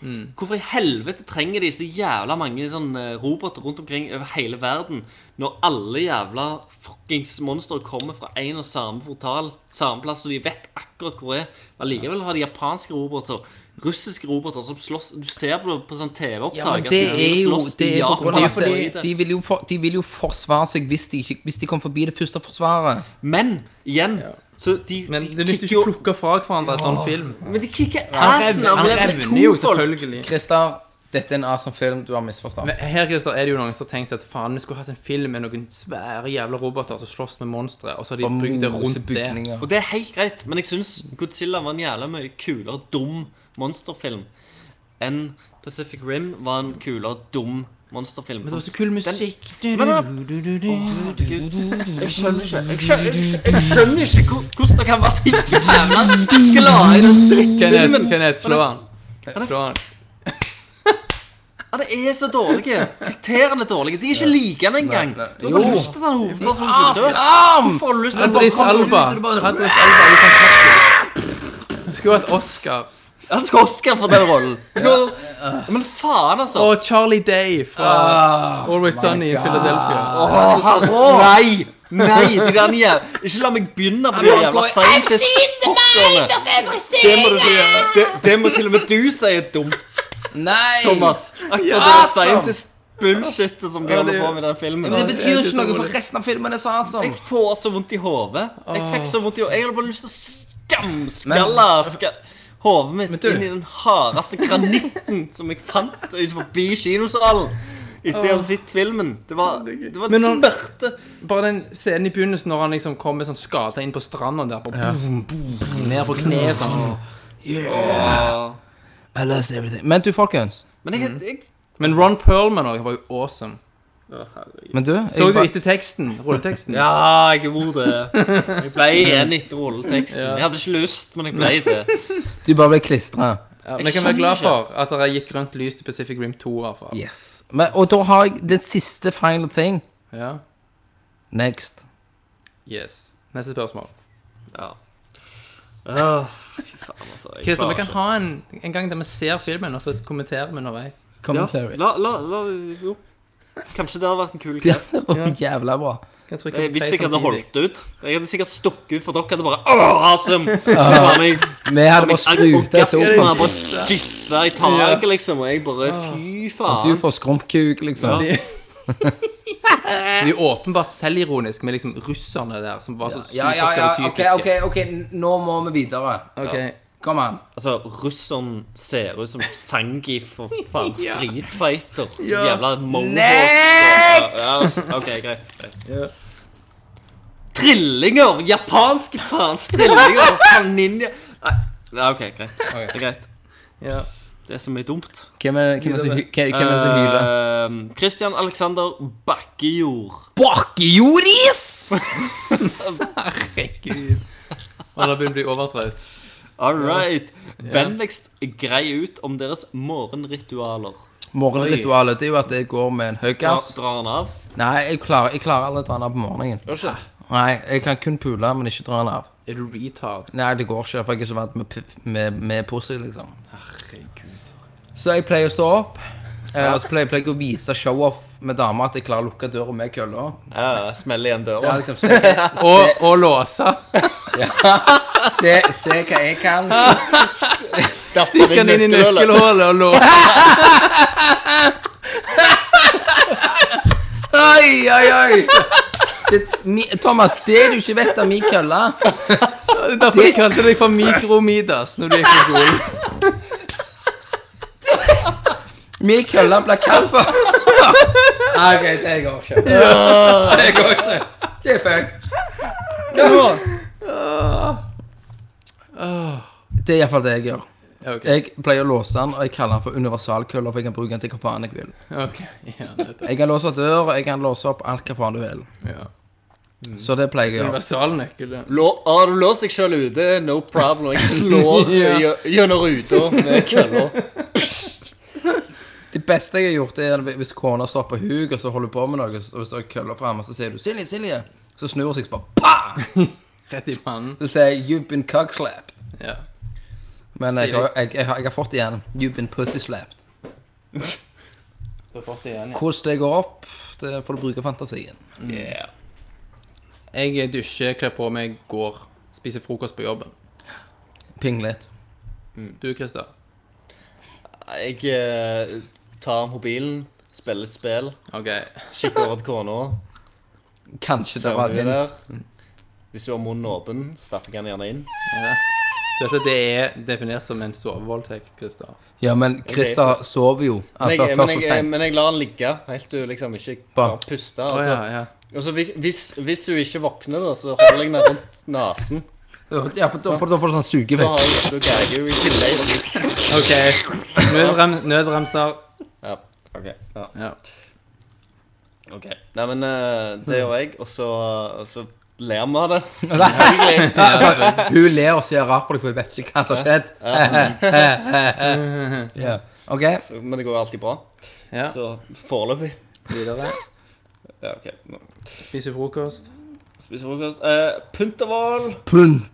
[SPEAKER 7] Hvorfor i helvete trenger de så jævla mange sånn eh, roboter rundt omkring over hele verden når alle jævla fuckings monstre kommer fra én og samme portal, samme plass, så de vet akkurat hvor det er? Allikevel har de japanske roboter, russiske roboter som slåss Du ser på, på sånn
[SPEAKER 6] Ja, men
[SPEAKER 7] TV-opptak
[SPEAKER 6] det er jo
[SPEAKER 7] slåss
[SPEAKER 6] det
[SPEAKER 7] i
[SPEAKER 6] er på
[SPEAKER 7] Japan.
[SPEAKER 6] grunn av
[SPEAKER 7] Det er fordi-
[SPEAKER 6] at de vil jo, for, de vil jo forsvare seg hvis de, ikke, hvis de kom forbi det første forsvaret.
[SPEAKER 7] Men igjen Så de,
[SPEAKER 5] Men
[SPEAKER 7] de
[SPEAKER 5] det nytter
[SPEAKER 7] kicker
[SPEAKER 5] ikke å
[SPEAKER 7] jo
[SPEAKER 5] plukke fra hverandre en sånn film.
[SPEAKER 7] Men de kicker
[SPEAKER 5] Han
[SPEAKER 7] assen
[SPEAKER 5] revner-
[SPEAKER 7] av
[SPEAKER 5] han
[SPEAKER 7] level
[SPEAKER 5] revner jo,
[SPEAKER 7] 2-folk.
[SPEAKER 5] selvfølgelig.
[SPEAKER 6] Christer, dette er en awesome film. Du har misforstått.
[SPEAKER 5] Men her Christer, er det jo noen som har tenkt at faen, vi skulle hatt en film med noen svære jævla roboter som slåss med monstre, og så har de bygd det rundt det.
[SPEAKER 6] Bygninger.
[SPEAKER 7] Og det er helt greit, men jeg syns Godzilla var en jævla mye kulere dum monsterfilm enn Pacific Rim var en kulere dum monsterfilm.
[SPEAKER 5] Men det var så kul musikk.
[SPEAKER 7] Men da- Gud, Jeg skjønner ikke Jeg skjønner, jeg skjønner ikke hvor- hvordan det kan være så jævla glad i den
[SPEAKER 5] Kenneth,
[SPEAKER 7] drittfilmen.
[SPEAKER 5] Kenneth, slå han. Slå han.
[SPEAKER 7] Ja, det er så dårlige. Karakterene er dårlige. De er ikke likende engang.
[SPEAKER 6] Nei, nei.
[SPEAKER 7] Du har
[SPEAKER 6] Jo.
[SPEAKER 7] bare lyst til den hovedpersonen
[SPEAKER 5] Ah,
[SPEAKER 7] som dør.
[SPEAKER 6] Awesome!
[SPEAKER 7] Hvorfor har du lyst til den
[SPEAKER 5] Adris
[SPEAKER 7] hovedpersonen?
[SPEAKER 5] Alba.
[SPEAKER 6] ut, og du bare-
[SPEAKER 5] Adris Alba er jo fantastisk. Skulle hatt Oscar.
[SPEAKER 7] Han skal ha Oscar for den rollen. Nå- Men faen, altså.
[SPEAKER 5] Og Charlie Day fra Always Sunny i Philadelphia.
[SPEAKER 7] Åh, nei! Nei, de der nye. Ikke la meg begynne på de jævla scientist-fuckerne. Det må du ikke gjøre. Det, det må til og med du si er dumt,
[SPEAKER 6] Nei!
[SPEAKER 7] Thomas. Akkurat det der
[SPEAKER 6] Awesome.
[SPEAKER 7] scientist-bullshitet som de holder på med i den
[SPEAKER 6] Men det
[SPEAKER 7] filmen.
[SPEAKER 6] betyr ikke noe, for resten av filmen er så
[SPEAKER 7] Jeg
[SPEAKER 6] awesome.
[SPEAKER 7] får så vondt i hodet. Jeg fikk så vondt i hodet. Jeg hadde bare lyst til å skamskalle ska hodet mitt
[SPEAKER 6] du-
[SPEAKER 7] inn i den hardeste granitten som jeg fant ut forbi kinosalen. Etter jeg hadde sett filmen. Det var, det var
[SPEAKER 5] Men
[SPEAKER 7] en
[SPEAKER 5] han-
[SPEAKER 7] smerte.
[SPEAKER 5] Bare den scenen i begynnelsen når han liksom kommer sånn skada inn på stranda der. Bare boom, boom, ned på kneet sånn.
[SPEAKER 6] I lost everything. Men du, folkens.
[SPEAKER 7] Men jeg, jeg
[SPEAKER 5] Men Ron Perlman også var jo awesome.
[SPEAKER 6] Men du, jeg
[SPEAKER 5] Så du
[SPEAKER 6] bare-
[SPEAKER 5] etter teksten? Rulleteksten?
[SPEAKER 7] Ja, jeg gjorde det. Jeg ble igjen etter rulleteksten. Jeg hadde ikke lyst, men jeg ble det.
[SPEAKER 6] du bare ble klistra.
[SPEAKER 5] Ja, men jeg kan være glad for at det er gitt grønt lys til Pacific Rim 2, i hvert fall.
[SPEAKER 6] Yes. Men, og da har jeg den siste final thing.
[SPEAKER 5] Ja.
[SPEAKER 6] Next.
[SPEAKER 5] Yes. Neste spørsmål.
[SPEAKER 7] Ja. Åh, fy faen, altså. Jeg
[SPEAKER 5] Christian,
[SPEAKER 7] klarer
[SPEAKER 5] vi kan
[SPEAKER 7] ikke.
[SPEAKER 5] ha en, en gang der vi ser filmen, og så kommenterer vi underveis.
[SPEAKER 6] Commentary.
[SPEAKER 7] La, la, la, jo. Kanskje det hadde vært en kul
[SPEAKER 6] Ja,
[SPEAKER 7] cast.
[SPEAKER 6] det var jævla bra.
[SPEAKER 5] Kan trykke
[SPEAKER 7] Eh,
[SPEAKER 5] på
[SPEAKER 7] Hvis
[SPEAKER 5] play
[SPEAKER 7] jeg hadde
[SPEAKER 5] samtidig.
[SPEAKER 7] holdt ut. Jeg hadde sikkert stukket ut, for dere hadde bare Åh, awesome! Det var meg.
[SPEAKER 6] Vi hadde bare spruta
[SPEAKER 7] Han
[SPEAKER 6] sofaen.
[SPEAKER 7] bare kyssa i taket, liksom. Og jeg bare Fy
[SPEAKER 6] Du
[SPEAKER 7] faen.
[SPEAKER 6] får skrumpkuk, liksom.
[SPEAKER 5] Det er jo åpenbart selvironisk med liksom russerne der, som var så
[SPEAKER 6] Ja, ja, ja. OK,
[SPEAKER 5] superstereotypiske.
[SPEAKER 6] OK, ok, nå må vi videre.
[SPEAKER 5] Ok.
[SPEAKER 6] Kom an.
[SPEAKER 7] Altså, russeren ser ut som Sangi for faen Street Fighter. Jævla mongo. Ja, ja, OK, greit. greit. Trillinger! Japanske faens trillinger! Faen ninja. Nei, Nei, OK, greit. Det er greit.
[SPEAKER 5] Ja.
[SPEAKER 7] Det er så mye dumt.
[SPEAKER 6] Hvem er hvem er det som hy- hvem- hvem er det som hyler?
[SPEAKER 7] Eh, Christian Alexander Bakkejord.
[SPEAKER 6] Bakkejordis!
[SPEAKER 5] Herregud. Og da begynner du å bli overtrøtt.
[SPEAKER 7] All right. Vennligst grei ut om deres morgenritualer.
[SPEAKER 6] Morgenritualet det er jo at jeg går med en
[SPEAKER 7] Dra,
[SPEAKER 6] høygass.
[SPEAKER 7] drar han av?
[SPEAKER 6] Nei, jeg klarer, jeg klarer aldri å dra den av på morgenen. Nei, Jeg kan kun pule, men ikke dra den av.
[SPEAKER 5] Er du retard?
[SPEAKER 6] Nei, det går ikke, for jeg er ikke så vant med, p- med, med pussy, liksom.
[SPEAKER 5] Herregud.
[SPEAKER 6] Så jeg pleier å stå opp. eh, Og så pleier pleier jeg å vise show-off med damer at jeg klarer å lukke døra med kølla.
[SPEAKER 7] Ja, smell igjen
[SPEAKER 6] Ja,
[SPEAKER 7] døra.
[SPEAKER 6] liksom, se,
[SPEAKER 5] Og, og låse.
[SPEAKER 6] se, se hva jeg kan.
[SPEAKER 5] Stikk den inn i nøkkelhullet og låse.
[SPEAKER 6] Oi, oi, oi! Det, mi, Thomas, det du ikke vet om min kølle
[SPEAKER 5] Det er derfor jeg kalte deg for Mikromidas når du gikk på skolen.
[SPEAKER 6] Min kølle blir kald for Nei, OK, det går ikke. Det går ikke. Det er fucked. Det er iallfall det jeg gjør.
[SPEAKER 5] Ja, ok.
[SPEAKER 6] Jeg pleier å låse den, og jeg kaller den for universalkølla, for jeg kan bruke den til hva faen jeg vil.
[SPEAKER 5] Ok, ja, nettopp.
[SPEAKER 6] Jeg kan låse dør, og jeg kan låse opp alt hva faen du vil.
[SPEAKER 5] Ja.
[SPEAKER 6] Så det pleier jeg å gjøre.
[SPEAKER 5] Universalnøkkel. ja.
[SPEAKER 7] Lå, har du låst deg sjøl ute? No problem. Jeg slår
[SPEAKER 5] Ja.
[SPEAKER 7] gjø- gjennom ruta med kølla.
[SPEAKER 6] Det beste jeg har gjort, er hvis kona står på huk, og så holder hun på med noe, og hvis det er køller frem, og så sier du 'Silje, Silje', så snur hun seg bare pa!
[SPEAKER 5] Rett i pannen.
[SPEAKER 6] Så sier jeg 'You've been cockslapped'.
[SPEAKER 5] Ja.
[SPEAKER 6] Men jeg har, jeg, jeg, har, jeg har fått igjen 'You've been pussyslapped'.
[SPEAKER 5] Du har fått det igjen, ja.
[SPEAKER 6] Hvordan det går opp, det får du bruke fantasien.
[SPEAKER 7] Yeah.
[SPEAKER 5] Jeg dusjer, kler på meg, går. Spiser frokost på jobben.
[SPEAKER 6] Ping litt.
[SPEAKER 5] Du, Christer?
[SPEAKER 7] Jeg eh, tar mobilen, spiller litt spill,
[SPEAKER 5] Ok.
[SPEAKER 7] kikker over til kona.
[SPEAKER 6] Kanskje det
[SPEAKER 7] Ser
[SPEAKER 6] var
[SPEAKER 7] hun er
[SPEAKER 6] din.
[SPEAKER 7] der. Hvis hun har munnen åpen, stapper jeg den gjerne inn.
[SPEAKER 5] Du vet at det er definert som en sovevoldtekt, Christer.
[SPEAKER 6] Ja, men Christer sover jo.
[SPEAKER 7] Men
[SPEAKER 6] Altså,
[SPEAKER 7] jeg, men,
[SPEAKER 6] først og
[SPEAKER 7] jeg,
[SPEAKER 6] fremst.
[SPEAKER 7] men jeg lar den ligge helt til hun liksom ikke
[SPEAKER 6] Bare-
[SPEAKER 7] kan
[SPEAKER 5] Å,
[SPEAKER 7] puste. Altså,
[SPEAKER 5] ja, ja.
[SPEAKER 7] Og så hvis, hvis, hvis hun ikke våkner, da, så holder jeg henne rundt nesen.
[SPEAKER 6] Ja, for da for da får du sånn
[SPEAKER 7] Da har
[SPEAKER 6] sugefett.
[SPEAKER 7] jeg- da greier jeg jo i tillegg.
[SPEAKER 5] OK. Nødrem, nødbremser.
[SPEAKER 7] Ja, ok. Ja.
[SPEAKER 5] Ja.
[SPEAKER 7] ok. Nei, men eh, det gjør jeg, og så, og så ler vi av det. Selvfølgelig.
[SPEAKER 6] Altså, hun ler og ser rart på deg, for hun vet ikke hva som har skjedd. ja. OK.
[SPEAKER 7] Så- Men det går jo alltid bra.
[SPEAKER 5] ja.
[SPEAKER 7] Så foreløpig.
[SPEAKER 5] Videre.
[SPEAKER 7] Ja, ok. Nå.
[SPEAKER 5] Spiser frokost.
[SPEAKER 7] Spiser frokost. Uh, Punterhval.
[SPEAKER 6] Puntes!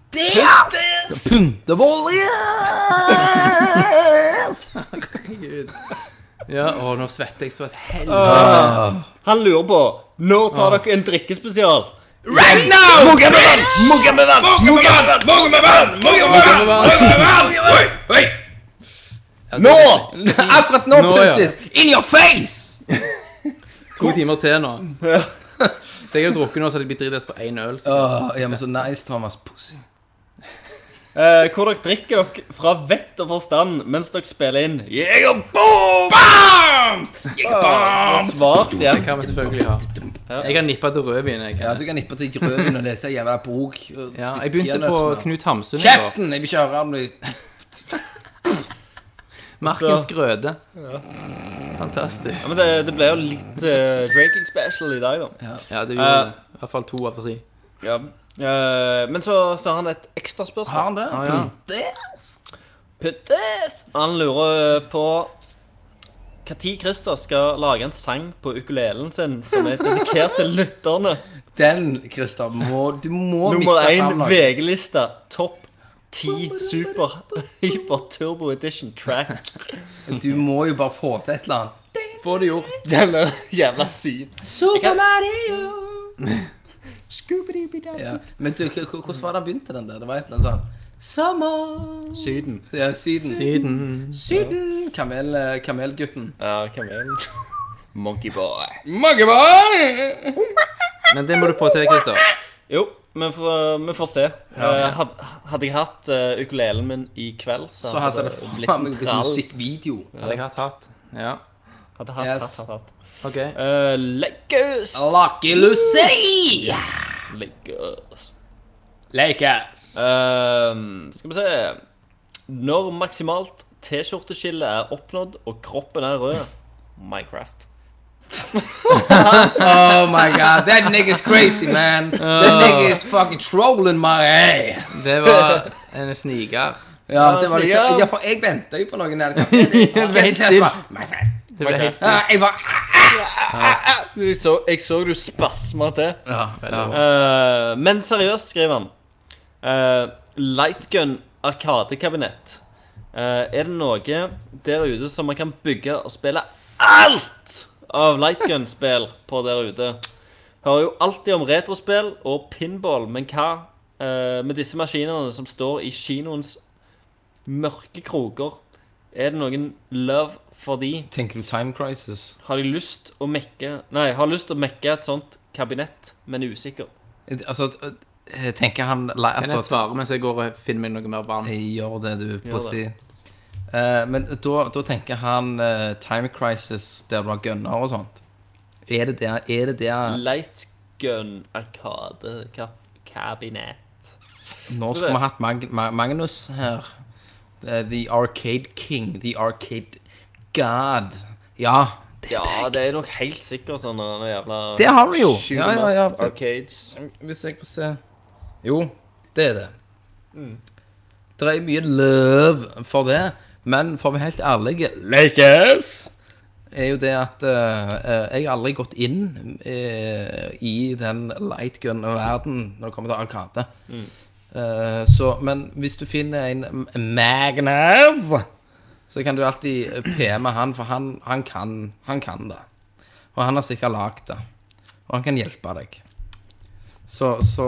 [SPEAKER 5] Gud. Ja, å, nå svetter jeg så et helvete.
[SPEAKER 6] Ah.
[SPEAKER 7] Han lurer på når tar dere en drikkespesial?
[SPEAKER 6] Right now!
[SPEAKER 7] Nå!
[SPEAKER 6] Akkurat nå,
[SPEAKER 5] Nå, ja.
[SPEAKER 6] Puntis! In your face!
[SPEAKER 5] To timer til nå. Hvis jeg hadde drukket nå, så hadde jeg blitt dritings på én øl. Så.
[SPEAKER 6] Åh, ja, men så nice, Thomas. Pussy.
[SPEAKER 7] Eh, hvor dere drikker dere fra vett og forstand mens dere spiller inn Jeger boom! Bombs! Svart
[SPEAKER 5] Det
[SPEAKER 7] igjen.
[SPEAKER 5] kan vi selvfølgelig ha. Jeg har nippa til rødvin. Jeg.
[SPEAKER 6] Ja, du kan nippe til grøven og lese en jævla bok. og
[SPEAKER 5] Ja,
[SPEAKER 6] spise
[SPEAKER 5] jeg begynte på
[SPEAKER 6] peanøttsmør.
[SPEAKER 5] Knut Hamsun i går.
[SPEAKER 6] Kjeften! Jeg vil ikke høre om du
[SPEAKER 5] Markens grøde. Fantastisk.
[SPEAKER 7] Men det, det ble jo litt eh, drinking special i dag, da.
[SPEAKER 5] Ja, det gjorde det. Eh, I hvert fall to av tre.
[SPEAKER 7] Ja. Eh, men så, så har han et ekstra
[SPEAKER 6] Har
[SPEAKER 7] spørsmål.
[SPEAKER 6] han det?
[SPEAKER 5] Ah, ja.
[SPEAKER 6] Det?
[SPEAKER 7] Puttes! Han lurer eh, på når Christer skal lage en sang på ukulelen sin som er dedikert til lytterne.
[SPEAKER 6] Den, Christer, må, du må
[SPEAKER 7] Nummer
[SPEAKER 6] mikse
[SPEAKER 7] én
[SPEAKER 6] fram noe.
[SPEAKER 7] VG-lista. Topp 10 Super Hyper Turbo Edition Track.
[SPEAKER 6] Du må jo bare få til et eller annet.
[SPEAKER 5] Få det gjort.
[SPEAKER 7] Denne jævla syd.
[SPEAKER 6] Super Mario! ja. Men du, k- k- hvordan var det han begynte den der? Det var et eller annet sånn Sommer
[SPEAKER 7] Syden.
[SPEAKER 6] Ja, Syden.
[SPEAKER 5] Tiden.
[SPEAKER 6] Syden. Kamel, eh, kamelgutten.
[SPEAKER 7] Ja, hvem er det? Monkey Boy.
[SPEAKER 6] Maggebarn!
[SPEAKER 5] Men det må du få til, Christer.
[SPEAKER 7] Jo, men for, vi får se. Eh, had- Hadde jeg hatt eh, ukulelen min i kveld, så,
[SPEAKER 6] Så hadde det faen meg blitt musikkvideo.
[SPEAKER 5] Hadde jeg hatt hatt. Ja.
[SPEAKER 7] Hadde hatt,
[SPEAKER 6] Yes.
[SPEAKER 7] hatt, hatt, hatt.
[SPEAKER 5] OK.
[SPEAKER 7] Eh, Lakers!
[SPEAKER 6] Lucky Lucy!
[SPEAKER 7] Lakers. Ehm, skal vi se Når maksimalt T-skjorteskille er oppnådd og kroppen er rød Minecraft.
[SPEAKER 6] Oh my god, that nigga's crazy, man. That nigga is fucking trolling my ass.
[SPEAKER 5] Det var en sniker.
[SPEAKER 6] Ja, det var liksom,
[SPEAKER 7] snill.
[SPEAKER 6] ja, for jeg venta jo på noen der. liksom, er det-
[SPEAKER 5] Ja, det var helt
[SPEAKER 6] Jeg bare,
[SPEAKER 5] stille.
[SPEAKER 6] my bad.
[SPEAKER 5] Det ble helt
[SPEAKER 6] Ja, Jeg bare
[SPEAKER 7] Jeg så, jeg så du spasma til.
[SPEAKER 6] ja, ja.
[SPEAKER 7] Eh, men seriøst, skriver han. Eh, Lightgun Arkadekabinett. Eh, er det noe der ute som man kan bygge og spille alt av Lightgun-spill på der ute? Hører jo alltid om retrospill og pinball, men hva eh, med disse maskinene som står i kinoens mørke kroker? Er det noen love for de?
[SPEAKER 6] Tenker du Time Crisis?
[SPEAKER 7] Har de lyst å mekke Nei, har lyst til å mekke et sånt kabinett, men er usikker?
[SPEAKER 6] Altså, eh, tenker han la-
[SPEAKER 5] Kan jeg
[SPEAKER 6] altså,
[SPEAKER 5] svare mens jeg går og finner meg noe mer vann?
[SPEAKER 6] jeg Gjør det, du, på å
[SPEAKER 7] det.
[SPEAKER 6] si. Eh, men da, da tenker han eh, Time Crisis der blant gunner og sånt. Er det der, er det der
[SPEAKER 7] Lightgun Arkade ka- Kabinett.
[SPEAKER 6] Nå skulle vi hatt Mag Ma Magnus her. The, the Arcade King. The Arcade God. Ja,
[SPEAKER 7] Ja, det er nok helt sikkert sånn noen jævla
[SPEAKER 6] det har vi jo.
[SPEAKER 7] shoot 'em
[SPEAKER 6] Ja, ja,
[SPEAKER 7] up
[SPEAKER 6] ja.
[SPEAKER 7] Arcades.
[SPEAKER 6] Hvis jeg får se Jo, det er det. Det er mye løv for det, men for å være helt ærlig Lakers! Er jo det at eh, eh, jeg har aldri gått inn eh, i den lightgun-verdenen når det kommer til Arkade. Eh, så, men hvis du finner en M- Magnus, så kan du alltid PM-e han, for han, han, kan, han kan det. Og han har sikkert lagd det. Og han kan hjelpe deg. Så, så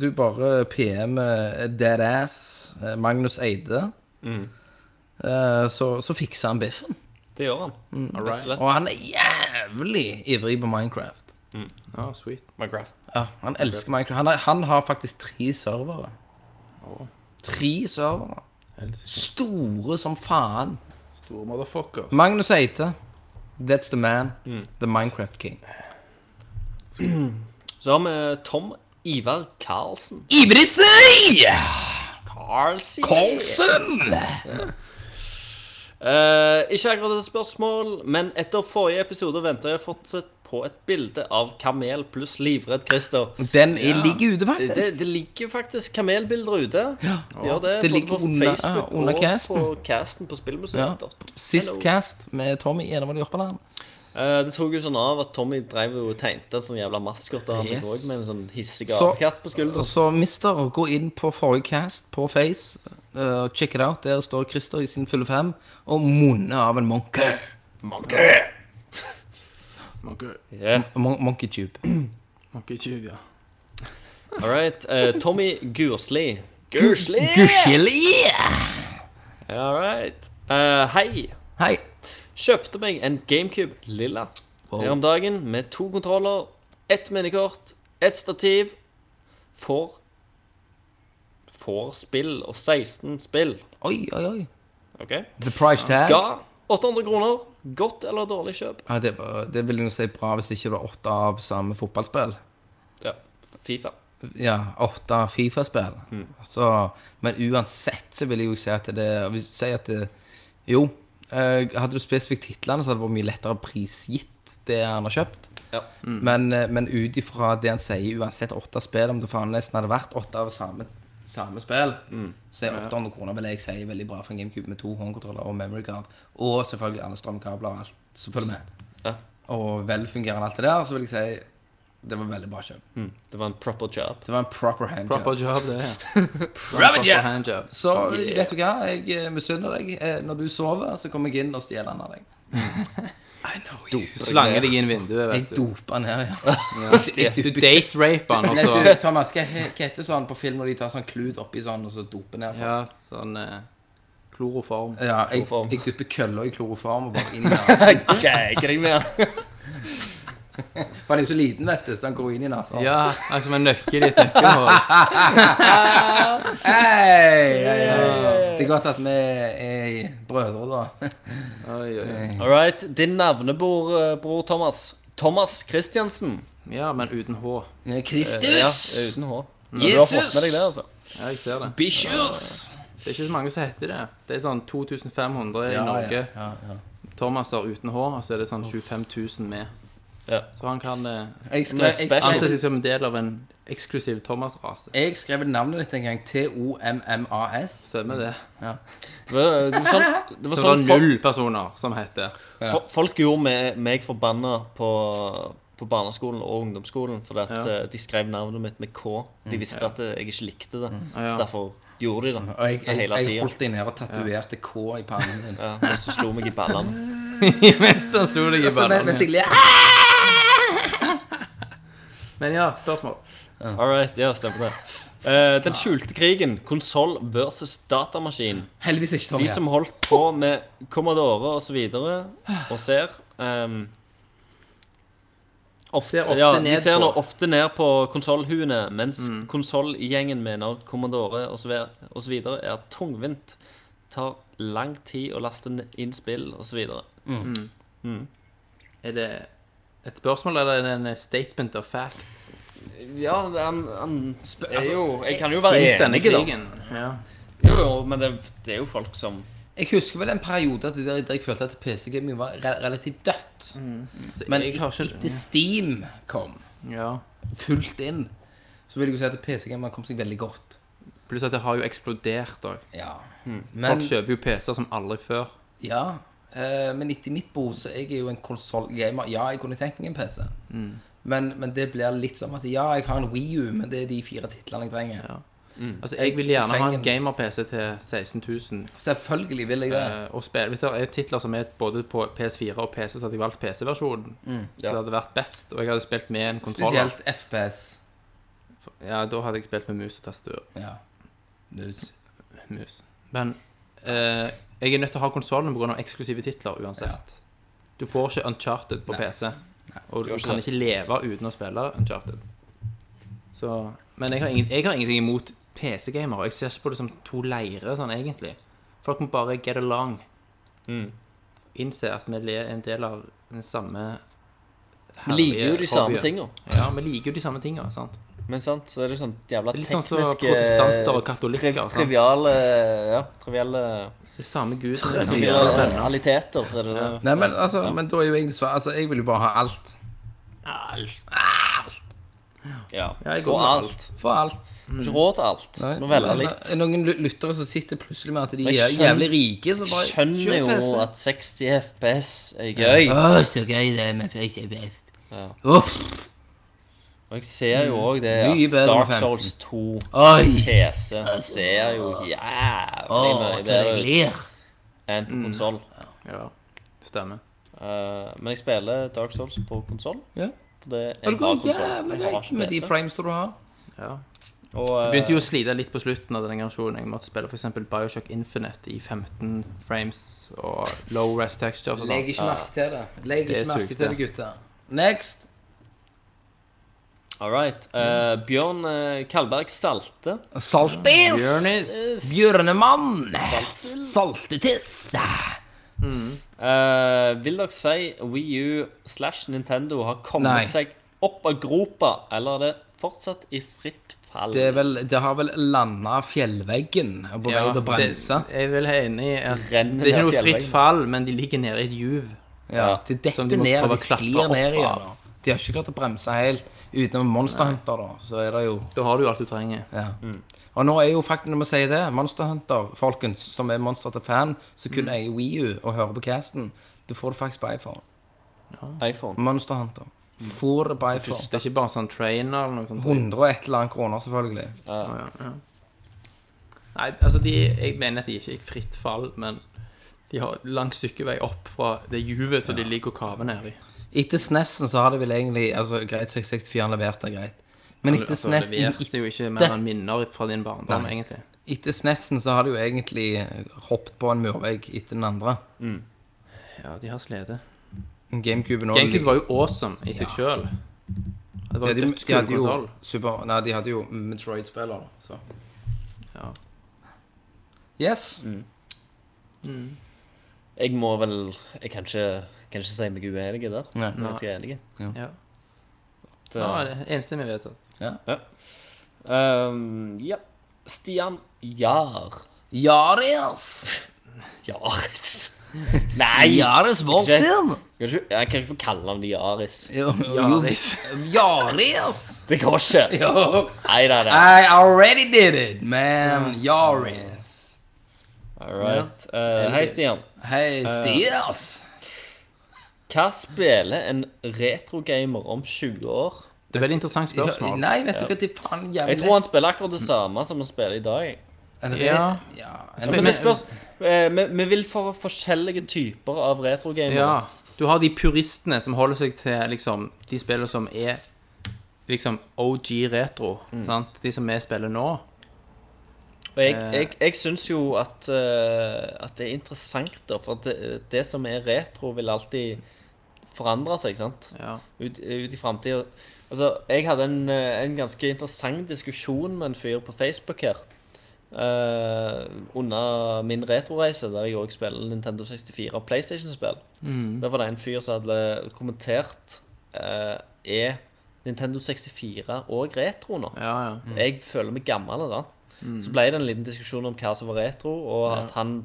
[SPEAKER 6] du bare PM eh, Deadass eh, Magnus Eide. Eh, Så, så fikser han biffen.
[SPEAKER 7] Det gjør han.
[SPEAKER 5] Mm.
[SPEAKER 7] Rett og slett.
[SPEAKER 6] Og han er jævlig ivrig på Minecraft.
[SPEAKER 5] Ja, sweet.
[SPEAKER 7] Minecraft.
[SPEAKER 6] Ja, han elsker Minecraft. Han, er, han har faktisk tre servere. Tre servere. Store som faen.
[SPEAKER 5] Store motherfuckers.
[SPEAKER 6] Magnus Eide. That's the man. The Minecraft king.
[SPEAKER 7] Så har vi Tom Ivar Karlsen.
[SPEAKER 6] Ibrisi!
[SPEAKER 7] Karlsen?
[SPEAKER 6] Olsen!
[SPEAKER 7] Eh, ikke akkurat et spørsmål, men etter forrige episode venter jeg fortsatt på et bilde av kamel pluss livredd Christer.
[SPEAKER 6] Den ligger ute, faktisk.
[SPEAKER 7] Det, det ligger faktisk kamelbilder ute. Ja, det,
[SPEAKER 6] det
[SPEAKER 7] både
[SPEAKER 6] ligger
[SPEAKER 7] på
[SPEAKER 6] under- ja,
[SPEAKER 7] Facebook
[SPEAKER 6] under
[SPEAKER 7] og
[SPEAKER 6] casten.
[SPEAKER 7] på casten på Spillmuseet.
[SPEAKER 6] Ja. Sist cast med Tommy i Enevold Jørpeland.
[SPEAKER 7] Eh, det tok jo sånn av at Tommy drev jo og tegnte en sånn jævla maskot av han
[SPEAKER 6] Yes.
[SPEAKER 7] òg, med en sånn hissig
[SPEAKER 6] Så-
[SPEAKER 7] apekatt på skulderen.
[SPEAKER 6] Så mister, gå inn på forrige cast på Face. eh, check it out. Der står Christer i sin fulle fem og munner av en monkey.
[SPEAKER 7] Yeah.
[SPEAKER 6] Mon monkey tube.
[SPEAKER 5] Monkey Tube, ja.
[SPEAKER 7] All right. eh, Tommy Gursli. Gursli!
[SPEAKER 6] Gurskjeli!
[SPEAKER 7] All right. Eh, hei.
[SPEAKER 6] Hei.
[SPEAKER 7] Kjøpte meg en GameCube lilla her om dagen med to kontroller, ett minnekort, ett stativ, for For spill og 16 spill.
[SPEAKER 6] Oi, oi, oi.
[SPEAKER 7] OK?
[SPEAKER 6] The price tag.
[SPEAKER 7] Ga 800 kroner. Godt eller dårlig kjøp?
[SPEAKER 6] Ja, det, var, det vil jeg si bra hvis ikke det var åtte av samme fotballspill.
[SPEAKER 7] Ja. Fifa.
[SPEAKER 6] Ja, åtte av Fifa-spill.
[SPEAKER 7] Mm.
[SPEAKER 6] Så- Men uansett så vil jeg jo si at det hvis- Si at det Jo, eh, hadde du spesifikt titlene, så hadde det vært mye lettere prisgitt det han har kjøpt.
[SPEAKER 7] Ja. Mm.
[SPEAKER 6] Men, eh, men ut ifra det han sier, uansett åtte spill, om det faen nesten hadde vært åtte av samme samme spill,
[SPEAKER 7] Mm.
[SPEAKER 6] så er 800 kroner vil jeg si er veldig bra for en GameCube med to håndkontroller og memory card, og selvfølgelig alle strømkabler og alt som følger med,
[SPEAKER 7] Ja.
[SPEAKER 6] og velfungerende alt det der, så vil jeg si det var veldig bra kjøp.
[SPEAKER 7] Mm. Det var en proper job.
[SPEAKER 6] Det var en proper hand
[SPEAKER 5] Proper
[SPEAKER 6] job.
[SPEAKER 5] job, det. ja.
[SPEAKER 6] Proper job.
[SPEAKER 5] handjob.
[SPEAKER 6] Så vet du hva, jeg eh, misunner deg. Eh, Når du sover, så kommer jeg inn og stjeler den av deg. I know you.
[SPEAKER 5] Slange deg inn vinduet,
[SPEAKER 6] Jeg
[SPEAKER 5] vet du.
[SPEAKER 6] doper den her, ja. Jeg-
[SPEAKER 5] Du
[SPEAKER 6] jeg- du-
[SPEAKER 5] date-raper han,
[SPEAKER 6] Nei,
[SPEAKER 5] og
[SPEAKER 6] du,
[SPEAKER 5] så
[SPEAKER 6] Thomas, hva he- hva heter sånn på film når de tar sånn klut oppi sånn, og så doper ned? for-
[SPEAKER 5] Ja, sånn eh, kloroform.
[SPEAKER 6] Ja, jeg,
[SPEAKER 7] Kloroform.
[SPEAKER 6] jeg dupper kølla i kloroform og bare inn i nasen.
[SPEAKER 7] Gæker deg med den.
[SPEAKER 6] For han er jo så liten, vet du, så han går inn i nasen.
[SPEAKER 5] Ja, akkurat som en nøkkel i et nøkkelhull.
[SPEAKER 6] Hei, hei, hei. Det er godt at vi er brødre, da.
[SPEAKER 5] Oi, oi, oi.
[SPEAKER 7] All right. Din navnebror, eh, bror Thomas. Thomas Christiansen.
[SPEAKER 5] Ja, men uten H.
[SPEAKER 7] Ja,
[SPEAKER 6] Kristus!
[SPEAKER 7] uten H. Men Du har fått
[SPEAKER 6] Jesus!
[SPEAKER 7] med deg det, altså.
[SPEAKER 5] Ja, jeg ser det.
[SPEAKER 6] Bishus!
[SPEAKER 5] Det er ikke så mange som heter det. Det er sånn 2500 i
[SPEAKER 6] Ja,
[SPEAKER 5] Norge.
[SPEAKER 6] ja, ja, ja.
[SPEAKER 5] Thomaser uten H, og så er det sånn 25 000 med.
[SPEAKER 7] Ja.
[SPEAKER 5] Så han kan eh,
[SPEAKER 6] Jeg skrev, jeg,
[SPEAKER 5] anse
[SPEAKER 6] skrev,
[SPEAKER 5] seg som en del av en eksklusiv Thomas-rase.
[SPEAKER 6] jeg skrev navnet ditt en gang. T-O-M-M-A-S.
[SPEAKER 5] Stemmer det.
[SPEAKER 7] Det var, det var sånn, det var
[SPEAKER 5] Så det
[SPEAKER 7] sånn
[SPEAKER 5] er
[SPEAKER 7] folk,
[SPEAKER 5] null personer som heter
[SPEAKER 7] fo- folk gjorde meg, meg forbanna på, på barneskolen og ungdomsskolen fordi at
[SPEAKER 5] Ja.
[SPEAKER 7] eh, de skrev navnet mitt med K.
[SPEAKER 6] Mm.
[SPEAKER 7] De visste at eh, jeg ikke likte det. Så
[SPEAKER 5] Ja.
[SPEAKER 7] derfor gjorde de det.
[SPEAKER 6] Og jeg, jeg,
[SPEAKER 7] hele
[SPEAKER 6] jeg,
[SPEAKER 7] tiden.
[SPEAKER 6] holdt deg ned og tatoverte K i pannen din.
[SPEAKER 7] Ja, men så slo meg i ballene.
[SPEAKER 5] Mens han slo deg i
[SPEAKER 6] Så men- ah!
[SPEAKER 5] bananen.
[SPEAKER 6] mens jeg ler
[SPEAKER 5] Men ja, spørsmål.
[SPEAKER 7] All right, ja, stemmer det. Eh, den skjulte krigen, konsoll versus datamaskin.
[SPEAKER 6] Heldigvis ikke, Tom.
[SPEAKER 7] De som holdt på med Commodore og så videre, og ser ehm, ofte,
[SPEAKER 5] Ser ofte
[SPEAKER 7] ja,
[SPEAKER 5] ned
[SPEAKER 7] De ser
[SPEAKER 5] på.
[SPEAKER 7] nå ofte ned på Mm. konsollhuene, mens konsollgjengen mener Commodore og så, ve- og så videre er tungvint. Tar lang tid å laste n- inn spill og så videre.
[SPEAKER 5] Er det et spørsmål, eller er det en eh, statement of fact?
[SPEAKER 7] Ja, han, er
[SPEAKER 6] altså,
[SPEAKER 7] jo Jeg kan jo være enig, da.
[SPEAKER 5] Ja.
[SPEAKER 7] Jo, jo, men det, det er jo folk som
[SPEAKER 6] Jeg husker vel en periode at det der, der jeg følte at PC-gaming var re relativt
[SPEAKER 7] Mm.
[SPEAKER 6] dødt. Men
[SPEAKER 5] jeg har ikke-
[SPEAKER 6] etter Steam kom
[SPEAKER 5] ja.
[SPEAKER 6] fullt inn, så vil jeg jo si at PC-gaming kom seg veldig godt.
[SPEAKER 5] Pluss at det har jo eksplodert òg.
[SPEAKER 6] Ja.
[SPEAKER 7] Mm.
[SPEAKER 5] Folk
[SPEAKER 6] Men,
[SPEAKER 5] kjøper jo PC-er som aldri før.
[SPEAKER 6] ja. eh, men etter mitt behov, så jeg er jo en konsollgamer. Ja, jeg kunne tenkt meg en PC.
[SPEAKER 7] Mm.
[SPEAKER 6] Men, men det blir litt som at ja, jeg har en Wii U, men det er de fire titlene jeg trenger.
[SPEAKER 5] Altså, Jeg vil gjerne ha en
[SPEAKER 6] trenger-
[SPEAKER 5] gamer-PC til 16 000.
[SPEAKER 6] Selvfølgelig vil jeg det.
[SPEAKER 5] eh, og spille. Hvis det er titler som er både på PS4 og PC, så hadde jeg valgt PC-versjonen.
[SPEAKER 7] Mm,
[SPEAKER 5] Så Det hadde vært best. Og jeg hadde spilt med en kontroller.
[SPEAKER 6] Spesielt FPS.
[SPEAKER 5] Ja, Da hadde jeg spilt med mus og tastatur.
[SPEAKER 6] Ja. Mus.
[SPEAKER 5] Mus. Men eh, jeg er nødt til å ha konsollen pga. eksklusive titler uansett. Du får ikke Uncharted på PC. Og du
[SPEAKER 7] gjør ikke
[SPEAKER 5] kan
[SPEAKER 7] det.
[SPEAKER 5] ikke leve uten å spille Uncharted. Så, men jeg har, ingen, jeg har ingenting imot PC-gamere. Jeg ser ikke på det som to leirer, sånn egentlig. Folk må bare get along.
[SPEAKER 7] Mm.
[SPEAKER 5] Innse at vi er en del av den samme
[SPEAKER 7] Vi liker jo
[SPEAKER 5] herlige
[SPEAKER 7] de samme
[SPEAKER 5] hobbyen.
[SPEAKER 7] tinga.
[SPEAKER 5] Ja, vi liker jo de samme tinga. sant?
[SPEAKER 7] Men sant, så er det sånn jævla
[SPEAKER 5] Det er litt sånn
[SPEAKER 7] tekniske eh,
[SPEAKER 5] som protestanter og katolikker,
[SPEAKER 7] triv-
[SPEAKER 5] sant?
[SPEAKER 7] Triviale Ja, triviale
[SPEAKER 5] Det samme guden.
[SPEAKER 7] Trivialiteter, er det det?
[SPEAKER 6] Nei, men, altså, men da er jo jeg dessverre Altså, jeg vil jo bare ha alt.
[SPEAKER 7] Ja.
[SPEAKER 5] Ja, jeg går
[SPEAKER 7] og
[SPEAKER 5] med
[SPEAKER 7] alt.
[SPEAKER 6] For alt.
[SPEAKER 7] Du har Ikke råd til alt.
[SPEAKER 6] Nei,
[SPEAKER 7] Du må velge
[SPEAKER 6] men-
[SPEAKER 7] litt.
[SPEAKER 6] men Noen lu- lyttere som sitter plutselig med at de
[SPEAKER 7] Men jeg
[SPEAKER 6] er
[SPEAKER 7] skjønner-
[SPEAKER 6] jævlig rike, så bare
[SPEAKER 7] Skjønner
[SPEAKER 6] kjøp
[SPEAKER 7] jo
[SPEAKER 6] PC.
[SPEAKER 7] at 60 FPS er gøy.
[SPEAKER 6] Å, så gøy det er med FXF.
[SPEAKER 7] Ja.
[SPEAKER 6] Uff.
[SPEAKER 7] Og jeg ser jo òg det
[SPEAKER 6] Mye
[SPEAKER 7] at
[SPEAKER 6] bedre enn
[SPEAKER 7] Dark
[SPEAKER 6] 15.
[SPEAKER 7] Souls 2
[SPEAKER 6] Oi.
[SPEAKER 7] PC ser jo jævlig
[SPEAKER 6] Å,
[SPEAKER 7] mye
[SPEAKER 6] så
[SPEAKER 7] bedre
[SPEAKER 6] det Mm.
[SPEAKER 7] ut
[SPEAKER 6] glir.
[SPEAKER 7] enn på konsoll.
[SPEAKER 5] Ja, stemmer.
[SPEAKER 7] men jeg spiller Dark Souls på konsoll.
[SPEAKER 6] Ja.
[SPEAKER 7] Fordi
[SPEAKER 6] Og
[SPEAKER 7] jeg
[SPEAKER 6] det
[SPEAKER 7] har
[SPEAKER 6] går
[SPEAKER 7] konsoll.
[SPEAKER 6] jævlig
[SPEAKER 7] Jeg har
[SPEAKER 6] greit
[SPEAKER 7] ikke
[SPEAKER 6] med de
[SPEAKER 7] PC.
[SPEAKER 6] frames som du har.
[SPEAKER 5] Ja.
[SPEAKER 7] Og, eh,
[SPEAKER 5] Begynte jo å slite litt på slutten av den generasjonen. Jeg måtte spille for eksempel Bioshock Infinite i 15 frames og low rest textures og
[SPEAKER 6] Legg
[SPEAKER 5] sånn.
[SPEAKER 6] ikke merke til det. Legg
[SPEAKER 5] Det
[SPEAKER 6] ikke merke
[SPEAKER 5] suger,
[SPEAKER 6] til det, gutter. Next.
[SPEAKER 7] All right. Eh, Bjørn eh, Kalberg Salte.
[SPEAKER 6] Saltis.
[SPEAKER 5] Journeys.
[SPEAKER 6] Bjørnemann. Saltetiss.
[SPEAKER 7] Eh, vil dere si Wii U slash Nintendo har kommet
[SPEAKER 6] Nei.
[SPEAKER 7] seg opp av gropa, eller er det fortsatt i fritt fall?
[SPEAKER 6] Det, er vel, det har vel landa fjellveggen og på vei til å bremse.
[SPEAKER 5] Det, jeg er vel enig i at det
[SPEAKER 7] Renner
[SPEAKER 5] er ikke
[SPEAKER 7] ned
[SPEAKER 5] noe fritt
[SPEAKER 7] fjellveggen.
[SPEAKER 5] fall, men de ligger nede i et juv.
[SPEAKER 6] Ja, de
[SPEAKER 5] Som
[SPEAKER 6] detter
[SPEAKER 5] de må
[SPEAKER 6] ned,
[SPEAKER 5] prøve
[SPEAKER 6] de
[SPEAKER 5] å klatre
[SPEAKER 6] sklir
[SPEAKER 5] opp
[SPEAKER 6] ned
[SPEAKER 5] av.
[SPEAKER 6] igjen. De har ikke klart å bremse helt. Utenom Monster Hunter, da, så er det jo
[SPEAKER 5] Da har du jo alt du trenger.
[SPEAKER 6] ja. Og nå er jo faktisk, når vi sier det, Monster Hunter, folkens, som er Monster til fan, som kun eier Wii U og hører på casten, du får det faktisk på iPhone.
[SPEAKER 7] iPhone.
[SPEAKER 6] Monster Hunter. Får det på iPhone.
[SPEAKER 5] Mm. Det er ikke bare sånn trainer eller noe sånt.
[SPEAKER 6] 100 og et eller annet kroner, selvfølgelig.
[SPEAKER 5] Ja, ja. Nei, altså de, jeg mener at de ikke er i fritt fall, men de har et langt stykke vei opp fra det juvet som de ligger og kaver nedi.
[SPEAKER 6] Etter SNES-en så har det vel egentlig altså, Greit, 664 leverte greit. Men etter E
[SPEAKER 5] Altså,
[SPEAKER 6] SNES
[SPEAKER 5] leverte jo ikke mer enn minner fra din barndom,
[SPEAKER 6] Nei.
[SPEAKER 5] egentlig.
[SPEAKER 6] etter SNES-en så har det jo egentlig eh, hoppet på en murvegg etter den andre.
[SPEAKER 5] Ja, de har slede.
[SPEAKER 6] GameCuben også-
[SPEAKER 5] GameCube var jo awesome i seg sjøl. Det var jo
[SPEAKER 6] de, hadde- de
[SPEAKER 5] dødskul
[SPEAKER 6] hadde jo
[SPEAKER 5] kontroll.
[SPEAKER 6] super, Nei, de hadde jo Metroid-spillere, så
[SPEAKER 5] Ja.
[SPEAKER 6] Yes.
[SPEAKER 7] Jeg må vel Jeg kan ikke, kan ikke si meg uenig der. Jeg
[SPEAKER 6] Nei.
[SPEAKER 7] er ganske enig.
[SPEAKER 5] Ja.
[SPEAKER 7] At,
[SPEAKER 5] Ja,
[SPEAKER 7] eh,
[SPEAKER 5] det er enstemmig vedtatt.
[SPEAKER 7] ehm, ja. Stian Jahr.
[SPEAKER 6] Yaris!
[SPEAKER 7] Jaris. Nei!
[SPEAKER 6] Yaris Voltsin!
[SPEAKER 7] Jeg kan ikke, jeg kan ikke få kalle ham det Jaris.
[SPEAKER 6] Yaris. Yaris!
[SPEAKER 7] Det går ikke.
[SPEAKER 6] Jo.
[SPEAKER 7] Nei, nei, nei.
[SPEAKER 6] I already did it, man. Yaris.
[SPEAKER 7] All right. Eh, hei, Stian.
[SPEAKER 6] Hei,
[SPEAKER 7] Eh,
[SPEAKER 6] Stias.
[SPEAKER 7] Hva spiller en retrogamer om 20 år?
[SPEAKER 5] Det er veldig interessant
[SPEAKER 6] Ja,
[SPEAKER 5] spørsmål.
[SPEAKER 6] Nei, vet du hva til faen jævlig
[SPEAKER 7] Jeg tror han spiller akkurat det samme som han spiller i dag.
[SPEAKER 6] Er det-
[SPEAKER 5] Ja.
[SPEAKER 6] ja.
[SPEAKER 7] Men vi, spørs, eh, vi, vi vil for forskjellige typer av retrogamere.
[SPEAKER 5] Ja. Du har de puristene som holder seg til liksom, de spillene som er liksom OG retro. Sant? De som vi spiller nå.
[SPEAKER 7] Og jeg, jeg, jeg syns jo at, eh, at det er interessant, da, for det, det som er retro, vil alltid forandre seg, sant?
[SPEAKER 5] Ja.
[SPEAKER 7] Ut, ut i framtida. Altså, jeg hadde en, eh, en ganske interessant diskusjon med en fyr på Facebook her. eh, under min retroreise, der jeg òg spiller Nintendo 64 og PlayStation-spill. Der var det en fyr som hadde kommentert uh, Er Nintendo 64 og retro nå?
[SPEAKER 5] Ja, ja.
[SPEAKER 7] Jeg føler meg gammel da. Så ble det en liten diskusjon om hva som var retro, og at han,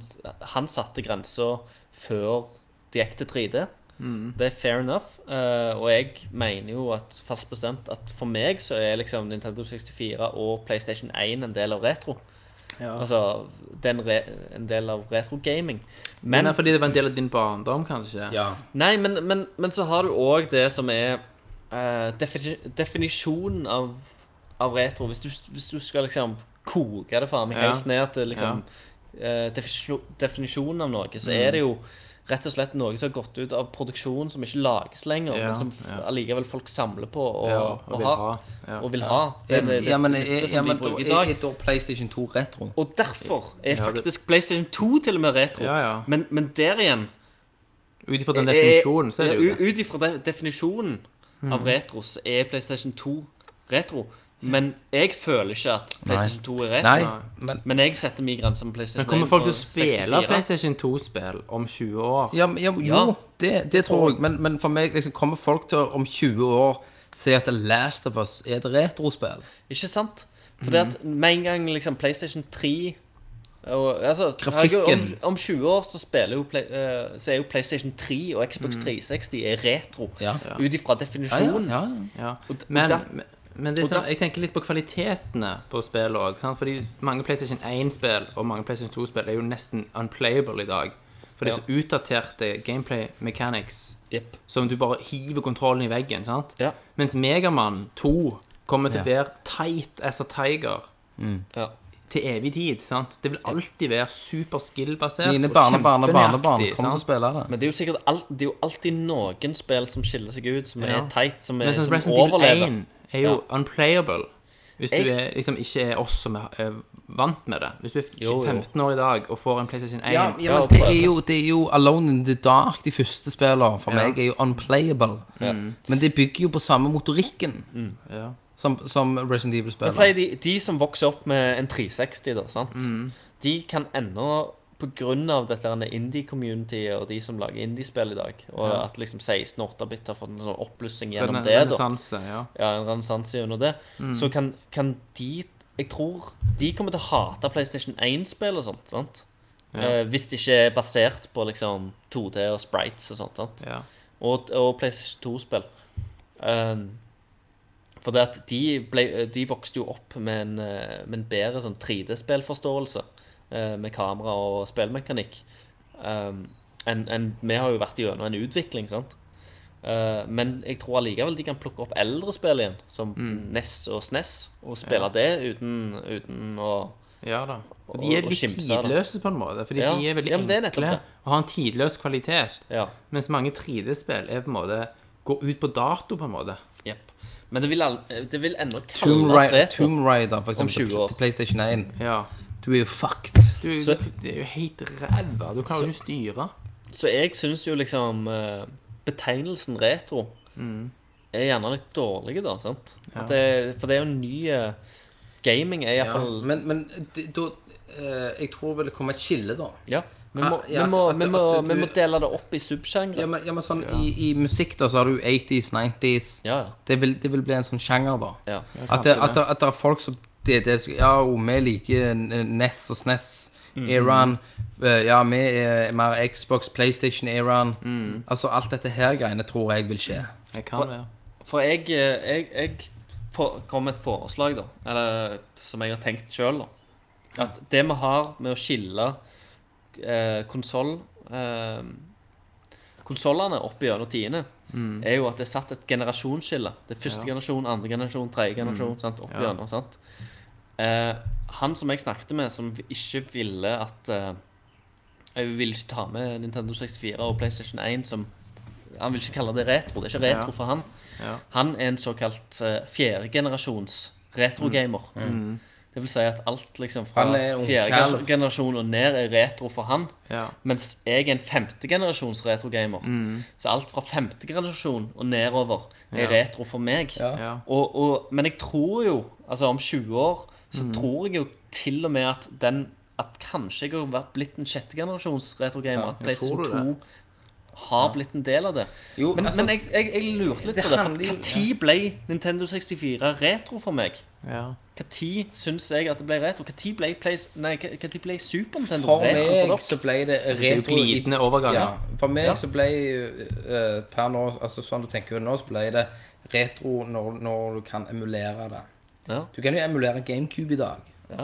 [SPEAKER 7] han satte grenser før det gikk til 3D. Det er fair enough. eh, og jeg mener jo at fast bestemt at for meg så er liksom Nintendo 64 og PlayStation 1 en del av retro. Altså det er en, re en del av retro-gaming.
[SPEAKER 5] Men
[SPEAKER 7] Men,
[SPEAKER 5] fordi det var en del av din barndom, kanskje?
[SPEAKER 6] Ja.
[SPEAKER 7] nei, men, men, men så har du òg det som er eh, defini definisjonen av, av retro. Hvis du, hvis du skal liksom koke det for meg
[SPEAKER 5] Ja.
[SPEAKER 7] helt ned til liksom eh, definisjon- definisjonen av noe, så er det jo rett og slett noe som har gått ut av produksjon som ikke lages lenger,
[SPEAKER 5] Ja,
[SPEAKER 7] men som f- allikevel folk samler på og,
[SPEAKER 5] Ja,
[SPEAKER 7] og, har.
[SPEAKER 5] Ja.
[SPEAKER 7] Og vil ha. Det
[SPEAKER 6] Ja,
[SPEAKER 7] er det, det,
[SPEAKER 6] men,
[SPEAKER 7] det,
[SPEAKER 6] er, ja,
[SPEAKER 7] som
[SPEAKER 6] men
[SPEAKER 7] de
[SPEAKER 6] da,
[SPEAKER 7] bruker i
[SPEAKER 6] er,
[SPEAKER 7] dag.
[SPEAKER 6] er da PlayStation 2 retro?
[SPEAKER 7] Og derfor
[SPEAKER 5] Ja,
[SPEAKER 7] er
[SPEAKER 5] det-
[SPEAKER 7] faktisk PlayStation 2 til og med retro.
[SPEAKER 5] Ja, ja.
[SPEAKER 7] Men, men der igjen
[SPEAKER 5] Ut ifra den
[SPEAKER 7] Eh,
[SPEAKER 5] definisjonen, så er det jo Mm.
[SPEAKER 7] ja,
[SPEAKER 5] det.
[SPEAKER 7] u- Ut ifra den definisjonen av retro, så er PlayStation 2 retro. Men jeg føler ikke at PlayStation 2 er retro.
[SPEAKER 6] Nei, men
[SPEAKER 7] Men jeg setter min grense med PlayStation 1
[SPEAKER 5] Men kommer folk til å
[SPEAKER 7] og
[SPEAKER 5] spille
[SPEAKER 7] 64.
[SPEAKER 5] PlayStation 2-spill om 20 år?
[SPEAKER 6] ja, men- ja,
[SPEAKER 7] Ja.
[SPEAKER 6] Jo, det, det tror jeg. Men, men for meg liksom, kommer folk til å om 20 år si at The Last of Us er et retrospill.
[SPEAKER 7] Ikke sant? Fordi
[SPEAKER 5] Mhm.
[SPEAKER 7] at med en gang liksom PlayStation 3 og, altså,
[SPEAKER 6] Grafikken.
[SPEAKER 7] Om, om 20 år så, spiller jo play, eh, så er jo PlayStation 3 og
[SPEAKER 5] Mm.
[SPEAKER 7] Xbox 360 er retro.
[SPEAKER 6] Ja.
[SPEAKER 7] Ut ifra
[SPEAKER 6] Ja, ja,
[SPEAKER 7] definisjonen.
[SPEAKER 6] ja.
[SPEAKER 5] Ja.
[SPEAKER 7] Og d- og
[SPEAKER 5] Men,
[SPEAKER 7] der-
[SPEAKER 5] men- men det er
[SPEAKER 7] og
[SPEAKER 5] sånn,
[SPEAKER 7] der-
[SPEAKER 5] jeg tenker litt på kvalitetene på spill òg. Fordi mange PlayStation 1-spill og mange PlayStation 2-spill er jo nesten unplayable i dag. For det er så utdaterte gameplay mechanics
[SPEAKER 7] Jep.
[SPEAKER 5] som du bare hiver kontrollen i veggen. sant?
[SPEAKER 7] Ja.
[SPEAKER 5] Mens Megaman 2 kommer til å være tight as a tiger
[SPEAKER 7] Ja.
[SPEAKER 5] til evig tid. sant? Det vil alltid være super skill-basert
[SPEAKER 6] Mine
[SPEAKER 5] og
[SPEAKER 6] barnebarn og barnebarn
[SPEAKER 5] kjempenøyaktig,
[SPEAKER 6] kommer til å
[SPEAKER 5] sant?
[SPEAKER 6] spille det.
[SPEAKER 7] Men det er jo sikkert alt, det er jo alltid noen spill som skiller seg ut, som
[SPEAKER 5] Ja.
[SPEAKER 7] er teit, som, er,
[SPEAKER 5] Men sånn
[SPEAKER 7] eh, som
[SPEAKER 5] Resident Evil
[SPEAKER 7] overlever.
[SPEAKER 5] 1 er jo unplayable. Hvis du
[SPEAKER 7] Jeg s-
[SPEAKER 5] er, liksom ikke er oss som er, er vant med det. Hvis du er f-
[SPEAKER 7] Jo, jo.
[SPEAKER 5] 15 år i dag og får en PlayStation 1
[SPEAKER 6] Ja, ja, men det er, jo, det er jo Alone in the Dark, de første spillene, for meg er jo unplayable.
[SPEAKER 7] Mm.
[SPEAKER 6] Men det bygger jo på samme motorikken
[SPEAKER 5] ja.
[SPEAKER 6] som, som Resident
[SPEAKER 7] Men si
[SPEAKER 6] Evil-spillene.
[SPEAKER 7] de, de som vokser opp med en 360, da, sant? de kan ennå på grunn av dette her indie-communityet og de som lager indie-spill i dag, og at liksom 16 og 8-bit har fått en sånn oppblussing gjennom det, da.
[SPEAKER 5] Renessanse, ja.
[SPEAKER 7] Ja, en renessanse gjennom det. Så kan, kan de Jeg tror de kommer til å hate PlayStation 1-spill og sånt, sant? Eh, hvis det ikke er basert på liksom 2D og sprites og sånt. sant?
[SPEAKER 5] ja.
[SPEAKER 7] og, og PlayStation 2-spill. Um, For det at de, ble, de vokste jo opp med en, eh, med en bedre sånn 3D-spillforståelse eh, med kamera og spillmekanikk. Um, enn- enn- vi har jo vært gjennom en utvikling, sant. Eh, men jeg tror allikevel de kan plukke opp eldre spill igjen, som
[SPEAKER 6] Mm.
[SPEAKER 7] NES og SNES, og spille det uten, uten å
[SPEAKER 5] Ja da. Og
[SPEAKER 7] Og-
[SPEAKER 5] de er
[SPEAKER 7] og
[SPEAKER 5] litt
[SPEAKER 7] skimse av det.
[SPEAKER 5] tidløse på en måte, fordi
[SPEAKER 7] Ja.
[SPEAKER 5] de er veldig
[SPEAKER 7] Ja, men det er nettopp
[SPEAKER 5] enkle
[SPEAKER 7] det.
[SPEAKER 5] og har en tidløs kvalitet.
[SPEAKER 7] Ja.
[SPEAKER 5] Mens mange 3D-spill er på en måte går ut på dato, på en måte.
[SPEAKER 7] Jepp. Men det vil, all, det vil ennå
[SPEAKER 6] Tomb,
[SPEAKER 7] kalles
[SPEAKER 6] Ri-
[SPEAKER 7] retro.
[SPEAKER 6] Tomb Raider, for eksempel,
[SPEAKER 7] 20 år.
[SPEAKER 6] til PlayStation 1.
[SPEAKER 5] Ja.
[SPEAKER 6] Du er jo fucked.
[SPEAKER 5] Du,
[SPEAKER 7] Så-
[SPEAKER 5] det er jo helt ræva. Du kan jo ikke styre.
[SPEAKER 7] Så jeg syns jo liksom eh, Betegnelsen retro
[SPEAKER 6] Mm.
[SPEAKER 7] er gjerne litt dårlig, da. sant? At det, for det er jo en ny eh, Gaming er
[SPEAKER 6] Ja,
[SPEAKER 7] iallfall ja.
[SPEAKER 6] men men det- da eh, Jeg tror vel det kommer et skille, da.
[SPEAKER 7] ja. Vi må,
[SPEAKER 6] Ah, Ja,
[SPEAKER 7] vi, må,
[SPEAKER 6] at-
[SPEAKER 7] vi, må,
[SPEAKER 6] at du-
[SPEAKER 7] vi må dele det opp
[SPEAKER 6] Ja,
[SPEAKER 7] i subsjangre.
[SPEAKER 6] men, ja, men sånn, I, I musikk da, så har du 80s, 90s.
[SPEAKER 7] Ja, ja.
[SPEAKER 6] Det, vil, det vil bli en sånn sjanger, da.
[SPEAKER 7] Ja.
[SPEAKER 6] at, det, at, det, at det er folk som det, det, Ja, og vi liker N- E NES og SNES. Mm. Iran. Eh, Ja, vi er mer Xbox, PlayStation, Iran. Altså alt dette her greiene tror jeg vil skje.
[SPEAKER 5] Jeg kan være.
[SPEAKER 7] For jeg, eh, jeg, jeg for- kom med et forslag, da. Eller som jeg har tenkt sjøl, da. At det vi har med å skille eh, konsoll eh, Konsollene opp gjennom tiende er jo at det er satt et generasjonsskille. Det er første generasjon, andre generasjon, tredje generasjon. sant, opp gjennom, sant? Eh, han som jeg snakket med, som ikke ville at eh, Jeg ville ikke ta med Nintendo 64 og PlayStation 1 som Han vil ikke kalle det retro. Det er ikke retro for han. Han er en såkalt eh, fjerdegenerasjons retrogamer. Det vil si at alt liksom fra
[SPEAKER 6] Han er ung
[SPEAKER 7] fjerde
[SPEAKER 6] kalv.
[SPEAKER 7] generasjon og ned er retro for han.
[SPEAKER 5] Ja.
[SPEAKER 7] Mens jeg er en femtegenerasjons retrogamer.
[SPEAKER 6] Mm.
[SPEAKER 7] Så alt fra femte generasjon og nedover er retro for meg.
[SPEAKER 5] Ja.
[SPEAKER 7] Og, og, men jeg tror jo, altså om 20 år,
[SPEAKER 6] Mm.
[SPEAKER 7] så tror jeg jo til og med at den at kanskje jeg har vært- blitt en sjettegenerasjons retrogamer. at
[SPEAKER 5] tror du
[SPEAKER 7] PlayStation 2 har blitt en del av det.
[SPEAKER 6] Jo,
[SPEAKER 7] men
[SPEAKER 6] altså-
[SPEAKER 7] men jeg, jeg, jeg lurte litt
[SPEAKER 6] Det
[SPEAKER 7] på det.
[SPEAKER 6] handler
[SPEAKER 7] For
[SPEAKER 6] jo-
[SPEAKER 7] hva tid ble Nintendo 64 retro for meg?
[SPEAKER 5] Ja.
[SPEAKER 7] Hva tid syns jeg at det ble retro? Hva tid ble, Play- nei, hva- hva tid ble Super Nintendo
[SPEAKER 6] For
[SPEAKER 7] retro for
[SPEAKER 6] meg
[SPEAKER 7] dere?
[SPEAKER 6] så ble det
[SPEAKER 7] altså,
[SPEAKER 5] Det er jo
[SPEAKER 6] retro i-
[SPEAKER 5] glidende overganger.
[SPEAKER 6] Ja, for meg
[SPEAKER 7] Ja.
[SPEAKER 6] så ble eh, per nå, altså sånn du tenker nå, så ble det retro når, når du kan emulere det.
[SPEAKER 7] Ja.
[SPEAKER 6] Du kan jo emulere GameCube i dag.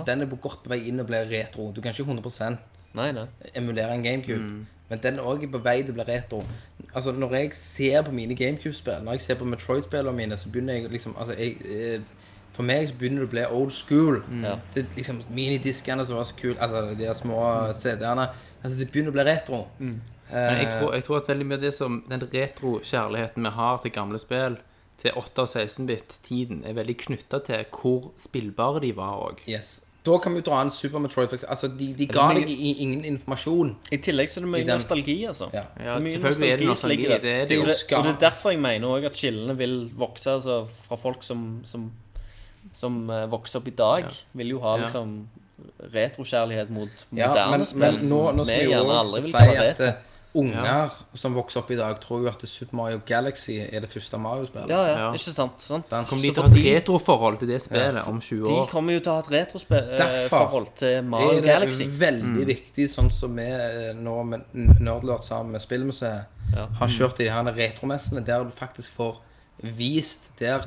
[SPEAKER 6] Den er på godt vei inn og blir retro. Du kan ikke 100
[SPEAKER 7] Nei, nei.
[SPEAKER 6] emulere en GameCube, men den er også på vei til å bli retro. Altså, når jeg ser på mine GameCube-spill, når jeg ser på Metroid-spillene mine, så begynner jeg liksom altså, jeg, eh, For meg så begynner det å bli old school.
[SPEAKER 7] Ja.
[SPEAKER 6] Det er liksom Minidiskene som var så kule, altså de der små CD-ene altså, Det begynner å bli retro.
[SPEAKER 5] Men jeg tror, jeg tror at veldig mye av det som den retro-kjærligheten vi har til gamle spill, til 8- og 16-bit-tiden, er veldig knytta til hvor spillbare de var òg.
[SPEAKER 6] Yes. Da kan vi jo dra en Super Metroid. for eksempel. Altså, de, de ga
[SPEAKER 7] mye-
[SPEAKER 6] deg i- ingen informasjon.
[SPEAKER 7] I tillegg så er det mye
[SPEAKER 6] I den-
[SPEAKER 7] nostalgi, altså.
[SPEAKER 6] Ja.
[SPEAKER 5] Ja,
[SPEAKER 7] Mye
[SPEAKER 5] selvfølgelig er det
[SPEAKER 7] nostalgi som
[SPEAKER 5] nostalgi.
[SPEAKER 7] ligger i det.
[SPEAKER 5] Det er
[SPEAKER 6] Det
[SPEAKER 5] det
[SPEAKER 6] er
[SPEAKER 5] jo.
[SPEAKER 6] jo
[SPEAKER 7] Og
[SPEAKER 6] skam.
[SPEAKER 7] det er derfor jeg mener også at skillene vil vokse altså, fra folk som, som, som eh, vokser opp i dag, vil jo ha
[SPEAKER 5] Ja.
[SPEAKER 7] liksom retrokjærlighet mot
[SPEAKER 6] Ja, men,
[SPEAKER 7] moderne
[SPEAKER 6] men
[SPEAKER 7] spill.
[SPEAKER 6] nå,
[SPEAKER 7] som
[SPEAKER 6] nå skal
[SPEAKER 7] vi
[SPEAKER 6] vi
[SPEAKER 7] gjerne
[SPEAKER 6] jo
[SPEAKER 7] aldri vil
[SPEAKER 6] si
[SPEAKER 7] kalle
[SPEAKER 6] at
[SPEAKER 7] retro.
[SPEAKER 6] eh, unger som vokser opp i dag, tror jo at Super Mario Galaxy er det første Mario-spillet.
[SPEAKER 7] Ja, ja,
[SPEAKER 5] Ja.
[SPEAKER 7] ikke sant? sant?
[SPEAKER 6] Sant.
[SPEAKER 5] Kommer
[SPEAKER 7] Så
[SPEAKER 5] de til å
[SPEAKER 7] for
[SPEAKER 5] ha et retroforhold til det spillet om 20
[SPEAKER 7] de
[SPEAKER 5] år?
[SPEAKER 7] kommer jo til å ha et
[SPEAKER 6] Derfor
[SPEAKER 7] retroforhold til
[SPEAKER 6] Det
[SPEAKER 7] Mario
[SPEAKER 6] er
[SPEAKER 7] Galaxy.
[SPEAKER 6] veldig viktig, sånn som vi eh, nå med N- Nerdlord sammen med Spillmuseet
[SPEAKER 7] Ja.
[SPEAKER 6] har kjørt i de her retromessene, der du faktisk får vist der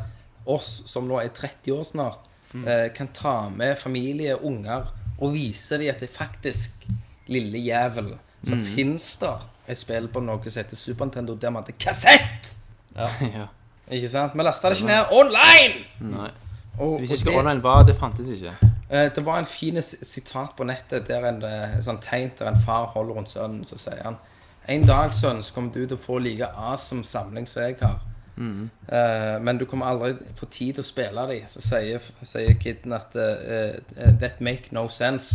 [SPEAKER 6] oss som nå er 30 år snart, eh, kan ta med familie, unger, og vise dem at det faktisk lille jævel så finnes der et spill på noe som heter Super Nintendo, der man hadde kassett!
[SPEAKER 5] Ja.
[SPEAKER 6] Ikke sant? Vi lasta det ikke ned online!
[SPEAKER 5] Nei.
[SPEAKER 6] Og,
[SPEAKER 5] Hvis
[SPEAKER 6] og
[SPEAKER 5] ikke
[SPEAKER 6] det-
[SPEAKER 5] online var, det fantes ikke.
[SPEAKER 6] Eh, Det var en fin s- sitat på nettet der en eh, sånn tegn der en far holder rundt sønnen, så sier han En dag, sønn, så kommer du til å få like awesome samling som jeg har. Eh, men du kommer aldri få tid til å spille dem. Så sier, sier kiden at eh, eh, That make no sense.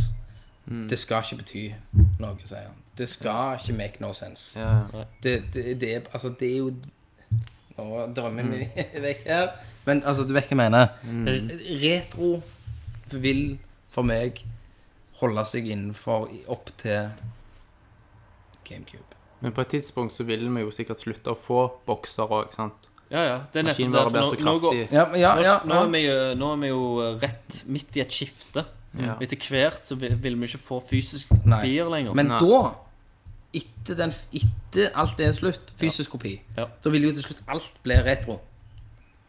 [SPEAKER 6] Det skal ikke bety noe, sier han. Det skal ikke make no sense.
[SPEAKER 5] Ja.
[SPEAKER 6] Det, det, det, er, altså, det er jo Nå drømmer vi
[SPEAKER 5] Mm.
[SPEAKER 6] vekk her. Men altså, du vet hva jeg mener. Re- Retro vil for meg holde seg innenfor i- opp til GameCube.
[SPEAKER 5] Men på et tidspunkt så ville vi jo sikkert slutte å få bokser òg, sant.
[SPEAKER 7] Ja, ja. Det er nettopp
[SPEAKER 5] Maskinvare
[SPEAKER 7] derfor.
[SPEAKER 5] blir så
[SPEAKER 7] Nå, nå, går,
[SPEAKER 5] kraftig.
[SPEAKER 6] Ja, men ja,
[SPEAKER 7] nå,
[SPEAKER 6] ja,
[SPEAKER 7] nå, er vi jo, nå er vi jo rett midt i et skifte. Mm. Etter hvert så vil, vil vi ikke få fysisk
[SPEAKER 6] Nei.
[SPEAKER 7] kopier lenger.
[SPEAKER 6] Men da, etter, den, etter alt det er slutt, fysisk kopi,
[SPEAKER 7] Ja.
[SPEAKER 6] så vil jo til slutt alt bli retro.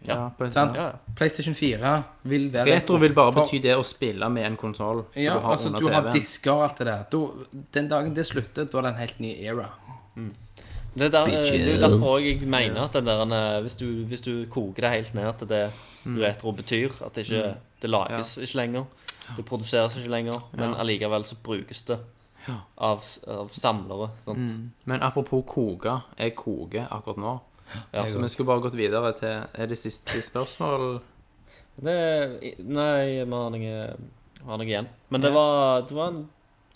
[SPEAKER 7] Ja.
[SPEAKER 5] på en-
[SPEAKER 6] Sant?
[SPEAKER 5] ja.
[SPEAKER 6] PlayStation 4 vil være
[SPEAKER 5] Retro vil bare
[SPEAKER 6] For-
[SPEAKER 5] bety det å spille med en konsoll.
[SPEAKER 6] Ja,
[SPEAKER 5] du har
[SPEAKER 6] altså
[SPEAKER 5] under
[SPEAKER 6] du har
[SPEAKER 5] TV-en.
[SPEAKER 6] disker og alt det der. Da, den dagen det slutter, da er det en helt ny era.
[SPEAKER 7] Det er, der, det er jo derfor også jeg mener at den der, eh, hvis, du, hvis du koker det helt ned til det retro betyr, at det ikke det lages ikke lenger, det produseres ikke lenger, men allikevel så brukes det av, av samlere. Sant?
[SPEAKER 5] Men apropos koke. Jeg koker akkurat nå.
[SPEAKER 7] Ja.
[SPEAKER 5] Så vi skulle bare gått videre til Er det siste spørsmål?
[SPEAKER 7] Det, nei, vi har noe, vi har noe igjen. Men det var, det var en,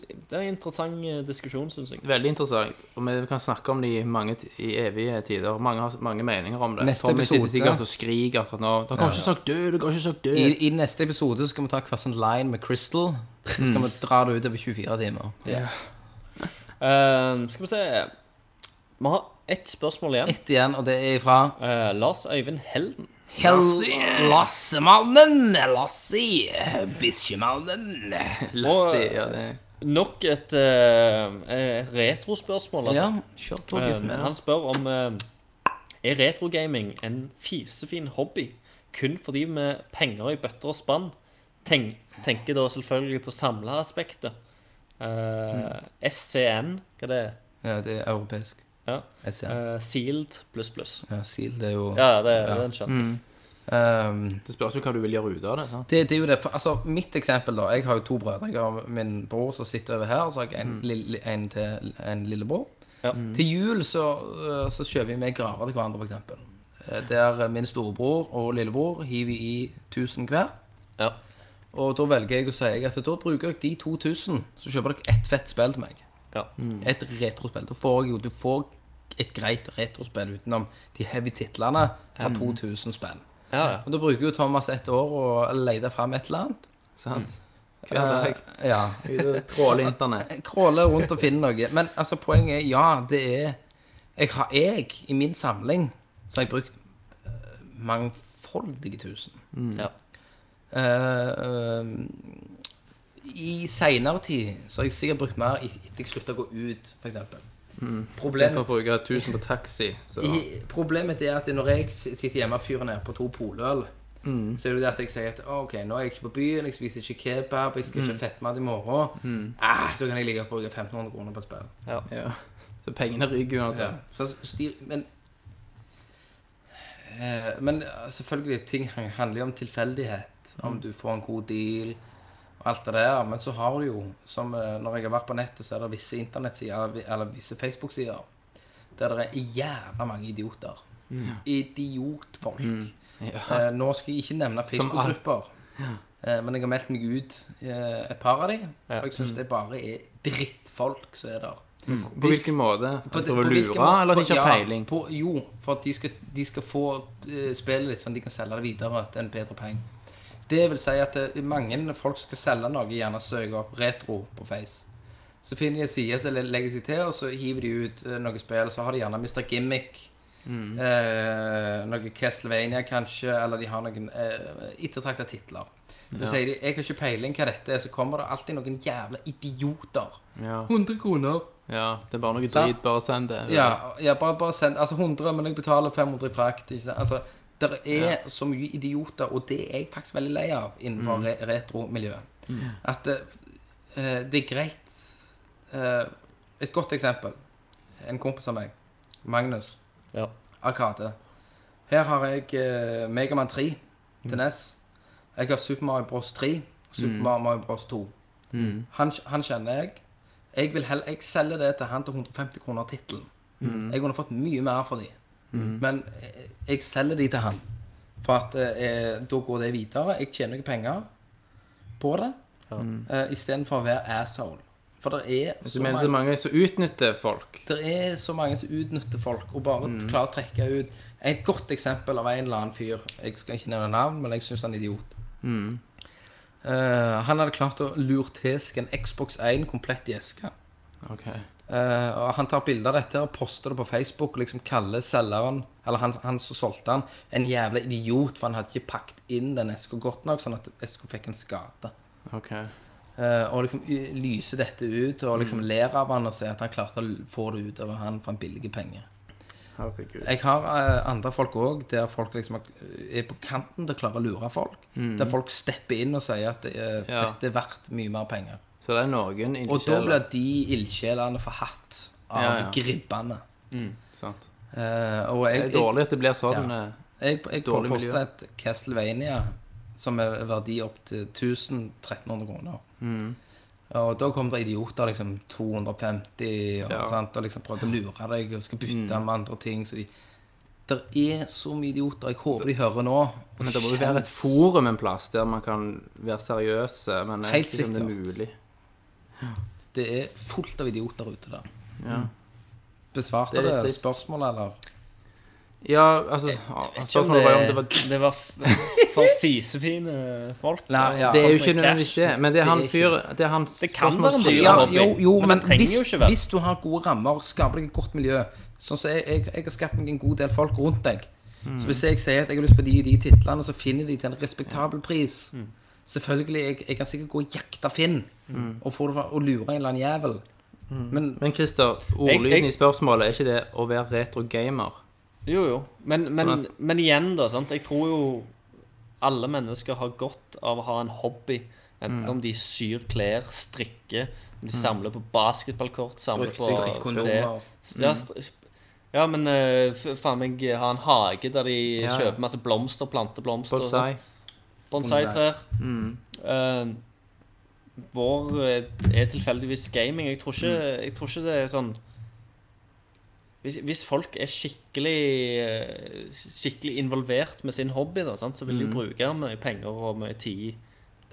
[SPEAKER 7] det er en interessant eh, diskusjon, syns jeg.
[SPEAKER 5] Veldig interessant. Og vi kan snakke om det i, mange, t- i evige tider. Mange har mange meninger om det.
[SPEAKER 6] Neste
[SPEAKER 5] Tommy sitter
[SPEAKER 6] episode.
[SPEAKER 5] sikkert og skriker akkurat nå. Dere har ikke sagt død! Dere har ikke sagt død!
[SPEAKER 6] I, I neste episode så skal vi ta hver sin line med Crystal. Så skal vi dra det ut over 24 timer.
[SPEAKER 7] Eh, skal vi se Vi har ett spørsmål igjen.
[SPEAKER 6] Ett igjen, og det er fra
[SPEAKER 7] Eh, Lars Øyvind Helden.
[SPEAKER 6] Hell... Lassemannen! Lassi! Bikkjemannen!
[SPEAKER 5] Lassie, ja, det.
[SPEAKER 7] Nok et, eh, et retrospørsmål, altså.
[SPEAKER 6] Ja, kjør på,
[SPEAKER 7] Eh,
[SPEAKER 6] gutten min.
[SPEAKER 7] han spør om eh, Er retrogaming en fisefin hobby kun for de med penger i bøtter og spann? Tenk, tenker da selvfølgelig på samleaspektet. Eh, SCN, hva det er
[SPEAKER 6] Ja, det er europeisk.
[SPEAKER 7] ja.
[SPEAKER 6] Jeg ser.
[SPEAKER 7] eh, Sealed pluss pluss.
[SPEAKER 6] Ja, Seal, det er jo
[SPEAKER 7] Ja, Mm. det, den skjønte jeg.
[SPEAKER 6] Ehm,
[SPEAKER 5] det spørs jo hva du vil gjøre ut av det. sant?
[SPEAKER 6] Det, det er jo det. For, altså, mitt eksempel, da. Jeg har jo to brødre. Jeg har min bror som sitter over her, og så har jeg en, lille, en til en lillebror.
[SPEAKER 7] Ja.
[SPEAKER 6] Til jul så, øh, så kjøper vi med graver til hverandre, f.eks. Der eh, min storebror og lillebror hiver i 1000 hver.
[SPEAKER 7] Ja.
[SPEAKER 6] Og da velger jeg å si at da bruker jeg de 2000, så kjøper dere ett fett spill til meg.
[SPEAKER 7] Ja.
[SPEAKER 5] Mm.
[SPEAKER 6] Et retrospill. Da får jeg jo Du får et greit retrospill utenom de heavy titlene fra
[SPEAKER 5] Mm.
[SPEAKER 6] 2000 spill.
[SPEAKER 7] Ja, ja.
[SPEAKER 6] Og da bruker jo Thomas et år å lete fram et eller annet. Mm. Eh,
[SPEAKER 5] sant? Hver dag.
[SPEAKER 6] Ja.
[SPEAKER 5] Ute og Tråler internett.
[SPEAKER 6] Kråle Eh, rundt og finne noe. Men altså, poenget er ja, det er Jeg har jeg, i min samling, så har jeg brukt eh, mangfoldige tusen.
[SPEAKER 7] Ja.
[SPEAKER 6] Eh, eh, I seinere tid så har jeg sikkert brukt mer i- etter jeg slutta å gå ut, f.eks.
[SPEAKER 5] Istedenfor
[SPEAKER 6] Problemet,
[SPEAKER 5] å bruke 1000 på taxi, så
[SPEAKER 6] i- problemet er at når jeg s- sitter hjemme og fyrer ned på to poløl, så er det jo det at jeg sier at «Å, ok, nå er jeg ikke på byen, jeg spiser ikke kebab, jeg skal ikke ha fettmat i morgen. Ah, da kan jeg like godt bruke 1500 kroner på et spill.
[SPEAKER 5] ja. Så pengene ryker
[SPEAKER 6] Ja.
[SPEAKER 5] uansett.
[SPEAKER 6] Så styr, men eh, Men selvfølgelig, ting han- handler jo om tilfeldighet.
[SPEAKER 5] Mm.
[SPEAKER 6] Om du får en god deal og alt det der. Men så har du jo, som eh, når jeg har vært på nettet, så er det visse internettsider eller vi- eller visse Facebook-sider der det er jævla mange idioter.
[SPEAKER 5] Mm.
[SPEAKER 6] Idiotfolk. Eh, nå skal jeg ikke nevne Facebook-grupper. Eh, Men jeg har meldt meg ut eh, et par av de For jeg syns det bare er drittfolk som er der.
[SPEAKER 5] Mm. På
[SPEAKER 6] Hvis-
[SPEAKER 5] hvilken måte?
[SPEAKER 6] på-
[SPEAKER 5] At de prøver å
[SPEAKER 6] på hvilken
[SPEAKER 5] lure,
[SPEAKER 6] måte-
[SPEAKER 5] Altså, eller at de
[SPEAKER 6] på-
[SPEAKER 5] ikke har
[SPEAKER 6] ja,
[SPEAKER 5] peiling?
[SPEAKER 6] På, jo, for at de skal, de skal få eh, spillet litt sånn de kan selge det videre til en bedre penge. Det vil si at eh, mange folk som skal selge noe, gjerne søker opp retro på Face. Så finner de en side som legger de til, og så hiver de ut eh, noe spill, og så har de gjerne Mr. Gimmick.
[SPEAKER 5] Mm.
[SPEAKER 6] Eh, noe Castlevania, kanskje, eller de har noen eh, ettertrakta titler. Så sier de 'Jeg har ikke peiling hva dette er', så kommer det alltid noen jævla idioter.
[SPEAKER 5] Ja.
[SPEAKER 6] 100 kroner.
[SPEAKER 5] ja, det er bare noe
[SPEAKER 6] Sant?
[SPEAKER 5] drit. Bare send det.
[SPEAKER 6] Ja, ja bare, bare send Altså 100, men jeg betaler 500 i frakt. Ikke sant? Altså, det er så mye idioter, og det er jeg faktisk veldig lei av innenfor re retromiljøet. At eh, eh, det er greit eh, Et godt eksempel. En kompis av meg, Magnus
[SPEAKER 7] Ja.
[SPEAKER 6] Arkade. Her har jeg uh, Megaman 3
[SPEAKER 5] Mm.
[SPEAKER 6] til NES. Jeg har Super Mario Bros 3 og Super Mario Bros 2.
[SPEAKER 5] Mm.
[SPEAKER 6] Han, han kjenner jeg. Jeg, vil hell, jeg selger det til han til 150 kroner tittelen.
[SPEAKER 5] Mm.
[SPEAKER 6] Jeg kunne fått mye mer for de. Men jeg, jeg selger de til han. For at eh, da går det videre. Jeg tjener ikke penger på det. Eh, Istedenfor å være asshole. For det er
[SPEAKER 5] Du mener så mange som utnytter folk?
[SPEAKER 6] det er så mange som utnytter folk og bare klarer å trekke ut Et godt eksempel av en eller annen fyr Jeg skal ikke nevne navn, men jeg syns han er idiot. Eh, han hadde klart å lure til seg en Xbox 1 komplett i eske.
[SPEAKER 5] Ok.
[SPEAKER 6] Eh, og han tar bilde av dette og poster det på Facebook og liksom kaller selgeren, eller han, han som solgte han, en jævla idiot, for han hadde ikke pakket inn den eska godt nok, sånn at eska fikk en skade.
[SPEAKER 5] ok.
[SPEAKER 6] Eh, og liksom y- lyser dette ut og liksom ler av han og sier at han klarte å l- få det ut over han for en billig penge.
[SPEAKER 10] Herregud.
[SPEAKER 6] Jeg har eh, andre folk òg, der folk liksom er på kanten til å klare å lure folk. Der folk stepper inn og sier at det er,
[SPEAKER 5] Mm. Ja.
[SPEAKER 6] dette er verdt mye mer penger.
[SPEAKER 5] Så det er noen
[SPEAKER 6] Og da
[SPEAKER 5] ildsjeler.
[SPEAKER 6] blir de ildsjelene forhatt av
[SPEAKER 5] Ja, ja.
[SPEAKER 6] gribbene.
[SPEAKER 5] sant.
[SPEAKER 6] Eh, og jeg,
[SPEAKER 5] Det er dårlig at det blir sånn.
[SPEAKER 6] Ja.
[SPEAKER 5] eh,
[SPEAKER 6] Jeg, jeg
[SPEAKER 5] Dårlig
[SPEAKER 6] påposter
[SPEAKER 5] miljø.
[SPEAKER 6] et Castlevania som er verdi opp til 1300 kroner.
[SPEAKER 5] Mm.
[SPEAKER 6] Og da kom det idioter, liksom 250, og,
[SPEAKER 5] Ja. Mm.
[SPEAKER 6] sant, og liksom prøvde å lure deg og skal bytte med andre ting. Så de Det er så mye idioter. Jeg håper de hører nå.
[SPEAKER 5] Men det må jo være et forum en plass der man kan være seriøse, men jeg
[SPEAKER 6] Helt
[SPEAKER 5] vet ikke om det er
[SPEAKER 6] sikkert.
[SPEAKER 5] mulig.
[SPEAKER 6] Det er fullt av idioter ute der.
[SPEAKER 5] Ja. Det
[SPEAKER 6] Besvarte
[SPEAKER 5] er litt
[SPEAKER 6] det,
[SPEAKER 5] trist.
[SPEAKER 6] spørsmålet, eller?
[SPEAKER 5] Ja, altså Spørsmålet var jo om det var
[SPEAKER 7] det var f- for fisefine folk.
[SPEAKER 6] Nei, ja.
[SPEAKER 5] Det er jo
[SPEAKER 7] folk
[SPEAKER 5] ikke
[SPEAKER 7] med
[SPEAKER 5] nødvendigvis
[SPEAKER 7] cash.
[SPEAKER 5] det, men det er han
[SPEAKER 6] Det er
[SPEAKER 5] fyr Det er han
[SPEAKER 7] kan være
[SPEAKER 5] spørsmålsstiller.
[SPEAKER 7] en dyr
[SPEAKER 6] Ja,
[SPEAKER 7] hobby.
[SPEAKER 6] jo, jo,
[SPEAKER 7] Men
[SPEAKER 6] men,
[SPEAKER 7] det trenger
[SPEAKER 6] hvis,
[SPEAKER 7] jo ikke være.
[SPEAKER 6] hvis du har gode rammer, skaper deg et godt miljø Sånn som jeg, jeg, jeg har skapt meg en god del folk rundt deg.
[SPEAKER 7] Mm.
[SPEAKER 6] Så hvis jeg sier at jeg har lyst på de og de titlene, så finner de til en respektabel pris.
[SPEAKER 7] Mm.
[SPEAKER 6] Selvfølgelig, jeg, jeg kan sikkert gå og jakte Finn
[SPEAKER 7] Mm.
[SPEAKER 6] og, få det, fra- og lure en eller annen jævel. Men
[SPEAKER 5] Men Christer,
[SPEAKER 7] Jeg-
[SPEAKER 5] ordlyden
[SPEAKER 7] jeg-
[SPEAKER 5] i spørsmålet, er ikke det å være retrogamer?
[SPEAKER 7] Jo, jo. Men, men,
[SPEAKER 5] Sånn
[SPEAKER 7] men igjen, da. sant? Jeg tror jo alle mennesker har godt av å ha en hobby. Enten om de syr klær, strikker, om de samler på basketballkort samler
[SPEAKER 6] Bruker
[SPEAKER 7] på
[SPEAKER 6] strikkondomer.
[SPEAKER 7] det. Ja, stri- ja, men eh, f- faen meg ha en hage der de
[SPEAKER 5] Ja, ja.
[SPEAKER 7] kjøper masse blomster, planteblomster.
[SPEAKER 5] Bonsai?
[SPEAKER 7] Bonsai-trær.
[SPEAKER 5] Mm.
[SPEAKER 7] Eh, vår eh, er tilfeldigvis gaming. Jeg tror ikke,
[SPEAKER 5] Mm.
[SPEAKER 7] jeg tror ikke det er sånn hvis, hvis folk er skikkelig eh, Skikkelig involvert med sin hobby, da, sant, så vil de bruke mye penger og mye tid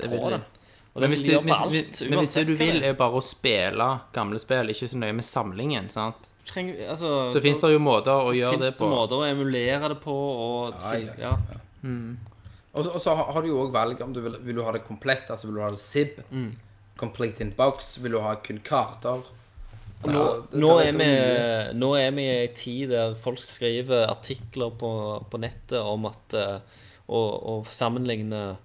[SPEAKER 5] Mm. Det
[SPEAKER 7] på
[SPEAKER 5] vil
[SPEAKER 7] det.
[SPEAKER 5] de.
[SPEAKER 7] Og det
[SPEAKER 5] Men hvis,
[SPEAKER 7] vil de
[SPEAKER 5] det,
[SPEAKER 7] gjøre
[SPEAKER 5] hvis,
[SPEAKER 7] på alt,
[SPEAKER 5] hvis, men hvis det
[SPEAKER 7] uansett
[SPEAKER 5] du
[SPEAKER 7] hva
[SPEAKER 5] vil,
[SPEAKER 7] det er.
[SPEAKER 5] er bare å spille gamle spill, ikke så nøye med samlingen, sant?
[SPEAKER 7] Trenger, altså,
[SPEAKER 5] Så fins det jo måter å gjøre
[SPEAKER 7] finnes
[SPEAKER 5] det på.
[SPEAKER 7] måter å emulere det på. Og,
[SPEAKER 6] Ja, ja.
[SPEAKER 7] ja.
[SPEAKER 6] Og, og så har har du jo òg valget om du vil, vil du ha det komplett, altså vil du ha det SIB,
[SPEAKER 7] Mm.
[SPEAKER 6] complete in box, vil du ha kun karter
[SPEAKER 7] Nå,
[SPEAKER 6] Altså, det-
[SPEAKER 7] nå,
[SPEAKER 6] det
[SPEAKER 7] er
[SPEAKER 6] er
[SPEAKER 7] vi,
[SPEAKER 6] mye.
[SPEAKER 7] nå er vi i en tid der folk skriver artikler på, på nettet om at eh, å, å sammenligne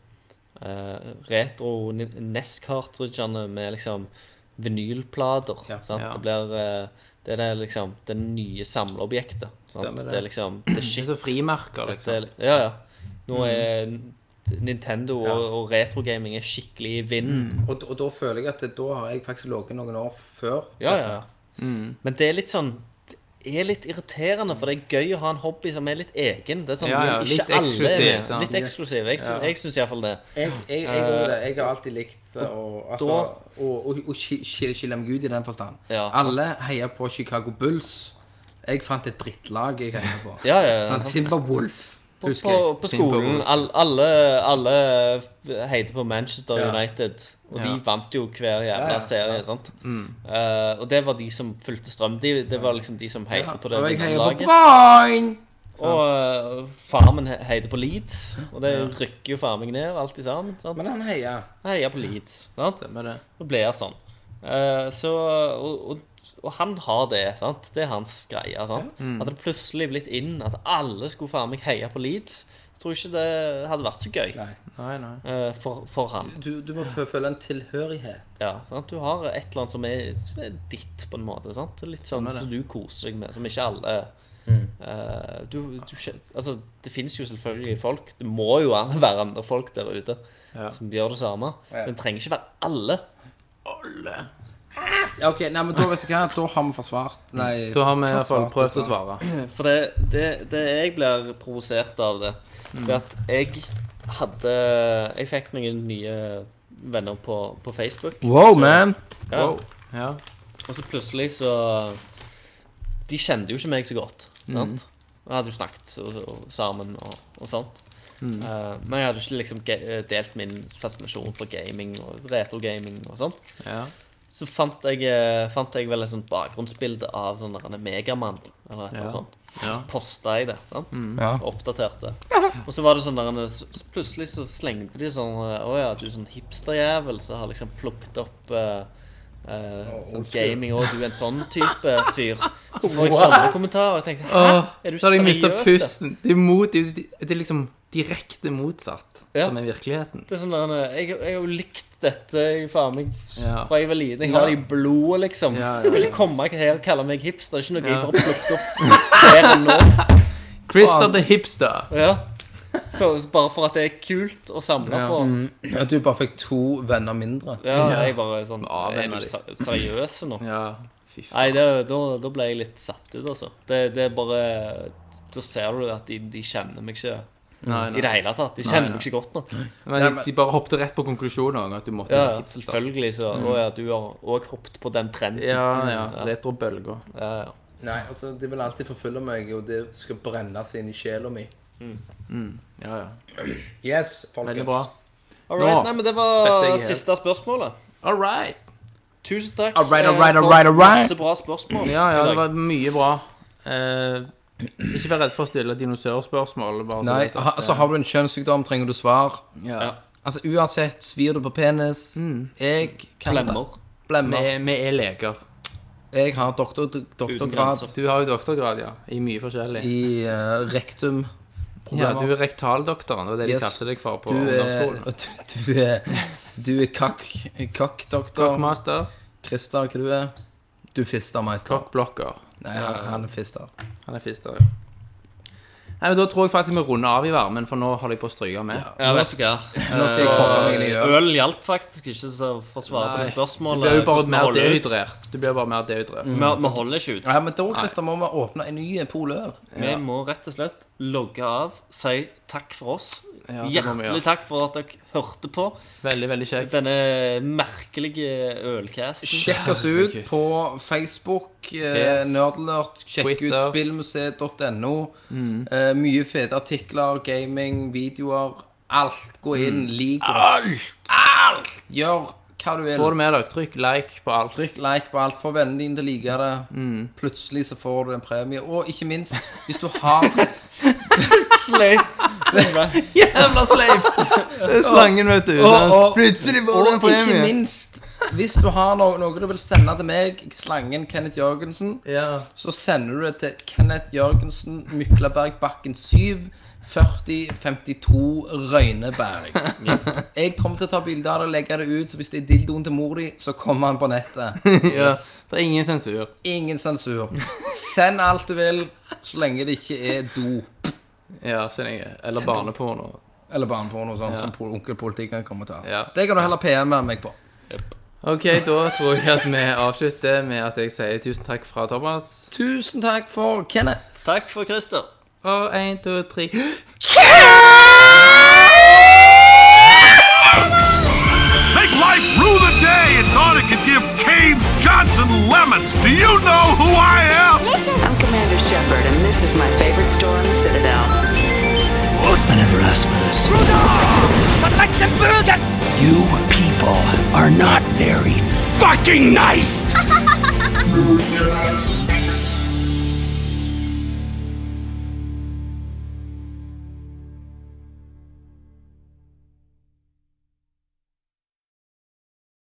[SPEAKER 7] eh, retro NES-cartridgene med liksom vinylplater.
[SPEAKER 6] Ja.
[SPEAKER 7] sant?
[SPEAKER 5] Ja.
[SPEAKER 7] Det blir eh, det er det liksom det nye samleobjektet. Sant?
[SPEAKER 5] Stemmer det.
[SPEAKER 7] det. er liksom det er
[SPEAKER 5] Det
[SPEAKER 7] shit.
[SPEAKER 5] er så frimerker,
[SPEAKER 7] Dette
[SPEAKER 5] liksom.
[SPEAKER 7] er, ja, ja. Nå er Nintendo og, og retrogaming er skikkelig i vinden.
[SPEAKER 6] Og, og da føler jeg at det, da har jeg faktisk ligget noen år før.
[SPEAKER 7] Ja, ja.
[SPEAKER 6] Mm.
[SPEAKER 7] Men det er litt sånn det er litt irriterende, for det er gøy å ha en hobby som er litt egen. Det er sånn,
[SPEAKER 5] Ja, ja,
[SPEAKER 7] ikke
[SPEAKER 5] litt
[SPEAKER 7] alle er med.
[SPEAKER 5] eksklusiv, sant?
[SPEAKER 7] Litt eksklusiv. Jeg, sy- jeg syns iallfall det.
[SPEAKER 6] Jeg, jeg, jeg,
[SPEAKER 7] Eh,
[SPEAKER 6] gjorde det. jeg har alltid likt å altså, og- og- og ski- skille skille med Gud i den forstand.
[SPEAKER 7] Ja.
[SPEAKER 6] Alle heier på Chicago Bulls. Jeg fant et drittlag jeg heier på.
[SPEAKER 7] Ja, ja, ja.
[SPEAKER 6] Sånn, Timberwolf,
[SPEAKER 7] På,
[SPEAKER 6] husker
[SPEAKER 7] på,
[SPEAKER 6] jeg.
[SPEAKER 7] på skolen altså, all, alle, alle heter på Manchester
[SPEAKER 6] Ja.
[SPEAKER 7] United, og de
[SPEAKER 5] Ja.
[SPEAKER 7] vant jo hver jævla
[SPEAKER 6] ja, Mm.
[SPEAKER 7] serie. sant? Eh, og det var de som fulgte strøm. De, det var liksom de som heide
[SPEAKER 6] Ja,
[SPEAKER 7] på det
[SPEAKER 6] og jeg heier på
[SPEAKER 7] laget.
[SPEAKER 6] Brann!
[SPEAKER 7] Og eh, far min he- heide på Leeds, og det rykker jo far meg ned, alt i sammen. sant?
[SPEAKER 6] Men han heier.
[SPEAKER 7] Jeg heier på Leeds. sant?
[SPEAKER 5] Stemmer det.
[SPEAKER 7] Nå ble jeg sånn. Eh, så, og, og, og han har det. sant? Det er hans greie. sant? Hadde det plutselig blitt inn at alle skulle faen meg heie på Leeds, så tror jeg ikke det hadde vært så gøy
[SPEAKER 6] Nei.
[SPEAKER 5] Nei, nei.
[SPEAKER 7] eh, for, for han.
[SPEAKER 6] Du, du må fø- føle en tilhørighet.
[SPEAKER 7] Ja, sant? Du har et eller annet som er, som er ditt, på en måte. sant? Det er Litt sånn som du koser deg med, som ikke alle eh, du, du, skjø- altså, Det fins jo selvfølgelig folk. Det må jo være andre folk der ute som gjør det samme. Men det trenger ikke være alle.
[SPEAKER 6] Ja, ok, nei, men Da vet du hva, da har vi forsvart.
[SPEAKER 7] Mm.
[SPEAKER 6] Nei,
[SPEAKER 5] Da har vi i hvert fall
[SPEAKER 6] forsvart,
[SPEAKER 5] prøvd å
[SPEAKER 6] forsvart.
[SPEAKER 5] svare.
[SPEAKER 7] For det, det, det jeg blir provosert av det,
[SPEAKER 5] Mm.
[SPEAKER 7] det er at jeg hadde Jeg fikk noen nye venner på, på Facebook.
[SPEAKER 6] Wow, man.
[SPEAKER 7] Ja,
[SPEAKER 5] Ja.
[SPEAKER 7] Og så plutselig så De kjente jo ikke meg så godt.
[SPEAKER 5] Mm.
[SPEAKER 7] Sant? Vi hadde jo snakket og, og, sammen og, og sånt.
[SPEAKER 5] Mm.
[SPEAKER 7] Eh, men jeg hadde ikke liksom ge eh, delt min fascinasjon for gaming og retrogaming og sånt.
[SPEAKER 5] ja.
[SPEAKER 7] Så fant jeg, eh, fant jeg vel et sånt bakgrunnsbilde av sånn der en Megamann eller et eller annet
[SPEAKER 5] Ja.
[SPEAKER 7] sånt.
[SPEAKER 5] Ja.
[SPEAKER 7] Så posta jeg det. sant?
[SPEAKER 6] Ja.
[SPEAKER 7] Og Oppdaterte. Og så var det sånn der en- s- s- Plutselig så slengte de sånn eh, Å ja, du er sånn hipsterjævel som har liksom plukket opp eh, eh, sånn
[SPEAKER 6] old school.
[SPEAKER 7] gaming, og du er en sånn type fyr. Så får jeg sånne kommentarer, og jeg tenkte Hæ, er du
[SPEAKER 5] Da hadde jeg mista
[SPEAKER 7] seriøs?
[SPEAKER 5] pusten. Det er mot de, de, de liksom De direkte motsatt
[SPEAKER 10] Ja.
[SPEAKER 5] som er virkeligheten.
[SPEAKER 10] Det er sånn der, jeg, jeg har jo likt dette i faen meg
[SPEAKER 5] Ja.
[SPEAKER 10] fra jeg var liten. Jeg har det i blodet, liksom.
[SPEAKER 5] Ja, ja, ja.
[SPEAKER 10] Du kan ikke komme her og kalle meg hipster. Det er ikke noe
[SPEAKER 5] Ja.
[SPEAKER 10] jeg bare plukker opp der og nå.
[SPEAKER 5] Christer the Hipster.
[SPEAKER 10] Ja. Så, så bare for at det er kult å samle
[SPEAKER 5] Ja.
[SPEAKER 10] på.
[SPEAKER 6] Mm. At du bare fikk to venner mindre.
[SPEAKER 10] Ja, jeg bare sånn
[SPEAKER 5] Ja,
[SPEAKER 10] Er
[SPEAKER 5] hvem
[SPEAKER 10] du
[SPEAKER 5] er de?
[SPEAKER 10] se- seriøs nå?
[SPEAKER 5] Ja, fy faen.
[SPEAKER 10] Nei, det, da, da ble jeg litt satt ut, altså. Det, det er bare Da ser du at de, de kjenner meg ikke
[SPEAKER 5] Nei,
[SPEAKER 10] i
[SPEAKER 5] nei.
[SPEAKER 10] det hele tatt. De kjenner meg ikke godt nok.
[SPEAKER 5] Men de, de bare hoppet rett på konklusjonen at du måtte
[SPEAKER 10] Ja,
[SPEAKER 5] være
[SPEAKER 10] ja,
[SPEAKER 5] hipster.
[SPEAKER 10] selvfølgelig. Så å, ja, du har òg hoppet på den trenden.
[SPEAKER 5] Mm. Ja, ja. Retrobølger.
[SPEAKER 10] Ja, ja.
[SPEAKER 6] Nei, altså, det vil alltid forfølge meg, og det skal brenne seg inn i sjela mi.
[SPEAKER 5] Ja, ja.
[SPEAKER 6] Yes, folkens.
[SPEAKER 5] Veldig bra.
[SPEAKER 10] Alright,
[SPEAKER 5] Nå
[SPEAKER 10] nei, men det
[SPEAKER 5] spetter jeg
[SPEAKER 10] var
[SPEAKER 5] helt.
[SPEAKER 10] siste spørsmålet.
[SPEAKER 5] All right.
[SPEAKER 10] Tusen takk.
[SPEAKER 6] Alright,
[SPEAKER 10] eh,
[SPEAKER 6] alright,
[SPEAKER 10] for
[SPEAKER 6] alright, alright.
[SPEAKER 10] Masse bra spørsmål.
[SPEAKER 5] Ja,
[SPEAKER 10] i
[SPEAKER 5] ja,
[SPEAKER 10] dag.
[SPEAKER 5] det var mye bra. Eh, ikke vær redd for å stille dinosaurspørsmål. Bare så
[SPEAKER 6] Nei,
[SPEAKER 5] det er sagt. eh,
[SPEAKER 6] ha, altså, har du en kjønnssykdom, trenger du svar.
[SPEAKER 5] ja. Mm.
[SPEAKER 6] Altså, uansett, svir du på penis Jeg kan
[SPEAKER 10] Klemmer.
[SPEAKER 6] Blemmer.
[SPEAKER 5] Vi, vi er leger.
[SPEAKER 6] Jeg har doktor, doktorgrad
[SPEAKER 10] grenser.
[SPEAKER 5] Du har jo doktorgrad, ja. I mye forskjellig.
[SPEAKER 6] i eh, rektum.
[SPEAKER 5] ja, du er rektaldoktoren. Det var det de
[SPEAKER 6] Yes.
[SPEAKER 5] kalte deg for på
[SPEAKER 6] Du er,
[SPEAKER 5] ungdomsskolen.
[SPEAKER 6] du, du er, du er kakk, kakkdoktor.
[SPEAKER 5] Kokkmaster,
[SPEAKER 6] Christer, hva du er? Du er fistermeister.
[SPEAKER 5] kokkblokker.
[SPEAKER 6] Nei, han, han er fister.
[SPEAKER 5] Han er fister, ja. Nei, men Da tror jeg faktisk vi runder av i varmen, for nå holder jeg på å stryke med.
[SPEAKER 7] Ja, vet du hva?
[SPEAKER 6] Nå skal jeg komme meg
[SPEAKER 5] Eh,
[SPEAKER 6] inn i øret.
[SPEAKER 7] Øl hjalp faktisk ikke så for å svare på det spørsmålet.
[SPEAKER 5] Du Mm. blir jo bare
[SPEAKER 7] hvordan vi
[SPEAKER 5] mer
[SPEAKER 7] holder ut.
[SPEAKER 5] dehydrert. Du blir bare mer dehydrert.
[SPEAKER 7] Vi, vi holder ikke ut.
[SPEAKER 6] Ja, men da, Christer, må vi åpne en ny poløl.
[SPEAKER 7] Vi må rett og slett logge av, si takk for oss.
[SPEAKER 5] Ja, det må vi
[SPEAKER 7] Hjertelig
[SPEAKER 5] gjøre.
[SPEAKER 7] takk for at dere hørte på
[SPEAKER 5] Veldig, veldig kjekt.
[SPEAKER 7] denne merkelige ølcasten.
[SPEAKER 6] Sjekk oss ut på Facebook,
[SPEAKER 5] Yes.
[SPEAKER 6] eh, Nerdlert, sjekk ut
[SPEAKER 5] Twitter.
[SPEAKER 6] spillmuseet.no. Eh, mye fete artikler, gaming, videoer. Alt. Gå inn, lik oss. Mm. Alt! Alt! Gjør hva
[SPEAKER 5] Få
[SPEAKER 6] du
[SPEAKER 5] det
[SPEAKER 6] vil.
[SPEAKER 5] med dere. Trykk like på alt.
[SPEAKER 6] Trykk like på alt. Få vennene dine til å like det. Plutselig så får du en premie. Og ikke minst, hvis du har
[SPEAKER 5] Jævla sleip! Det er slangen, vet du.
[SPEAKER 6] Og- og-
[SPEAKER 5] Plutselig
[SPEAKER 6] Og ikke minst, hvis du har noe, noe du vil sende til meg, slangen Kenneth Jørgensen, så sender du det til Kenneth Jørgensen, Myklaberg Bakken 7, 4052 Røyneberg. Jeg kommer til å ta bilder av det og legge det ut. så Hvis det er dildoen til mor di, så kommer han på nettet.
[SPEAKER 5] Ja. Det er ingen sensur.
[SPEAKER 6] Ingen sensur. Send alt du vil, så lenge det ikke er do.
[SPEAKER 5] Ja, så lenge. Eller barneporno.
[SPEAKER 6] Eller barneporno og sånt som pol- onkel politikeren kommer til å ha.
[SPEAKER 5] Ja.
[SPEAKER 6] Det kan du heller PM-e meg på.
[SPEAKER 5] OK, da tror jeg at vi avslutter med at jeg sier tusen takk fra Thomas.
[SPEAKER 6] Tusen takk for Kenneth.
[SPEAKER 7] Takk for Christer.
[SPEAKER 5] Og én, to, tre
[SPEAKER 2] Take life rue the day and thought it could give Cave Johnson lemons. Do you know who I am?
[SPEAKER 3] I'm Commander Shepard, and this is my favorite store in the Citadel.
[SPEAKER 4] Osman never asked for this. You people are not very fucking nice.